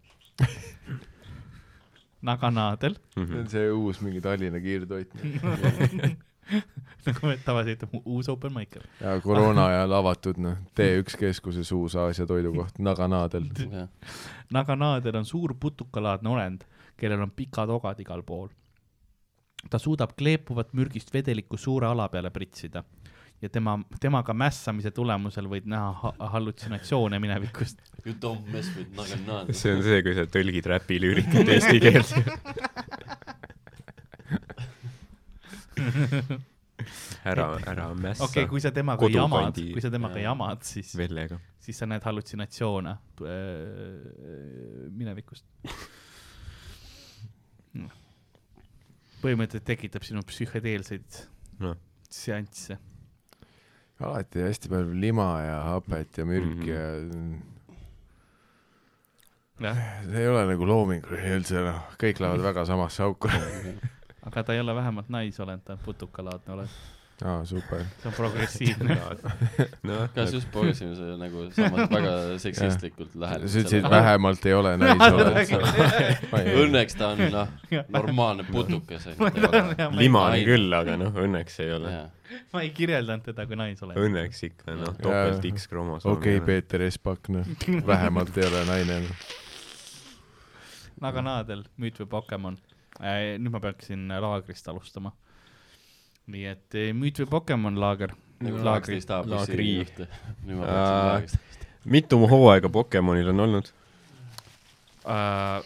[SPEAKER 3] naganaadel ,
[SPEAKER 2] see on [LAUGHS] see uus mingi Tallinna kiirtoit .
[SPEAKER 3] nagu me tavaliselt ütleme , uus open mic .
[SPEAKER 2] ja koroona ajal avatud , noh , T1 keskuses uus Aasia toidukoht , Naganaadel .
[SPEAKER 3] naganaadel on suur putukalaadne olend , kellel on pikad ogad igal pool . ta suudab kleepuvat mürgist vedelikku suure ala peale pritsida ja tema , temaga mässamise tulemusel võid näha ha- hallutsinatsioone minevikust .
[SPEAKER 4] You don't mess with
[SPEAKER 2] [LAUGHS]
[SPEAKER 4] Naganaad .
[SPEAKER 5] see on see , kui sa tõlgid räpilüürikat eesti keelde . ära , ära mässa
[SPEAKER 3] okei
[SPEAKER 5] okay,
[SPEAKER 3] okay, ,
[SPEAKER 5] kui...
[SPEAKER 3] kui sa temaga jamad ,
[SPEAKER 5] Kodukandi-
[SPEAKER 3] kui sa temaga
[SPEAKER 5] Jaa.
[SPEAKER 3] jamad , siis ,
[SPEAKER 5] Vellega .
[SPEAKER 3] siis sa näed hallutsinatsioone äh, minevikust Mm. põhimõtteliselt tekitab sinu psühhedeelseid
[SPEAKER 5] Noh.
[SPEAKER 3] seansse .
[SPEAKER 2] alati hästi palju lima ja hapet ja mürki
[SPEAKER 5] Mhm.
[SPEAKER 2] ja
[SPEAKER 3] jah ,
[SPEAKER 2] see ei ole nagu loominguline üldse noh , kõik lähevad väga samasse
[SPEAKER 3] [LAUGHS]
[SPEAKER 2] auku .
[SPEAKER 3] aga ta ei ole vähemalt naisolend , ta on putukalaadne olend ,
[SPEAKER 2] aa , super .
[SPEAKER 3] see on progressiivne .
[SPEAKER 5] nojah ,
[SPEAKER 4] kas just poisime selle nagu samas väga seksistlikult
[SPEAKER 2] sa
[SPEAKER 4] lähedalt
[SPEAKER 2] ütlesid , et vähemalt ei
[SPEAKER 3] [LAUGHS]
[SPEAKER 2] ole naisolend .
[SPEAKER 4] õnneks ta on noh , normaalne putukas
[SPEAKER 3] [LAUGHS]
[SPEAKER 4] onju .
[SPEAKER 5] limane
[SPEAKER 4] Ai-
[SPEAKER 5] küll , aga noh , õnneks ei ole .
[SPEAKER 3] ma ei kirjeldanud teda kui naisolend .
[SPEAKER 5] õnneks ikka , noh ,
[SPEAKER 2] Jaa.
[SPEAKER 5] topelt X-kromosoom .
[SPEAKER 2] okei ,. Peeter Espak , noh , vähemalt ei ole naine . noh.
[SPEAKER 3] Naganaadel , müüt või Pokemon . nüüd ma peaksin äh, laagrist alustama . nii et eh, müüt või Pokemon laager .
[SPEAKER 4] nagu
[SPEAKER 3] laagri
[SPEAKER 4] laagri . staabis .
[SPEAKER 5] Laagri. .
[SPEAKER 4] nüüd ma
[SPEAKER 5] Aa.
[SPEAKER 4] peaksin laagrist .
[SPEAKER 5] mitu hooaega Pokemonil on olnud ?
[SPEAKER 3] Äh,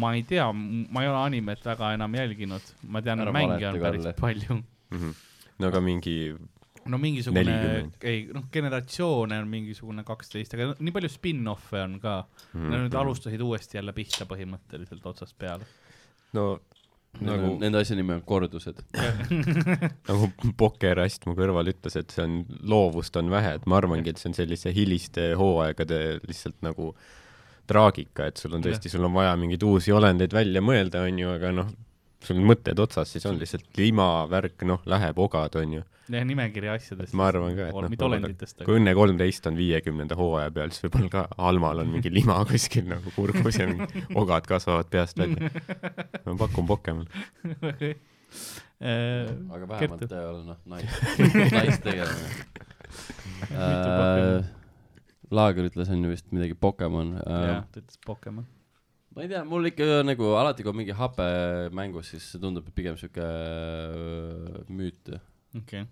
[SPEAKER 3] ma ei tea , ma ei ole animet väga enam jälginud , ma tean , et
[SPEAKER 4] Ära
[SPEAKER 3] mänge on
[SPEAKER 4] valeta,
[SPEAKER 3] päris
[SPEAKER 4] Kalle.
[SPEAKER 3] palju .
[SPEAKER 5] no aga mingi ,
[SPEAKER 3] no mingisugune
[SPEAKER 5] 40. ,
[SPEAKER 3] ei noh , generatsioone on mingisugune kaksteist , aga no- nii palju spin-off'e on ka
[SPEAKER 5] Hmm.
[SPEAKER 3] mm. . Nad nüüd alustasid uuesti jälle pihta põhimõtteliselt otsast peale .
[SPEAKER 5] no
[SPEAKER 4] nagu
[SPEAKER 5] nagu ,
[SPEAKER 4] nende asja nimi on kordused .
[SPEAKER 5] nagu [LAUGHS] Pokerast mu kõrval ütles , et see on , loovust on vähe , et ma arvangi , et see on sellise hiliste hooaegade lihtsalt nagu traagika , et sul on tõesti , sul on vaja mingeid uusi olendeid välja mõelda , onju , aga noh , sul on mõtted otsas , siis on lihtsalt limavärk , noh , läheb ogad , onju .
[SPEAKER 3] jah , nimekiri asjadest .
[SPEAKER 5] ma arvan ka , et
[SPEAKER 3] mitte olenditest ,
[SPEAKER 5] kui Õnne kolmteist on viiekümnenda hooaja peal , siis võib-olla ka Almal on mingi lima [LAUGHS] kuskil nagu kurgus ja mingi ogad kasvavad peast välja . ma pakun Pokemon .
[SPEAKER 3] [LAUGHS] aga
[SPEAKER 4] aga vähemalt
[SPEAKER 3] Äh, Kertu.
[SPEAKER 4] ta ei ole noh ,
[SPEAKER 3] [LAUGHS]
[SPEAKER 4] nais , naistegelane
[SPEAKER 3] Pokemoni? .
[SPEAKER 4] Laager ütles , on ju vist midagi Pokemon .
[SPEAKER 3] jah , ta ütles Pokemon .
[SPEAKER 4] ma ei tea , mul ikka nagu alati , kui on mingi hape mängus , siis see tundub pigem sihuke öö, müüt .
[SPEAKER 3] okei okay. .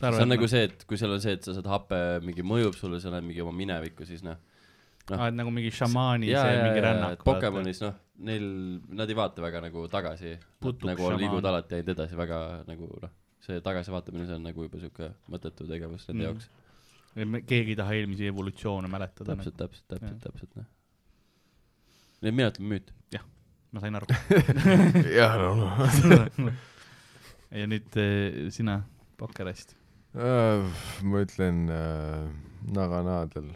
[SPEAKER 4] see on
[SPEAKER 3] noh.
[SPEAKER 4] nagu see , et kui seal on see , et sa saad hape , mingi mõjub sulle , sa näed mingi oma minevikku , siis noh . noh.
[SPEAKER 3] aa , et nagu mingi šamaani see mingi rännak .
[SPEAKER 4] Pokemonis noh , neil , nad ei vaata väga nagu tagasi .
[SPEAKER 3] Putuks
[SPEAKER 4] nagu
[SPEAKER 3] šamaan.
[SPEAKER 4] liigud alati ainult edasi väga nagu noh , see tagasivaatamine , see on nagu juba sihuke mõttetu tegevus nende mm.
[SPEAKER 3] Mm.
[SPEAKER 4] jaoks .
[SPEAKER 3] keegi ei taha eelmisi evolutsioone mäletada .
[SPEAKER 4] täpselt , täpselt , täpselt
[SPEAKER 3] Jah. ,
[SPEAKER 4] täpselt , noh . nii et mina ütlen müüt .
[SPEAKER 3] nagu- ma sain
[SPEAKER 5] [LAUGHS]
[SPEAKER 3] aru .
[SPEAKER 2] jah , noh .
[SPEAKER 3] [LAUGHS] ja nüüd eh, sina , Pokerist
[SPEAKER 2] Äh, ma ütlen äh, Naganaadel .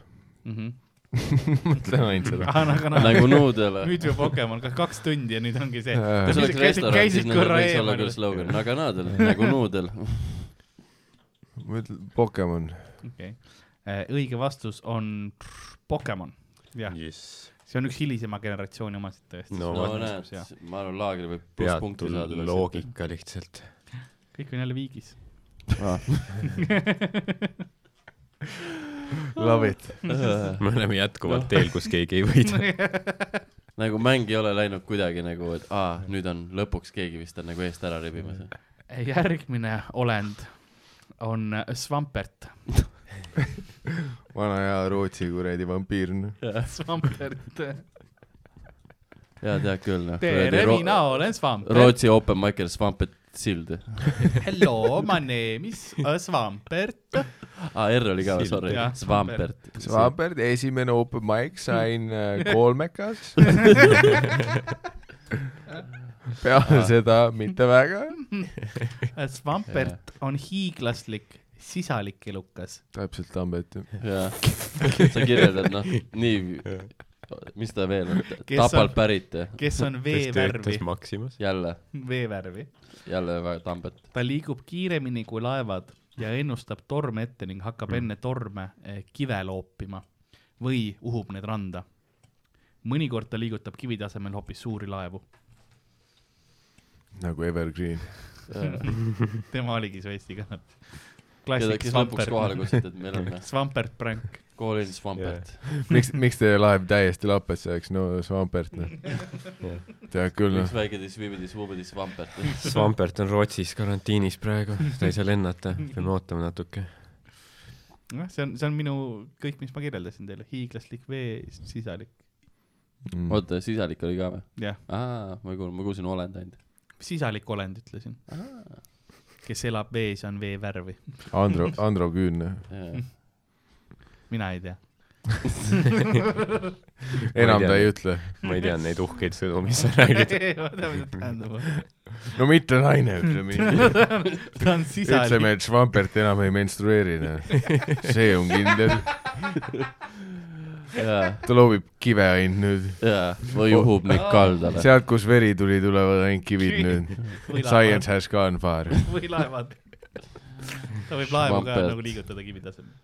[SPEAKER 3] mm . -hmm.
[SPEAKER 2] mõtlen ainult [LAUGHS] seda .
[SPEAKER 3] [LAUGHS] Ah, aga noh ,
[SPEAKER 4] Mhm.
[SPEAKER 3] [LAUGHS]
[SPEAKER 4] nagu nuudele .
[SPEAKER 3] nüüd juba Pokemon , kaks tundi ja nüüd ongi see .
[SPEAKER 4] kui
[SPEAKER 2] Äh,
[SPEAKER 4] sul oleks
[SPEAKER 3] Käisid-
[SPEAKER 4] restoran ,
[SPEAKER 3] käisid
[SPEAKER 4] siis nendel
[SPEAKER 3] korra
[SPEAKER 4] võiks olla
[SPEAKER 3] eemal.
[SPEAKER 4] küll slogan , aga
[SPEAKER 3] [LAUGHS]
[SPEAKER 4] naadel , nagu nuudel .
[SPEAKER 2] ma ütlen Pokemon .
[SPEAKER 3] okei . Eh, õige vastus on Pokemon . jah ,
[SPEAKER 5] jess .
[SPEAKER 3] see on üks hilisema generatsiooni omasid tõesti .
[SPEAKER 5] No
[SPEAKER 4] no
[SPEAKER 5] vot.
[SPEAKER 4] näed , ma arvan , Laagri võib
[SPEAKER 5] peatu
[SPEAKER 4] plusspunkti saada .
[SPEAKER 5] loogika lihtsalt .
[SPEAKER 3] kõik on jälle viigis .
[SPEAKER 2] Love it .
[SPEAKER 5] me oleme
[SPEAKER 4] Noh.
[SPEAKER 5] jätkuvalt no. teel , kus keegi ei
[SPEAKER 4] [LAUGHS]
[SPEAKER 5] võida .
[SPEAKER 4] nagu mäng ei ole läinud kuidagi nagu , et aa , nüüd on lõpuks keegi vist on nagu eest ära rebimas .
[SPEAKER 3] Mm. Eh, järgmine olend on Svampert .
[SPEAKER 2] vana hea Rootsi kuradi vampiir . noh.
[SPEAKER 3] Svampert .
[SPEAKER 4] jaa , tead küll , noh .
[SPEAKER 3] tere , mina olen Svampert .
[SPEAKER 4] Rootsi open micer Svampet Sild .
[SPEAKER 3] [LAUGHS] Hello , my name is Svampert .
[SPEAKER 4] aa , R oli ka , sorry
[SPEAKER 3] Jah, ,
[SPEAKER 4] Svampert .
[SPEAKER 2] Svampert , esimene open mic , sain äh, [LAUGHS] kolmekas . peale seda mitte väga .
[SPEAKER 4] [LAUGHS]
[SPEAKER 3] Svampert on hiiglaslik sisalik elukas .
[SPEAKER 2] täpselt Tambet .
[SPEAKER 4] jah , [LAUGHS] sa kirjeldad , noh , nii , mis ta veel on ,
[SPEAKER 3] Kes on-
[SPEAKER 4] Tapalt pärit ,
[SPEAKER 3] kes on
[SPEAKER 5] kes
[SPEAKER 3] veevärvi
[SPEAKER 5] töötas , Maximas .
[SPEAKER 4] jälle ,
[SPEAKER 3] veevärvi .
[SPEAKER 4] jälle väga Tambet .
[SPEAKER 3] ta liigub kiiremini kui laevad ja ennustab torme ette ning hakkab enne torme eh, kive loopima või uhub need randa . mõnikord ta liigutab kivide asemel hoopis suuri laevu . [LAUGHS]
[SPEAKER 2] nagu Evergreen .
[SPEAKER 3] tema oligi su Eesti kanal .
[SPEAKER 4] keda ,
[SPEAKER 3] klassik
[SPEAKER 4] kes lõpuks
[SPEAKER 3] [LAUGHS]
[SPEAKER 4] kohale
[SPEAKER 3] Svampert ,
[SPEAKER 4] kutsuti , et meil on noh,
[SPEAKER 3] Svampert prank .
[SPEAKER 4] koolin Svampert .
[SPEAKER 2] miks , miks teie laev täiesti lapesse läks , no Svampert , [LAUGHS] noh . tead küll ,
[SPEAKER 4] üks
[SPEAKER 2] noh .
[SPEAKER 4] väike disviibidi-svuubidi Svampert .
[SPEAKER 5] Svampert on Rootsis karantiinis praegu , ta ei saa lennata , peame ootama natuke .
[SPEAKER 3] noh , see on , see on minu kõik , mis ma kirjeldasin teile , hiiglaslik vee sisalik ,
[SPEAKER 2] Mm.
[SPEAKER 4] oota , sisalik oli ka või ?
[SPEAKER 3] jah ,
[SPEAKER 4] aa , ma ei kuulnud , ma kuulsin olend ainult .
[SPEAKER 3] sisalik olend ütlesin . kes elab vees , on vee värvi .
[SPEAKER 2] Andro , Andro noh. Küünne .
[SPEAKER 3] [LAUGHS] mina ei tea .
[SPEAKER 2] enam
[SPEAKER 5] tea.
[SPEAKER 2] ta ei ütle .
[SPEAKER 5] ma ei tea neid uhkeid sõnu , mis sa räägid .
[SPEAKER 2] no mitte naine , ütleme .
[SPEAKER 3] [LAUGHS] ta on sisalik .
[SPEAKER 2] ütleme , et Schwampert enam ei menstrueeri , noh . see on kindel .
[SPEAKER 4] jaa ,
[SPEAKER 2] ta loobib kive ainult nüüd .
[SPEAKER 4] jaa , või juhub neid kaldale .
[SPEAKER 2] sealt , kus veri tuli , tulevad ainult kivid nüüd . Science has gone far .
[SPEAKER 3] või laevad . ta võib laevu ka
[SPEAKER 4] Vampelt.
[SPEAKER 3] nagu liigutada kivi tasemel .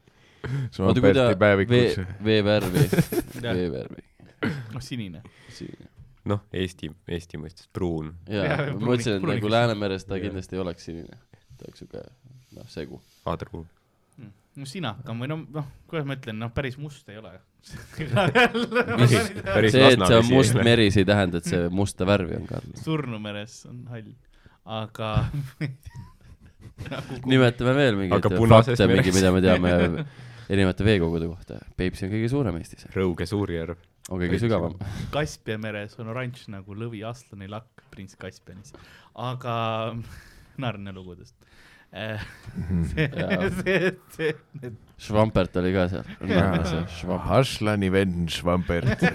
[SPEAKER 4] oota , kui ta
[SPEAKER 2] Schwamperti
[SPEAKER 4] vee
[SPEAKER 2] päevikusse .,
[SPEAKER 3] [LAUGHS]
[SPEAKER 4] veevärvi , veevärvi .
[SPEAKER 3] noh , sinine .
[SPEAKER 5] noh , Eesti , Eesti mõistes pruun .
[SPEAKER 4] jaa
[SPEAKER 3] Jaa, ,
[SPEAKER 4] ma mõtlesin , et
[SPEAKER 3] pruunikas-
[SPEAKER 4] nagu Läänemeres ta
[SPEAKER 5] Jaa.
[SPEAKER 4] kindlasti ei oleks sinine . ta oleks siuke , noh , segu .
[SPEAKER 5] Kadru .
[SPEAKER 3] no sinakam või noh , noh , kuidas ma ütlen , noh , päris must ei ole . [LAUGHS]
[SPEAKER 5] päris
[SPEAKER 4] [LAUGHS] see , et see on
[SPEAKER 5] Lasnamäe
[SPEAKER 4] must
[SPEAKER 5] siin .
[SPEAKER 4] meri , see ei tähenda , et see musta värvi
[SPEAKER 3] [LAUGHS]
[SPEAKER 4] on kaldal .
[SPEAKER 3] surnumeres on hall , aga [LAUGHS]
[SPEAKER 4] nimetame veel mingeid
[SPEAKER 5] Aga Punases
[SPEAKER 4] fakte , mingi ,
[SPEAKER 5] meres.
[SPEAKER 4] mida me teame
[SPEAKER 3] [LAUGHS]
[SPEAKER 4] erinevate veekogude kohta . Peipsi on kõige suurem Eestis ,
[SPEAKER 5] Rõuge Suurjärv .
[SPEAKER 4] on kõige sügavam .
[SPEAKER 3] Kaspia meres on oranž nagu lõvi aslane lakk prints Kaspianis , aga [LAUGHS] narne lugudest . see , [LAUGHS] see , see , need
[SPEAKER 4] [LAUGHS] Schwampert oli ka
[SPEAKER 5] [LAUGHS]
[SPEAKER 4] seal .
[SPEAKER 2] Haslani vend Schwampert .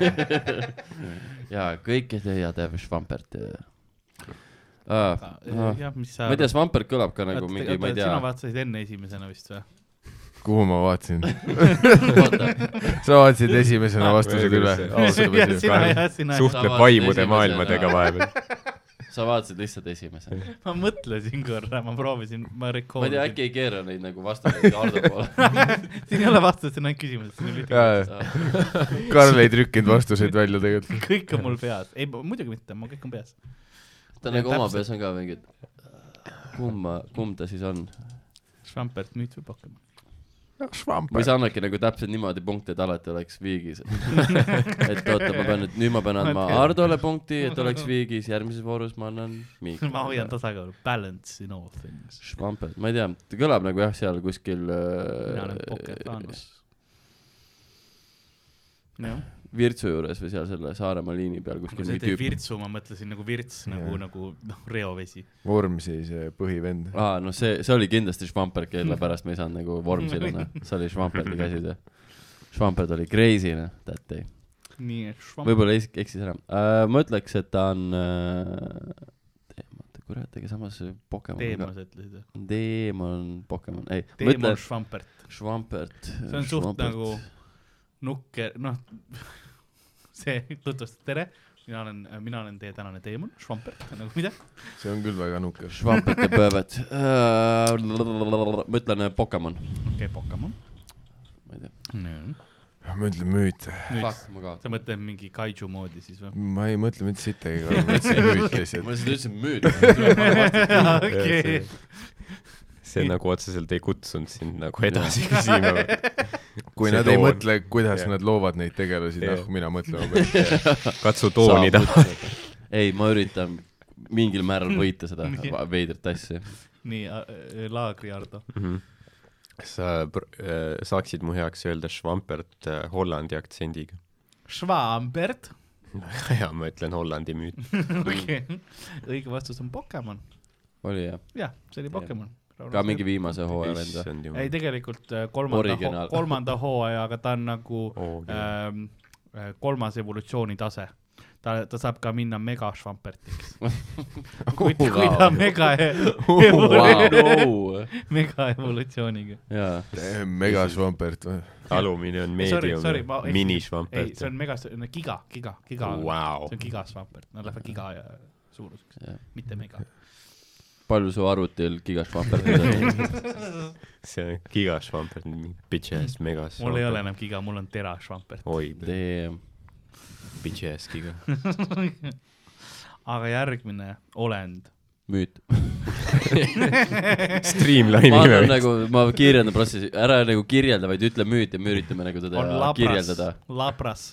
[SPEAKER 4] jaa , kõike teie teab Schwampert .
[SPEAKER 3] Ah,
[SPEAKER 4] ma
[SPEAKER 3] jah , mis sa .
[SPEAKER 4] ei tea , Schwampert kõlab ka nagu mingi , ma ei tea
[SPEAKER 3] sina , vaatasid enne esimesena vist või ?
[SPEAKER 2] kuhu ma vaatasin ?
[SPEAKER 4] oota ,
[SPEAKER 2] sa vaatasid esimesena vastused üle .
[SPEAKER 3] jah , sina , jah , sina .
[SPEAKER 5] suhtleb
[SPEAKER 4] vaatasid
[SPEAKER 5] vaimude
[SPEAKER 4] esimesena.
[SPEAKER 5] maailmadega vahepeal .
[SPEAKER 4] sa vaatasid lihtsalt esimesena .
[SPEAKER 3] ma mõtlesin korra , ma proovisin , ma
[SPEAKER 4] ma ei tea ,
[SPEAKER 3] rekoordisin .
[SPEAKER 4] äkki ei keera neid nagu vastuseid Hardo poole .
[SPEAKER 3] siin ei ole vastust , siin on ainult küsimused , siin on ühtegi .
[SPEAKER 2] Karl ei trükkinud vastuseid välja tegelikult .
[SPEAKER 3] kõik on mul peas , ei ma- muidugi mitte , mul kõik on peas .
[SPEAKER 4] ta nagu oma peas on ka mingid , kumb ma , kumb ta siis on ?
[SPEAKER 3] Schwampert , müüt või Pokemon ?
[SPEAKER 4] Noh, või sa annadki nagu täpselt niimoodi punkte , et alati oleks viigis . [LAUGHS] et oota , ma pean nüüd , nüüd ma pean andma Hardole punkti , et oleks viigis , järgmises voorus ma annan Miikile .
[SPEAKER 3] [LAUGHS] ma hoian tasakaalu , balance in all things .
[SPEAKER 4] Schwampert , ma ei tea , ta kõlab nagu jah , seal kuskil
[SPEAKER 3] mina olen
[SPEAKER 4] äh,
[SPEAKER 3] Poketanos . jah ,
[SPEAKER 4] Virtsu juures või seal selle Saaremaa liini peal
[SPEAKER 3] kui
[SPEAKER 4] kuskil
[SPEAKER 3] sa
[SPEAKER 4] mingi
[SPEAKER 3] ütled
[SPEAKER 4] tüüp .
[SPEAKER 3] Virtsu , ma mõtlesin nagu Virts nagu , nagu noh , reovesi .
[SPEAKER 2] Vormsi see eh, põhivend .
[SPEAKER 4] aa , no see , see oli kindlasti Schwampert , kelle pärast ma ei saanud nagu
[SPEAKER 3] [LAUGHS]
[SPEAKER 4] Vormsile , noh , see oli Schwamperti käsitöö . Schwampert oli crazy , noh , that day .
[SPEAKER 3] nii , et Schwampert .
[SPEAKER 4] võib-olla es- eksis ära uh, . ma ütleks , et ta on uh, , oota , kurat , ega samas Pokemon
[SPEAKER 3] Teemas ütlesid või ?
[SPEAKER 4] ka . Demon , Pokemon , ei , ma
[SPEAKER 3] Teemas
[SPEAKER 4] ütlen
[SPEAKER 3] Schwampert .
[SPEAKER 4] Schwampert .
[SPEAKER 3] see on suht nagu nukker , noh , [LAUGHS] see tutvustab , tere , mina olen , mina olen teie tänane teemant , Schwampert , nagu mida ?
[SPEAKER 2] see on küll väga nukker .
[SPEAKER 4] Schwampert ja Pöövet uh, . ma ütlen äh, Pokemon ,
[SPEAKER 3] okei okay, , Pokemon .
[SPEAKER 4] ma ei tea .
[SPEAKER 2] ma ütlen müüt .
[SPEAKER 4] Fuck , ma
[SPEAKER 3] sa
[SPEAKER 4] kaotan .
[SPEAKER 3] mõtled mingi kaiju moodi siis [LAUGHS] või ?
[SPEAKER 2] ma ei mõtle mitte sittagi , ma mõtlesin müüt
[SPEAKER 4] ma
[SPEAKER 2] lihtsalt .
[SPEAKER 4] lihtsalt ütlesin
[SPEAKER 3] [LAUGHS]
[SPEAKER 4] müüt .
[SPEAKER 3] okei ,
[SPEAKER 5] see nagu otseselt ei kutsunud sind nagu
[SPEAKER 4] [LAUGHS]
[SPEAKER 5] edasi küsima .
[SPEAKER 2] kui
[SPEAKER 5] See
[SPEAKER 2] nad ei
[SPEAKER 5] toon.
[SPEAKER 2] mõtle , kuidas
[SPEAKER 5] Jah.
[SPEAKER 2] nad loovad neid tegelasi ,
[SPEAKER 5] Jah.
[SPEAKER 2] noh , mina mõtlema pean .
[SPEAKER 5] katsu
[SPEAKER 3] nagu
[SPEAKER 5] tooni taha ..
[SPEAKER 4] [LAUGHS] ei , ma üritan mingil määral võita
[SPEAKER 3] [LAUGHS]
[SPEAKER 4] seda va- veidrat asja .
[SPEAKER 3] nii , äh, Laagri Ardo .
[SPEAKER 5] Mhm. sa pr- äh, saaksid mu heaks öelda Schwampert äh, Hollandi aktsendiga . [LAUGHS]
[SPEAKER 3] Schwampert , [LAUGHS]
[SPEAKER 5] ja ma ütlen Hollandi müüt . [LAUGHS]
[SPEAKER 3] okei , õige vastus on Pokemon ,
[SPEAKER 4] oli jah ,
[SPEAKER 3] jah , see oli Pokemon .
[SPEAKER 4] ka mingi viimase hooaja vend või ?
[SPEAKER 5] issand
[SPEAKER 3] ei ,
[SPEAKER 5] jumal .
[SPEAKER 3] tegelikult äh, kolmanda
[SPEAKER 4] Originaal. , [LAUGHS]
[SPEAKER 3] kolmanda hooaja , aga ta on nagu
[SPEAKER 5] Oo,
[SPEAKER 3] ähm, äh, kolmas evolutsiooni tase . ta , ta saab ka minna mega
[SPEAKER 4] [LAUGHS]
[SPEAKER 3] švampertiks . kui , kui ta mega ,
[SPEAKER 4] Wow.
[SPEAKER 3] [LAUGHS] mega evolutsiooniga .
[SPEAKER 4] jaa ,
[SPEAKER 2] mega Swampert eh, või ?
[SPEAKER 5] alumine on
[SPEAKER 3] sorry ,
[SPEAKER 5] meedium
[SPEAKER 3] sorry , ma .
[SPEAKER 5] mini
[SPEAKER 3] ei ,
[SPEAKER 5] Schwampert
[SPEAKER 3] see . on mega , giga , giga , giga
[SPEAKER 5] Wow.
[SPEAKER 3] see on giga švampert , nad lähevad giga ja suuruseks
[SPEAKER 4] Jah. ,
[SPEAKER 3] mitte mega .
[SPEAKER 4] palju su arvutil [LAUGHS] gigašvamperdid on ?
[SPEAKER 5] see on giga Schwampert , bitch ass mega Schwampert .
[SPEAKER 3] mul ei ole enam giga , mul on tera švampert .
[SPEAKER 5] oi ,
[SPEAKER 4] Damn ,
[SPEAKER 5] bitch ass
[SPEAKER 3] [LAUGHS]
[SPEAKER 5] giga . [LAUGHS]
[SPEAKER 3] aga järgmine olend .
[SPEAKER 4] müüt .
[SPEAKER 5] Streamline'i
[SPEAKER 4] ma
[SPEAKER 5] nime
[SPEAKER 4] annan
[SPEAKER 5] nagu... .
[SPEAKER 4] nagu , ma kirjeldan protsessi , ära nagu kirjelda , vaid ütle müüt ja me üritame nagu teda
[SPEAKER 3] on labras
[SPEAKER 4] kirjeldada .,
[SPEAKER 3] [LAUGHS] labras ,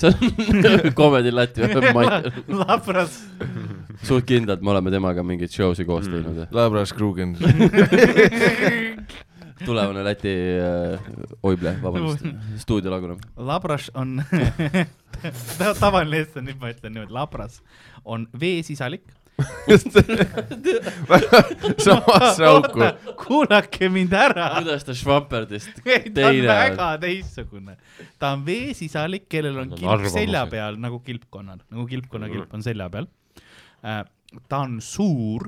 [SPEAKER 4] see on nagu Comedy Läti ma-
[SPEAKER 3] labras
[SPEAKER 4] suht kindlalt me oleme temaga mingeid show'si koos teinud .
[SPEAKER 2] Labras [LAUGHS] Krugen .
[SPEAKER 4] tulevane Läti äh, , oi , vabandust , stuudio laguneb .
[SPEAKER 3] labras [LAUGHS] on , tavaline eestlane , nüüd ma ütlen niimoodi , labras on veesisalik ,
[SPEAKER 2] samasse
[SPEAKER 3] [LAUGHS]
[SPEAKER 2] auku .
[SPEAKER 3] kuulake mind ära .
[SPEAKER 4] kuidas ta Schwamperdist
[SPEAKER 3] [LAUGHS] ei , ta on
[SPEAKER 4] teine on ?
[SPEAKER 3] väga teistsugune . ta on veesisalik , kellel on
[SPEAKER 4] Tal on
[SPEAKER 3] kilp
[SPEAKER 4] arvamusi.
[SPEAKER 3] selja peal nagu kilpkonnal , nagu kilpkonna kilp on selja peal . ta on suur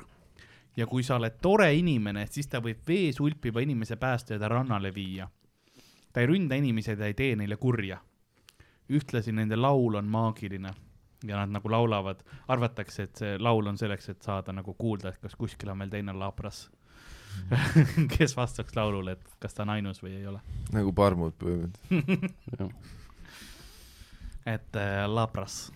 [SPEAKER 3] ja kui sa oled tore inimene , siis ta võib vees ulpiva inimese päästa ja ta rannale viia . ta ei ründa inimesi , ta ei tee neile kurja . ühtlasi nende laul on maagiline ja nad nagu laulavad , arvatakse , et see laul on selleks , et saada nagu kuulda , et kas kuskil on veel teine laabras , [LAUGHS] kes vastaks laulule , et kas ta on ainus või ei ole .
[SPEAKER 2] nagu parmud põhimõtteliselt .
[SPEAKER 3] et äh, labras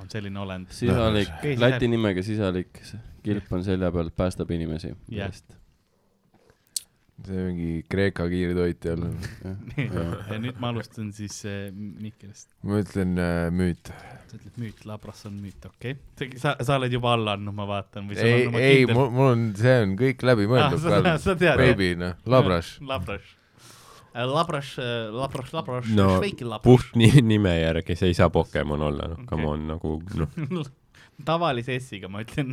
[SPEAKER 3] on selline olend . [LAUGHS]
[SPEAKER 4] sisalik ,
[SPEAKER 3] Keegi
[SPEAKER 4] Läti nimega sisalik , kilp on selja peal , päästab inimesi .
[SPEAKER 3] Jah.
[SPEAKER 2] see mingi Kreeka kiirtoit jälle .
[SPEAKER 3] ja nüüd ma alustan siis äh, Mihkelist .
[SPEAKER 2] ma ütlen äh, müüt .
[SPEAKER 3] sa ütled müüt , labras on müüt , okei okay. . sa , sa oled juba alla andnud , ma vaatan , või sul
[SPEAKER 2] ei
[SPEAKER 3] on ,
[SPEAKER 2] ei , mul , mul on , see on kõik läbimõeldud
[SPEAKER 3] sa,
[SPEAKER 2] ah, .
[SPEAKER 3] sa tead ,
[SPEAKER 2] Baby , noh , labras .
[SPEAKER 3] labras . Äh, Labras , labras , labras ,
[SPEAKER 5] No,
[SPEAKER 3] šveiki labras .
[SPEAKER 5] puht ni- nime järgi , see ei saa Pokemon olla , noh , come
[SPEAKER 3] Okei.
[SPEAKER 5] on , nagu noh ,
[SPEAKER 3] [LAUGHS] tavalise S-iga ma ütlen ,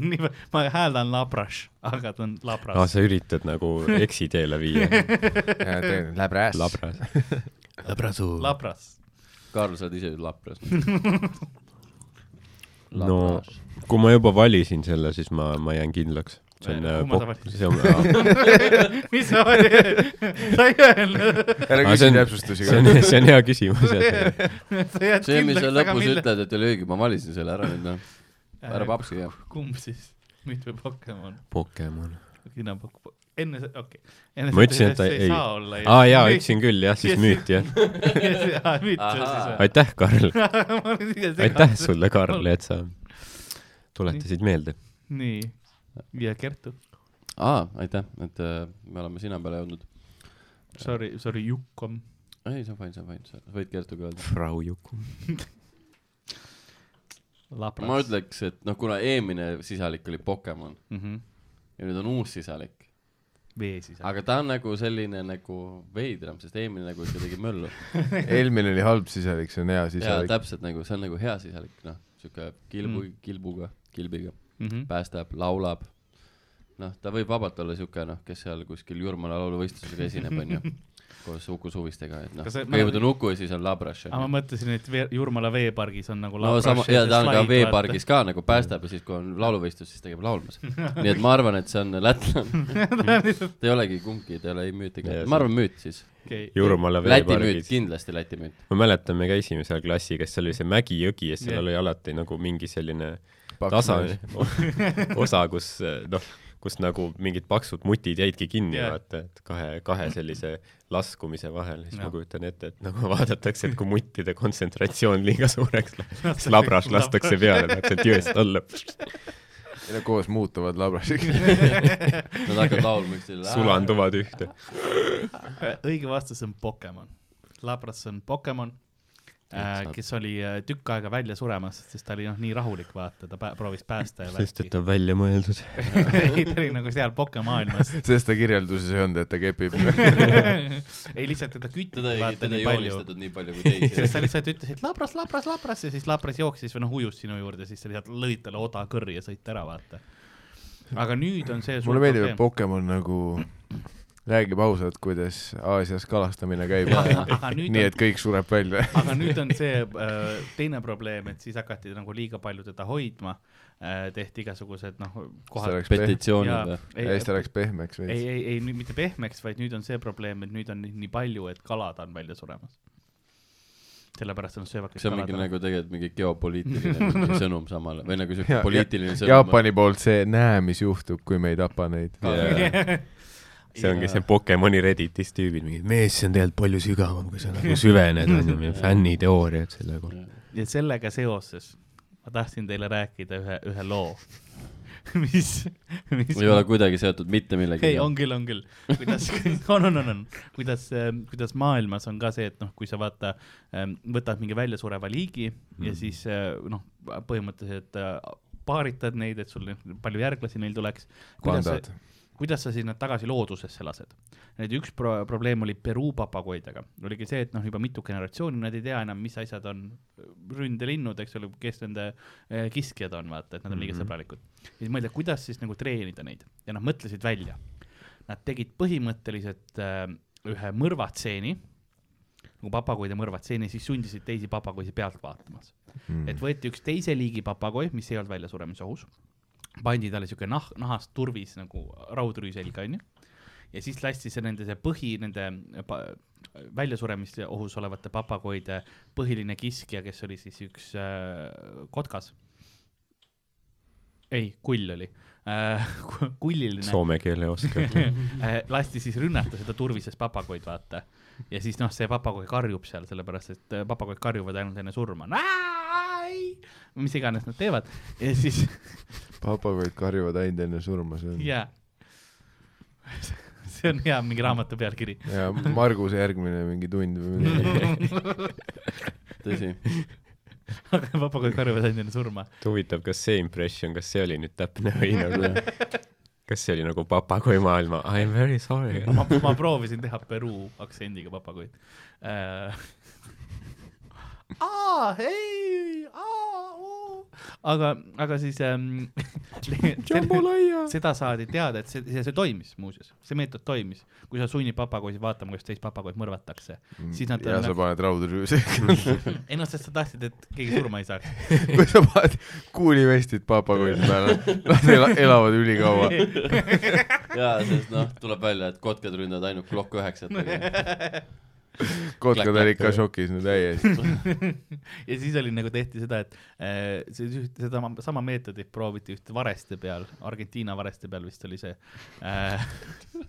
[SPEAKER 3] ma hääldan labras , aga ta on labras
[SPEAKER 5] aa , Ah,
[SPEAKER 4] Ah,
[SPEAKER 5] sa üritad
[SPEAKER 3] [LAUGHS]
[SPEAKER 5] nagu eksiteele viia ,
[SPEAKER 2] labras .
[SPEAKER 5] labras .
[SPEAKER 3] ah, . labras .
[SPEAKER 4] Karl , sa oled ise ju
[SPEAKER 3] [LAUGHS]
[SPEAKER 4] lapras .
[SPEAKER 5] no kui ma juba valisin selle , siis ma , ma jään kindlaks . see on
[SPEAKER 3] Kumma sa
[SPEAKER 5] pok- ,
[SPEAKER 3] valisid? [LAUGHS]
[SPEAKER 5] see on ,
[SPEAKER 3] [LAUGHS] mis sa , [LAUGHS] sa ei öelnud ,
[SPEAKER 2] ära
[SPEAKER 5] Aa, see
[SPEAKER 2] küsi
[SPEAKER 5] on-
[SPEAKER 2] täpsustusi
[SPEAKER 5] see
[SPEAKER 2] ka .
[SPEAKER 5] on , see on hea küsimus , et
[SPEAKER 3] sa jääd
[SPEAKER 4] see , mis sa
[SPEAKER 3] kindlaks , aga
[SPEAKER 4] lõpus
[SPEAKER 3] mille .
[SPEAKER 4] ütled , et oli õige , ma valisin selle ära nüüd noh ,
[SPEAKER 3] Äh,
[SPEAKER 4] ära papsi jah .
[SPEAKER 3] kumb siis , müüt või Pokemon ?
[SPEAKER 5] Pokemon .
[SPEAKER 3] sina pakub , enne , okei okay. .
[SPEAKER 5] Ma ütlesin, et ta ei- aa jaa ,
[SPEAKER 3] [LAUGHS]
[SPEAKER 5] ütlesin küll jah , siis
[SPEAKER 3] Yes.
[SPEAKER 5] müüt jah .
[SPEAKER 3] müüt
[SPEAKER 4] Ahaa.
[SPEAKER 3] siis
[SPEAKER 5] aitäh , Karl .
[SPEAKER 3] [LAUGHS] või ?
[SPEAKER 5] aitäh . sulle , Karl , et sa tuletasid meelde .
[SPEAKER 3] nii , ja Kertu ,
[SPEAKER 4] aa , aitäh , et äh, me oleme sina peale jõudnud .
[SPEAKER 3] sorry , sorry , Jukom .
[SPEAKER 4] ei , see on fine , see on fine , sa võid Kertuga öelda .
[SPEAKER 5] Frau Juku .
[SPEAKER 4] ma . ütleks , et noh , kuna eelmine sisalik oli Pokemon ja nüüd on uus sisalik ,
[SPEAKER 3] Mhm. vee siis .
[SPEAKER 4] aga ta on nagu selline nagu veidram , sest eelmine nagu ikka tegi möllu .
[SPEAKER 2] eelmine oli halb sisalik , see on hea
[SPEAKER 4] jaa ,
[SPEAKER 2] sisalik .
[SPEAKER 4] täpselt nagu , see on nagu hea sisalik , noh , sihuke kilbu
[SPEAKER 3] Mm.
[SPEAKER 4] mm. , kilbuga , kilbiga ,
[SPEAKER 3] mhmh ,
[SPEAKER 4] päästab , laulab . noh , ta võib vabalt olla sihuke , noh , kes seal kuskil Jurmala lauluvõistlusega esineb ,
[SPEAKER 3] [LAUGHS]
[SPEAKER 4] onju , koos Uku Suvistega , et noh ,
[SPEAKER 3] Kas sa-
[SPEAKER 4] kõigepealt on Uku ja siis on Labraš ,
[SPEAKER 3] aga ma
[SPEAKER 4] onju .
[SPEAKER 3] mõtlesin , et vee- Jurmala veepargis on nagu
[SPEAKER 4] no sama , ja ta on ka veepargis ka nagu päästab ja siis , kui on lauluvõistlus , siis ta käib
[SPEAKER 3] [LAUGHS]
[SPEAKER 4] laulmas . nii et ma arvan , et see on lätlane . ta ei olegi kumbki , ta ei ole ei müüt ega
[SPEAKER 5] Jaa, , see-
[SPEAKER 4] ma arvan müüt siis .
[SPEAKER 3] [LAUGHS]
[SPEAKER 5] Jurmala
[SPEAKER 4] Läti müüt ,
[SPEAKER 5] veepargis .
[SPEAKER 4] kindlasti Läti müüt .
[SPEAKER 5] ma mäletan , me käisime seal klassiga , seal oli see mägi-jõgi ja seal
[SPEAKER 3] Jah.
[SPEAKER 5] yeah. oli alati nagu mingi selline tasa [LAUGHS] osa , kus noh , kus nagu mingid paksud mutid jäidki kinni
[SPEAKER 3] Jah.
[SPEAKER 5] yeah. , vaata , et kahe , kahe sellise laskumise vahel , siis
[SPEAKER 3] Jah.
[SPEAKER 5] ma kujutan ette , et nagu [LAUGHS] vaadatakse , et kui muttide kontsentratsioon liiga suureks läheb ,
[SPEAKER 3] [LAUGHS] nagu
[SPEAKER 5] siis labras lastakse peale , lähed jõest alla ,
[SPEAKER 2] koos muutuvad
[SPEAKER 5] [LAUGHS]
[SPEAKER 2] labrasiks .
[SPEAKER 4] Nad hakkavad laulma üksteisele .
[SPEAKER 5] sulanduvad ühte .
[SPEAKER 3] õige vastus on Pokemon . Labras on Pokemon ,
[SPEAKER 4] saad.
[SPEAKER 3] kes oli äh, tükk aega välja suremas , sest ta oli noh , nii rahulik , vaata , ta pä- proovis päästa ja
[SPEAKER 5] sest
[SPEAKER 3] värki.
[SPEAKER 5] et ta on välja mõeldud .
[SPEAKER 3] [LAUGHS] ei , ta oli nagu seal pokemaailmas .
[SPEAKER 2] sest ta kirjelduses ei olnud , et ta kepib .
[SPEAKER 3] [LAUGHS] ei , lihtsalt teda kütiti
[SPEAKER 4] teda ei ,
[SPEAKER 3] vaata
[SPEAKER 4] teda
[SPEAKER 3] nii
[SPEAKER 4] ei
[SPEAKER 3] palju .
[SPEAKER 4] joonistatud nii palju kui
[SPEAKER 5] [LAUGHS]
[SPEAKER 3] [LAUGHS] siis sa
[SPEAKER 4] teisi .
[SPEAKER 3] lihtsalt ütlesid labras , labras , labras ja siis labras jooksis või noh , ujus sinu juurde , siis sa lihtsalt lõid talle oda kõrri ja sõit ära , vaata . aga nüüd on see
[SPEAKER 2] mulle meeldib , et Pokemon nagu räägib ausalt , kuidas Aasias kalastamine käib . [LAUGHS]
[SPEAKER 3] aga nüüd
[SPEAKER 2] nii et
[SPEAKER 3] on ,
[SPEAKER 2] kõik sureb välja .
[SPEAKER 3] aga nüüd on see äh, teine probleem , et siis hakati nagu liiga palju teda hoidma äh, , tehti igasugused noh , kohad .
[SPEAKER 4] petitsioonid või ?
[SPEAKER 2] ja siis ta läks pehmeks
[SPEAKER 3] ei ,
[SPEAKER 2] veits .
[SPEAKER 3] ei , ei nüüd mitte pehmeks , vaid nüüd on see probleem , et nüüd on neid nii palju , et kalad on välja suremas . sellepärast on söövakad
[SPEAKER 4] see on mingi nagu tegelikult mingi
[SPEAKER 2] [LAUGHS]
[SPEAKER 4] geopoliitiline mingi sõnum samal või nagu siuke
[SPEAKER 2] Ja-
[SPEAKER 4] poliitiline sõnum .
[SPEAKER 2] Jaapani poolt see , näe , mis juhtub , kui me ei tapa neid .
[SPEAKER 4] nagu-
[SPEAKER 5] see ongi see Pokemoni Redditis tüübid , mingi mees , see on tegelikult palju sügavam , kui sa
[SPEAKER 3] [LAUGHS]
[SPEAKER 5] nagu süvened , on ju , meie fänniteooriad selle kohta .
[SPEAKER 3] [LAUGHS] ja sellega seoses ma tahtsin teile rääkida ühe , ühe loo , [LAUGHS] mis , mis
[SPEAKER 4] ei ole kuidagi seotud mitte millegagi .
[SPEAKER 3] ei , on küll , on küll ,
[SPEAKER 4] [LAUGHS]
[SPEAKER 3] kuidas , [LAUGHS] on , on , on , on , kuidas , kuidas maailmas on ka see , et noh , kui sa vaata , võtad mingi väljasureva liigi
[SPEAKER 4] Mhm.
[SPEAKER 3] ja siis äh, noh , põhimõtteliselt äh, paaritad neid , et sul neid- palju järglasi neil tuleks .
[SPEAKER 2] pandad .
[SPEAKER 3] kuidas sa siis nad tagasi loodusesse lased . nüüd üks pro probleem oli Peruu papagoidega , oligi see , et noh , juba mitu generatsiooni nad ei tea enam , mis asjad on ründelinnud , eks ole , kes nende eh, kiskjad on , vaata , et nad on liiga mm
[SPEAKER 5] Mhm.
[SPEAKER 3] -hmm. sõbralikud . ja siis mõelda , kuidas siis nagu treenida neid ja nad mõtlesid välja . Nad tegid põhimõtteliselt äh, ühe mõrvatseeni , nagu papagoide mõrvatseeni , siis sundisid teisi papagoisi pealt vaatamas .
[SPEAKER 2] Mm.
[SPEAKER 3] et võeti üks teise liigi papagoi , mis ei olnud väljasuremisohus , pandi talle siuke nah- , nahast turvis nagu raudrüü selga , onju . ja siis lasti see nende see põhi , nende äh, pa- väljasuremiste ohus olevate papagoide põhiline kiskja , kes oli siis üks äh, kotkas . ei , kull oli äh, , [LAUGHS] kulliline
[SPEAKER 5] soome keele oskad .
[SPEAKER 3] [LAUGHS] Eh, lasti siis rünnata seda turvises papagoid , vaata . ja siis noh , see papagoi karjub seal , sellepärast et eh, papagoid karjuvad ainult enne surma . mis iganes nad teevad ja siis [LAUGHS]
[SPEAKER 2] papagoid karjuvad ainult enne surma , see on
[SPEAKER 3] ja . see on hea mingi raamatu pealkiri . [LAUGHS]
[SPEAKER 2] ja Marguse järgmine mingi tund või midagi .
[SPEAKER 4] tõsi .
[SPEAKER 3] papagoid karjuvad ainult enne surma .
[SPEAKER 5] huvitav , kas see impression , kas see oli nüüd täpne või nagu , kas see oli nagu papagoi maailma I am very sorry .
[SPEAKER 3] ma , ma proovisin teha Peruu aktsendiga papagoid äh, . [LAUGHS] aa , ei , aa , oo . aga , aga siis [LAUGHS] ähm, . seda saadi teada , et see, see , see toimis muuseas , see meetod toimis , kui sa sunnid papagoisi vaatama , kuidas teist papagoid mõrvatakse , siis nad . nagu-
[SPEAKER 2] ja Mm, sa paned raudrüü
[SPEAKER 3] [LAUGHS]
[SPEAKER 2] sekka .
[SPEAKER 3] ei noh , sest sa tahtsid , et keegi surma ei saaks .
[SPEAKER 2] [LAUGHS] kui sa paned kuulivestid papagoide peale , nad ela- elavad ülikaua .
[SPEAKER 4] jaa , sest noh , tuleb välja , et kotkad ründavad ainult Glock üheksat .
[SPEAKER 2] [LAUGHS] kotkad olid ikka šokis , no
[SPEAKER 5] [LAUGHS]
[SPEAKER 2] täiesti .
[SPEAKER 3] ja siis oli nagu tehti seda , et äh, see üht- seda ma- sama meetodit prooviti üht vareste peal , Argentiina vareste peal vist oli see äh, . [LAUGHS]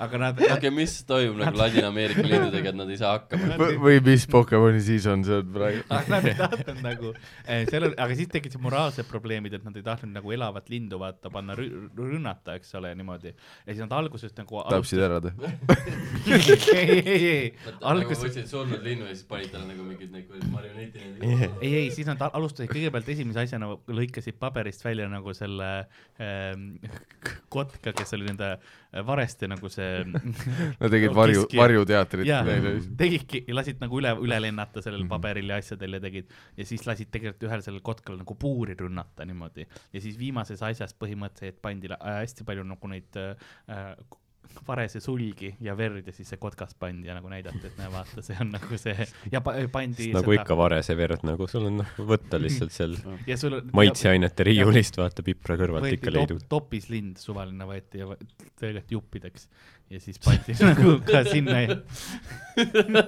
[SPEAKER 3] aga nad ,
[SPEAKER 4] okei , mis toimub nagu
[SPEAKER 2] [LAUGHS]
[SPEAKER 4] Ladina-Ameerika lindudega , et nad ei saa hakkama ?
[SPEAKER 2] või mis Pokemoni siis on see praegu ?
[SPEAKER 5] Ah,
[SPEAKER 3] aga nad ei tahtnud nagu , seal on , aga siis tekkisid moraalsed probleemid , et nad ei tahtnud nagu elavat lindu vaata panna rü rünnata , eks ole , niimoodi . ja siis nad alguses nagu .
[SPEAKER 2] tapsid ära ta ?
[SPEAKER 3] ei , ei , ei ,
[SPEAKER 4] nagu
[SPEAKER 3] alguses ,
[SPEAKER 4] võtsid surnud linnu ja siis panid talle nagu mingid need kuradi marionetid .
[SPEAKER 3] ei , ei , siis nad al- alustasid kõigepealt esimese asjana lõikasid paberist välja nagu selle ähm, k- kotka , kes oli nende vareste nagu see
[SPEAKER 2] Nad tegid varju ,
[SPEAKER 3] Kiskja.
[SPEAKER 2] varjuteatrit
[SPEAKER 3] jaa
[SPEAKER 2] neile .
[SPEAKER 3] tegidki , lasid nagu üle , üle lennata sellel
[SPEAKER 5] Mhm.
[SPEAKER 3] paberil ja asjadel ja tegid ja siis lasid tegelikult ühel sellel kotkal nagu puuri rünnata niimoodi ja siis viimases asjas põhimõtteliselt pandi la- äh, hästi palju nagu neid äh, k- varese sulgi ja verd ja siis see kotkas pandi ja nagu näidati , et näe vaata , see on nagu see ja pa- pandi
[SPEAKER 5] nagu ikka varese verd , nagu sul on noh , võtta lihtsalt seal
[SPEAKER 3] ja sul
[SPEAKER 5] maitseainete riiulist , vaata pipra kõrvalt
[SPEAKER 3] võeti
[SPEAKER 5] ikka
[SPEAKER 3] top,
[SPEAKER 5] leidub .
[SPEAKER 3] topis lind suvaline võeti ja võ- tegelikult juppideks ja siis pandi [LAUGHS] nagu ka sinna ja, [LAUGHS]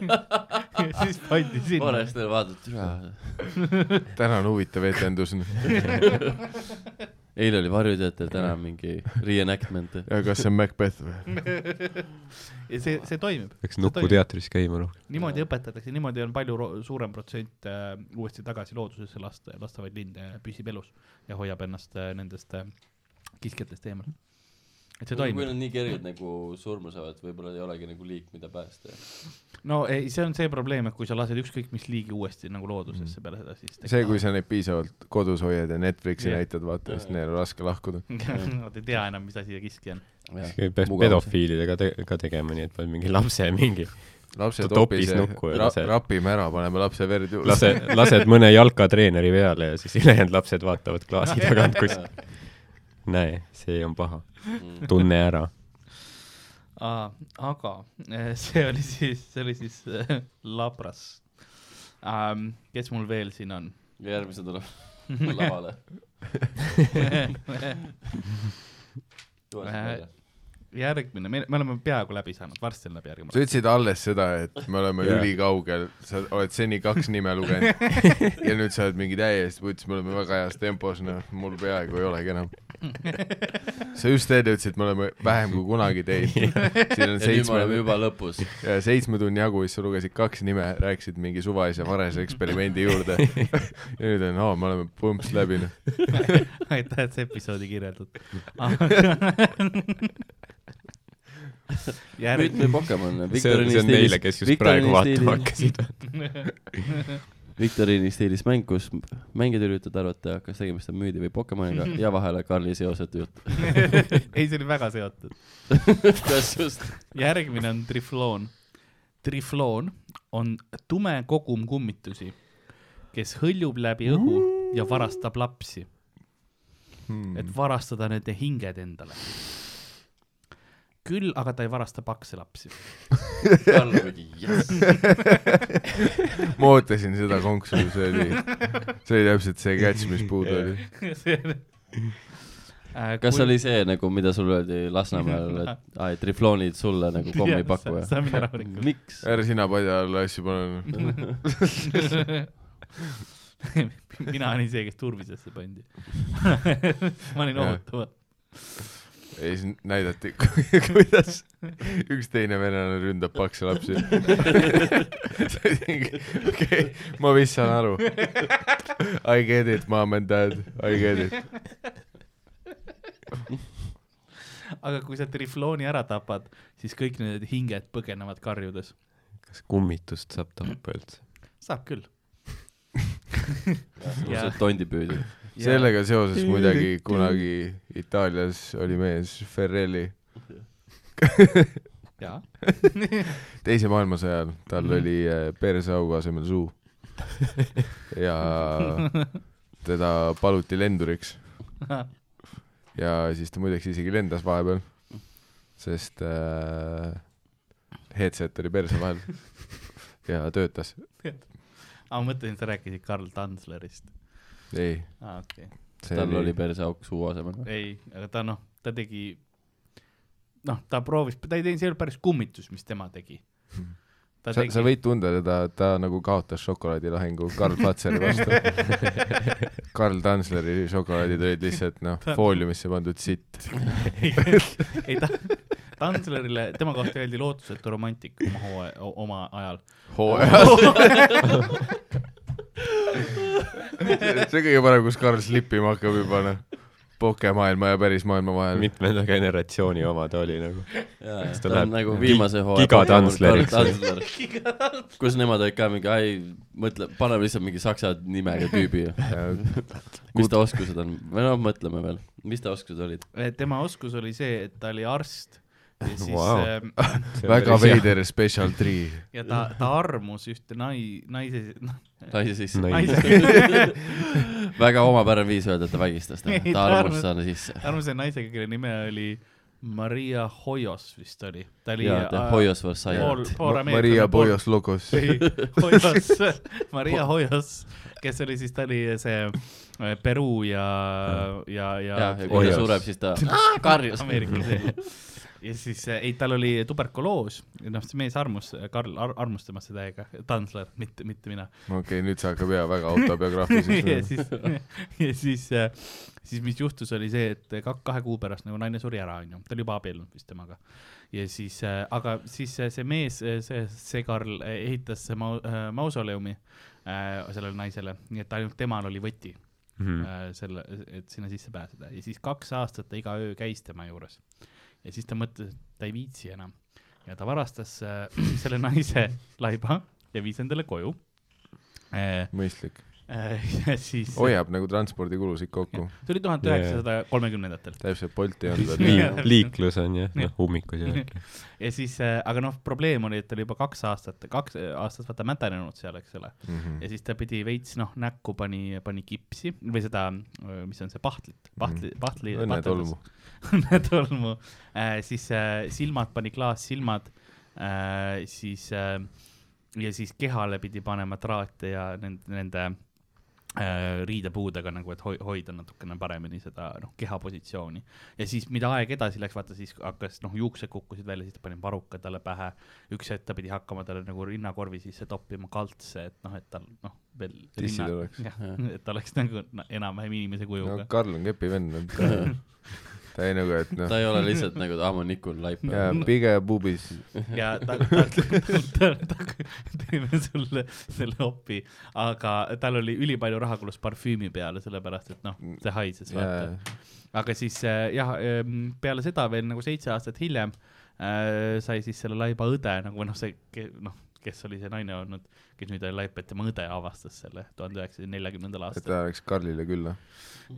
[SPEAKER 3] ja siis pandi sinna
[SPEAKER 4] Forester vaatab , türa .
[SPEAKER 2] tänan , huvitav
[SPEAKER 5] [LAUGHS]
[SPEAKER 2] etendus .
[SPEAKER 4] eile oli varjuteater , täna on mingi reenactment .
[SPEAKER 2] ja kas see on Macbeth või ?
[SPEAKER 3] ja see , see toimib .
[SPEAKER 5] peaks nuputeatris käima noh, rohkem .
[SPEAKER 3] niimoodi õpetatakse , niimoodi on palju ro- suurem protsent äh, uuesti tagasi loodusesse lasta , lastavaid linde püsib elus ja hoiab ennast äh, nendest äh, kiskjatest eemal . et see
[SPEAKER 4] kui
[SPEAKER 3] toimib .
[SPEAKER 4] nad nii kergelt nagu surma saavad , võib-olla ei olegi nagu liik , mida päästa .
[SPEAKER 3] no ei , see on see probleem , et kui sa lased ükskõik mis liigi uuesti nagu loodusesse peale seda , siis
[SPEAKER 2] see , kui sa neid piisavalt kodus hoiad ja Netflixi
[SPEAKER 3] Jah.
[SPEAKER 2] näitad , vaata , siis neil on raske lahkuda .
[SPEAKER 3] [LAUGHS] Nad ei tea enam , mis asi see kiskja on .
[SPEAKER 5] peaks pedofiilidega te ka tegema , nii et paned mingi lapse mingi ,
[SPEAKER 2] lapsed
[SPEAKER 5] Ta topis
[SPEAKER 2] hoopis
[SPEAKER 5] nukku ja
[SPEAKER 2] ra-
[SPEAKER 5] lase- ,
[SPEAKER 2] rapime ära , paneme lapse verd juurde .
[SPEAKER 5] lase , lased mõne jalkatreeneri peale ja siis ülejäänud lapsed vaatavad klaasi tagant kuskilt . näe , see on paha , tunne ära .
[SPEAKER 3] Aa, aga eh, [LAUGHS] see oli siis , see oli siis eh, Labras um, . kes mul veel siin on ?
[SPEAKER 4] ja järgmise [LAUGHS] tuleb lavale .
[SPEAKER 3] järgmine , me , me oleme peaaegu läbi saanud , varsti on läbi
[SPEAKER 2] sa
[SPEAKER 3] järgmine .
[SPEAKER 2] ütlesid alles seda , et me oleme
[SPEAKER 5] Jaa.
[SPEAKER 2] yeah. ülikaugel , sa oled seni kaks nime lugenud
[SPEAKER 4] [LAUGHS]
[SPEAKER 2] ja nüüd sa oled mingi täiesti , võtsid , me oleme väga heas tempos , noh , mul peaaegu ei olegi enam . sa just enne ütlesid , et me oleme vähem kui kunagi teinud . siin on
[SPEAKER 4] [LAUGHS] ja
[SPEAKER 2] seitsme ,
[SPEAKER 4] nüüd me oleme juba lõpus .
[SPEAKER 2] seitsme tunni jagu ja siis sa lugesid kaks nime , rääkisid mingi suvalise varese eksperimendi
[SPEAKER 4] [LAUGHS]
[SPEAKER 2] juurde . ja nüüd on , aa , me oleme põmps läbi , noh .
[SPEAKER 3] aitäh , et see episoodi kirjeldad .
[SPEAKER 4] nüüd
[SPEAKER 3] järgmine ,
[SPEAKER 4] me Pokemon .
[SPEAKER 5] see on , see on neile , kes just praegu vaatama hakkasid .
[SPEAKER 4] viktoriini stiilis mäng , kus m- mängijad üritavad arvata , kas tegemist on müüdi või [LAUGHS] Pokemoniga ja vahele Karli seosetu jutt .
[SPEAKER 3] [LAUGHS] ei , see oli väga seotud .
[SPEAKER 4] kas just ?
[SPEAKER 3] järgmine on trifloon . trifloon on tume kogum kummitusi , kes hõljub läbi õhu ja varastab lapsi ,
[SPEAKER 4] Hmm.
[SPEAKER 3] et
[SPEAKER 4] Mm.
[SPEAKER 3] varastada nende hinged endale . küll aga ta ei varasta pakse lapsi .
[SPEAKER 4] [LAUGHS]
[SPEAKER 2] ma ootasin seda konksu , see oli , see oli täpselt see catch , mis puudu oli .
[SPEAKER 3] Äh,
[SPEAKER 4] kas oli
[SPEAKER 3] [LAUGHS]
[SPEAKER 4] see nagu , mida sulle öeldi Lasnamäel , [LAUGHS] et aa , et rifloonid sulle nagu kommi ei paku
[SPEAKER 3] ja ?
[SPEAKER 4] ja ?
[SPEAKER 3] sa mine
[SPEAKER 4] [LAUGHS]
[SPEAKER 3] rahulikult .
[SPEAKER 4] miks ?
[SPEAKER 2] ära sina padja alla asju pane .
[SPEAKER 3] [LAUGHS] mina olin see , kes turvisesse pandi . [LAUGHS] ma olin
[SPEAKER 2] Jah.
[SPEAKER 3] ohutu .
[SPEAKER 2] ei , siis näidati , [LAUGHS] kuidas üks teine venelane ründab pakse lapsi . [LAUGHS] okei , ma vist saan aru . I get it , mom and dad , I get it .
[SPEAKER 3] aga kui sa triflooni ära tapad , siis kõik need hinged põgenevad karjudes .
[SPEAKER 5] kas kummitust saab
[SPEAKER 3] Mm.
[SPEAKER 5] tappa üldse ?
[SPEAKER 3] saab
[SPEAKER 4] [LAUGHS]
[SPEAKER 3] küll . [LAUGHS]
[SPEAKER 4] suhteliselt tondipüüdi .
[SPEAKER 2] sellega seoses muidugi kunagi Itaalias oli mees Ferrelli
[SPEAKER 3] jaa .
[SPEAKER 2] teise maailmasõja ajal , tal
[SPEAKER 4] Mhm.
[SPEAKER 2] oli eh, perseaugu asemel suu .
[SPEAKER 4] [LAUGHS]
[SPEAKER 2] ja teda paluti lenduriks . ja siis ta muideks isegi lendas vahepeal , sest äh, headset oli perse vahel ja töötas .
[SPEAKER 3] aga ma mõtlesin , sa rääkisid Karl Tanzlerist .
[SPEAKER 2] ei ,
[SPEAKER 3] aa , okei .
[SPEAKER 2] see
[SPEAKER 4] tal oli perseauk suu asemel .
[SPEAKER 3] ei , aga ta noh , ta tegi , noh , ta proovis , ta ei teinud , see ei olnud päris kummitus , mis tema tegi . ta
[SPEAKER 2] sa , sa võid tunda teda , ta nagu kaotas šokolaadilahingu Karl Platseri
[SPEAKER 4] [LAUGHS]
[SPEAKER 2] vastu . Karl Tanzleri šokolaadid olid lihtsalt noh , fooliumisse pandud sitt .
[SPEAKER 3] [LAUGHS] ei ta , Tanzlerile , tema kohta öeldi lootusetu romantik oma hooaja , oma ajal .
[SPEAKER 2] hooajas . [LAUGHS] see on kõige parem , kus Karl slippima hakkab juba noh , pokemaailma ja päris maailma vahel .
[SPEAKER 5] mitmenda generatsiooni oma ta oli nagu . ta
[SPEAKER 4] ta
[SPEAKER 5] läheb
[SPEAKER 4] on nagu
[SPEAKER 5] gi-
[SPEAKER 4] viimase hooaja
[SPEAKER 5] gigatansleriks.
[SPEAKER 4] kus nemad olid ka mingi , ai , mõtle , paneme lihtsalt mingi saksa nimega tüübi . mis ta oskused on ? või noh , mõtleme veel , mis ta oskused olid ?
[SPEAKER 3] Eh, tema oskus oli see , et ta oli arst ja siis
[SPEAKER 5] Vau.
[SPEAKER 3] wow.
[SPEAKER 2] väga . veider special tree .
[SPEAKER 3] ja ta , ta armus ühte nai- , naise , noh,
[SPEAKER 4] naise sisse .
[SPEAKER 3] naise ,
[SPEAKER 4] [LAUGHS] väga omapärane viis öelda , et ta vägistas teda ,
[SPEAKER 3] Ei,
[SPEAKER 4] ta
[SPEAKER 3] ta
[SPEAKER 4] armus
[SPEAKER 3] arvas-
[SPEAKER 4] talle sisse .
[SPEAKER 3] armsa naisega , kelle nime oli Maria Hoios vist oli . ta oli äh,
[SPEAKER 4] ja , ta hoius Versailles .
[SPEAKER 2] Maria . Boyos Logos .
[SPEAKER 3] [LAUGHS] Hoios , Maria Hoios , kes oli siis , ta oli see äh, Peru ja , ja , ja,
[SPEAKER 4] ja , ja kui ta
[SPEAKER 5] Hoios.
[SPEAKER 4] sureb , siis
[SPEAKER 3] [LAUGHS]
[SPEAKER 4] ta
[SPEAKER 3] Ah,
[SPEAKER 4] karjus .
[SPEAKER 3] Ameerika see . ja siis äh, ei , tal oli tuberkuloos ja noh , see mees armus , Karl ar armus temast täiega , Tanzler , mitte , mitte mina .
[SPEAKER 2] okei , nüüd see hakkab jah väga
[SPEAKER 3] [LAUGHS] ja
[SPEAKER 2] autobiograafiliseks . noh.
[SPEAKER 3] siis , ja siis , siis mis juhtus , oli see , et ka- kahe kuu pärast nagu naine suri ära , onju , ta oli juba abiellunud vist temaga . ja siis , aga siis äh, see mees , see , see Karl äh, ehitas see mau- , mausoleumi äh, sellele naisele , nii et ainult temal oli võti
[SPEAKER 5] Mhm.
[SPEAKER 3] mm. äh, selle , et sinna sisse pääseda ja siis kaks aastat ta iga öö käis tema juures . ja siis ta mõtles , et ta ei viitsi enam ja ta varastas äh, [CLEARS THROAT] selle naise laiba ja viis endale koju äh, .
[SPEAKER 2] mõistlik ,
[SPEAKER 3] [LAUGHS] ja siis .
[SPEAKER 2] hoiab nagu transpordikulusid kokku ,
[SPEAKER 3] see oli tuhande üheksasaja kolmekümnendatel
[SPEAKER 2] täpselt Bolti ei olnud veel .
[SPEAKER 5] Liik, liiklus on jah , noh ummikud ja värk .
[SPEAKER 3] ja siis , aga noh , probleem oli , et ta oli juba kaks aastat , kaks äh, aastat vaata mädanenud seal , eks ole .
[SPEAKER 2] Mhm.
[SPEAKER 3] ja siis ta pidi veits noh , näkku pani , pani kipsi või seda , mis on see pahtlit , pahtli , pahtli .
[SPEAKER 2] õnnetolmu ..
[SPEAKER 3] [LAUGHS] õnnetolmu äh, , siis äh, silmad pani klaassilmad äh, , siis äh, ja siis kehale pidi panema traate ja nende , nende äh, riidepuudega nagu , et hoi- hoida natukene paremini seda noh , keha positsiooni . ja siis , mida aeg edasi läks , vaata siis hakkas noh , juuksed kukkusid välja , siis ta pani varuka talle pähe . üks hetk ta pidi hakkama talle nagu rinnakorvi sisse toppima kaltse , et noh , et tal noh , veel .
[SPEAKER 2] Tissid oleks. .
[SPEAKER 3] [LAUGHS] et ta oleks nagu na- enam-vähem inimese
[SPEAKER 2] no
[SPEAKER 3] kujuga .
[SPEAKER 2] Karl on kepi vend , ta ei nagu , et noh
[SPEAKER 4] ta , ei ole lihtsalt nagu , aa , ma nikun laipa .
[SPEAKER 2] pige pubis
[SPEAKER 3] ja ta , ta , ta , ta , ta , teeme sulle selle opi , aga tal oli ülipalju raha kulus parfüümi peale , sellepärast et noh , see haises vaata .
[SPEAKER 2] ja
[SPEAKER 3] aga siis äh, jah , peale seda veel nagu seitse aastat hiljem äh, sai siis selle laiba õde nagu või noh , see ke- noh , kes oli see naine olnud , kes nüüd oli laip , et tema õde avastas selle tuhande üheksasaja neljakümnendal
[SPEAKER 2] et ta
[SPEAKER 3] aastal .
[SPEAKER 2] läks Karlile külla .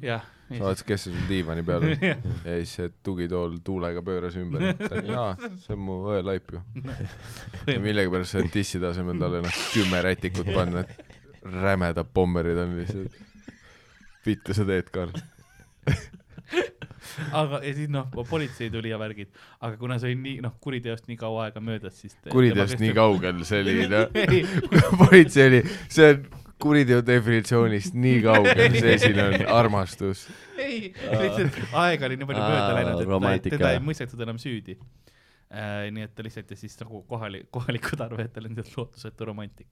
[SPEAKER 3] jah ,
[SPEAKER 2] sa
[SPEAKER 3] [LAUGHS]
[SPEAKER 2] vaatasid , kes see sul diivani peal oli . ja siis see tugitool tuulega pööras ümber . [LAUGHS] jaa , see on mu õelaip ju . millegipärast selle dissi tasemel talle noh kümme rätikut panna , et rämedad pommerid on lihtsalt . vittu sa teed , Karl .
[SPEAKER 3] aga ja siis noh , politsei tuli ja värgid , aga kuna see oli nii noh , kuriteost nii kaua aega möödas , siis te-
[SPEAKER 2] kuriteost
[SPEAKER 3] tema
[SPEAKER 2] nii
[SPEAKER 3] kestab-
[SPEAKER 2] kaugel see oli [LAUGHS] noh ,
[SPEAKER 3] [LAUGHS] Ei,
[SPEAKER 2] politsei oli , see on kuriteo definitsioonist nii kaugel see siin on armastus .
[SPEAKER 3] ei , lihtsalt aega oli nii palju
[SPEAKER 4] Aa,
[SPEAKER 3] mööda läinud , et ta ei-
[SPEAKER 4] romantika.
[SPEAKER 3] teda ei mõistetud enam süüdi . nii et ta lihtsalt ja siis nagu kohali- , kohalikud arvavad , et ta oli lihtsalt lootusetu romantik .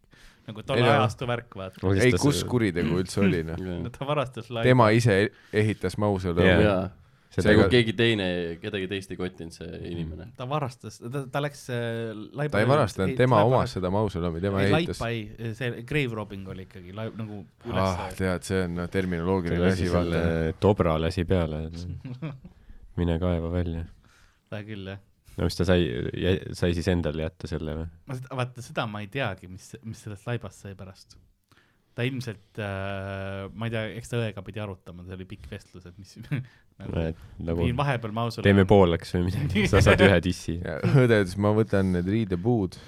[SPEAKER 3] nagu
[SPEAKER 2] Ei
[SPEAKER 3] tolle
[SPEAKER 2] no.
[SPEAKER 3] ajastu värk , vaata .
[SPEAKER 2] ei , kus kuritegu üldse oli noh ?
[SPEAKER 3] no ta varastas laiali .
[SPEAKER 2] tema ise e-, ehitas mausoleumi
[SPEAKER 5] Jaa.
[SPEAKER 2] yeah. .
[SPEAKER 4] jaa , see
[SPEAKER 2] Seega-
[SPEAKER 4] kui keegi teine , kedagi teist ei kottinud see inimene .
[SPEAKER 3] ta varastas , ta , ta läks äh, laipa-
[SPEAKER 2] ta ei varastanud , tema omas seda mausoleumi , tema
[SPEAKER 3] ei ,
[SPEAKER 2] ehitas
[SPEAKER 3] laipa . ei , see grave robbing oli ikkagi lai- , nagu
[SPEAKER 2] ah
[SPEAKER 3] üles ,
[SPEAKER 2] tead , see on noh , terminoloogiline
[SPEAKER 5] lasi
[SPEAKER 2] asi , vaata
[SPEAKER 5] selle . tobra lasi peale .
[SPEAKER 3] [LAUGHS]
[SPEAKER 5] mine kaeva välja .
[SPEAKER 3] ah, küll jah .
[SPEAKER 5] no mis ta sai , sai siis endale jätta selle või ?
[SPEAKER 3] ma seda , vaata seda ma ei teagi , mis , mis sellest laibast sai pärast . ta ilmselt äh, , ma ei tea , eks ta õega pidi arutama , see oli pikk vestlus , et mis [LAUGHS] nagu,
[SPEAKER 5] et nagu
[SPEAKER 3] viin vahepeal mausoleumi .
[SPEAKER 5] teeme . pooleks või
[SPEAKER 3] [LAUGHS]
[SPEAKER 5] midagi , sa saad ühe dissi .
[SPEAKER 2] [LAUGHS] õde ütles , ma võtan need riidepuud ,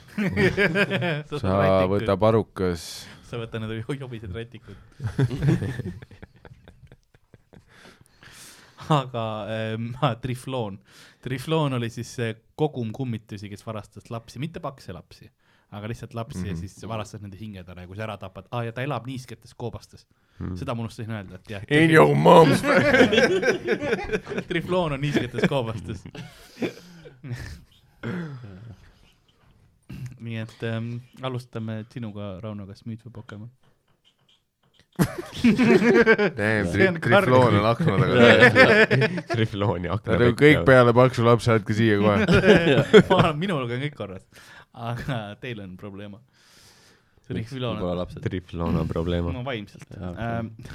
[SPEAKER 2] sa võta . parukas .
[SPEAKER 3] sa võta need [LAUGHS] jo- jobised rätikud . aga [LAUGHS] äh, Trifloon , Trifloon oli siis see kogum kummitusi , kes varastas lapsi , mitte pakse lapsi , aga lihtsalt lapsi mm -hmm. ja
[SPEAKER 2] Mhm.
[SPEAKER 3] siis varastas nende hinged ära ja kui sa ära tapad ah, , ja ta elab niisketes koobastes mm. , seda ma unustasin öelda , et jah .
[SPEAKER 2] In your [LAUGHS] mom's .
[SPEAKER 3] Trifloon on niisketes koobastes . [LAUGHS] nii et ähm, alustame sinuga , Rauno , kas müüt või Pokemon ? See on
[SPEAKER 2] trifloon on akna taga .
[SPEAKER 5] riflooni
[SPEAKER 2] ta
[SPEAKER 5] akna
[SPEAKER 2] tõi kõik . peale paksu lapse , jätke siia
[SPEAKER 4] [LAUGHS]
[SPEAKER 3] [LAUGHS]
[SPEAKER 2] kohe .
[SPEAKER 3] ma arvan , minul on kõik korras , aga teil on probleem . see oli
[SPEAKER 4] pole
[SPEAKER 3] filon ,
[SPEAKER 4] lapsed .
[SPEAKER 5] rifloona
[SPEAKER 3] [LAUGHS]
[SPEAKER 5] probleem . [LAUGHS]
[SPEAKER 3] no vaimselt .
[SPEAKER 4] Jaa, okei.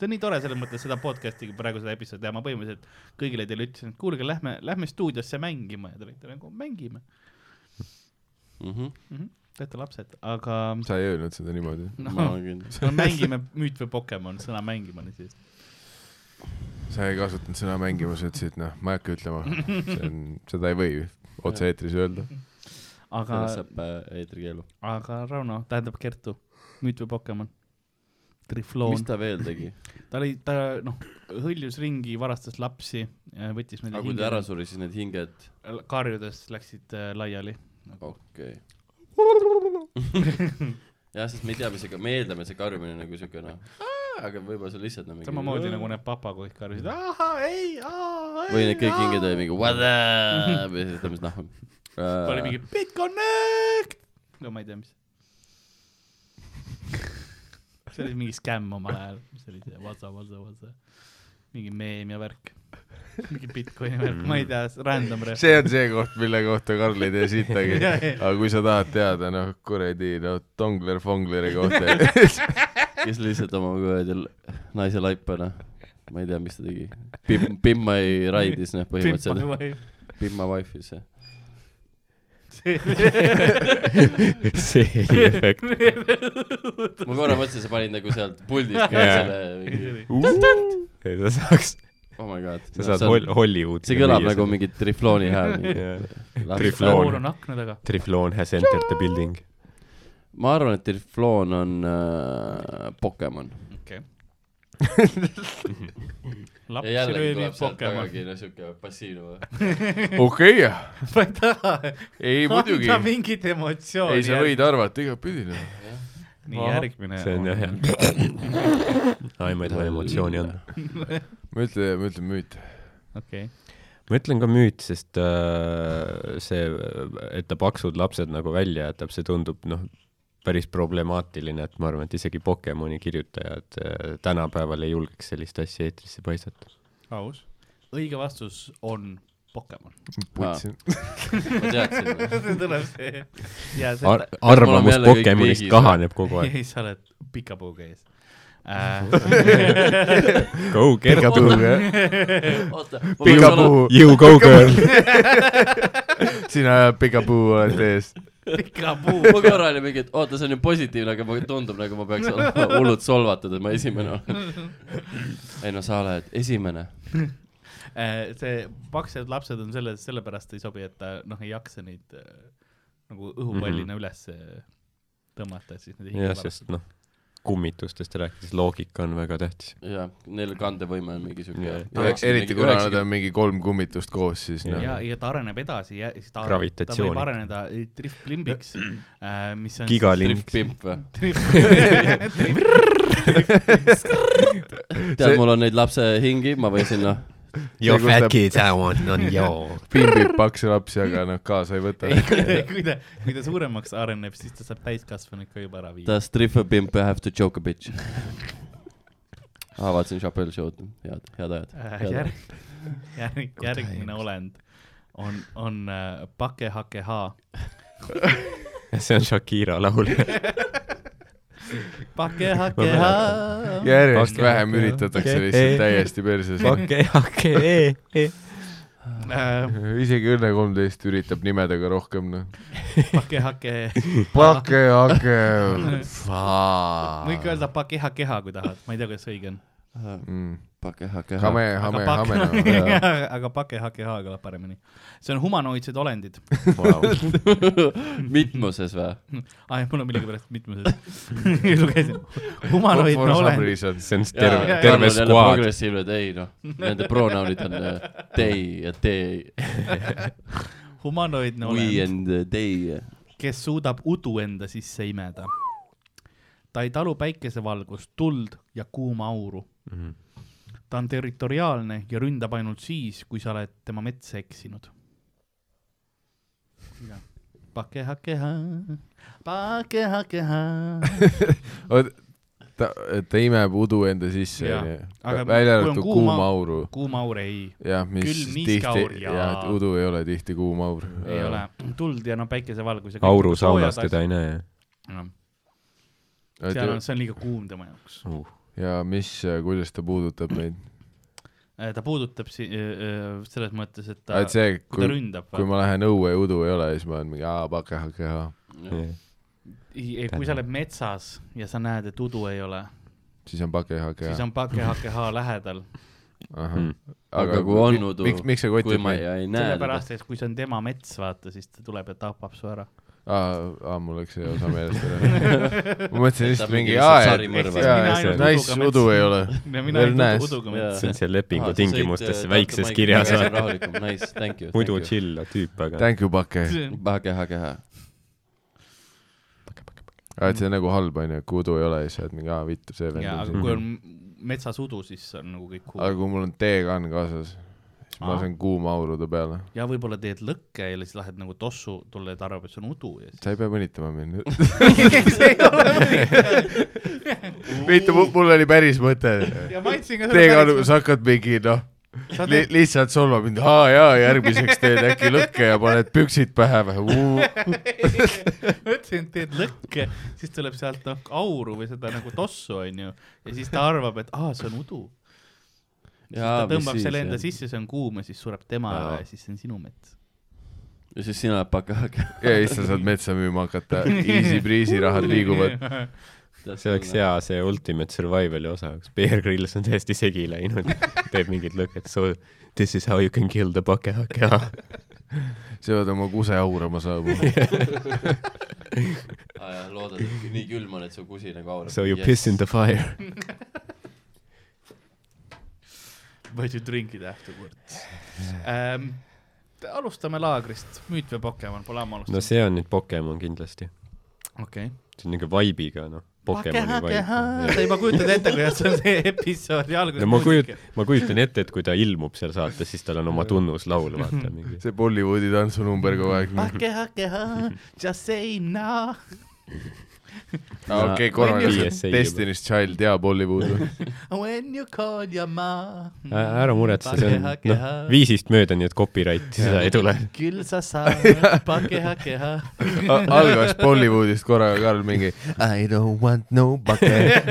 [SPEAKER 3] see on nii tore selles mõttes seda podcast'i , praegu seda episoodi teha , ma põhimõtteliselt kõigile teile ütlesin , et kuulge , lähme , lähme stuudiosse mängima ja te olite nagu mängime , teate lapsed , aga
[SPEAKER 2] sa ei öelnud seda niimoodi .
[SPEAKER 4] ma
[SPEAKER 3] noh ,
[SPEAKER 4] olen kindel .
[SPEAKER 3] no mängime müüt või Pokemon , sõna mängima oli siis .
[SPEAKER 2] sa ei kasutanud sõna mängima , sa ütlesid , noh , ma ei hakka ütlema . see on , seda ei või otse-eetris öelda .
[SPEAKER 3] aga ,
[SPEAKER 4] sellest saab äh, eetrikeelu .
[SPEAKER 3] aga Rauno , tähendab Kertu , müüt või Pokemon ? Trifloon
[SPEAKER 4] mis . ta veel
[SPEAKER 3] [LAUGHS]
[SPEAKER 4] tegi ?
[SPEAKER 3] ta oli , ta noh , hõljus ringi , varastas lapsi , võttis neid
[SPEAKER 4] aga kui ta ära suri , siis need hinged ,
[SPEAKER 3] karjudes läksid äh, laiali .
[SPEAKER 4] okei .
[SPEAKER 3] [LAUGHS]
[SPEAKER 4] jah , sest me ei tea , mis see , me eeldame , et see karjumine on nagu siuke noh , aga võib-olla see on lihtsalt nagu
[SPEAKER 3] samamoodi nagu need papagoid karjusid , ahah , ei , ahah , ei .
[SPEAKER 4] Mm. või need kõik hinged olid mingi what
[SPEAKER 3] [LAUGHS]
[SPEAKER 4] up ja siis ta mis noh, äh, nahku .
[SPEAKER 3] ta oli mingi [LAUGHS] Bitconnect , no ma ei tea , mis . [LAUGHS] see oli mingi skämm omal ajal , mis oli see Vatsa , Vatsa , Vatsa , mingi meem ja värk , mingi Bitcoini värk , ma ei
[SPEAKER 4] Mm.
[SPEAKER 3] tea , random ref- .
[SPEAKER 2] see on see koht , mille kohta Karl ei tee
[SPEAKER 3] [LAUGHS]
[SPEAKER 2] sittagi
[SPEAKER 3] Jah, jah. .
[SPEAKER 2] aga kui sa tahad teada , noh , kuradi , no Tongler Fongleri kohta ,
[SPEAKER 4] kes lihtsalt oma kuradi l- naise laipana , ma ei tea , mis ta tegi . Pim- , Pimma ei raidis noh , põhimõtteliselt . Pimma wife'is jah .
[SPEAKER 5] see oli efekt .
[SPEAKER 3] [LAUGHS]
[SPEAKER 4] ma korra mõtlesin , sa panid nagu sealt puldist ka
[SPEAKER 5] Jaa.
[SPEAKER 4] selle mingi ,
[SPEAKER 5] sa saaks ,
[SPEAKER 4] oh my god .
[SPEAKER 5] sa saad Hol- , Hollywoodi .
[SPEAKER 4] see kõlab nagu . mingi triflooni
[SPEAKER 5] [LAUGHS]
[SPEAKER 4] hääl .
[SPEAKER 5] Trifloon.
[SPEAKER 3] Laul on akna taga .
[SPEAKER 5] Trifloon has entered the building .
[SPEAKER 4] ma arvan , et trifloon on äh, Pokemon .
[SPEAKER 3] okei .
[SPEAKER 4] ja
[SPEAKER 3] lapsi
[SPEAKER 4] jällegi
[SPEAKER 3] röövib
[SPEAKER 4] tuleb sealt
[SPEAKER 3] Pokemon .
[SPEAKER 4] tagasi no siuke nagu. passiivne .
[SPEAKER 2] okei ,
[SPEAKER 3] ma ei taha
[SPEAKER 2] ei muidugi
[SPEAKER 3] anda , mingit emotsiooni .
[SPEAKER 2] ei sa . võid arvata igatpidi , noh .
[SPEAKER 3] nii , järgmine .
[SPEAKER 5] see on
[SPEAKER 4] [LAUGHS]
[SPEAKER 5] jah , jah . ai , ma ei taha emotsiooni anda .
[SPEAKER 2] ma ütlen , ma ütlen müüt .
[SPEAKER 3] okei .
[SPEAKER 5] ma ütlen ka müüt , sest äh, see , et ta paksud lapsed nagu välja jätab , see tundub noh , päris problemaatiline , et ma arvan , et isegi Pokemoni kirjutajad äh, tänapäeval ei julgeks sellist asja eetrisse paisata .
[SPEAKER 3] aus . õige vastus on Pokemon .
[SPEAKER 2] putsin .
[SPEAKER 4] ma teadsin .
[SPEAKER 3] [LAUGHS] see tuleb see . ja see [LAUGHS]
[SPEAKER 5] Ar- , arvamus
[SPEAKER 4] jälle kõik
[SPEAKER 5] Pokemonist
[SPEAKER 4] piigis,
[SPEAKER 5] kahaneb
[SPEAKER 4] [LAUGHS]
[SPEAKER 5] kogu aeg .
[SPEAKER 3] ei , sa oled pika puuga ees . Äh,
[SPEAKER 5] [LAUGHS] Go Kertu ,
[SPEAKER 2] [LAUGHS]
[SPEAKER 4] oota ,
[SPEAKER 2] Pikapuu ,
[SPEAKER 5] you go girl .
[SPEAKER 2] sina pikapuu oled ees .
[SPEAKER 3] pika puu .
[SPEAKER 4] ma korra olin mingi , et oota , see on ju positiivne , aga mulle tundub nagu ma peaks olema hullult solvatud , et ma esimene olen . ei no sa oled esimene .
[SPEAKER 3] Äh, see paksed lapsed on selle , sellepärast ei sobi , et ta noh , ei jaksa neid äh, nagu õhupallina mm -hmm. üles tõmmata , et siis nad ei
[SPEAKER 5] Mhm. jah , sest noh , kummitustest rääkides loogika on väga tähtis .
[SPEAKER 4] jah , neil kandevõime on mingi siuke
[SPEAKER 5] Jah. .
[SPEAKER 2] eriti kuna nad on mingi kolm kummitust koos , siis noh .
[SPEAKER 3] ja , ja ta areneb edasi ja siis ta , ta võib
[SPEAKER 5] Gravitatsiooniga.
[SPEAKER 3] areneda eh, triftlimbiks äh, , mis on
[SPEAKER 5] gigalind ,
[SPEAKER 4] tripp-pimp või ?
[SPEAKER 3] [LAUGHS] triftlimb .
[SPEAKER 4] tead , mul on neid lapse hingi , ma võisin noh ,
[SPEAKER 5] your
[SPEAKER 2] see, kus
[SPEAKER 5] fat
[SPEAKER 2] ta-
[SPEAKER 5] kids I want on your .
[SPEAKER 2] pimbib paks lapsi , aga noh , kaasa ei võta .
[SPEAKER 3] [LAUGHS] kui ta , kui ta suuremaks areneb , siis ta saab täiskasvanud ka juba ära viia .
[SPEAKER 4] does tripp-pimp have to joke a bitch ? aa , vaatasin Chappelle show'd , head , head ajad .
[SPEAKER 3] Äh, järg , järg , järgmine olend on , on äh, pakehakeha ,
[SPEAKER 5] see on Shakira [LAUGHS] laul . [LAUGHS]
[SPEAKER 3] [LAUGHS] pakehakeha .
[SPEAKER 2] järjest
[SPEAKER 5] Okei,
[SPEAKER 2] vähem
[SPEAKER 5] okei,
[SPEAKER 2] üritatakse
[SPEAKER 5] okei.
[SPEAKER 2] lihtsalt
[SPEAKER 5] Ei.
[SPEAKER 2] täiesti perses .
[SPEAKER 5] okei , okei .
[SPEAKER 3] Äh,
[SPEAKER 2] isegi Õnne kolmteist üritab nimedega rohkem , noh .
[SPEAKER 3] pakehake ,
[SPEAKER 2] pake , hake ,
[SPEAKER 3] võid ka öelda pakehakeha , kui tahad , ma ei tea , kuidas õige on .
[SPEAKER 2] hame
[SPEAKER 4] [LAUGHS] pakehakeha .,
[SPEAKER 2] hame ,
[SPEAKER 3] aga
[SPEAKER 2] hame .
[SPEAKER 3] [LAUGHS] pak- aga pakehakeha kõlab paremini . see on humanoidsed olendid .
[SPEAKER 4] mitmuses või ?
[SPEAKER 3] aa , mul on millegipärast mitmeses . [LAUGHS] lugesin . humanoidne olend .
[SPEAKER 5] see on
[SPEAKER 3] Jaa, jaa,
[SPEAKER 5] terve ,
[SPEAKER 3] jaa.
[SPEAKER 5] terve skuaad .
[SPEAKER 4] progressiivne , et ei noh , nende pronounid on äh, they ja they ,
[SPEAKER 3] humanoidne
[SPEAKER 4] we
[SPEAKER 3] olend ,
[SPEAKER 4] and they .
[SPEAKER 3] kes suudab udu enda sisse imeda . ta ei talu päikesevalgust , tuld ja kuuma auru . ta on territoriaalne ja ründab ainult siis , kui sa oled tema metsa eksinud . pakehakeha , pakehakeha .
[SPEAKER 2] ta , ta imeb udu enda sisse ,
[SPEAKER 3] Jaa. Aga
[SPEAKER 2] onju . välja
[SPEAKER 3] kui on
[SPEAKER 2] arvatud
[SPEAKER 3] kuuma-
[SPEAKER 2] kuum auru .
[SPEAKER 3] kuuma aur ei ,
[SPEAKER 2] jah , mis
[SPEAKER 3] Külm
[SPEAKER 2] siis
[SPEAKER 3] niiske aur
[SPEAKER 2] tihti ,
[SPEAKER 3] ja-
[SPEAKER 2] jah , udu ei ole tihti kuum aur .
[SPEAKER 3] ei ole . tuld ja no päikesevalgus .
[SPEAKER 5] auru saunas teda ei näe .
[SPEAKER 3] seal on , see on liiga kuum tema jaoks .
[SPEAKER 2] ja mis , kuidas ta puudutab meid ?
[SPEAKER 3] Äh, ta puudutab si- , selles mõttes , et ta ,
[SPEAKER 2] et see ,
[SPEAKER 3] kui
[SPEAKER 2] kui ,
[SPEAKER 3] ta ründab .
[SPEAKER 2] kui ma lähen õue ja udu ei ole , siis ma olen mingi aa , pakehakeha .
[SPEAKER 3] ei , ei , kui sa oled metsas ja sa näed , et udu ei ole ,
[SPEAKER 2] siis on pakehakeha
[SPEAKER 3] siis . on [LAUGHS] pakehakeha lähedal ,
[SPEAKER 2] on...
[SPEAKER 4] Hmm. aga kui on udu ,
[SPEAKER 2] miks , miks see
[SPEAKER 4] kui
[SPEAKER 2] kotib
[SPEAKER 4] ma
[SPEAKER 2] meid ?
[SPEAKER 4] ei, ei näe teda ,
[SPEAKER 3] sellepärast , et kui see on tema mets , vaata , siis ta tuleb ja tapab su ära .
[SPEAKER 2] aa , aa , mul läks see osa meelest
[SPEAKER 4] [LAUGHS]
[SPEAKER 2] ära . ma mõtlesin
[SPEAKER 4] Ta
[SPEAKER 2] lihtsalt mingi
[SPEAKER 4] mingi lihtsalt
[SPEAKER 2] aa ,
[SPEAKER 4] sarimõrv
[SPEAKER 2] et
[SPEAKER 4] on.
[SPEAKER 2] jaa, et
[SPEAKER 3] Mina ainult
[SPEAKER 2] nice
[SPEAKER 3] uduga
[SPEAKER 2] udu
[SPEAKER 3] metsa.
[SPEAKER 2] ei
[SPEAKER 3] [LAUGHS]
[SPEAKER 2] ole .
[SPEAKER 3] ja
[SPEAKER 2] Veel
[SPEAKER 3] mina ei
[SPEAKER 2] näes.
[SPEAKER 3] tundu uduga
[SPEAKER 4] Jaa.
[SPEAKER 3] [LAUGHS] mets .
[SPEAKER 5] see on seal lepingu tingimustes
[SPEAKER 3] äh,
[SPEAKER 5] väikses kirjas .
[SPEAKER 4] rahulikum , nice , thank you .
[SPEAKER 5] muidu . chill tüüp , aga
[SPEAKER 2] Thank you , pake .
[SPEAKER 3] [LAUGHS]
[SPEAKER 4] pakehakeha .
[SPEAKER 2] aa , et see on nagu halb onju , kui udu ei ole , siis sa oled mingi aa , vittu , see vend
[SPEAKER 3] [LAUGHS] ja ,
[SPEAKER 2] on
[SPEAKER 3] aga
[SPEAKER 2] siin .
[SPEAKER 3] kui on metsas udu , siis on nagu kõik
[SPEAKER 2] aga
[SPEAKER 3] cool .
[SPEAKER 2] kui mul on teekann kaasas , siis ma
[SPEAKER 3] Aa.
[SPEAKER 2] lasen kuuma aurude peale .
[SPEAKER 3] ja võib-olla teed lõkke ja siis lähed nagu tossu , tulle , et arvab , et see on udu ja
[SPEAKER 2] [LAUGHS]
[SPEAKER 3] siis
[SPEAKER 2] sa ei pea mõnitama
[SPEAKER 3] [LAUGHS]
[SPEAKER 2] mind . [LAUGHS] mitte , mul oli päris mõte .
[SPEAKER 3] ja maitsin ka
[SPEAKER 2] teekann , sa hakkad mingi noh ,
[SPEAKER 3] Sa
[SPEAKER 2] li,
[SPEAKER 3] teed-
[SPEAKER 2] lihtsalt solvab mind , aa jaa , järgmiseks teed äkki lõkke ja paned püksid pähe või .
[SPEAKER 3] ma ütlesin , et teed lõkke , siis tuleb sealt noh auru või seda nagu tossu onju ja siis ta arvab , et aa , see on udu . ta tõmbab selle enda . sisse , see on kuum ja siis sureb tema ära ja siis see on sinu mets .
[SPEAKER 4] ja siis sina oled pakehakeha .
[SPEAKER 2] ja siis sa saad metsa müüma hakata , easy breezy rahad
[SPEAKER 3] [LAUGHS]
[SPEAKER 2] liiguvad .
[SPEAKER 5] see oleks . hea see Ultimate Survivali osa , kus Bear Grylls on täiesti segi
[SPEAKER 3] [LAUGHS]
[SPEAKER 5] läinud , teeb mingid lõked , so this is how you can kill the pakehakea .
[SPEAKER 2] sa pead oma kuse haurama saama .
[SPEAKER 4] loodad , et nii külm on , et su kusi nagu aurab .
[SPEAKER 5] So you piss in the fire .
[SPEAKER 3] But you drink it afterwards ähm, . alustame laagrist , müüt või Pokemon , pole ammu
[SPEAKER 5] no
[SPEAKER 3] alustanud .
[SPEAKER 5] see on nüüd Pokemon kindlasti .
[SPEAKER 3] okei .
[SPEAKER 5] see on niuke vibe'iga noh , Pokemoni vibe .
[SPEAKER 3] sa juba kujutad ette , kuidas on see [LAUGHS] episoodi alguses
[SPEAKER 5] no ma kujut- , ma kujutan ette , et kui ta ilmub seal saates , siis tal on oma tunnuslaul , vaata mingi .
[SPEAKER 2] see Bollywoodi tantsunumber kogu aeg .
[SPEAKER 3] pakehakeha ,
[SPEAKER 5] [LAUGHS]
[SPEAKER 3] just say no .
[SPEAKER 2] okei , korralikult .
[SPEAKER 3] E
[SPEAKER 2] Destiny's Child ja Bollywood .
[SPEAKER 3] When you call your ma .
[SPEAKER 5] ära muretse , see on , noh , viisist mööda , nii et copyright'i seda ei tule .
[SPEAKER 3] küll sa saad pakehakeha .
[SPEAKER 2] algas Bollywoodist korraga Karl mingi I don't want no bucket .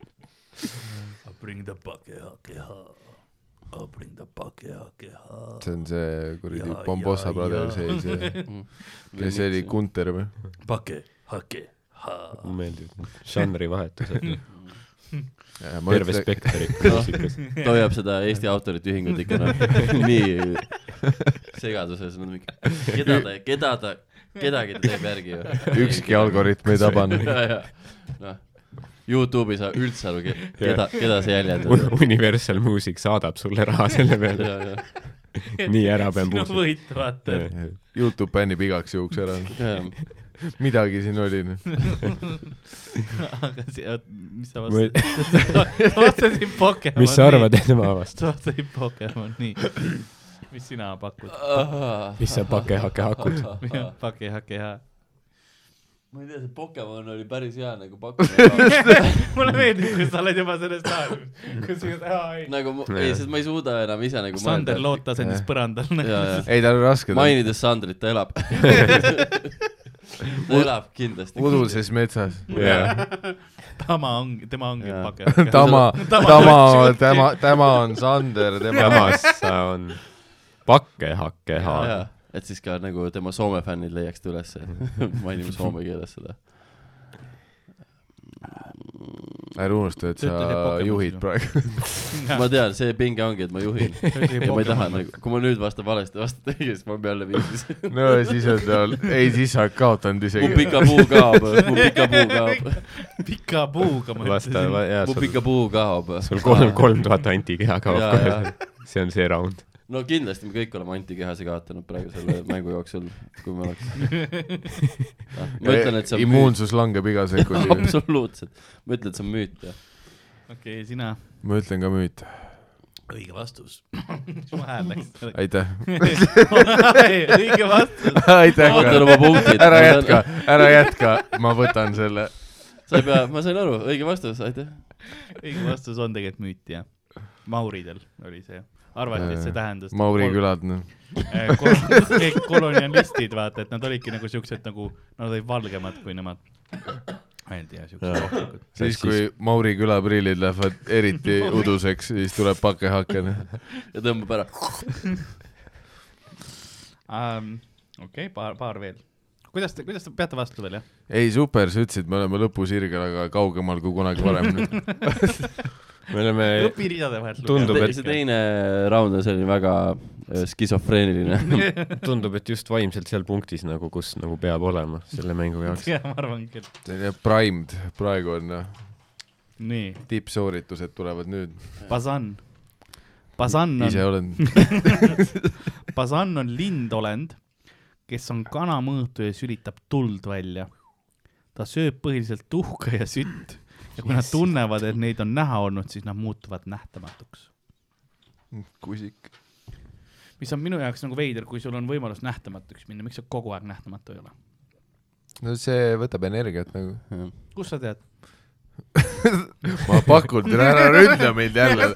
[SPEAKER 3] [LAUGHS] Bring the pakehakeha . I'll bring the buck ja keha .
[SPEAKER 2] see on see kuradi
[SPEAKER 3] Jaa,
[SPEAKER 2] Bombossa
[SPEAKER 3] jaa,
[SPEAKER 2] Brothers
[SPEAKER 3] jaa.
[SPEAKER 2] ei see , kes see oli , Gunter või ?
[SPEAKER 3] Pake , hake , ha .
[SPEAKER 5] mulle meeldivad žanrivahetused ,
[SPEAKER 3] Mm.
[SPEAKER 5] terve
[SPEAKER 2] terve
[SPEAKER 5] [LAUGHS] spekter ikka muusikas .
[SPEAKER 4] ta hoiab seda Eesti autorite ühingut ikka noh [LAUGHS] nii segaduses , nad mingi , keda ta , keda ta , kedagi ta teeb
[SPEAKER 5] [LAUGHS]
[SPEAKER 4] järgi ju .
[SPEAKER 2] ükski
[SPEAKER 4] [LAUGHS]
[SPEAKER 2] algoritm ei tabanud .
[SPEAKER 4] noh , Youtube'i sa üldse aru , keda , keda sa jäljendad .
[SPEAKER 5] Universal Music saadab sulle raha selle
[SPEAKER 3] [LAUGHS]
[SPEAKER 5] peale , nii ära pean
[SPEAKER 3] sinu
[SPEAKER 5] puhkama.
[SPEAKER 3] võit , vaata .
[SPEAKER 2] Youtube bännib igaks juhuks ära , midagi siin oli .
[SPEAKER 3] [LAUGHS] aga see , mis sa
[SPEAKER 5] Või-
[SPEAKER 3] vastasid ? [LAUGHS] sa vastasid Pokemon .
[SPEAKER 5] mis sa arvad , et ma avastan ?
[SPEAKER 3] sa vastasid Pokemon , nii . mis sina pakud ?
[SPEAKER 5] [LAUGHS] mis sa pakehake hakud ?
[SPEAKER 3] [LAUGHS] Pake , hake , ha .
[SPEAKER 4] [LAUGHS] ma ei tea , see Pokemon oli päris hea nagu
[SPEAKER 5] [LAUGHS]
[SPEAKER 4] pakkumine ,
[SPEAKER 3] mulle meeldib , kui sa oled juba selles staadiumis , kus sa oled ,
[SPEAKER 4] nagu ma , ei , sest ma ei suuda enam ise
[SPEAKER 3] aa ,
[SPEAKER 4] nagu
[SPEAKER 3] Sander . Loot asendis põrandal .
[SPEAKER 4] ja , ja
[SPEAKER 2] ei , tal on raske .
[SPEAKER 4] mainides Sandrit , ta
[SPEAKER 5] [LAUGHS]
[SPEAKER 4] elab . [LAUGHS] ta elab kindlasti .
[SPEAKER 2] uduses metsas .
[SPEAKER 3] Tama ongi , tema ongi
[SPEAKER 4] Jaa.
[SPEAKER 3] Pake , hake , ha .
[SPEAKER 2] Tama ,
[SPEAKER 3] [LAUGHS] Tama-
[SPEAKER 2] Tama , tema , tema on Sander , tema .
[SPEAKER 5] samas sa on pakehakeha .
[SPEAKER 4] jaa , et siis ka nagu tema Soome fännid leiaks ta ülesse .
[SPEAKER 5] [LAUGHS]
[SPEAKER 4] mainime soome keeles seda .
[SPEAKER 2] ära unusta , et
[SPEAKER 3] Ta ütleb, et
[SPEAKER 2] sa
[SPEAKER 3] Pokemon
[SPEAKER 2] juhid
[SPEAKER 3] sinu.
[SPEAKER 2] praegu .
[SPEAKER 4] ma tean , see pinge ongi , et ma
[SPEAKER 3] [LAUGHS]
[SPEAKER 4] juhin . ja ma ei taha nagu , kui ma nüüd vastan valesti , vastan õigesti , siis ma pean jälle
[SPEAKER 5] [LAUGHS]
[SPEAKER 4] viis .
[SPEAKER 2] no siis on tal , ei siis sa oled kaotanud
[SPEAKER 4] mu
[SPEAKER 2] isegi .
[SPEAKER 4] pika puu
[SPEAKER 5] [LAUGHS]
[SPEAKER 4] kaob , mu pika puu kaob ,
[SPEAKER 3] pika puuga ma
[SPEAKER 5] vasta ,
[SPEAKER 3] ütlesin .
[SPEAKER 5] jaa ,
[SPEAKER 4] mu
[SPEAKER 5] sul ,
[SPEAKER 4] pika puu kaob .
[SPEAKER 5] sul [LAUGHS] kolm , kolm tuhat antikeha kaob
[SPEAKER 4] Jaa, jaa.
[SPEAKER 5] kohe . see on see round .
[SPEAKER 4] no kindlasti me kõik oleme antikehase kaotanud praegu selle mängu jooksul , kui me
[SPEAKER 5] [LAUGHS]
[SPEAKER 4] oleks . ma ütlen , et see on müüt ,
[SPEAKER 2] immuunsus langeb iga sekundi .
[SPEAKER 4] [LAUGHS] absoluutselt . ma ütlen , et see on müüt , jah .
[SPEAKER 3] okei , sina .
[SPEAKER 2] ma ütlen ka müüt .
[SPEAKER 3] õige vastus . mis [LAUGHS] mu hääl läks ?
[SPEAKER 2] aitäh .
[SPEAKER 3] õige vastus .
[SPEAKER 2] [LAUGHS] aitäh
[SPEAKER 4] ma võtan . oma punktid .
[SPEAKER 2] ära jätka , ära jätka , ma võtan selle .
[SPEAKER 4] sa ei pea , ma sain aru , õige vastus , aitäh .
[SPEAKER 3] õige vastus on tegelikult müüt , jah . Mauridel oli see . arvati , et see tähendas .
[SPEAKER 2] Mauri . külad , noh .
[SPEAKER 3] [LAUGHS] kolonialistid , vaata , et nad olidki nagu siuksed nagu , nad olid valgemad kui nemad . ma ei tea , siuksed ohtlikud .
[SPEAKER 2] siis , kui Mauri küla prillid lähevad [LAUGHS] eriti uduseks , siis tuleb pakehakene .
[SPEAKER 4] ja tõmbab ära .
[SPEAKER 3] okei , paar , paar veel . kuidas te , kuidas te peate vastu veel , jah ?
[SPEAKER 2] ei , super , sa ütlesid , me oleme lõpusirgel , aga kaugemal kui kunagi varem nüüd .
[SPEAKER 5] me oleme ,
[SPEAKER 3] õpiridade vahelt
[SPEAKER 5] Tundub,
[SPEAKER 4] Te,
[SPEAKER 5] et-
[SPEAKER 4] see teine raund on selline väga äh, skisofreeniline .
[SPEAKER 5] tundub , et just vaimselt seal punktis nagu , kus nagu peab olema selle mängu jaoks .
[SPEAKER 3] [LAUGHS] jah , ma arvan küll .
[SPEAKER 2] Primed praegu on , noh ,
[SPEAKER 3] nii ,
[SPEAKER 2] tippsooritused tulevad nüüd .
[SPEAKER 3] Bazan . Bazan on
[SPEAKER 2] ise olen
[SPEAKER 3] Bazan on lindolend , kes on kanamõõtu ja sülitab tuld välja . ta sööb põhiliselt tuhka ja sütt ja kui nad tunnevad , et neid on näha olnud , siis nad muutuvad nähtamatuks .
[SPEAKER 2] kusik .
[SPEAKER 3] mis on minu jaoks nagu veider , kui sul on võimalus nähtamatuks minna , miks sa kogu aeg nähtamatu ei ole ?
[SPEAKER 2] no see võtab energiat nagu .
[SPEAKER 3] kust sa tead ?
[SPEAKER 2] ma pakun teile , ära ründa mind jälle .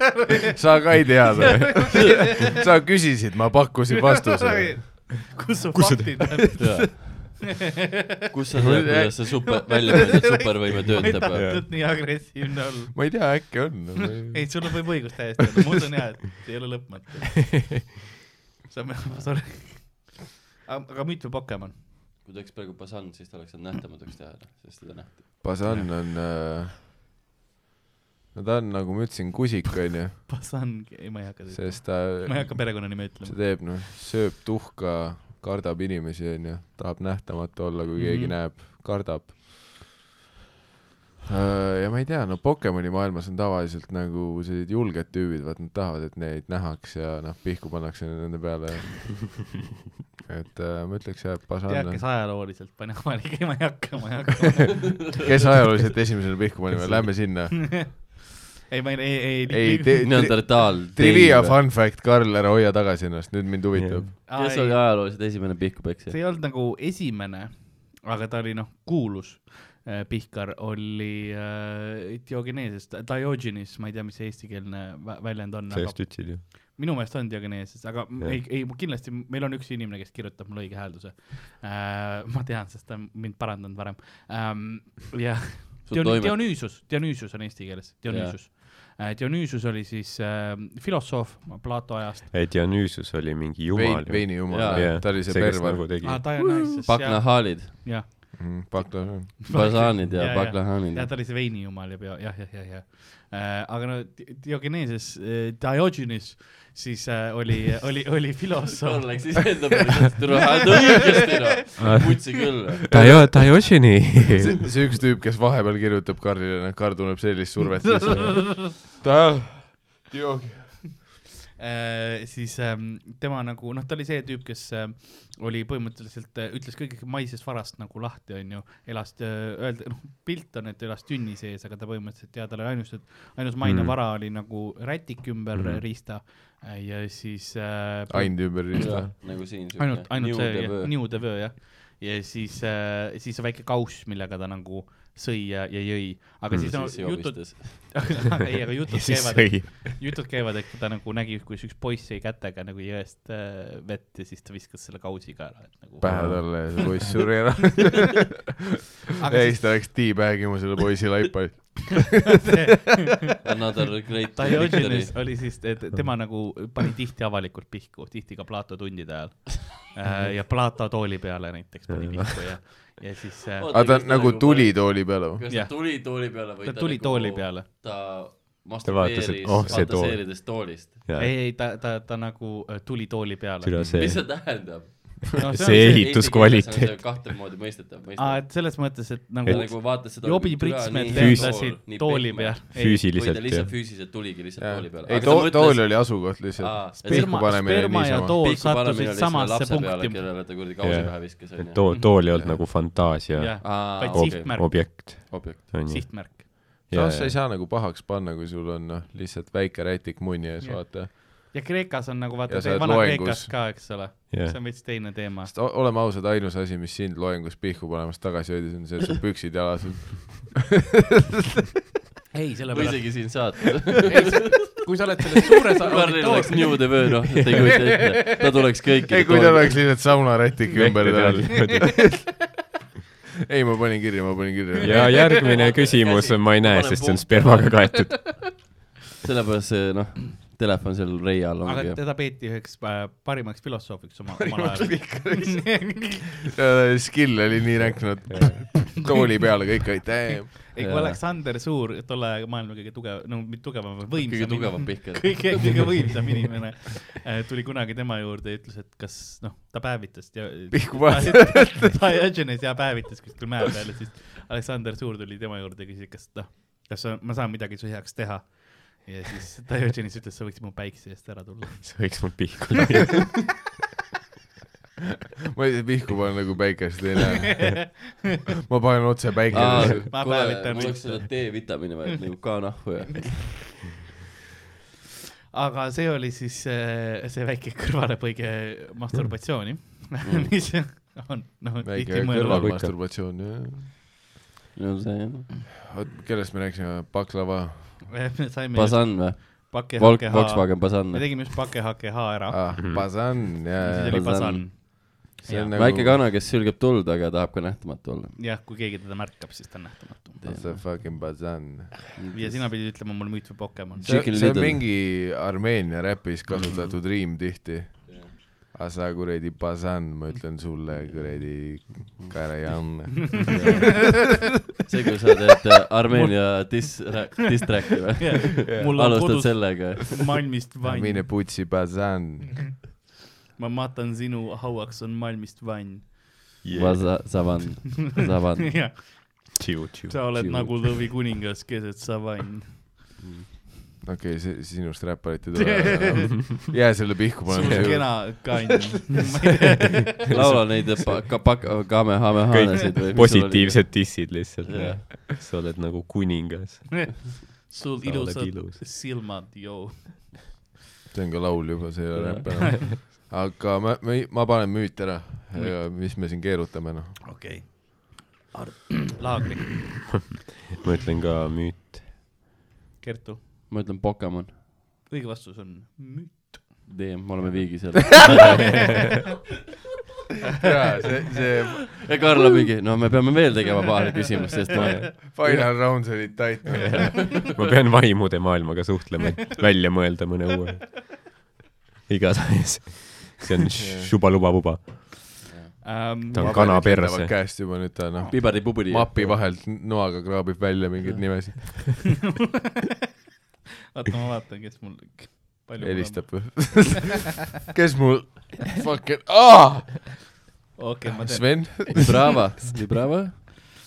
[SPEAKER 2] sa ka ei tea seda . sa küsisid , ma pakkusin vastuse .
[SPEAKER 3] kus su faktid on ?
[SPEAKER 4] kus sa tead , kuidas see super , välja mõeldud supervõime
[SPEAKER 3] ma ei
[SPEAKER 4] töötab ?
[SPEAKER 3] tahtnud nii agressiivne olla .
[SPEAKER 2] ma ei tea , äkki on .
[SPEAKER 3] ei , sul võib õigus täiesti olla , ma usun jaa , et ei ole lõpmatu . sa , sorry . aga müüt või Pokemon ?
[SPEAKER 4] kui ta oleks praegu Basan , siis ta oleks saanud nähtamatuks teha , sest teda nähti .
[SPEAKER 2] Basan on äh... , no ta on , nagu ma ütlesin , kusik onju ,
[SPEAKER 3] Basan , ei ma ei hakka seda
[SPEAKER 2] sest äh, ta ,
[SPEAKER 3] ma ei hakka perekonnanime
[SPEAKER 2] mis ta
[SPEAKER 3] ütlema .
[SPEAKER 2] teeb noh , sööb tuhka , kardab inimesi onju , tahab nähtamatu olla , kui keegi mm -hmm.
[SPEAKER 3] Mhm.
[SPEAKER 2] näeb , kardab . ja ma ei tea , no Pokemoni maailmas on tavaliselt nagu sellised julged tüübid , vaat nad tahavad , et neid nähaks ja noh , pihku pannakse nende
[SPEAKER 3] [LAUGHS]
[SPEAKER 2] peale . et äh, ma ütleks jah , et
[SPEAKER 3] tead ,
[SPEAKER 2] Basan ,
[SPEAKER 3] kes ajalooliselt pani [LAUGHS] avalik , ei ma ei hakka , ma ei hakka .
[SPEAKER 2] kes ajalooliselt esimesena pihku panime , lähme sinna .
[SPEAKER 3] ei , ma ei , [LAUGHS] ei ,
[SPEAKER 2] [LAUGHS] ei
[SPEAKER 3] ei ,,
[SPEAKER 4] Neandertaal .
[SPEAKER 2] Trivia fun fact , Karl , ära hoia tagasi ennast , nüüd mind huvitab .
[SPEAKER 4] kes oli ajalooliselt esimene pihkupeksja
[SPEAKER 3] see ? ei olnud nagu esimene , aga ta oli noh , kuulus äh, pihkar oli äh, Diogenesest , Diogenes , ma ei tea , mis see eestikeelne vä- väljend on , nagu-
[SPEAKER 5] sa
[SPEAKER 3] aga
[SPEAKER 5] just ütlesid ju .
[SPEAKER 3] minu meelest on Diogeneses , aga m-
[SPEAKER 5] Jah.
[SPEAKER 3] ei , ei kindlasti meil on üks inimene , kes kirjutab mulle õige häälduse äh, . ma tean , sest ta on mind parandanud varem ähm, . ja
[SPEAKER 4] sul
[SPEAKER 3] Dion-
[SPEAKER 4] toimub ,
[SPEAKER 3] Dionüüsus , Dionüüsus on eesti keeles , Dionüüsus . Dionüüsus oli siis äh, filosoof Plato ajast .
[SPEAKER 5] ei , Dionüüsus oli mingi jumal
[SPEAKER 2] vein , veini jumal
[SPEAKER 4] Jaa. ,
[SPEAKER 2] ta oli see perver .
[SPEAKER 5] nagu tegi
[SPEAKER 3] aa , Ah, ta on naisest , jah ,
[SPEAKER 4] paknahaalid ,
[SPEAKER 3] jah .
[SPEAKER 2] Mhm, Pakla ,
[SPEAKER 4] basaanid ja
[SPEAKER 3] Jaa, jaa.
[SPEAKER 4] paklahaanid
[SPEAKER 3] jah ,. ta oli see veinijumal ja pea , jah , jah , jah , jah . aga no Di- Diogeneses , Diogenes siis äh, oli , oli , oli filosoof
[SPEAKER 4] Sul . läks iseenda peale , tule , tule õigesti noh , putsi küll .
[SPEAKER 5] Dio- , Diogenes .
[SPEAKER 2] see see üks tüüp , kes vahepeal kirjutab Karlile , noh , Karl tunneb sellist survet
[SPEAKER 3] [LAUGHS]
[SPEAKER 2] sisse . ta , joogi .
[SPEAKER 3] Äh, siis ähm, tema nagu noh , ta oli see tüüp , kes äh, oli põhimõtteliselt äh, ütles kõik maisest varast nagu lahti , onju , elas äh, öelda , noh , pilt on , et elas tünni sees , aga ta põhimõtteliselt ja tal oli ainus , ainus maine
[SPEAKER 5] Mhm.
[SPEAKER 3] mm. vara oli nagu rätik ümber
[SPEAKER 5] Mhm.
[SPEAKER 3] mm. riista äh, ja siis äh,
[SPEAKER 2] and ümber riista .
[SPEAKER 4] nagu siin .
[SPEAKER 3] ainult , ainult see jah, New the Word jah , ja siis äh, , siis väike kauss , millega ta nagu sõi ja , ja jõi , aga mm. siis no, jutud , [LAUGHS] ei , aga [LAUGHS] jutud käivad , jutud käivad , et ta nagu nägi , kuidas üks poiss sõi kätega nagu jõest äh, vett ja siis ta viskas selle kausiga ära , et nagu .
[SPEAKER 2] pähe talle ja see poiss suri ära . ja
[SPEAKER 3] [LAUGHS] aga
[SPEAKER 2] siis ta läks tea-bag ima selle poisi
[SPEAKER 3] [LAUGHS]
[SPEAKER 2] laipa .
[SPEAKER 4] Another great victory
[SPEAKER 3] Diogenes . oli siis , et tema nagu pani tihti avalikult pihku , tihti ka Plato tundide ajal
[SPEAKER 5] Mhm.
[SPEAKER 3] äh, . ja Plato tooli peale näiteks pani pihku ja , ja siis äh,
[SPEAKER 4] Oota,
[SPEAKER 2] aga ta
[SPEAKER 4] kas ta
[SPEAKER 2] nagu
[SPEAKER 4] nagu
[SPEAKER 2] tuli
[SPEAKER 4] pani-
[SPEAKER 2] tooli peale või ?
[SPEAKER 4] kas
[SPEAKER 3] Jah.
[SPEAKER 4] ta tuli tooli peale või nagu
[SPEAKER 3] ta tuli tooli ? peale .
[SPEAKER 4] ta
[SPEAKER 5] vaatas,
[SPEAKER 4] masturbeeris
[SPEAKER 5] et oh, see tool.
[SPEAKER 4] fantaseerides toolist .
[SPEAKER 3] ei , ei ta , ta , ta nagu äh, tuli tooli peale .
[SPEAKER 5] türa see
[SPEAKER 4] mis , see tähendab ?
[SPEAKER 3] No,
[SPEAKER 5] see
[SPEAKER 3] on
[SPEAKER 5] ei- Ehituskvaliteet.
[SPEAKER 4] kahte moodi mõistetav ,
[SPEAKER 3] aa ,
[SPEAKER 4] mõistetav .
[SPEAKER 3] et selles mõttes , et
[SPEAKER 4] ta
[SPEAKER 3] nagu
[SPEAKER 4] nagu vaatas seda .
[SPEAKER 3] jobiprismed
[SPEAKER 5] füüs-
[SPEAKER 3] lendasid tooli peal .
[SPEAKER 4] või
[SPEAKER 5] füüsiliselt
[SPEAKER 4] ta
[SPEAKER 5] jah
[SPEAKER 4] lihtsalt . füüsiliselt tuligi lihtsalt tooli peale .
[SPEAKER 2] ei , too , tool oli asukoht lihtsalt .
[SPEAKER 3] sperma ,
[SPEAKER 2] panemine
[SPEAKER 3] sperma ja
[SPEAKER 2] niisama.
[SPEAKER 3] tool sattusid samasse punkti .
[SPEAKER 4] kellele ta kuradi kausi
[SPEAKER 5] Jah.
[SPEAKER 4] pähe viskas ,
[SPEAKER 5] et
[SPEAKER 4] onju .
[SPEAKER 5] tool , tool ei olnud nagu fantaasia
[SPEAKER 3] jah ,
[SPEAKER 4] aa ,
[SPEAKER 3] vaid
[SPEAKER 4] okei ,
[SPEAKER 3] sihtmärk ,
[SPEAKER 5] objekt ,
[SPEAKER 4] objekt .
[SPEAKER 5] on ju .
[SPEAKER 3] sihtmärk .
[SPEAKER 2] samas sa ei saa nagu pahaks panna , kui sul on noh , lihtsalt väike rätik munni ees ,
[SPEAKER 3] Jah.
[SPEAKER 2] vaata .
[SPEAKER 3] ja Kreekas on nagu
[SPEAKER 2] Ja
[SPEAKER 3] vaata
[SPEAKER 2] sa oled ,
[SPEAKER 3] Vana-Kreekas
[SPEAKER 2] loengus.
[SPEAKER 3] ka , eks ole ,
[SPEAKER 5] Jah.
[SPEAKER 3] see on veits teine teema .
[SPEAKER 2] sest o- oleme ausad , ainus asi , mis sind loengus pihku panemas tagasi hoidis , on see , et sul püksid jalas on .
[SPEAKER 3] ei ,
[SPEAKER 4] või
[SPEAKER 3] sellepärast ,
[SPEAKER 4] isegi siin saates .
[SPEAKER 3] kui sa oled selles suures
[SPEAKER 4] Karlil oleks
[SPEAKER 3] auditooriumis ,
[SPEAKER 4] New The Word , noh , te ei kujuta ette , ta tuleks kõikide
[SPEAKER 2] ei , kui tal oleks lihtsalt saunarätik ümber tal . ei , ma panin kirja , ma panin kirja .
[SPEAKER 5] [LAUGHS] ja järgmine küsimus , ma ei näe , sest see on spermaga kaetud .
[SPEAKER 4] sellepärast see , noh , telefon seal reia all
[SPEAKER 3] aga
[SPEAKER 4] ongi .
[SPEAKER 3] teda peeti üheks äh, parimaks filosoofiks oma , omal ajal .
[SPEAKER 2] Skill oli nii ränknud . tooli peale kõik olid damn .
[SPEAKER 3] [LAUGHS] ei , kui
[SPEAKER 4] Jaa.
[SPEAKER 3] Aleksander Suur , tolle aja maailma kõige tugev , no mitte tugevam , võimsam .
[SPEAKER 4] kõige tugevam pihkel .
[SPEAKER 3] [LAUGHS] kõige , kõige võimsam inimene äh, tuli kunagi tema juurde ja ütles , et kas noh , ta päevitas ja
[SPEAKER 2] [LAUGHS] Pihku
[SPEAKER 3] ta-
[SPEAKER 2] vastu. [LAUGHS]
[SPEAKER 3] Diogenes ja päevitas kuskil mäe peal ja siis Aleksander Suur tuli tema juurde ja küsis , kas noh , kas sa- ma saan midagi su heaks teha . ja siis Diogenes ütles , sa võiksid mu päikse eest ära tulla .
[SPEAKER 5] see võiks mul pihku lüüa .
[SPEAKER 2] ma ei tea , pihku panen nagu päikest ei näe . ma panen otse päikele .
[SPEAKER 3] Ma
[SPEAKER 4] kuule ,
[SPEAKER 3] päevitan
[SPEAKER 4] mul oleks
[SPEAKER 3] lihtsalt.
[SPEAKER 4] seda D-vitamiini vaja , et nagu ka
[SPEAKER 3] [LAUGHS]
[SPEAKER 4] nahku ja .
[SPEAKER 3] aga see oli siis äh, see väike kõrvalepõige masturbatsiooni , [LAUGHS] mis on noh ,
[SPEAKER 2] Mm. väike
[SPEAKER 3] tihti mõeldud .
[SPEAKER 2] kõrvalmasturbatsioon , jah .
[SPEAKER 4] no see noh, jah .
[SPEAKER 2] oot , kellest me rääkisime , baklava ?
[SPEAKER 3] me saime
[SPEAKER 4] Basan või ?
[SPEAKER 3] pakke
[SPEAKER 4] Volk ,
[SPEAKER 3] HKH ,
[SPEAKER 4] Volkswagen Basan
[SPEAKER 3] me
[SPEAKER 4] või ?
[SPEAKER 3] tegime just pakke HKH ära
[SPEAKER 2] ah ,
[SPEAKER 5] Mhm.
[SPEAKER 2] äh, basan ,
[SPEAKER 3] siis
[SPEAKER 2] jaa
[SPEAKER 3] oli . Basan .
[SPEAKER 2] see on
[SPEAKER 4] väike
[SPEAKER 2] nagu
[SPEAKER 4] kana , kes sülgeb tuld , aga tahab ka nähtamatu
[SPEAKER 3] [LAUGHS]
[SPEAKER 4] olla .
[SPEAKER 3] jah , kui keegi teda märkab , siis ta on nähtamatu .
[SPEAKER 2] That's a fucking basan .
[SPEAKER 3] ja sina pidid ütlema mulle müüt või
[SPEAKER 2] [LAUGHS]
[SPEAKER 3] Pokemon . [LAUGHS]
[SPEAKER 2] see
[SPEAKER 4] Chicken
[SPEAKER 2] see on
[SPEAKER 4] Little.
[SPEAKER 2] mingi Armeenia räpis kasutatud riim tihti . aga sa kuradi basan , ma ütlen sulle kuradi karajan .
[SPEAKER 4] see , kui sa teed äh, Armeenia dis- , distract'i või ?
[SPEAKER 3] [LAUGHS] mul on
[SPEAKER 4] alustad
[SPEAKER 3] kodus
[SPEAKER 4] sellega .
[SPEAKER 3] [LAUGHS] malmist vann
[SPEAKER 2] mine , putsi basan .
[SPEAKER 3] ma matan sinu hauaks on malmist vann .
[SPEAKER 4] Basa- , Savan ,
[SPEAKER 3] [LAUGHS]
[SPEAKER 4] Savan .
[SPEAKER 3] jah , sa oled
[SPEAKER 4] Tšiu.
[SPEAKER 3] nagu lõvikuningas keset savann .
[SPEAKER 2] okei okay, , see sinust räpparit ei tule . jää selle pihku
[SPEAKER 3] sul on
[SPEAKER 2] panema .
[SPEAKER 3] kena
[SPEAKER 5] [LAUGHS]
[SPEAKER 3] kann .
[SPEAKER 4] laula neid äh, pa- , ka- , pa- , kamehamehaanesid või ..
[SPEAKER 5] positiivsed dissid lihtsalt
[SPEAKER 4] Jah. .
[SPEAKER 5] sa oled nagu kuningas .
[SPEAKER 3] [LAUGHS]
[SPEAKER 5] Sa
[SPEAKER 3] sul
[SPEAKER 5] oled
[SPEAKER 3] ilusad
[SPEAKER 5] ilus.
[SPEAKER 3] silmad , joo .
[SPEAKER 2] see on ka laul juba , see ei ole
[SPEAKER 4] Jah.
[SPEAKER 2] räpp enam . aga ma , ma , ma panen müüt ära . mis me siin keerutame , noh .
[SPEAKER 3] okei .
[SPEAKER 5] [CLEARS THROAT]
[SPEAKER 3] Laagri ,
[SPEAKER 5] ma ütlen ka müüt .
[SPEAKER 3] Kertu ,
[SPEAKER 4] ma ütlen Pokemon .
[SPEAKER 3] õige vastus on müüt .
[SPEAKER 4] DM , me oleme viigis jälle .
[SPEAKER 2] jaa , see , see
[SPEAKER 4] ja Karl on mingi , no me peame veel tegema paar küsimust , sest ma ,
[SPEAKER 2] final rounds olid [LAUGHS] tight .
[SPEAKER 5] ma pean vaimude maailmaga suhtlema , et välja mõelda mõne uue . igatahes , see on šubalubabuba . ta on kana perse .
[SPEAKER 2] käest juba nüüd ta noh ,
[SPEAKER 4] pibari-pubari .
[SPEAKER 2] mapi vahelt noaga kraabib välja mingeid nimesid ,
[SPEAKER 3] oota , ma vaatan , kes mul , palju
[SPEAKER 2] helistab või ? kes mul , fucking , aa ,
[SPEAKER 3] mul on . okei okay, , ma teen
[SPEAKER 2] Sven ,
[SPEAKER 4] Brava , Brava .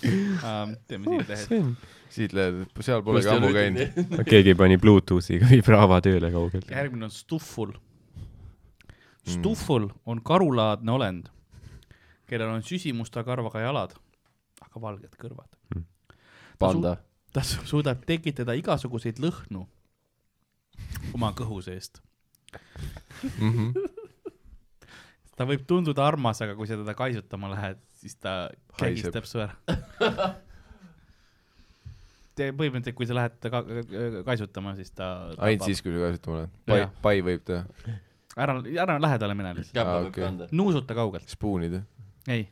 [SPEAKER 3] um, , teeme siit lehed .
[SPEAKER 2] siit lähed , seal pole ka ammu käinud .
[SPEAKER 5] keegi pani Bluetoothiga vibraava tööle kaugelt .
[SPEAKER 3] järgmine on stufful .
[SPEAKER 2] Hmm.
[SPEAKER 3] stufful on karulaadne olend , kellel on süsimusta karvaga jalad , aga valged kõrvad .
[SPEAKER 4] panda .
[SPEAKER 3] ta su- suudab tekitada igasuguseid lõhnu oma kõhu seest .
[SPEAKER 2] Mhm.
[SPEAKER 3] ta võib tunduda armas , aga kui sa teda kaisutama lähed , siis ta
[SPEAKER 2] Haiseb.
[SPEAKER 3] kägistab su ära Te põhimõtteliselt , kui sa lähed teda ka- ka- kaisutama , siis ta
[SPEAKER 2] ainult siis , kui sa kasutama oled .
[SPEAKER 3] Pai-
[SPEAKER 2] pai
[SPEAKER 3] Jah. ,
[SPEAKER 2] pai võib teha .
[SPEAKER 3] ära , ära lähedale mine lihtsalt ,
[SPEAKER 2] Aa,
[SPEAKER 4] käpa võib
[SPEAKER 2] Ah, okei.
[SPEAKER 4] kanda .
[SPEAKER 3] nuusuta kaugelt ,
[SPEAKER 2] spuuni teha .
[SPEAKER 3] ei ,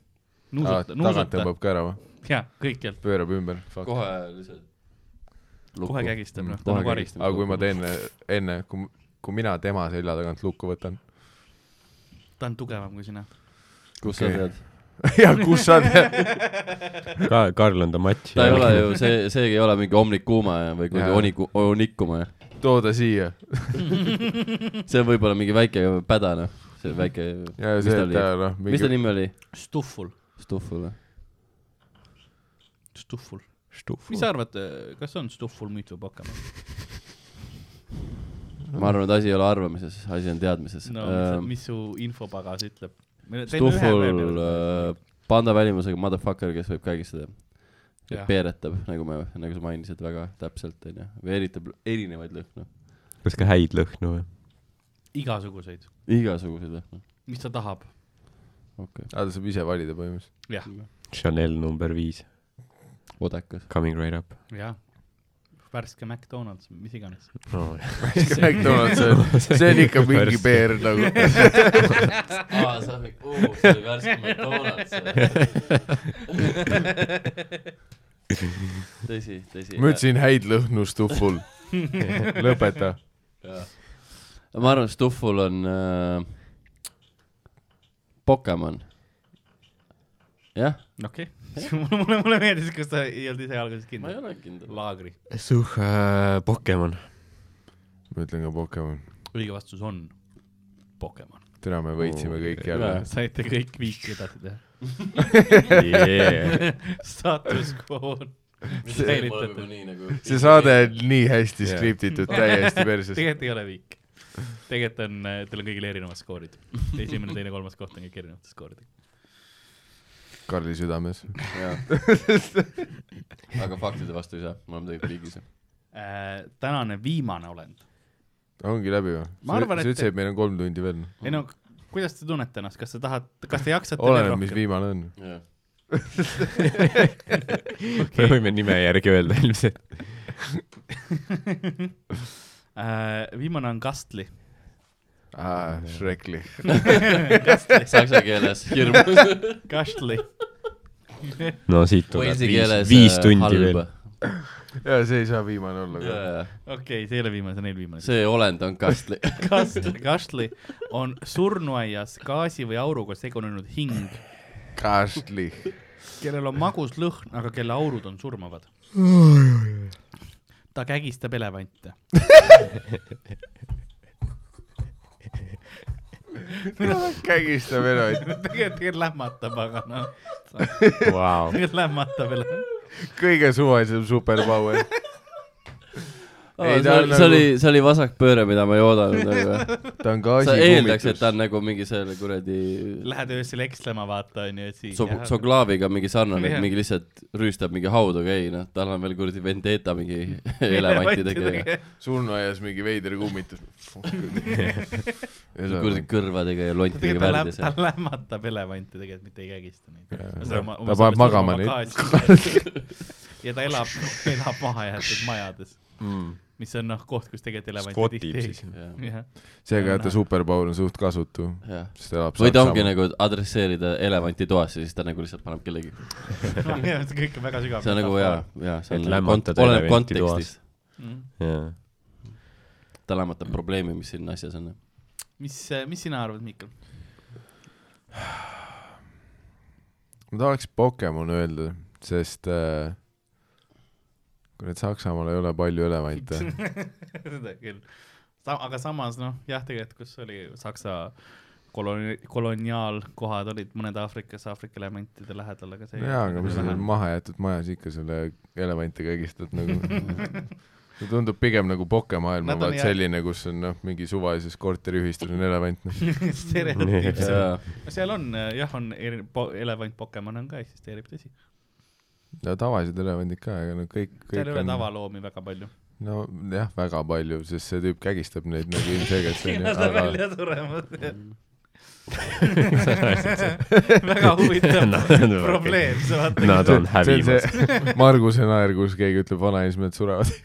[SPEAKER 3] nuusuta ,
[SPEAKER 2] tagant
[SPEAKER 3] nuusuta ,
[SPEAKER 2] tõmbab ka ära või ?
[SPEAKER 3] jaa , kõikjalt ,
[SPEAKER 2] pöörab ümber . aga
[SPEAKER 4] kohe lihtsalt .
[SPEAKER 3] kohe kägistab , noh , ta
[SPEAKER 4] Mm, kohe
[SPEAKER 3] on nagu hari .
[SPEAKER 4] kägistab.
[SPEAKER 2] kui ma teen , enne , kui , kui mina tema selja tagant lukku võtan . [LAUGHS]
[SPEAKER 3] ta on tugevam kui sina .
[SPEAKER 4] kus sa
[SPEAKER 2] Okei.
[SPEAKER 4] tead ?
[SPEAKER 2] ja kus sa tead ?
[SPEAKER 5] ka Karl on ta matš .
[SPEAKER 4] ta ei ole ju , see , see ei ole mingi Omnicuma ja-
[SPEAKER 2] Jaa.
[SPEAKER 4] või kuidagi Oniku- , Onikuma ja .
[SPEAKER 2] too ta siia .
[SPEAKER 4] see on võib-olla mingi väike päda , noh . see väike ,
[SPEAKER 2] ja
[SPEAKER 4] Mis
[SPEAKER 2] see
[SPEAKER 4] ta , oli?
[SPEAKER 2] et ta noh ,
[SPEAKER 4] mis ta
[SPEAKER 2] mingi
[SPEAKER 4] nimi oli ?
[SPEAKER 3] Stufful ,
[SPEAKER 4] Stufful või ?
[SPEAKER 3] Stufful . mis sa arvad , kas on Stufful müüt või pakam ?
[SPEAKER 4] ma arvan , et asi ei ole arvamises , asi on teadmises Ehm,
[SPEAKER 3] no
[SPEAKER 4] Öö,
[SPEAKER 3] mis , mis su infopagas ütleb ?
[SPEAKER 4] Ähm, Stufful äh, panda välimusega motherfucker , kes võib kägistada . ja
[SPEAKER 3] Jah.
[SPEAKER 4] peeretab , nagu me , nagu sa mainisid väga täpselt , onju . või eritab erinevaid lõhnu .
[SPEAKER 5] kas ka häid lõhnu või ?
[SPEAKER 3] igasuguseid ,
[SPEAKER 4] igasuguseid lõhnu .
[SPEAKER 3] mis ta tahab ,
[SPEAKER 2] aa , ta saab ise valida
[SPEAKER 4] [LAUGHS]
[SPEAKER 2] põhimõtteliselt .
[SPEAKER 3] jah ,
[SPEAKER 5] Chanel number viis ,
[SPEAKER 4] odekas .
[SPEAKER 5] coming right up
[SPEAKER 3] jah . värske McDonalds , mis iganes .
[SPEAKER 5] oh, .
[SPEAKER 2] McDonalds , see , see on ikka mingi peer
[SPEAKER 4] [LAUGHS]
[SPEAKER 2] nagu .
[SPEAKER 4] aa , sa oled , see oli värske McDonalds . tõsi , tõsi .
[SPEAKER 2] ma . ütlesin häid lõhnu
[SPEAKER 4] [LAUGHS]
[SPEAKER 2] stufful . lõpeta .
[SPEAKER 4] [LAUGHS] ma arvan , Stufful on äh, Pokemon . jah ,
[SPEAKER 3] okei okay. , [LAUGHS] mulle , mulle meeldis , kas ta ei olnud ise alguses
[SPEAKER 4] ma ei
[SPEAKER 3] kindel .
[SPEAKER 4] ole kindel .
[SPEAKER 3] laagri ,
[SPEAKER 5] suh- , Pokemon .
[SPEAKER 2] ma ütlen ka Pokemon .
[SPEAKER 3] õige vastus on Pokemon .
[SPEAKER 2] täna me võitsime kõik jälle
[SPEAKER 4] Oh, Jaa. .
[SPEAKER 3] saite kõik viik edasi teha .
[SPEAKER 5] Yeah.
[SPEAKER 3] [LAUGHS] Status quo on . säilitate ,
[SPEAKER 4] nii nagu .
[SPEAKER 2] see saade on nii hästi skriptitud ,
[SPEAKER 4] [LAUGHS]
[SPEAKER 2] täiesti perses .
[SPEAKER 3] tegelikult ei ole viik . tegelikult on , teil on kõigil erinevad skoorid . esimene , teine , kolmas koht on kõik erinevate skooridega .
[SPEAKER 2] Karli südames .
[SPEAKER 4] aga faktide vastu ei saa , me oleme tegelikult riigis .
[SPEAKER 3] Äh, tänane viimane olend .
[SPEAKER 2] ongi läbi või ?
[SPEAKER 3] Ma arvan,
[SPEAKER 2] sa
[SPEAKER 3] et-
[SPEAKER 2] ütlesid , et meil on kolm tundi veel .
[SPEAKER 3] ei no , kuidas te tunnete ennast , kas te tahate , kas te jaksate veel
[SPEAKER 2] oleneb , mis
[SPEAKER 3] rohkem ? [LAUGHS]
[SPEAKER 2] viimane on .
[SPEAKER 5] [LAUGHS] me võime nime järgi öelda ilmselt .
[SPEAKER 3] Äh, viimane on Kastli .
[SPEAKER 2] aa , Shrekli .
[SPEAKER 4] Saksa keeles hirmus .
[SPEAKER 3] Kastli .
[SPEAKER 5] no siit tuleb
[SPEAKER 4] Walesi
[SPEAKER 5] viis,
[SPEAKER 4] keeles . äh,
[SPEAKER 5] viis tundi halba. veel ..
[SPEAKER 2] jaa , see ei saa viimane olla ka .
[SPEAKER 3] okei , see ei ole viimane , see on eelviimane .
[SPEAKER 4] see olend on kastli .
[SPEAKER 3] Kastli , Kastli on surnuaias gaasi või auruga segunenud hing ,
[SPEAKER 2] Kastli .
[SPEAKER 3] kellel on magus lõhn , aga kelle aurud on surmavad . ta kägistab elevante .
[SPEAKER 2] kägistab elavaid .
[SPEAKER 3] tegelikult , [LAUGHS] tegelikult lämmatab , aga noh ,
[SPEAKER 5] Wow.
[SPEAKER 3] tegelikult lämmatab ele- .
[SPEAKER 2] kõige suvalisem superpower . Ei,
[SPEAKER 4] see
[SPEAKER 2] ta on
[SPEAKER 4] oli , see oli
[SPEAKER 2] nagu- ,
[SPEAKER 4] see oli vasakpööre , mida ma ei oodanud , aga
[SPEAKER 2] [LAUGHS] ta on
[SPEAKER 4] sa eeldaks , et
[SPEAKER 2] gaasikummitus .
[SPEAKER 4] ta on nagu mingi selle kuradi
[SPEAKER 3] Lähed öösel ekslema , vaata onju , et siis
[SPEAKER 4] so- , Soglaaviga mingi sarnane
[SPEAKER 3] Jah. ,
[SPEAKER 4] mingi lihtsalt rüüstab mingi haudu , aga ei noh , tal on veel kuradi vendeta mingi elevantidega ja
[SPEAKER 2] surnuaias mingi veider
[SPEAKER 4] [LAUGHS]
[SPEAKER 2] kummitus .
[SPEAKER 4] kuradi kõrvadega ja lontidega
[SPEAKER 3] tegelikult ta, läm,
[SPEAKER 4] värdjas
[SPEAKER 3] ta
[SPEAKER 4] ja
[SPEAKER 3] lämmatab elevante tegelikult , mitte ei kägista neid .
[SPEAKER 2] Ta paneb magama neid.
[SPEAKER 3] ja ta elab , elab mahajäetud majades .
[SPEAKER 5] mm. .
[SPEAKER 3] mis on noh koht , kus tegelikult elevant
[SPEAKER 5] skotib siis .
[SPEAKER 3] [LAUGHS] jah ,
[SPEAKER 2] seega jätta Super Bowl on suht kasutu ,
[SPEAKER 4] jah .
[SPEAKER 2] sest ta elab
[SPEAKER 4] või ta ongi . nagu adresseerida elevanti toas ja siis ta nagu lihtsalt paneb kellegi ,
[SPEAKER 3] see kõik on väga sügav .
[SPEAKER 4] see on nagu jaa , jaa , see
[SPEAKER 5] Et
[SPEAKER 4] on nagu
[SPEAKER 5] lämmatada
[SPEAKER 4] kont- , oleneb
[SPEAKER 5] elevanti
[SPEAKER 4] kontekstist .
[SPEAKER 3] Mm.
[SPEAKER 5] jaa .
[SPEAKER 4] ta lämmatab probleemi , mis siin asjas on .
[SPEAKER 3] mis , mis sina arvad , Mihkel ?
[SPEAKER 2] ma tahaks Pokemon öelda , sest äh, kurat , Saksamaal ei ole palju
[SPEAKER 3] [LAUGHS]
[SPEAKER 2] elevante .
[SPEAKER 3] seda küll . aga samas noh , jah , tegelikult kus oli Saksa koloni- , koloniaalkohad olid mõned Aafrikas Aafrika elementide lähedal , aga see .
[SPEAKER 2] jaa , aga mis sa
[SPEAKER 3] [LAUGHS]
[SPEAKER 2] seal mahajäetud majas ikka selle elevantiga higistad nagu . see tundub pigem nagu pokemaailm
[SPEAKER 3] Nad on
[SPEAKER 2] on vaat
[SPEAKER 3] ja-
[SPEAKER 2] selline , kus on noh , mingi suvalises korteriühistus on elevant noh .
[SPEAKER 3] stereotüüp seal ,
[SPEAKER 4] jaa ,
[SPEAKER 3] seal on äh, jah , on eri- , elevant Pokemon on ka eksisteerib , tõsi .
[SPEAKER 2] ja tavalised elevandid ka , ega no kõik ,
[SPEAKER 3] seal
[SPEAKER 2] kõik
[SPEAKER 3] ei ole
[SPEAKER 2] on
[SPEAKER 3] tavaloomi väga palju .
[SPEAKER 2] no jah , väga palju , sest see tüüp kägistab neid nagu ilmselgelt
[SPEAKER 3] [LAUGHS]
[SPEAKER 2] onju ,
[SPEAKER 3] Nad on
[SPEAKER 2] aga
[SPEAKER 3] välja suremas . [LAUGHS] Mm. väga huvitav probleem , sa vaata .
[SPEAKER 5] Nad
[SPEAKER 2] see
[SPEAKER 5] on
[SPEAKER 2] on
[SPEAKER 5] hävimas .
[SPEAKER 2] [LAUGHS] see Marguse naer , kus keegi ütleb vanainimesed surevad .
[SPEAKER 3] [LAUGHS]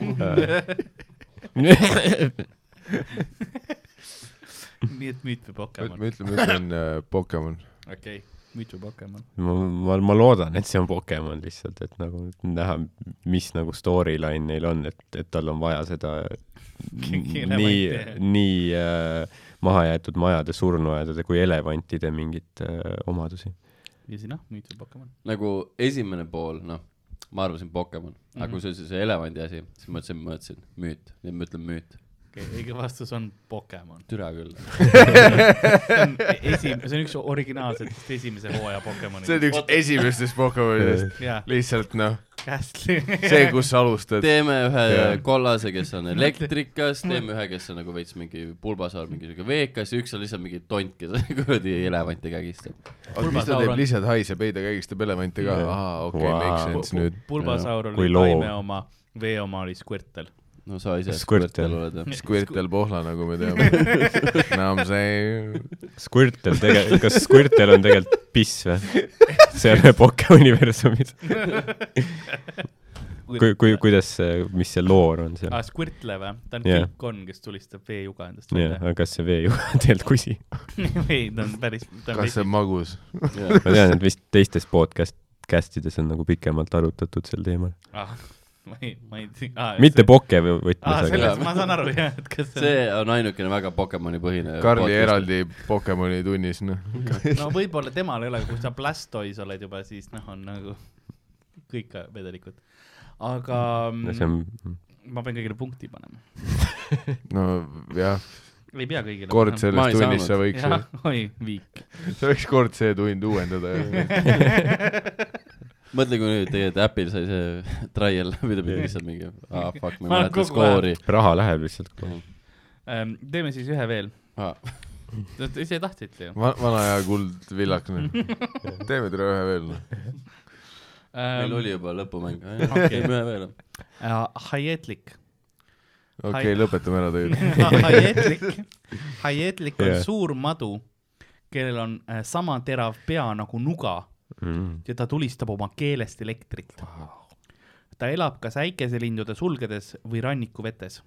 [SPEAKER 2] [LAUGHS]
[SPEAKER 5] [LAUGHS]
[SPEAKER 3] nii et müüt või Pokemon ,
[SPEAKER 2] me ütleme , et on äh,
[SPEAKER 3] [LAUGHS]
[SPEAKER 2] Pokemon .
[SPEAKER 3] okei , müüt või Pokemon .
[SPEAKER 5] ma , ma , ma loodan , et see on Pokemon lihtsalt , et nagu näha , mis nagu storyline neil on , et , et tal on vaja seda n-
[SPEAKER 3] Keegi enam
[SPEAKER 5] nii
[SPEAKER 3] ei tee. ,
[SPEAKER 5] nii äh, mahajäetud majade , surnuaedade kui elevantide mingeid äh, omadusi .
[SPEAKER 3] ja sina , müüt või Pokemon ?
[SPEAKER 4] nagu esimene pool , noh , ma arvasin Pokemon , aga kui see oli see elevandi asi , siis ma ütlesin , ma ütlesin müüt , nii et ma ütlen müüt .
[SPEAKER 3] okei okay, , õige vastus on
[SPEAKER 2] [LAUGHS]
[SPEAKER 3] Pokemon .
[SPEAKER 4] türa küll .
[SPEAKER 3] see on esim- , see on üks originaalsetest esimese hooaja Pokemoni .
[SPEAKER 2] see on üks esimestest Pokemonidest ,
[SPEAKER 3] [LAUGHS] jaa ,
[SPEAKER 2] lihtsalt noh ,
[SPEAKER 3] Castle . [LAUGHS]
[SPEAKER 2] see , kus sa alustad .
[SPEAKER 4] [LAUGHS] teeme ühe
[SPEAKER 2] Jaa.
[SPEAKER 4] kollase , kes on elektrikas , teeme ühe , kes on nagu veits mingi pulbasaar , mingi siuke veekas ja üks on lihtsalt mingi tont , kes [LAUGHS] kuradi elevanti kägistab .
[SPEAKER 2] oota , mis ta teeb , lihtsalt haiseb , ei ta kägistab elevante ka ,
[SPEAKER 5] Jah.
[SPEAKER 2] aa , okei okay, ,
[SPEAKER 5] Wow.
[SPEAKER 2] make sense nüüd .
[SPEAKER 3] pulbasaur oli
[SPEAKER 5] Kui loom.
[SPEAKER 3] taime oma , vee oma oli Squirtle .
[SPEAKER 4] no sa ise
[SPEAKER 5] Squirtle.
[SPEAKER 4] Squirtle oled jah ?
[SPEAKER 2] Squirtle pohla , nagu me
[SPEAKER 3] [LAUGHS]
[SPEAKER 2] teame . no ma sain ,
[SPEAKER 5] Squirtle tege- , kas Squirtle on tegelikult piss või ? see on Pokemon universumis . kui , kui , kuidas , mis see loor on seal
[SPEAKER 3] aa ,? Ah, Squirtle või ? ta on
[SPEAKER 5] Jah.
[SPEAKER 3] yeah. kilpkonn , kes tulistab veejuga endast
[SPEAKER 5] jah ,
[SPEAKER 3] välja .
[SPEAKER 5] aga kas see vee ju [LAUGHS] tegelikult kusi ?
[SPEAKER 3] [LAUGHS] ei , ta on päris , ta on
[SPEAKER 2] kas see on magus ?
[SPEAKER 5] ma tean , et vist teistes podcast , cast ides on nagu pikemalt arutatud sel teemal .
[SPEAKER 3] ah, ma ei , ma ei tea ah, .
[SPEAKER 5] mitte . Poke võ-
[SPEAKER 3] aa ,
[SPEAKER 5] võtmes , aga
[SPEAKER 3] selles , ma saan aru jah , et kas see
[SPEAKER 4] see on ainukene väga Pokemoni põhine .
[SPEAKER 2] Karli . eraldi Pokemoni tunnis ,
[SPEAKER 3] [LAUGHS]
[SPEAKER 2] noh .
[SPEAKER 3] on , no võib-olla temal ei ole , kui sa Blastoise oled juba , siis noh , on nagu kõik vedelikud . aga mm,
[SPEAKER 5] no see on ,
[SPEAKER 3] ma pean kõigile punkti panema .
[SPEAKER 2] nojah ,
[SPEAKER 3] ei pea kõigile .
[SPEAKER 2] kord
[SPEAKER 4] Ma
[SPEAKER 2] selles
[SPEAKER 4] ei
[SPEAKER 2] tunnis sa võiks ,
[SPEAKER 3] jah , oi , viik .
[SPEAKER 2] [LAUGHS] sa võiks kord see tund uuendada .
[SPEAKER 3] [LAUGHS]
[SPEAKER 4] mõtle , kui nüüd tegelikult Apple'il sai see [LAUGHS] trial läbi , ta pidi lihtsalt mingi , ah fuck , ma ei
[SPEAKER 3] Ma olen
[SPEAKER 4] mäleta
[SPEAKER 3] kogu aeg-
[SPEAKER 4] skoori .
[SPEAKER 5] raha läheb lihtsalt kohe .
[SPEAKER 3] Ähm, teeme siis ühe veel .
[SPEAKER 4] Ah.
[SPEAKER 3] Te ise tahtsite ju .
[SPEAKER 2] vana hea kuldvillak ,
[SPEAKER 3] [LAUGHS]
[SPEAKER 2] noh . teeme täna ühe veel , noh .
[SPEAKER 3] Ähm,
[SPEAKER 4] meil oli juba lõpumäng .
[SPEAKER 3] Okei.
[SPEAKER 4] teeme ühe veel .
[SPEAKER 3] äh,
[SPEAKER 5] [LAUGHS]
[SPEAKER 3] Hayetlik .
[SPEAKER 2] okei
[SPEAKER 3] Hai-
[SPEAKER 2] okay, , lõpetame ära töö .
[SPEAKER 3] [LAUGHS] Hayetlik , Hayetlik on
[SPEAKER 5] Jah.
[SPEAKER 3] suur madu , kellel on äh, sama terav pea nagu nuga
[SPEAKER 5] Mm.
[SPEAKER 3] ja ta tulistab oma keelest elektrit . ta elab kas äikeselindude sulgedes või rannikuvetes .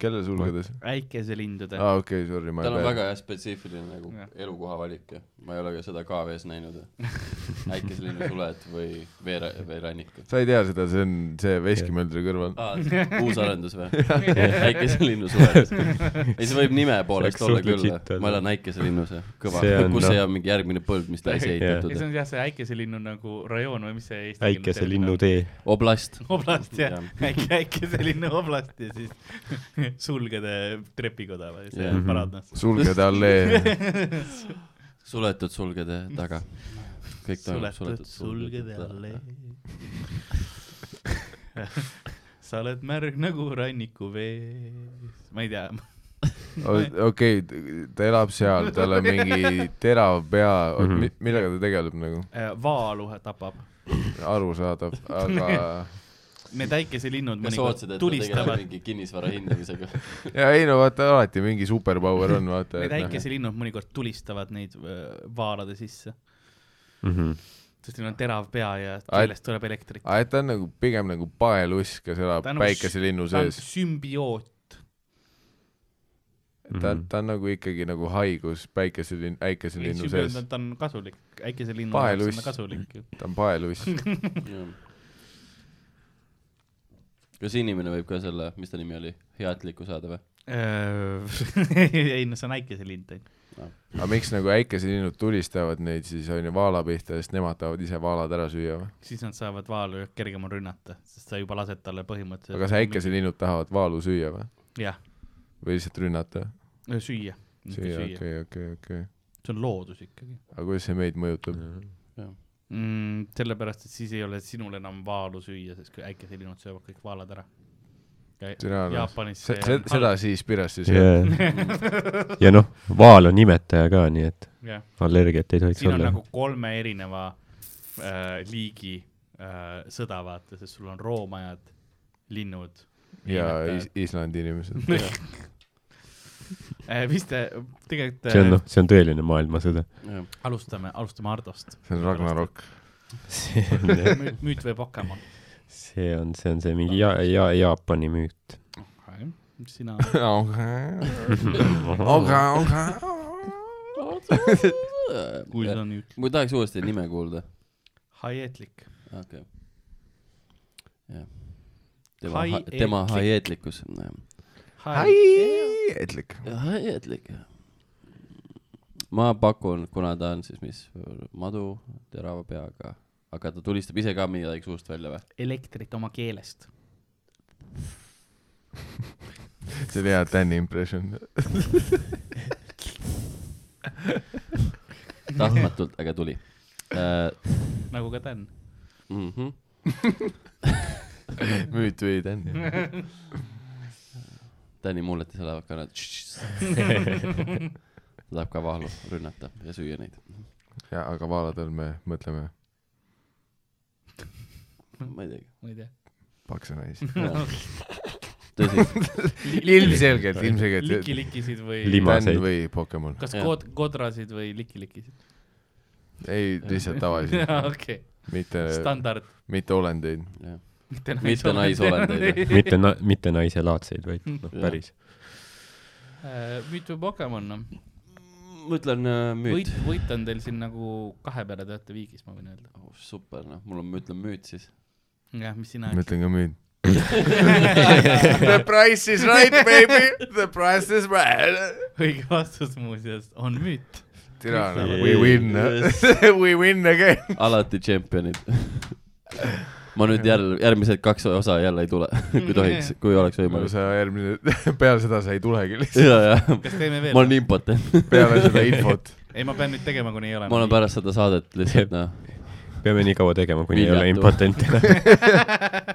[SPEAKER 2] kelle sulgedes ?
[SPEAKER 3] äikeselindude
[SPEAKER 2] aa , okei okay, , sorry , ma
[SPEAKER 4] tal on
[SPEAKER 2] ei
[SPEAKER 4] väga hea spetsiifiline nagu
[SPEAKER 3] Jah.
[SPEAKER 4] elukoha valik ja ma ei ole ka seda KV-s näinud .
[SPEAKER 3] [LAUGHS]
[SPEAKER 4] äikeselinnu suled või veera- , veerannik .
[SPEAKER 2] sa ei tea seda , see on see veskimöldri kõrval .
[SPEAKER 4] [LAUGHS] Ah, uus arendus
[SPEAKER 3] [LAUGHS]
[SPEAKER 4] või ? äikeselinnu suled . ei , see võib nime poolest
[SPEAKER 5] See
[SPEAKER 4] olla
[SPEAKER 5] oleks suht
[SPEAKER 4] küll
[SPEAKER 5] legit , olla.
[SPEAKER 4] ma elan äikeselinnus ja kõva
[SPEAKER 5] See on, ,
[SPEAKER 4] kus
[SPEAKER 5] noh-
[SPEAKER 4] ei ole mingi järgmine põld , mis täis ei
[SPEAKER 5] [LAUGHS] Jah.
[SPEAKER 3] ei ,
[SPEAKER 4] ehitatud
[SPEAKER 3] see . on jah , see äikeselinnu nagu rajoon või mis see eesti keeles
[SPEAKER 5] väikese
[SPEAKER 3] termin on?
[SPEAKER 5] linnutee .
[SPEAKER 4] oblast .
[SPEAKER 3] oblast ja
[SPEAKER 4] Jah.
[SPEAKER 3] äkki , äkki selline oblast ja siis [LAUGHS] sulgede trepikoda või see
[SPEAKER 4] Jah. Mhm.
[SPEAKER 3] yeah. paradnas .
[SPEAKER 2] sulgede allee .
[SPEAKER 4] suletud sulgede taga . kõik toimub
[SPEAKER 3] suletud sulgede allee . [LAUGHS] sa oled märg nagu rannikuvees , ma ei tea ,
[SPEAKER 2] okei , ta elab seal , tal on mingi terav pea
[SPEAKER 5] Mhm. ,
[SPEAKER 2] millega ta tegeleb nagu ,
[SPEAKER 3] äh, vaalu tapab .
[SPEAKER 2] arusaadav , aga
[SPEAKER 3] Need äikeselinnud
[SPEAKER 4] kas sa ootasid ,
[SPEAKER 3] mõnikord
[SPEAKER 4] et ta tegeleb
[SPEAKER 3] tulistavad ,
[SPEAKER 4] mingi kinnisvara hindamisega ?
[SPEAKER 2] ja ei no vaata , alati mingi superpower on ,
[SPEAKER 4] noh,
[SPEAKER 2] vaata . noh.
[SPEAKER 3] äh,
[SPEAKER 5] Mhm.
[SPEAKER 3] need äikeselinnud mõnikord tulistavad neid öö, vaalade sisse . sest neil on terav pea ja
[SPEAKER 2] Ai-
[SPEAKER 3] kellest tuleb elektrit .
[SPEAKER 2] aga et ta on nagu pigem nagu paeluss , kes elab
[SPEAKER 3] Ta on nagu
[SPEAKER 2] päikeselinnu
[SPEAKER 3] ta on
[SPEAKER 2] sees .
[SPEAKER 3] sümbioot .
[SPEAKER 2] ta
[SPEAKER 5] Mhm. ,
[SPEAKER 2] ta on nagu ikkagi nagu haigus päikeselinn , päikeselinnu sees .
[SPEAKER 3] ta on kasulik , äikeselinn
[SPEAKER 2] Paeluss.
[SPEAKER 3] on kasulik ju .
[SPEAKER 2] ta on paeluss .
[SPEAKER 4] kas inimene võib ka selle , mis ta nimi oli , heatliku saada või ?
[SPEAKER 3] Äh, [LAUGHS] ei no see on äikeselind on ju .
[SPEAKER 2] aga miks nagu äikeselinnud tulistavad neid siis onju vaala pihta , sest nemad tahavad ise vaalad ära süüa või ?
[SPEAKER 3] siis nad saavad vaalu kergema rünnata , sest sa juba lased talle põhimõtteliselt .
[SPEAKER 2] aga kas ? äikeselinnud tahavad vaalu süüa või ?
[SPEAKER 3] jah ,
[SPEAKER 2] või lihtsalt rünnata ? süüa ,
[SPEAKER 3] süüa . süüa ,
[SPEAKER 2] okei , okei , okei .
[SPEAKER 3] see on loodus ikkagi
[SPEAKER 2] aga kuidas see meid mõjutab ?
[SPEAKER 3] mm, . sellepärast , et siis ei ole sinul enam vaalu süüa , sest kui äikeselinnud söövad kõik vaalad ära .
[SPEAKER 2] Türa, noh.
[SPEAKER 3] Jaapanis
[SPEAKER 2] se- , se- , seda siis Pirasse sööb .
[SPEAKER 5] ja,
[SPEAKER 3] [LAUGHS]
[SPEAKER 5] ja noh , vaal on imetaja ka , nii et
[SPEAKER 3] jah ,
[SPEAKER 5] allergiat ei tohiks
[SPEAKER 3] siin on
[SPEAKER 5] olla .
[SPEAKER 3] nagu kolme erineva äh, liigi äh, sõda , vaata , sest sul on roomajad ,
[SPEAKER 2] [LAUGHS]
[SPEAKER 3] linnud .
[SPEAKER 2] ja is- , Islandi
[SPEAKER 3] [LAUGHS]
[SPEAKER 2] inimesed .
[SPEAKER 3] Äh, mis te tegelikult
[SPEAKER 5] see on
[SPEAKER 3] äh,
[SPEAKER 5] noh , see on tõeline maailmasõda .
[SPEAKER 4] [LAUGHS]
[SPEAKER 3] alustame , alustame Hardost .
[SPEAKER 2] see on Ragnarok .
[SPEAKER 5] see on ,
[SPEAKER 3] müüt võib hakkama .
[SPEAKER 5] see on , see on see mingi ja, ja, Jaapani müüt .
[SPEAKER 3] sina
[SPEAKER 2] [LAUGHS] aga , aga .
[SPEAKER 3] kui see on nüüd
[SPEAKER 4] ma tahaks uuesti nime kuulda .
[SPEAKER 3] hajetlik ,
[SPEAKER 4] okei . jah . tema
[SPEAKER 3] Hai- ,
[SPEAKER 4] tema
[SPEAKER 3] eetlik.
[SPEAKER 4] haieetlikkus .
[SPEAKER 2] häietlik .
[SPEAKER 4] haieetlik . ma pakun , kuna ta on siis mis , madu , terava peaga , aga ta tulistab ise ka midagi suust välja või ?
[SPEAKER 3] elektrit oma keelest .
[SPEAKER 2] see oli hea Tänni impression . [LAUGHS]
[SPEAKER 4] tahtmatult , aga tuli äh, .
[SPEAKER 3] nagu ka Dan .
[SPEAKER 4] Mm -hmm.
[SPEAKER 2] müüt või
[SPEAKER 3] [LAUGHS]
[SPEAKER 2] Tänni .
[SPEAKER 4] Tänni mulletis elavad ka nad . ta [LAUGHS] tahab ka vahlu rünnata ja süüa neid .
[SPEAKER 2] ja , aga vaaladel me mõtleme
[SPEAKER 4] [LAUGHS] ma ei
[SPEAKER 3] [LAUGHS]
[SPEAKER 4] teagi .
[SPEAKER 3] ma ei tea .
[SPEAKER 2] pakse naisi .
[SPEAKER 4] tõsi ,
[SPEAKER 2] ilmselgelt , ilmselgelt .
[SPEAKER 3] likilikisid või
[SPEAKER 5] Lim-
[SPEAKER 2] Tän
[SPEAKER 5] Limaseid.
[SPEAKER 2] või Pokemon .
[SPEAKER 3] kas
[SPEAKER 4] Jah.
[SPEAKER 3] kod- , kodrasid või likilikisid ?
[SPEAKER 2] ei , lihtsalt [LAUGHS] tavalisi ,
[SPEAKER 3] [LAUGHS] okei ,
[SPEAKER 2] mitte ,
[SPEAKER 3] standard ,
[SPEAKER 2] mitte olendeid .
[SPEAKER 4] jah .
[SPEAKER 3] [LAUGHS] mitte
[SPEAKER 4] Mitte naisolendeid. .
[SPEAKER 5] mitte na- , mitte naiselaadseid , vaid noh ,
[SPEAKER 4] Jah.
[SPEAKER 5] päris .
[SPEAKER 3] müüt või Pokemon , noh .
[SPEAKER 4] ma ütlen äh, müüt
[SPEAKER 3] võit ., võit on teil siin nagu kahe peale te olete viigis , ma võin öelda .
[SPEAKER 4] oh, . super , noh , mul on , ma ütlen müüt siis .
[SPEAKER 3] jah , mis sina
[SPEAKER 2] ma ütlen ka müüt . [LAUGHS] The price is right , baby . The price is right .
[SPEAKER 3] [LAUGHS] õige vastus muuseas on müüt .
[SPEAKER 2] tirana
[SPEAKER 5] Kõik
[SPEAKER 2] nagu we
[SPEAKER 5] saavad.
[SPEAKER 2] win
[SPEAKER 4] Yes.
[SPEAKER 2] [LAUGHS] we win again . [LAUGHS]
[SPEAKER 4] alati tšempionid . [LAUGHS] ma nüüd jälle , järgmised kaks osa jälle ei tule , [LAUGHS] kui tohiks , kui oleks
[SPEAKER 2] no [LAUGHS]
[SPEAKER 4] võimalik .
[SPEAKER 2] Nagu sa järgmine , peale seda sa ei tulegi lihtsalt ,
[SPEAKER 4] ja , ja ,
[SPEAKER 3] kas teeme veel
[SPEAKER 4] [LAUGHS] ma ? olen impotent .
[SPEAKER 2] peale [LAUGHS] seda infot .
[SPEAKER 3] ei , ma pean nüüd tegema , kuni ei ole .
[SPEAKER 4] [LAUGHS] ma olen pärast seda saadet lihtsalt , noh ,
[SPEAKER 5] peame nii kaua tegema , kuni ei ole
[SPEAKER 4] Viljatu.
[SPEAKER 5] impotent enam .
[SPEAKER 3] [LAUGHS]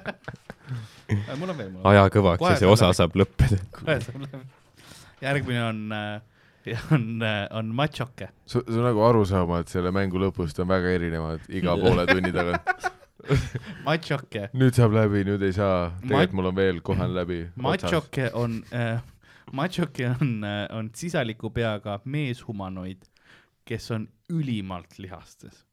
[SPEAKER 3] Äh, mul on veel , mul on .
[SPEAKER 5] aja kõvaks ja see
[SPEAKER 3] Kohe
[SPEAKER 5] osa
[SPEAKER 3] tuleb.
[SPEAKER 5] saab lõppeda .
[SPEAKER 3] kohe saab läbi . järgmine on , on , on machoke .
[SPEAKER 2] sul , sul nagu arusaamad selle mängu lõpust on väga erinevad [LAUGHS] iga poole tunni tagant .
[SPEAKER 3] machoke ,
[SPEAKER 2] nüüd saab läbi , nüüd ei saa .
[SPEAKER 3] Mat-
[SPEAKER 2] tegelikult mul on veel , kohe on läbi .
[SPEAKER 3] machoke on äh, , machoke on äh, , on sisaliku peaga meeshumanoid , kes on ülimalt lihastes .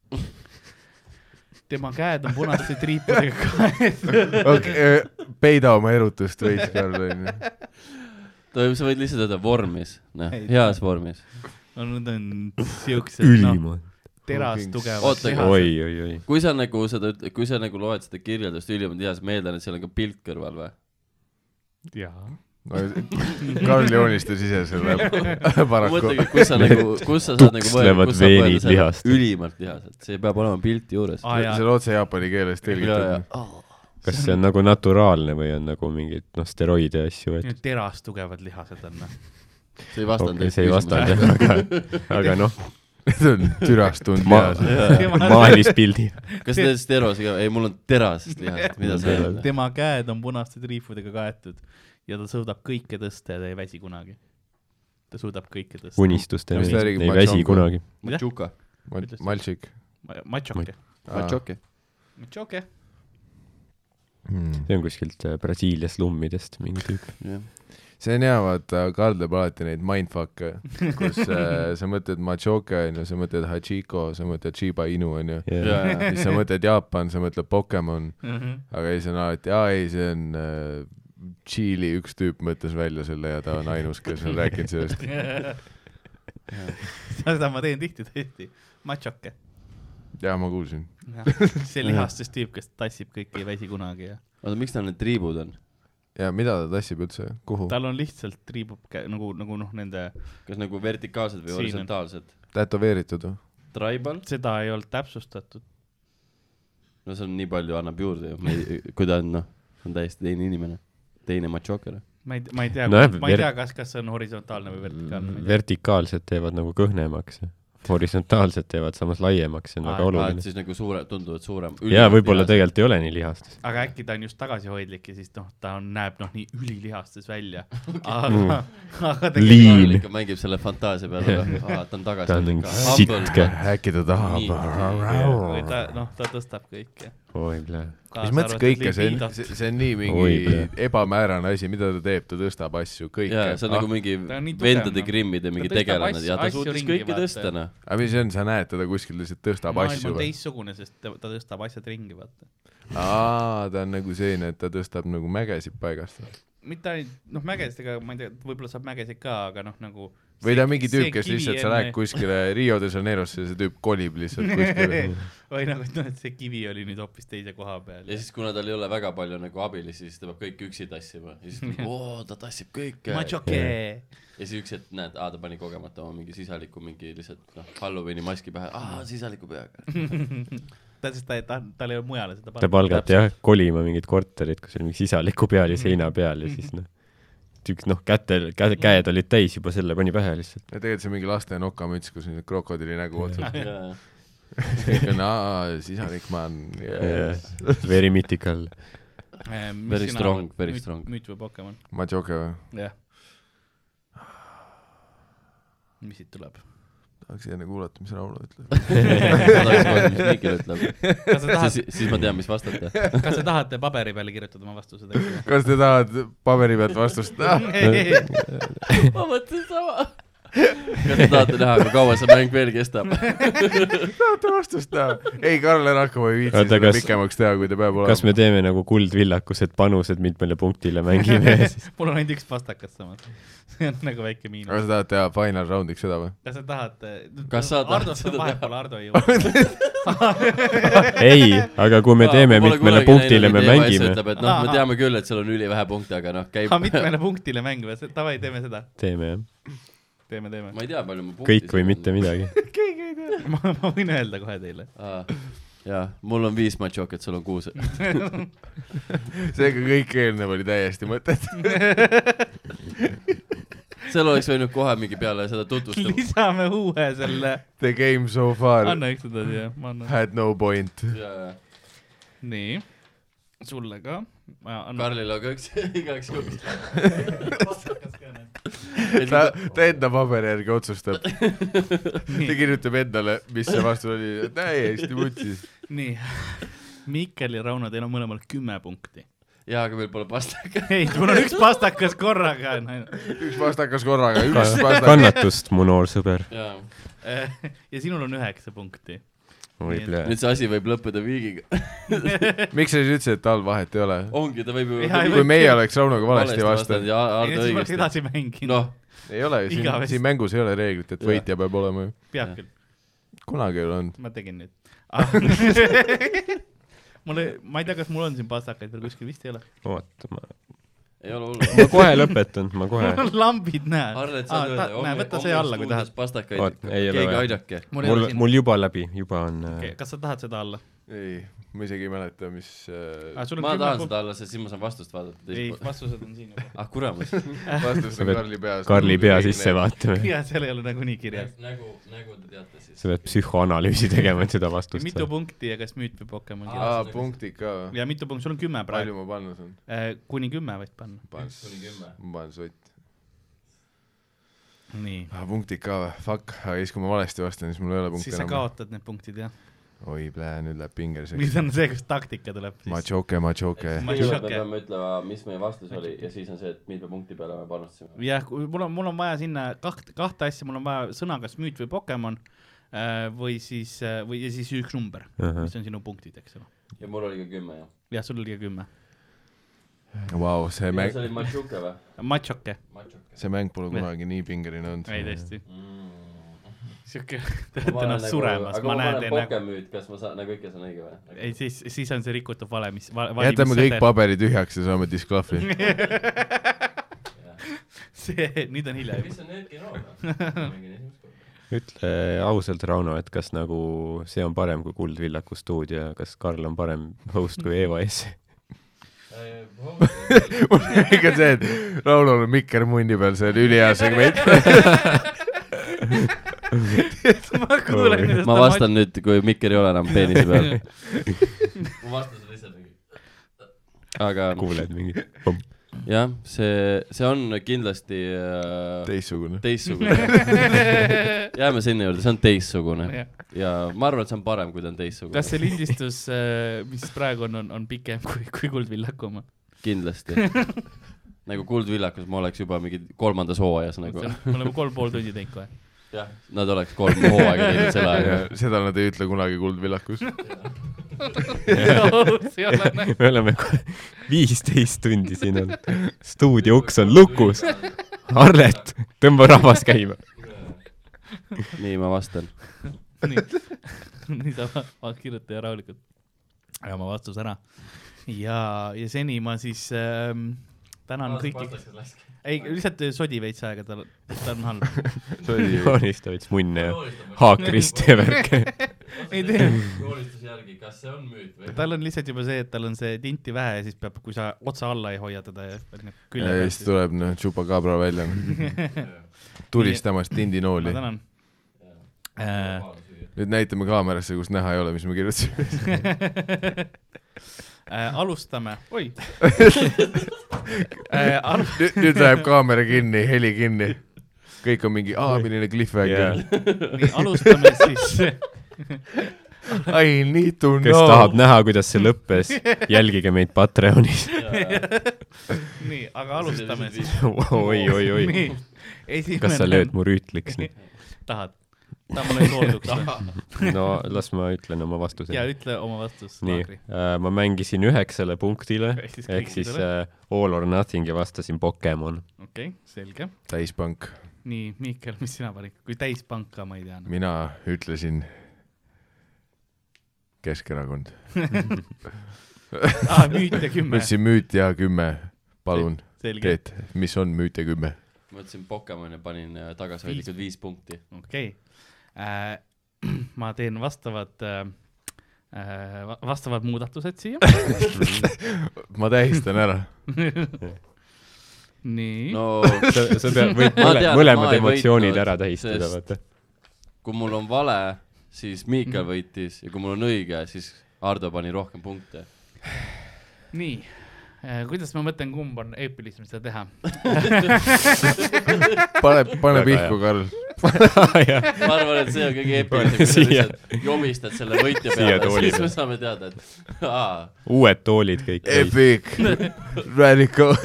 [SPEAKER 3] tema käed on punaste triipudega
[SPEAKER 2] [LAUGHS]
[SPEAKER 3] kaetud .
[SPEAKER 2] Okay, eh, peida oma erutust veits ka , onju .
[SPEAKER 4] sa võid lihtsalt öelda vormis , noh ,
[SPEAKER 3] Ei.
[SPEAKER 4] heas vormis .
[SPEAKER 3] Nad on siuksed , noh ,
[SPEAKER 5] ülimalt .
[SPEAKER 3] teras tugevad .
[SPEAKER 4] Oota, Tehased.
[SPEAKER 5] oi , oi , oi .
[SPEAKER 4] kui sa nagu seda , kui sa nagu loed seda kirjeldust ülimalt heas , ma eeldan , et seal on ka pilt kõrval või ?
[SPEAKER 3] jaa .
[SPEAKER 2] Karl joonistas ise
[SPEAKER 4] [LAUGHS]
[SPEAKER 2] selle paraku .
[SPEAKER 4] mõtlengi , kus
[SPEAKER 5] [LAUGHS]
[SPEAKER 4] sa nagu , kus sa saad nagu mõelda ,
[SPEAKER 5] tukslevad
[SPEAKER 4] kus sa
[SPEAKER 5] veenid lihast.
[SPEAKER 4] ülimalt lihased , see peab olema pilti juures . Ah,
[SPEAKER 3] Aa, jaa.
[SPEAKER 2] see on otse jaapani keeles
[SPEAKER 4] ja , ja
[SPEAKER 2] tõlgitud .,
[SPEAKER 5] kas see on nagu naturaalne või on nagu mingid noh , steroide ja asju võetud ?
[SPEAKER 3] teras tugevad lihased on , noh .
[SPEAKER 4] see ei vastanud
[SPEAKER 5] okei , see ei vastanud jah , aga , aga noh ,
[SPEAKER 2] [LAUGHS] see on türast tund
[SPEAKER 5] Äh, Ma-
[SPEAKER 2] peas .
[SPEAKER 5] maalis pildi .
[SPEAKER 4] [LAUGHS] kas sa teed sterosi ka , ei mul on terasest lihast , mida sa
[SPEAKER 5] Terasest.
[SPEAKER 4] öeld ?
[SPEAKER 3] tema käed on punaste triifudega kaetud ja ta suudab kõike tõsta ja ta ei väsi kunagi . ta suudab kõike tõsta .
[SPEAKER 5] unistuste
[SPEAKER 2] Mis ta
[SPEAKER 5] mees ,
[SPEAKER 2] räägib,
[SPEAKER 5] ei
[SPEAKER 2] Mats
[SPEAKER 5] väsi
[SPEAKER 2] Onko?
[SPEAKER 5] kunagi .
[SPEAKER 4] Machuka .
[SPEAKER 2] Maltšik .
[SPEAKER 3] Machoke .
[SPEAKER 4] Machoki .
[SPEAKER 3] Machoke .
[SPEAKER 2] Hmm.
[SPEAKER 5] see on kuskilt äh, Brasiilia slummidest mingi tüüp .
[SPEAKER 4] jah ,
[SPEAKER 2] see on hea , vaata , Karl teeb alati neid mindfuck'e ,
[SPEAKER 4] [LAUGHS]
[SPEAKER 2] kus äh, sa mõtled Machoka onju , sa mõtled Hachiko , sa mõtled Shiba Inu onju .
[SPEAKER 5] jah .
[SPEAKER 4] jaa ,
[SPEAKER 2] siis sa mõtled Jaapan , sa mõtled Pokemon ,
[SPEAKER 3] Mhm.
[SPEAKER 2] aga ei , see on alati , aa ei , see on äh, Tšiili üks tüüp mõtles välja selle ja ta on ainus , kes on rääkinud
[SPEAKER 4] [LAUGHS]
[SPEAKER 2] sellest .
[SPEAKER 3] [LAUGHS] seda ma teen tihti tõesti , machoke .
[SPEAKER 2] jaa , ma kuulsin .
[SPEAKER 3] [LAUGHS] see lihastes tüüp , kes tassib kõike , ei väsi kunagi ja
[SPEAKER 4] oota , miks tal need triibud on ?
[SPEAKER 2] ja mida ta tassib üldse , kuhu ?
[SPEAKER 3] tal on lihtsalt triibub kä- nagu , nagu noh , nende ,
[SPEAKER 4] kas nagu vertikaalsed või
[SPEAKER 3] Siin on.
[SPEAKER 4] horisontaalsed ?
[SPEAKER 2] tätoveeritud või ?
[SPEAKER 4] Tribal ?
[SPEAKER 3] seda ei olnud täpsustatud .
[SPEAKER 4] no see on nii palju , annab juurde ju , ma ei , kui ta on noh , on täiesti teine inimene , teine noh. machoker .
[SPEAKER 3] ma ei , ma ei tea
[SPEAKER 5] Nojah, ,
[SPEAKER 3] ma ei
[SPEAKER 5] ver-
[SPEAKER 3] tea , kas , kas see on horisontaalne või vertikaalne .
[SPEAKER 5] vertikaalsed teevad nagu kõhnemaks , horisontaalsed teevad samas laiemaks , see on väga oluline .
[SPEAKER 4] siis nagu suure , tunduvalt suurem .
[SPEAKER 5] ja võib-olla . tegelikult ei ole nii lihastes .
[SPEAKER 3] aga äkki ta on just tagasihoidlik ja siis noh , ta on , näeb noh , nii ülilihastes välja .
[SPEAKER 2] Mm.
[SPEAKER 3] aga , [LAUGHS] aga tegelikult
[SPEAKER 5] Liin.
[SPEAKER 4] ikka mängib selle fantaasia peale , aa , ta on tagasi .
[SPEAKER 5] ta on nagu sitke .
[SPEAKER 2] äkki ta
[SPEAKER 4] Nii.
[SPEAKER 3] või
[SPEAKER 2] tahab ?
[SPEAKER 3] ta noh , ta tõstab kõike .
[SPEAKER 5] oi , plee .
[SPEAKER 2] mis mõttes kõike , see on , see on nii
[SPEAKER 5] Oi,
[SPEAKER 2] mingi
[SPEAKER 5] plee.
[SPEAKER 2] ebamäärane asi , mida ta teeb , ta tõstab asju , kõike . Ah.
[SPEAKER 4] jaa , see on nagu mingi
[SPEAKER 3] Ta on nii tugev,
[SPEAKER 4] vendade
[SPEAKER 3] noh.
[SPEAKER 4] grimmide mingi
[SPEAKER 3] Ta tõstab
[SPEAKER 4] tegelane
[SPEAKER 3] asju-
[SPEAKER 4] ja ta
[SPEAKER 3] asju
[SPEAKER 4] suutis
[SPEAKER 3] ringi,
[SPEAKER 4] kõike
[SPEAKER 3] vaata.
[SPEAKER 4] tõsta , noh .
[SPEAKER 2] aga mis see on , sa näed teda kuskil lihtsalt tõstab
[SPEAKER 3] maailm
[SPEAKER 2] asju
[SPEAKER 3] on
[SPEAKER 2] või ?
[SPEAKER 3] teistsugune , sest ta ta tõstab asjad ringi , vaata .
[SPEAKER 2] aa , ta on nagu selline , et ta tõstab nagu mägesid paigast .
[SPEAKER 3] mitte ainult , noh , mägedega , ma ei tea , võib-olla saab mägesid ka , aga noh , nagu .
[SPEAKER 2] või ta on mingi tüüp , kes lihtsalt , sa lähed kuskile Rio de Janeirosse ja see tüüp kolib lihtsalt kuskile .
[SPEAKER 3] [LAUGHS] või nagu , et noh , et see kivi oli nüüd hoopis teise koha peal
[SPEAKER 4] ja . siis , kuna tal ei ole väga palju nagu abilisi , siis ta peab kõik üksi tassima ja siis tuleb , oo , ta tassib kõike . ja
[SPEAKER 3] Machoke .
[SPEAKER 4] siis üks hetk näed , aa , ta pani kogemata oma mingi sisaliku mingi lihtsalt noh , Halloweeni maski pähe , aa , sisaliku
[SPEAKER 3] [LAUGHS]
[SPEAKER 4] peaga .
[SPEAKER 3] ta , sest ta , ta , tal ei ole mujale seda
[SPEAKER 5] ta . palgati jah kolima mingit korterit , kus oli mingi sisaliku peal ja seina peal ja siis noh , üks noh , kätel , käed olid täis juba selle pani pähe lihtsalt .
[SPEAKER 2] ja tegelikult see on mingi laste nokamüts , kus on see krokodilli nägu otsas .
[SPEAKER 3] [LAUGHS]
[SPEAKER 4] jaa ,
[SPEAKER 2] kõik on aa , sisalik ma olen .
[SPEAKER 5] Very mythical .
[SPEAKER 3] Eh,
[SPEAKER 4] Very strong, very strong.
[SPEAKER 3] müüt või Pokemon ?
[SPEAKER 2] ma joke või ?
[SPEAKER 3] jah . mis siit tuleb ?
[SPEAKER 2] tahaks enne kuulata , mis Rauno ütleb .
[SPEAKER 4] ma tahaks kuulda , mis Mikkel ütleb .
[SPEAKER 3] kas sa tahad ,
[SPEAKER 4] siis , siis ma tean , mis vastata .
[SPEAKER 3] kas sa tahate paberi peale kirjutada oma
[SPEAKER 4] [LAUGHS]
[SPEAKER 3] vastused ? [LAUGHS]
[SPEAKER 2] kas te tahate paberi pealt vastust ?
[SPEAKER 4] ma mõtlesin sama . kas te tahate näha , kui kaua see mäng veel kestab ?
[SPEAKER 2] tahate vastust näha ? ei , Karl ära hakkama ei viitsi
[SPEAKER 5] Oota,
[SPEAKER 2] seda
[SPEAKER 5] kas-
[SPEAKER 2] pikemaks teha , kui ta peab
[SPEAKER 5] kas me
[SPEAKER 2] olema .
[SPEAKER 5] teeme nagu kuldvillakused panused mitmele punktile mängime
[SPEAKER 3] [LAUGHS]
[SPEAKER 5] ja siis
[SPEAKER 3] mul on ainult üks pastakas samas . [LAUGHS] see on nagu väike
[SPEAKER 2] aga
[SPEAKER 3] miinus .
[SPEAKER 2] sa tahad teha final round'iks seda või ?
[SPEAKER 3] kas sa tahad ?
[SPEAKER 4] Kas sa tahad
[SPEAKER 3] Ardost on
[SPEAKER 4] seda
[SPEAKER 3] vahepeal , Ardo
[SPEAKER 4] [LAUGHS]
[SPEAKER 3] ei jõua . [LAUGHS]
[SPEAKER 5] ei , aga kui me teeme mitmele punktile , me mängime ,
[SPEAKER 4] ütleb , et noh , me
[SPEAKER 3] Aa.
[SPEAKER 4] teame küll , et seal on ülivähe punkte , aga noh , käib .
[SPEAKER 3] aga
[SPEAKER 4] [LAUGHS]
[SPEAKER 3] mitmele punktile mäng või ? davai , teeme seda .
[SPEAKER 5] teeme jah ,
[SPEAKER 3] teeme , teeme .
[SPEAKER 4] ma ei tea , palju ma punkti
[SPEAKER 5] kõik või mitte . midagi .
[SPEAKER 3] ma , ma võin öelda kohe teile .
[SPEAKER 4] jaa , mul on viis matšoket , sul on
[SPEAKER 3] [LAUGHS]
[SPEAKER 4] kuus .
[SPEAKER 2] seega kõik eelnev oli täiesti mõttetu .
[SPEAKER 4] seal oleks võinud kohe mingi peale seda tutvustama .
[SPEAKER 3] lisame uue selle .
[SPEAKER 2] The game so far
[SPEAKER 3] anna üks seda siia , ma annan .
[SPEAKER 2] had no point .
[SPEAKER 3] nii . sulle ka . ma annan .
[SPEAKER 4] Karlil on ka üks [LAUGHS] igaks juhuks .
[SPEAKER 2] ta , ta enda paberi järgi otsustab . ta
[SPEAKER 3] nii ,
[SPEAKER 2] kirjutab endale , mis see vastus oli . täiesti vutsis .
[SPEAKER 3] nii. . [LAUGHS] Mikkel ja Rauno , teil on mõlemal kümme punkti .
[SPEAKER 4] jaa , aga meil pole pastaka .
[SPEAKER 3] ei , mul on üks pastakas korraga on ainult .
[SPEAKER 2] üks vastakas korraga , üks vastakas .
[SPEAKER 5] kannatust , mu noor sõber .
[SPEAKER 4] jaa ,
[SPEAKER 3] Eh, ja sinul on üheksa punkti .
[SPEAKER 5] oi plee .
[SPEAKER 4] nüüd see asi võib lõppeda viigiga . [LAUGHS]
[SPEAKER 2] miks sa siis ütlesid , et all vahet ei ole ?
[SPEAKER 4] ongi , ta võib ju
[SPEAKER 3] Jaa, ei
[SPEAKER 2] kui meie oleks Raunoga valesti
[SPEAKER 4] vastanud
[SPEAKER 2] vastanud .
[SPEAKER 4] ja
[SPEAKER 3] ei , nüüd
[SPEAKER 4] Ardo
[SPEAKER 3] siis ma oleks
[SPEAKER 4] õigesti .
[SPEAKER 3] edasi mänginud no. .
[SPEAKER 4] noh ,
[SPEAKER 2] ei ole ju , siin ,
[SPEAKER 3] Igavesti.
[SPEAKER 2] siin mängus ei ole reeglit , et võitja peab olema ju .
[SPEAKER 3] peab küll ,
[SPEAKER 2] kunagi ei ole olnud .
[SPEAKER 3] ma tegin nüüd . mul , ma ei tea , kas mul on siin pastakaid veel kuskil , vist ei ole .
[SPEAKER 5] oota , ma ,
[SPEAKER 4] ei ole hullu .
[SPEAKER 5] ma kohe lõpetan , ma kohe
[SPEAKER 3] mul . on [LAUGHS] lambid , näed .
[SPEAKER 4] Arlet , sa oled
[SPEAKER 3] näe , võta see alla , kui tahad .
[SPEAKER 4] pastakaid
[SPEAKER 5] Oot, , ei ole
[SPEAKER 4] keegi
[SPEAKER 5] vaja.
[SPEAKER 4] aidake .
[SPEAKER 3] mul ei
[SPEAKER 5] mul
[SPEAKER 3] ole , siin .
[SPEAKER 5] mul juba läbi , juba on äh,
[SPEAKER 3] okei ,
[SPEAKER 5] okay. .
[SPEAKER 3] kas sa tahad seda alla ?
[SPEAKER 2] ei , ma isegi ei mäleta , mis äh,
[SPEAKER 3] sul on
[SPEAKER 4] ma
[SPEAKER 3] kümme
[SPEAKER 4] tahan
[SPEAKER 3] punkti .
[SPEAKER 4] seda alla , sest siis ma saan vastust vaadata
[SPEAKER 3] ei ,
[SPEAKER 4] teiselt poolt .
[SPEAKER 3] vastused on
[SPEAKER 4] [LAUGHS]
[SPEAKER 3] siin juba .
[SPEAKER 4] ah
[SPEAKER 3] [LAUGHS]
[SPEAKER 4] kuramust .
[SPEAKER 2] vastus
[SPEAKER 5] Sa
[SPEAKER 2] on
[SPEAKER 5] pead
[SPEAKER 2] Karli peas .
[SPEAKER 5] Karli pea sisse . vaatame .
[SPEAKER 3] ja seal ei ole nagunii kirjas .
[SPEAKER 4] nägu , nägu te teate siis .
[SPEAKER 5] sa pead psühhoanalüüsi tegema , et seda vastust
[SPEAKER 3] mitu
[SPEAKER 5] saada .
[SPEAKER 3] punkti ja kas müüt või Pokemon kirjas ?
[SPEAKER 2] aa , punktid ka või ?
[SPEAKER 3] ja mitu punkti , sul on kümme praegu .
[SPEAKER 2] palju ma pannud olen ?
[SPEAKER 3] kuni kümme võid panna .
[SPEAKER 2] panen
[SPEAKER 4] Üks kuni kümme. ,
[SPEAKER 2] ma panen sott .
[SPEAKER 3] nii .
[SPEAKER 2] aa , punktid ka või ? Fuck , aga siis kui ma valesti vastan , siis mul ei ole punkte
[SPEAKER 3] siis sa
[SPEAKER 2] enam .
[SPEAKER 3] kaotad need punktid , jah .
[SPEAKER 2] oi plää , nüüd läheb
[SPEAKER 3] mis
[SPEAKER 2] pingeliseks .
[SPEAKER 3] on see , kus taktika tuleb siis ?
[SPEAKER 2] Machoke , machoke .
[SPEAKER 3] Ma ei
[SPEAKER 4] kõigepealt me
[SPEAKER 3] šoke.
[SPEAKER 4] peame ütlema , mis meie vastus oli ja siis on see , et mitme punkti peale me panustasime .
[SPEAKER 3] jah , mul on , mul on vaja sinna kaht , kahte asja , mul on vaja sõna , kas müüt või Pokemon äh, või siis , või ja siis üks number uh , -huh. mis on sinu punktid , eks ole .
[SPEAKER 4] ja mul oli ka kümme , jah .
[SPEAKER 3] jah , sul oli ka kümme .
[SPEAKER 2] Vau , see mäng
[SPEAKER 4] see , oli Machuka või ?
[SPEAKER 3] Machoke ,
[SPEAKER 4] Machuka .
[SPEAKER 2] see mäng pole kunagi nii pingeline olnud .
[SPEAKER 3] ei tõesti , siuke , [LAUGHS] Mm. [LAUGHS] te
[SPEAKER 4] Ma
[SPEAKER 3] olete
[SPEAKER 4] panen
[SPEAKER 3] ennast
[SPEAKER 4] nagu-
[SPEAKER 3] suremas ,
[SPEAKER 4] aga
[SPEAKER 3] ma
[SPEAKER 4] ma
[SPEAKER 3] näen
[SPEAKER 4] panen
[SPEAKER 3] teie nägu .
[SPEAKER 4] pokemüüt , kas ma saan , nagu ikka saan õige või ?
[SPEAKER 3] ei , siis , siis on see rikutud valemis va, .
[SPEAKER 2] jätame kõik . paberid tühjaks ja saame disklahvri .
[SPEAKER 3] [LAUGHS] see , nüüd on hilja .
[SPEAKER 4] mis on nüüd kino või ?
[SPEAKER 5] ütle äh, ausalt , Rauno , et kas nagu see on parem kui Kuldvillaku stuudio , kas Karl on parem host kui Eeva S ?
[SPEAKER 2] mul on ikka see , et Raunol on mikker munni peal , see on ülihea segment .
[SPEAKER 3] [LAUGHS] ma kuulen , kuidas
[SPEAKER 4] ma . vastan nüüd , kui mikker ei ole enam peenise peal . [LAUGHS] mu vastus on lihtsalt mingi . aga
[SPEAKER 5] kuuled mingi ?
[SPEAKER 4] jah , see , see on kindlasti äh,
[SPEAKER 2] teistsugune .
[SPEAKER 3] [LAUGHS]
[SPEAKER 4] teistsugune . jääme sinna juurde , see on teistsugune
[SPEAKER 3] Jah.
[SPEAKER 4] ja ma arvan , et see on parem , kui ta on teistsugune
[SPEAKER 3] kas . see lindistus , mis praegu on , on , on pikem [LAUGHS] kui , kui Kuldvillaku oma ?
[SPEAKER 4] kindlasti
[SPEAKER 3] [LAUGHS]
[SPEAKER 4] nagu Kuldvillakus ma oleks juba mingi kolmandas hooajas nagu .
[SPEAKER 3] me oleme kolm pool tundi teinud
[SPEAKER 4] [LAUGHS]
[SPEAKER 3] kohe . [LAUGHS]
[SPEAKER 4] jah , nad oleks kolm hooaega
[SPEAKER 2] [LAUGHS]
[SPEAKER 4] teinud selle ajaga .
[SPEAKER 2] seda nad ei ütle kunagi Kuldvillakus .
[SPEAKER 3] see on nagu
[SPEAKER 5] me oleme viisteist tundi siin olnud , stuudio uks on lukus . Arlet , tõmba rahvas käima .
[SPEAKER 4] nii ma vastan .
[SPEAKER 3] nii , [LAUGHS] nii sa va- va- kirjuta ja rahulikult . aga ma vastus ära . ja , ja seni ma siis ähm, tänan kõiki , ei lihtsalt sodi veits aega , tal , ta on halb .
[SPEAKER 5] joonista veits munne ja haakrist ja värke .
[SPEAKER 3] ei tee ,
[SPEAKER 4] joonistuse järgi , kas see on müüt või ?
[SPEAKER 3] tal on lihtsalt juba see , et tal on see tinti vähe ja siis peab , kui sa otsa alla ei hoia teda ja paned nagu külje
[SPEAKER 2] ja
[SPEAKER 3] peale ,
[SPEAKER 2] siis
[SPEAKER 3] siis
[SPEAKER 2] tuleb noh , Chupacabra
[SPEAKER 3] [LAUGHS]
[SPEAKER 2] välja . tulistamas tindinooli
[SPEAKER 3] ma . tänan . Äh,
[SPEAKER 2] nüüd näitame kaamerasse , kus näha ei ole , mis me kirjutasime .
[SPEAKER 3] [LAUGHS] alustame , oi Äh, alu- .
[SPEAKER 2] [LAUGHS] nüüd , nüüd läheb kaamera kinni , heli kinni . kõik on mingi , aa , milline cliffhanger .
[SPEAKER 3] nii , alustame siis
[SPEAKER 2] [LAUGHS] I need to
[SPEAKER 5] kes
[SPEAKER 2] know .
[SPEAKER 5] tahab näha , kuidas see lõppes , jälgige meid Patreonis .
[SPEAKER 3] nii , aga alustame siis .
[SPEAKER 5] oi , oi , oi .
[SPEAKER 3] esimene .
[SPEAKER 5] kas sa lööd mu rüütliks nüüd ?
[SPEAKER 3] tahad ? tahad mulle soolduks või ?
[SPEAKER 5] no las ma ütlen oma vastuse .
[SPEAKER 3] ja ütle oma vastus ,
[SPEAKER 5] nii Äh,
[SPEAKER 3] Laagri .,
[SPEAKER 5] ma mängisin üheksale punktile
[SPEAKER 3] Ehk siis
[SPEAKER 5] ehk siis
[SPEAKER 3] kõikidele.
[SPEAKER 5] äh, all or nothing ja vastasin Pokemon .
[SPEAKER 3] okei okay, , selge .
[SPEAKER 2] täispank ,
[SPEAKER 3] nii , Miikel , mis sina panid , kui täispanka ma ei tea no. .
[SPEAKER 2] mina ütlesin Keskerakond .
[SPEAKER 3] aa , müüt ja
[SPEAKER 2] ma
[SPEAKER 3] Ah, kümme .
[SPEAKER 2] ütlesin müüt ja kümme , palun ,
[SPEAKER 3] selge ,
[SPEAKER 2] Teet , mis on müüt ja kümme ?
[SPEAKER 4] ma ütlesin Pokemon ja panin äh, tagasihoidlikud viis punkti .
[SPEAKER 3] okei . [CLEARS THROAT] ma teen vastavad äh, , äh, va- vastavad muudatused
[SPEAKER 2] [LAUGHS]
[SPEAKER 3] siia .
[SPEAKER 2] ma tähistan ära .
[SPEAKER 3] nii no. , [LAUGHS]
[SPEAKER 4] no
[SPEAKER 5] sa , sa pead , võid
[SPEAKER 4] [LAUGHS] Ma
[SPEAKER 5] mõle,
[SPEAKER 4] tean, et ma
[SPEAKER 5] mõlemad
[SPEAKER 4] ei
[SPEAKER 5] emotsioonid
[SPEAKER 4] võitnud,
[SPEAKER 5] ära tähistada ,
[SPEAKER 4] sest-
[SPEAKER 5] vaata . [LAUGHS]
[SPEAKER 4] kui mul on vale , siis Miikal võitis ja kui mul on õige , siis Ardo pani rohkem punkte .
[SPEAKER 3] nii äh, . kuidas ma mõtlen , kumb on eepilisem seda teha ?
[SPEAKER 2] pane , pane
[SPEAKER 5] Väga
[SPEAKER 2] pihku , Karl .
[SPEAKER 4] ma arvan , et see on kõige eepilisem , kui sa
[SPEAKER 5] Siia.
[SPEAKER 4] lihtsalt jomistad selle võitja
[SPEAKER 5] Siia
[SPEAKER 4] peale ,
[SPEAKER 5] tooli
[SPEAKER 4] siis
[SPEAKER 5] peale.
[SPEAKER 4] me saame teada , et aa ,
[SPEAKER 5] uued toolid kõik .
[SPEAKER 2] Epic , [LAUGHS] radical .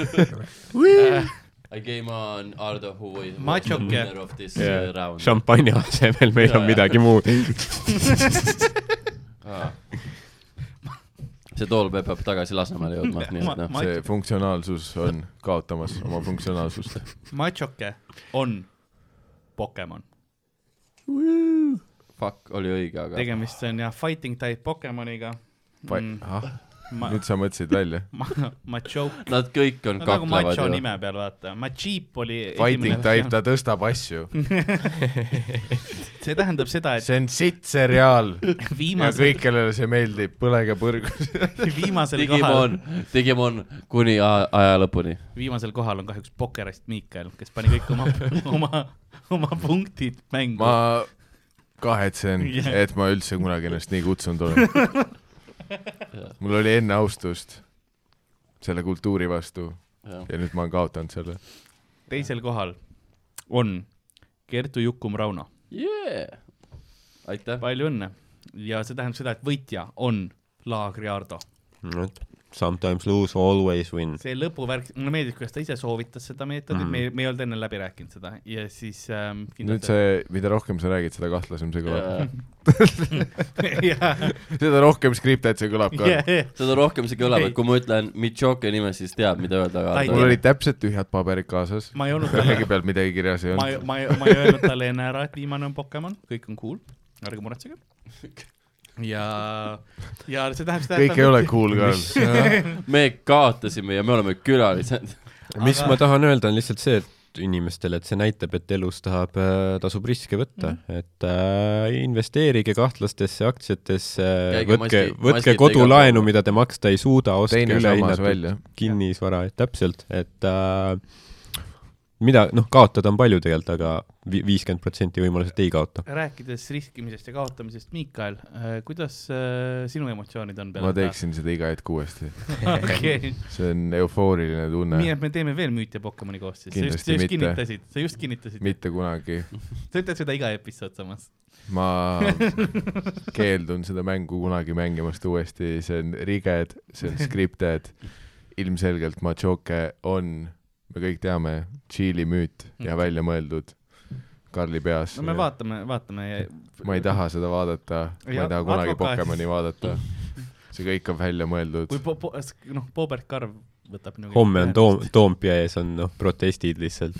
[SPEAKER 4] I came on Ardo who was
[SPEAKER 3] Machoke.
[SPEAKER 4] the winner of this yeah. round .
[SPEAKER 5] šampanja asemel meil
[SPEAKER 4] Jaa,
[SPEAKER 5] on
[SPEAKER 4] jaa.
[SPEAKER 5] midagi muud .
[SPEAKER 4] [LAUGHS] see tool peab, peab tagasi Lasnamäele
[SPEAKER 3] [LAUGHS]
[SPEAKER 4] jõudma , nii
[SPEAKER 3] Ma-
[SPEAKER 4] et noh ,
[SPEAKER 3] ma-
[SPEAKER 2] see funktsionaalsus on kaotamas oma funktsionaalsust .
[SPEAKER 3] Machoke on Pokemon ,
[SPEAKER 4] fuck oli õige , aga
[SPEAKER 3] tegemist on jah fighting type Pokemoniga . [LAUGHS]
[SPEAKER 2] ahah ,
[SPEAKER 3] Mm. ma ,
[SPEAKER 2] ah, nüüd sa mõtlesid välja .
[SPEAKER 3] ma , Machoke ,
[SPEAKER 4] nad kõik on
[SPEAKER 3] no nagu
[SPEAKER 4] kaklevad
[SPEAKER 3] macho
[SPEAKER 4] ju .
[SPEAKER 3] nime peal vaata , Macheep oli .
[SPEAKER 2] Fighting type , ta tõstab asju .
[SPEAKER 3] see tähendab seda , et
[SPEAKER 2] see on sitt seriaal ja
[SPEAKER 3] viimase ,
[SPEAKER 2] kõik , kellele see meeldib , põlege [LAUGHS] põrgus .
[SPEAKER 3] viimasel kohal
[SPEAKER 4] Digimon , Digimon kuni a- aja lõpuni .
[SPEAKER 3] viimasel kohal on kahjuks pokkerist Miikael , kes pani kõik oma ,
[SPEAKER 2] [LAUGHS]
[SPEAKER 3] oma , oma punktid mängu
[SPEAKER 2] ma kahetsen , et ma üldse kunagi ennast nii kutsunud
[SPEAKER 3] [LAUGHS]
[SPEAKER 2] olen . mul oli enne austust selle kultuuri vastu ja nüüd ma olen kaotanud selle .
[SPEAKER 3] teisel kohal on Kertu Jukum Rauno ,
[SPEAKER 4] Yeah. aitäh ,
[SPEAKER 3] palju õnne ja see tähendab seda , et võitja on Laagri Ardo .
[SPEAKER 5] Sometimes lose , always win .
[SPEAKER 3] see lõpuvärk , mulle meeldib , kuidas ta ise soovitas seda meetodit
[SPEAKER 5] Mhm.
[SPEAKER 3] mm. , me , me ei olnud enne läbi rääkinud seda ja siis ähm,
[SPEAKER 2] nüüd see , mida rohkem sa räägid , seda kahtlasem see kõlab .
[SPEAKER 3] [LAUGHS] jah ,
[SPEAKER 2] seda rohkem skriptet see kõlab ka .
[SPEAKER 3] jah ,
[SPEAKER 4] seda rohkem see kõlab ,
[SPEAKER 3] Ei.
[SPEAKER 4] et kui ma ütlen Michoke nime , siis teab , mida öelda ,
[SPEAKER 3] Ta ei
[SPEAKER 4] aga
[SPEAKER 2] mul olid täpselt tühjad paberid kaasas ,
[SPEAKER 3] ma ei olnud talle
[SPEAKER 2] ühegi , peal midagi kirjas ei
[SPEAKER 3] ma ei ,
[SPEAKER 2] olnud .
[SPEAKER 3] ma ei , ma ei öelnud talle enne ära , et viimane on Pokemon , kõik on cool , ärge muretsege . ja , ja see tähendab seda ,
[SPEAKER 2] kõik ei ole cool ka olnud .
[SPEAKER 4] me kaotasime ja me oleme
[SPEAKER 3] [LAUGHS]
[SPEAKER 4] külalised .
[SPEAKER 5] mis
[SPEAKER 3] Aga-
[SPEAKER 5] ma tahan öelda , on lihtsalt see , et inimestele , et see näitab , et elus tahab , tasub riske võtta mm , -hmm. et äh, investeerige kahtlastesse aktsiatesse ,
[SPEAKER 4] Käige
[SPEAKER 5] võtke
[SPEAKER 4] maski- ,
[SPEAKER 5] võtke
[SPEAKER 4] maskita igal
[SPEAKER 5] kodulaenu ,
[SPEAKER 4] pool.
[SPEAKER 5] mida te maksta ei suuda , ostke
[SPEAKER 2] teine sammas
[SPEAKER 5] ülehinnatud
[SPEAKER 2] välja .
[SPEAKER 5] kinnisvara , et täpselt , et äh, mida , noh , kaotada on palju tegelikult , aga viiskümmend protsenti võimalused ei kaota .
[SPEAKER 3] rääkides riskimisest ja kaotamisest , Miikael , kuidas äh, sinu emotsioonid on
[SPEAKER 2] [LAUGHS]
[SPEAKER 3] peale
[SPEAKER 2] ma ? teeksin seda iga hetk uuesti .
[SPEAKER 4] [LAUGHS]
[SPEAKER 3] okei ,
[SPEAKER 2] see on eufooriline
[SPEAKER 3] nii
[SPEAKER 2] tunne .
[SPEAKER 3] et me teeme veel müüti ja Pokemoni koos siis , sa
[SPEAKER 2] Kindlasti
[SPEAKER 3] just , sa just
[SPEAKER 2] mitte.
[SPEAKER 3] kinnitasid , sa just kinnitasid ,
[SPEAKER 2] mitte kunagi .
[SPEAKER 3] sa ütled seda iga episood samas .
[SPEAKER 2] ma keeldun seda mängu kunagi mängimast uuesti , see on riged , see on scripted . ilmselgelt Machoke on , me kõik teame , Tšiili müüt ja välja mõeldud Karli peas
[SPEAKER 3] Mm. no me . vaatame , vaatame .
[SPEAKER 2] ma ei . taha seda vaadata , ma
[SPEAKER 3] Ja
[SPEAKER 2] ei taha kunagi
[SPEAKER 3] advokaat-
[SPEAKER 2] Pokemoni vaadata . see kõik on välja mõeldud
[SPEAKER 3] kui . po- , po- , noh , Robert Karv võtab . nagu-
[SPEAKER 5] homme on Toom- ,. Toompea ees on noh , protestid lihtsalt .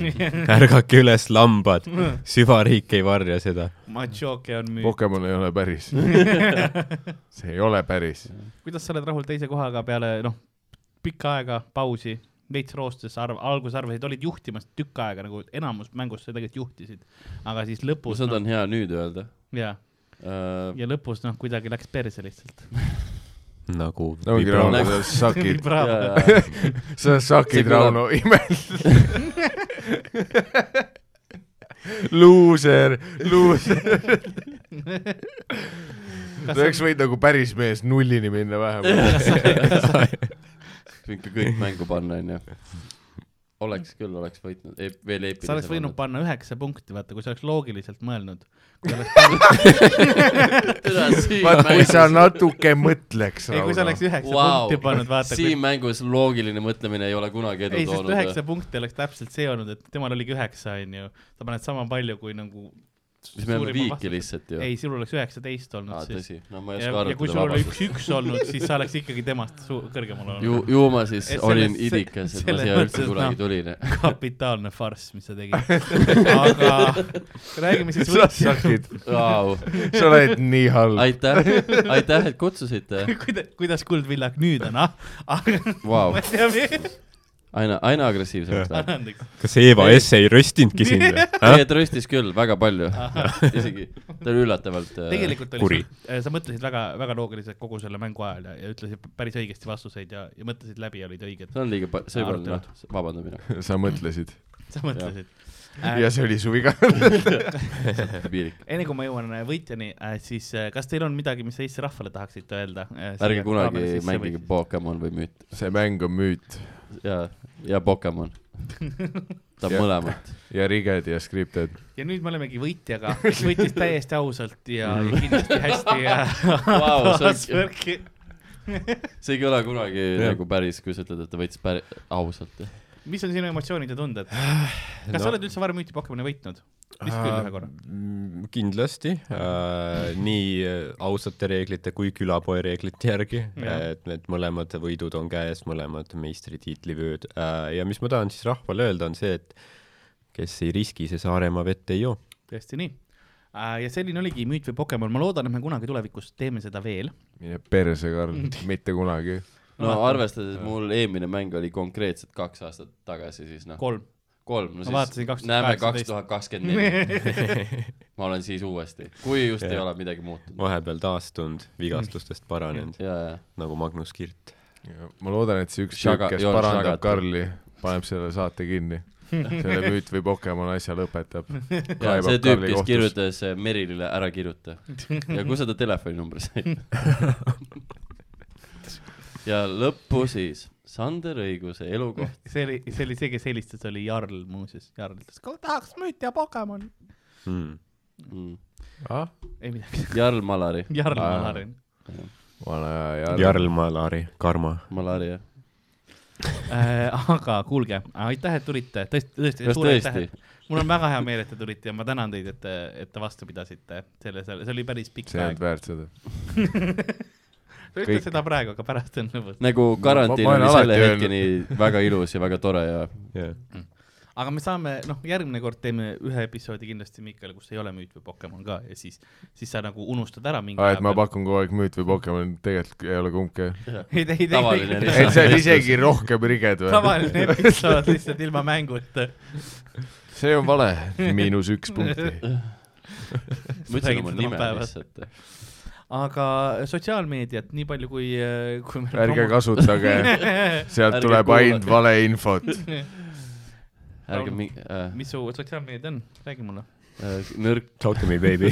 [SPEAKER 5] ärgake üles , lambad , süvariik ei varja seda .
[SPEAKER 3] Machoke on müüt .
[SPEAKER 2] Pokemon ei ole
[SPEAKER 3] [LAUGHS]
[SPEAKER 2] päris . see ei ole päris .
[SPEAKER 3] kuidas sa oled rahul teise kohaga peale , noh , pikka aega pausi , veits roostes arv , alguses arvasid , olid juhtimas tükk aega nagu enamus mängust sa tegelikult juhtisid , aga siis lõpus
[SPEAKER 4] seda
[SPEAKER 3] noh,
[SPEAKER 4] on hea nüüd öelda . Äh,
[SPEAKER 3] ja , ja lõpus noh , kuidagi läks perse lihtsalt .
[SPEAKER 5] nagu
[SPEAKER 2] no ongi
[SPEAKER 5] vibra-
[SPEAKER 2] Rauno , sa
[SPEAKER 3] [LAUGHS]
[SPEAKER 2] sakid ,
[SPEAKER 4] jaa ,
[SPEAKER 2] sa
[SPEAKER 4] See
[SPEAKER 2] sakid
[SPEAKER 4] kõlab-
[SPEAKER 2] Rauno imelt . Luuser , luuser , sa oleks
[SPEAKER 3] [LAUGHS] kas
[SPEAKER 2] võinud nagu päris mees nullini minna
[SPEAKER 3] [LAUGHS]
[SPEAKER 2] vähemalt .
[SPEAKER 4] ikka kõik mängu panna , onju . oleks küll , oleks võitnud , veel eepilisem .
[SPEAKER 3] sa oleks võinud panna üheksa punkti , vaata , kui sa oleks loogiliselt [LAUGHS] mõelnud . kui oleks pannud-
[SPEAKER 2] vaat kui sa
[SPEAKER 4] panna .
[SPEAKER 2] natuke mõtleks ,
[SPEAKER 3] ei , kui sa oleks
[SPEAKER 2] Rauno .
[SPEAKER 3] üheksa
[SPEAKER 4] Vau.
[SPEAKER 3] punkti pannud , vaata , kui
[SPEAKER 4] siin mängus loogiline mõtlemine ei ole kunagi edu
[SPEAKER 3] ei , sest
[SPEAKER 4] toonud .
[SPEAKER 3] üheksa punkti oleks täpselt see olnud , et temal oligi üheksa , onju . sa paned sama palju kui nagu .
[SPEAKER 4] siis me oleme viiki lihtsalt ju .
[SPEAKER 3] ei , sinul oleks üheksateist olnud
[SPEAKER 4] aa ,
[SPEAKER 3] siis .
[SPEAKER 4] tõsi , no ma ei
[SPEAKER 3] ja,
[SPEAKER 4] oska
[SPEAKER 3] ja kui
[SPEAKER 4] arvutada
[SPEAKER 3] sul oli
[SPEAKER 4] vabandust
[SPEAKER 3] üks . üks olnud , siis sa oleks ikkagi temast su- kõrgemal olnud .
[SPEAKER 4] ju , ju ma siis
[SPEAKER 3] Et selles-
[SPEAKER 4] olin
[SPEAKER 3] se-
[SPEAKER 4] idikas , et ma
[SPEAKER 3] selles
[SPEAKER 4] siia üldse
[SPEAKER 3] mõttes,
[SPEAKER 4] kunagi
[SPEAKER 3] noh.
[SPEAKER 4] tulin .
[SPEAKER 3] [LAUGHS] kapitaalne farss , mis sa
[SPEAKER 4] [LAUGHS]
[SPEAKER 3] tegid . aga räägime siis
[SPEAKER 2] sa sakid ,
[SPEAKER 4] Vau ,
[SPEAKER 2] sa oled nii halb .
[SPEAKER 4] aitäh , aitäh , et kutsusite .
[SPEAKER 3] [LAUGHS] kuidas , kuidas Kuldvillak nüüd on , ah ,
[SPEAKER 4] Vau
[SPEAKER 3] [LAUGHS] ma , ei tea , mis ,
[SPEAKER 4] aina , aina agressiivsemaks läheb .
[SPEAKER 3] andeks .
[SPEAKER 5] kas Eeva S ei röstinudki sind või
[SPEAKER 4] ei ,? ta röstis küll väga palju , isegi , ta oli üllatavalt . äh,
[SPEAKER 3] tegelikult oli äh,
[SPEAKER 5] Kuri. ,
[SPEAKER 3] sa mõtlesid väga , väga loogiliselt kogu selle mängu ajal ja , ja ütlesid päris õigesti vastuseid ja , ja mõtlesid läbi ja olid õiged . [LAUGHS]
[SPEAKER 4] see on liiga pa- , see ei olnud ,
[SPEAKER 3] Arutelu.
[SPEAKER 4] noh , vabandan mina ,
[SPEAKER 2] sa mõtlesid
[SPEAKER 3] sa mõtlesid .
[SPEAKER 4] Äh.
[SPEAKER 2] ja see oli su viga . [LAUGHS]
[SPEAKER 4] piirik .
[SPEAKER 3] enne kui ma jõuan äh, võitjani , siis äh, kas teil on midagi , mis Eesti rahvale tahaksite öelda ? äh,
[SPEAKER 4] ärge kunagi mängige . Pokemon või müüt
[SPEAKER 2] see mäng on müüt
[SPEAKER 4] ja , ja Pokemon . ta
[SPEAKER 2] Ja.
[SPEAKER 4] mõlemat .
[SPEAKER 2] ja riged ja skripted .
[SPEAKER 3] ja nüüd me olemegi võitjaga , kes võitis täiesti ausalt ja, ja kindlasti hästi äh, ja
[SPEAKER 4] Vau, see on-
[SPEAKER 3] taasvärki .
[SPEAKER 4] see ei kõla kunagi
[SPEAKER 5] Jah.
[SPEAKER 4] nagu päris , kui sa ütled , et ta võitis päris ausalt .
[SPEAKER 3] mis on sinu emotsioonid ja tunded ? kas no. sa oled üldse varem ühte Pokemoni võitnud ? vist küll ühe korra .
[SPEAKER 5] Mm, kindlasti äh, , nii äh, ausate reeglite kui külapoe reeglite järgi ,
[SPEAKER 3] Jah.
[SPEAKER 5] et need mõlemad võidud on käes , mõlemad meistritiitlivööd äh, ja mis ma tahan siis rahvale öelda , on see , et kes ei riski , see Saaremaa vett ei joo .
[SPEAKER 3] tõesti nii . ja selline oligi Müüt või Pokemon , ma loodan , et me kunagi tulevikus teeme seda veel .
[SPEAKER 2] mine perse ,
[SPEAKER 4] [LAUGHS]
[SPEAKER 2] Karl , mitte kunagi .
[SPEAKER 4] no arvestades , mul eelmine mäng oli konkreetselt kaks aastat tagasi , siis noh ,
[SPEAKER 3] kolm .
[SPEAKER 4] kolm , no
[SPEAKER 3] Ma vaatasin
[SPEAKER 4] siis
[SPEAKER 3] 2018.
[SPEAKER 4] näeme kaks tuhat kakskümmend neli . ma olen siis uuesti , kui just ei ole midagi muutunud .
[SPEAKER 5] vahepeal taastunud , vigastustest paranenud ,
[SPEAKER 4] ja , ja ,
[SPEAKER 5] nagu Magnus Kirt .
[SPEAKER 2] ma loodan , et see üks tüüp
[SPEAKER 4] Shaga- ,
[SPEAKER 2] kes
[SPEAKER 4] ei ole
[SPEAKER 2] parandab
[SPEAKER 4] Shagat.
[SPEAKER 2] Karli , paneb selle saate kinni .
[SPEAKER 4] [LAUGHS]
[SPEAKER 2] selle müüt või Pokemon asja lõpetab .
[SPEAKER 4] ja see tüüp , kes . kirjutas äh, Merilile , ära kirjuta . ja kus sa ta telefoninumbri
[SPEAKER 2] [LAUGHS]
[SPEAKER 4] said ? ja lõppu siis , Sander Õiguse
[SPEAKER 2] [LAUGHS]
[SPEAKER 4] elukoht .
[SPEAKER 3] see oli , see oli see , kes helistas , oli Jarl muuseas . Jarl ütles , tahaks Müüt ja Pokemon .
[SPEAKER 5] Mm.
[SPEAKER 4] mm. .
[SPEAKER 2] ah ,
[SPEAKER 3] ei midagi . [LAUGHS]
[SPEAKER 4] Jarl Malari ,
[SPEAKER 3] Jarl
[SPEAKER 2] Aa.
[SPEAKER 3] Malarin .
[SPEAKER 2] vana hea Jarl .
[SPEAKER 5] Jarl Malari , Karmo .
[SPEAKER 4] Malari jah .
[SPEAKER 3] Äh, aga kuulge , aitäh , et tulite , tõesti , tõesti ,
[SPEAKER 4] kas
[SPEAKER 3] suur aitäh
[SPEAKER 4] tõesti ?,
[SPEAKER 3] mul on väga hea meel , et te tulite ja ma tänan teid , et , et te vastu pidasite selle , selle , see oli päris pikk
[SPEAKER 2] see ei
[SPEAKER 3] aeg
[SPEAKER 2] olnud . väärt seda .
[SPEAKER 3] sa ütled
[SPEAKER 2] kõik-
[SPEAKER 3] seda praegu , aga pärast on lõbus .
[SPEAKER 4] nagu karantiin
[SPEAKER 2] ma olen
[SPEAKER 4] oli selle
[SPEAKER 2] alati
[SPEAKER 4] hetkeni väga ilus ja väga tore
[SPEAKER 2] [LAUGHS]
[SPEAKER 4] ja
[SPEAKER 3] aga me saame , noh , järgmine kord teeme ühe episoodi kindlasti Mikkel , kus ei ole müüt või Pokemon ka ja siis , siis sa nagu unustad ära mingi
[SPEAKER 2] aa , Ah, et ma . pakun kogu aeg müüt või Pokemon , tegelikult ei ole kumbki .
[SPEAKER 4] [LAUGHS]
[SPEAKER 3] [LAUGHS] ei , ei , [LAUGHS]
[SPEAKER 4] Tavaline
[SPEAKER 3] ei ,
[SPEAKER 2] et
[SPEAKER 3] ei ,
[SPEAKER 2] see on isegi rohkem riged või ?
[SPEAKER 3] tavaline episood lihtsalt ilma mänguta .
[SPEAKER 2] see on vale , miinus üks punkti .
[SPEAKER 4] [LAUGHS] ma ütlesin oma nime . lihtsalt . eh.
[SPEAKER 3] aga sotsiaalmeediat nii palju kui , kui meil
[SPEAKER 2] ärge
[SPEAKER 4] [LAUGHS]
[SPEAKER 2] kasutage , sealt
[SPEAKER 4] Ärge
[SPEAKER 2] tuleb
[SPEAKER 4] kuulake.
[SPEAKER 2] ainult valeinfot .
[SPEAKER 4] ärge mingi äh, ,
[SPEAKER 3] mis su sotsiaalmeedia on , räägi mulle .
[SPEAKER 4] äh, nõrk ,
[SPEAKER 5] Talk to me
[SPEAKER 3] [LAUGHS]
[SPEAKER 5] baby ,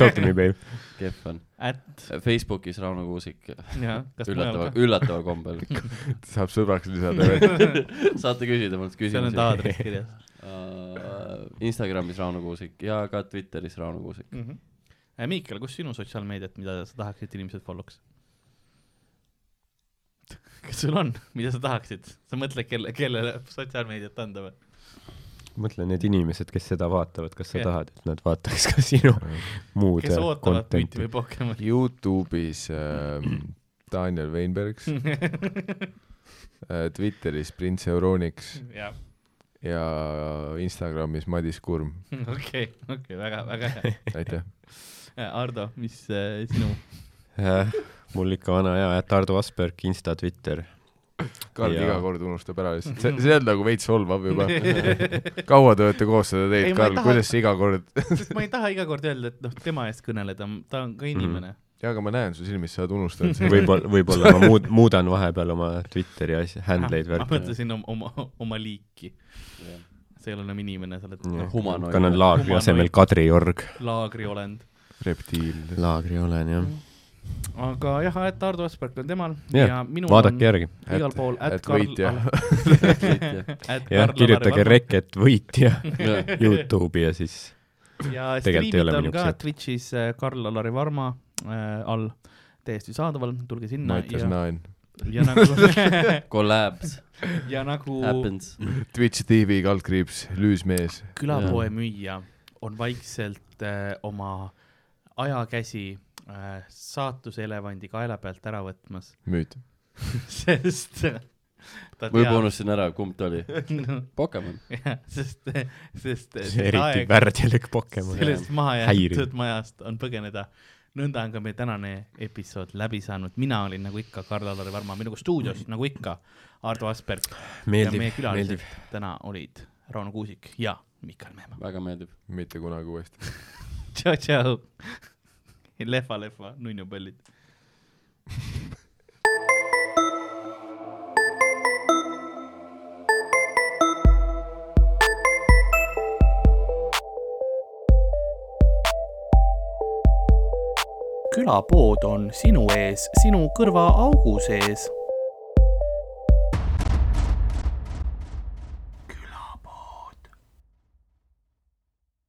[SPEAKER 5] talk to me baby .
[SPEAKER 4] kehv on .
[SPEAKER 3] At ,
[SPEAKER 4] Facebookis Rauno Kuusik
[SPEAKER 3] jah , kas mujal
[SPEAKER 4] üllatava ,
[SPEAKER 3] ka ?
[SPEAKER 4] üllatava
[SPEAKER 3] [LAUGHS]
[SPEAKER 4] kombel .
[SPEAKER 2] saab sõbraks lisada veel .
[SPEAKER 4] saate küsida mult
[SPEAKER 3] seal
[SPEAKER 4] küsimusi
[SPEAKER 3] on
[SPEAKER 4] Äh,
[SPEAKER 3] ta . aadress kirjas
[SPEAKER 4] Instagramis Rauno Kuusik ja ka Twitteris Rauno Kuusik .
[SPEAKER 3] mm . -hmm. Miikel , kus sinu sotsiaalmeediat , mida sa tahaksid , et inimesed follow'ks ? [LAUGHS] kas sul on , mida sa tahaksid , sa mõtled , kelle , kellele sotsiaalmeediat anda või ?
[SPEAKER 5] mõtle , need inimesed , kes seda vaatavad , kas sa
[SPEAKER 3] Jah.
[SPEAKER 5] tahad , et nad vaataks ka sinu muud
[SPEAKER 3] kes ootavad müüti
[SPEAKER 5] content'i
[SPEAKER 3] või ? Pokemoni ? [LAUGHS]
[SPEAKER 2] Youtube'is ähm, Daniel Weinbergs
[SPEAKER 3] Hmm.
[SPEAKER 2] äh, , Twitteris Prince Euronix
[SPEAKER 3] jah ,
[SPEAKER 2] ja Instagramis Madis Kurm ,
[SPEAKER 3] [LAUGHS] okei , okei , väga , väga hea .
[SPEAKER 2] aitäh .
[SPEAKER 3] Ardo , mis äh, sinu
[SPEAKER 5] mul ikka vana hea , et Ardo Asperg , Insta , Twitter .
[SPEAKER 2] Karl
[SPEAKER 5] Jaa.
[SPEAKER 2] iga kord unustab ära lihtsalt , see , see on nagu veits solvav
[SPEAKER 3] [LAUGHS]
[SPEAKER 2] juba . kaua te olete koos seda
[SPEAKER 3] Ei,
[SPEAKER 2] teinud ,
[SPEAKER 3] ma ei
[SPEAKER 2] Karl ,
[SPEAKER 3] taha-
[SPEAKER 2] kuidas sa iga kord ,
[SPEAKER 3] sest ma ei taha iga kord öelda , et noh , tema eest kõneleda , ta on ka
[SPEAKER 5] Mhm.
[SPEAKER 3] inimene mm. .
[SPEAKER 2] jaa , aga ma näen su silmis , sa oled unustanud seda .
[SPEAKER 5] võib-olla , võib-olla ma muud , muudan vahepeal oma Twitteri asja , handleid
[SPEAKER 3] Ah, ma
[SPEAKER 5] värki .
[SPEAKER 3] mõtlesin oma, oma , oma liiki . sa ei ole enam inimene , sa oled noh,
[SPEAKER 4] humanoid.
[SPEAKER 5] kannan laagri
[SPEAKER 3] Humanoid.
[SPEAKER 5] asemel Kadriorg .
[SPEAKER 3] laagriolend .
[SPEAKER 2] reptiil .
[SPEAKER 5] laagri olen jah .
[SPEAKER 3] aga jah , et Ardo Asperg on temal
[SPEAKER 5] Jah,
[SPEAKER 3] ja minul
[SPEAKER 5] vaadake
[SPEAKER 3] on
[SPEAKER 5] järgi .
[SPEAKER 3] igal pool
[SPEAKER 2] et
[SPEAKER 3] [LAUGHS] at Karl
[SPEAKER 2] võitja.
[SPEAKER 3] at
[SPEAKER 5] jah ,
[SPEAKER 3] Karl
[SPEAKER 5] kirjutage
[SPEAKER 3] Lavari
[SPEAKER 5] Reket
[SPEAKER 3] [LAUGHS]
[SPEAKER 5] võitja Youtube'i ja siis
[SPEAKER 3] Varma. ja
[SPEAKER 5] Tegelikult ei
[SPEAKER 3] striimid
[SPEAKER 5] ole
[SPEAKER 3] on
[SPEAKER 5] minu
[SPEAKER 3] ka
[SPEAKER 5] jaoks, jah.
[SPEAKER 3] Twitch'is äh, Karl-Alari Varma äh, all täiesti saadaval , tulge sinna
[SPEAKER 2] Mattias
[SPEAKER 3] ja ,
[SPEAKER 2] Naen ,
[SPEAKER 3] ja nagu
[SPEAKER 4] [LAUGHS]
[SPEAKER 5] [LAUGHS]
[SPEAKER 4] Collabs
[SPEAKER 3] ja nagu
[SPEAKER 4] happens .
[SPEAKER 2] Twitch tv kaldkriips , lüüsmees .
[SPEAKER 3] külapoe müüja on vaikselt äh, oma ajakäsi äh, saatuse elevandi kaela pealt ära võtmas , [LAUGHS]
[SPEAKER 2] müüt .
[SPEAKER 3] sest ta
[SPEAKER 4] võib-olla unustasin ära , kumb ta oli . Pokemon .
[SPEAKER 3] jah , [LAUGHS] sest , sest see
[SPEAKER 5] eriti
[SPEAKER 3] aeg
[SPEAKER 5] värdjalik Pokemon .
[SPEAKER 3] sellest maha
[SPEAKER 5] häiriv.
[SPEAKER 3] jäetud majast on põgeneda . nõnda on ka meie tänane episood läbi saanud , mina olin nagu ikka Karl-Alari Varma , minuga stuudios nagu ikka Ardo Asperg ja meie
[SPEAKER 5] meeldib ,
[SPEAKER 3] külalised
[SPEAKER 5] meeldib .
[SPEAKER 3] täna olid Rauno Kuusik ja Mikal Meemaa .
[SPEAKER 4] väga meeldib .
[SPEAKER 2] mitte kunagi uuesti .
[SPEAKER 3] tšau , tšau . [LAUGHS] lehva , lehva , nunnupallid .
[SPEAKER 1] külapood on sinu ees , sinu kõrva augu sees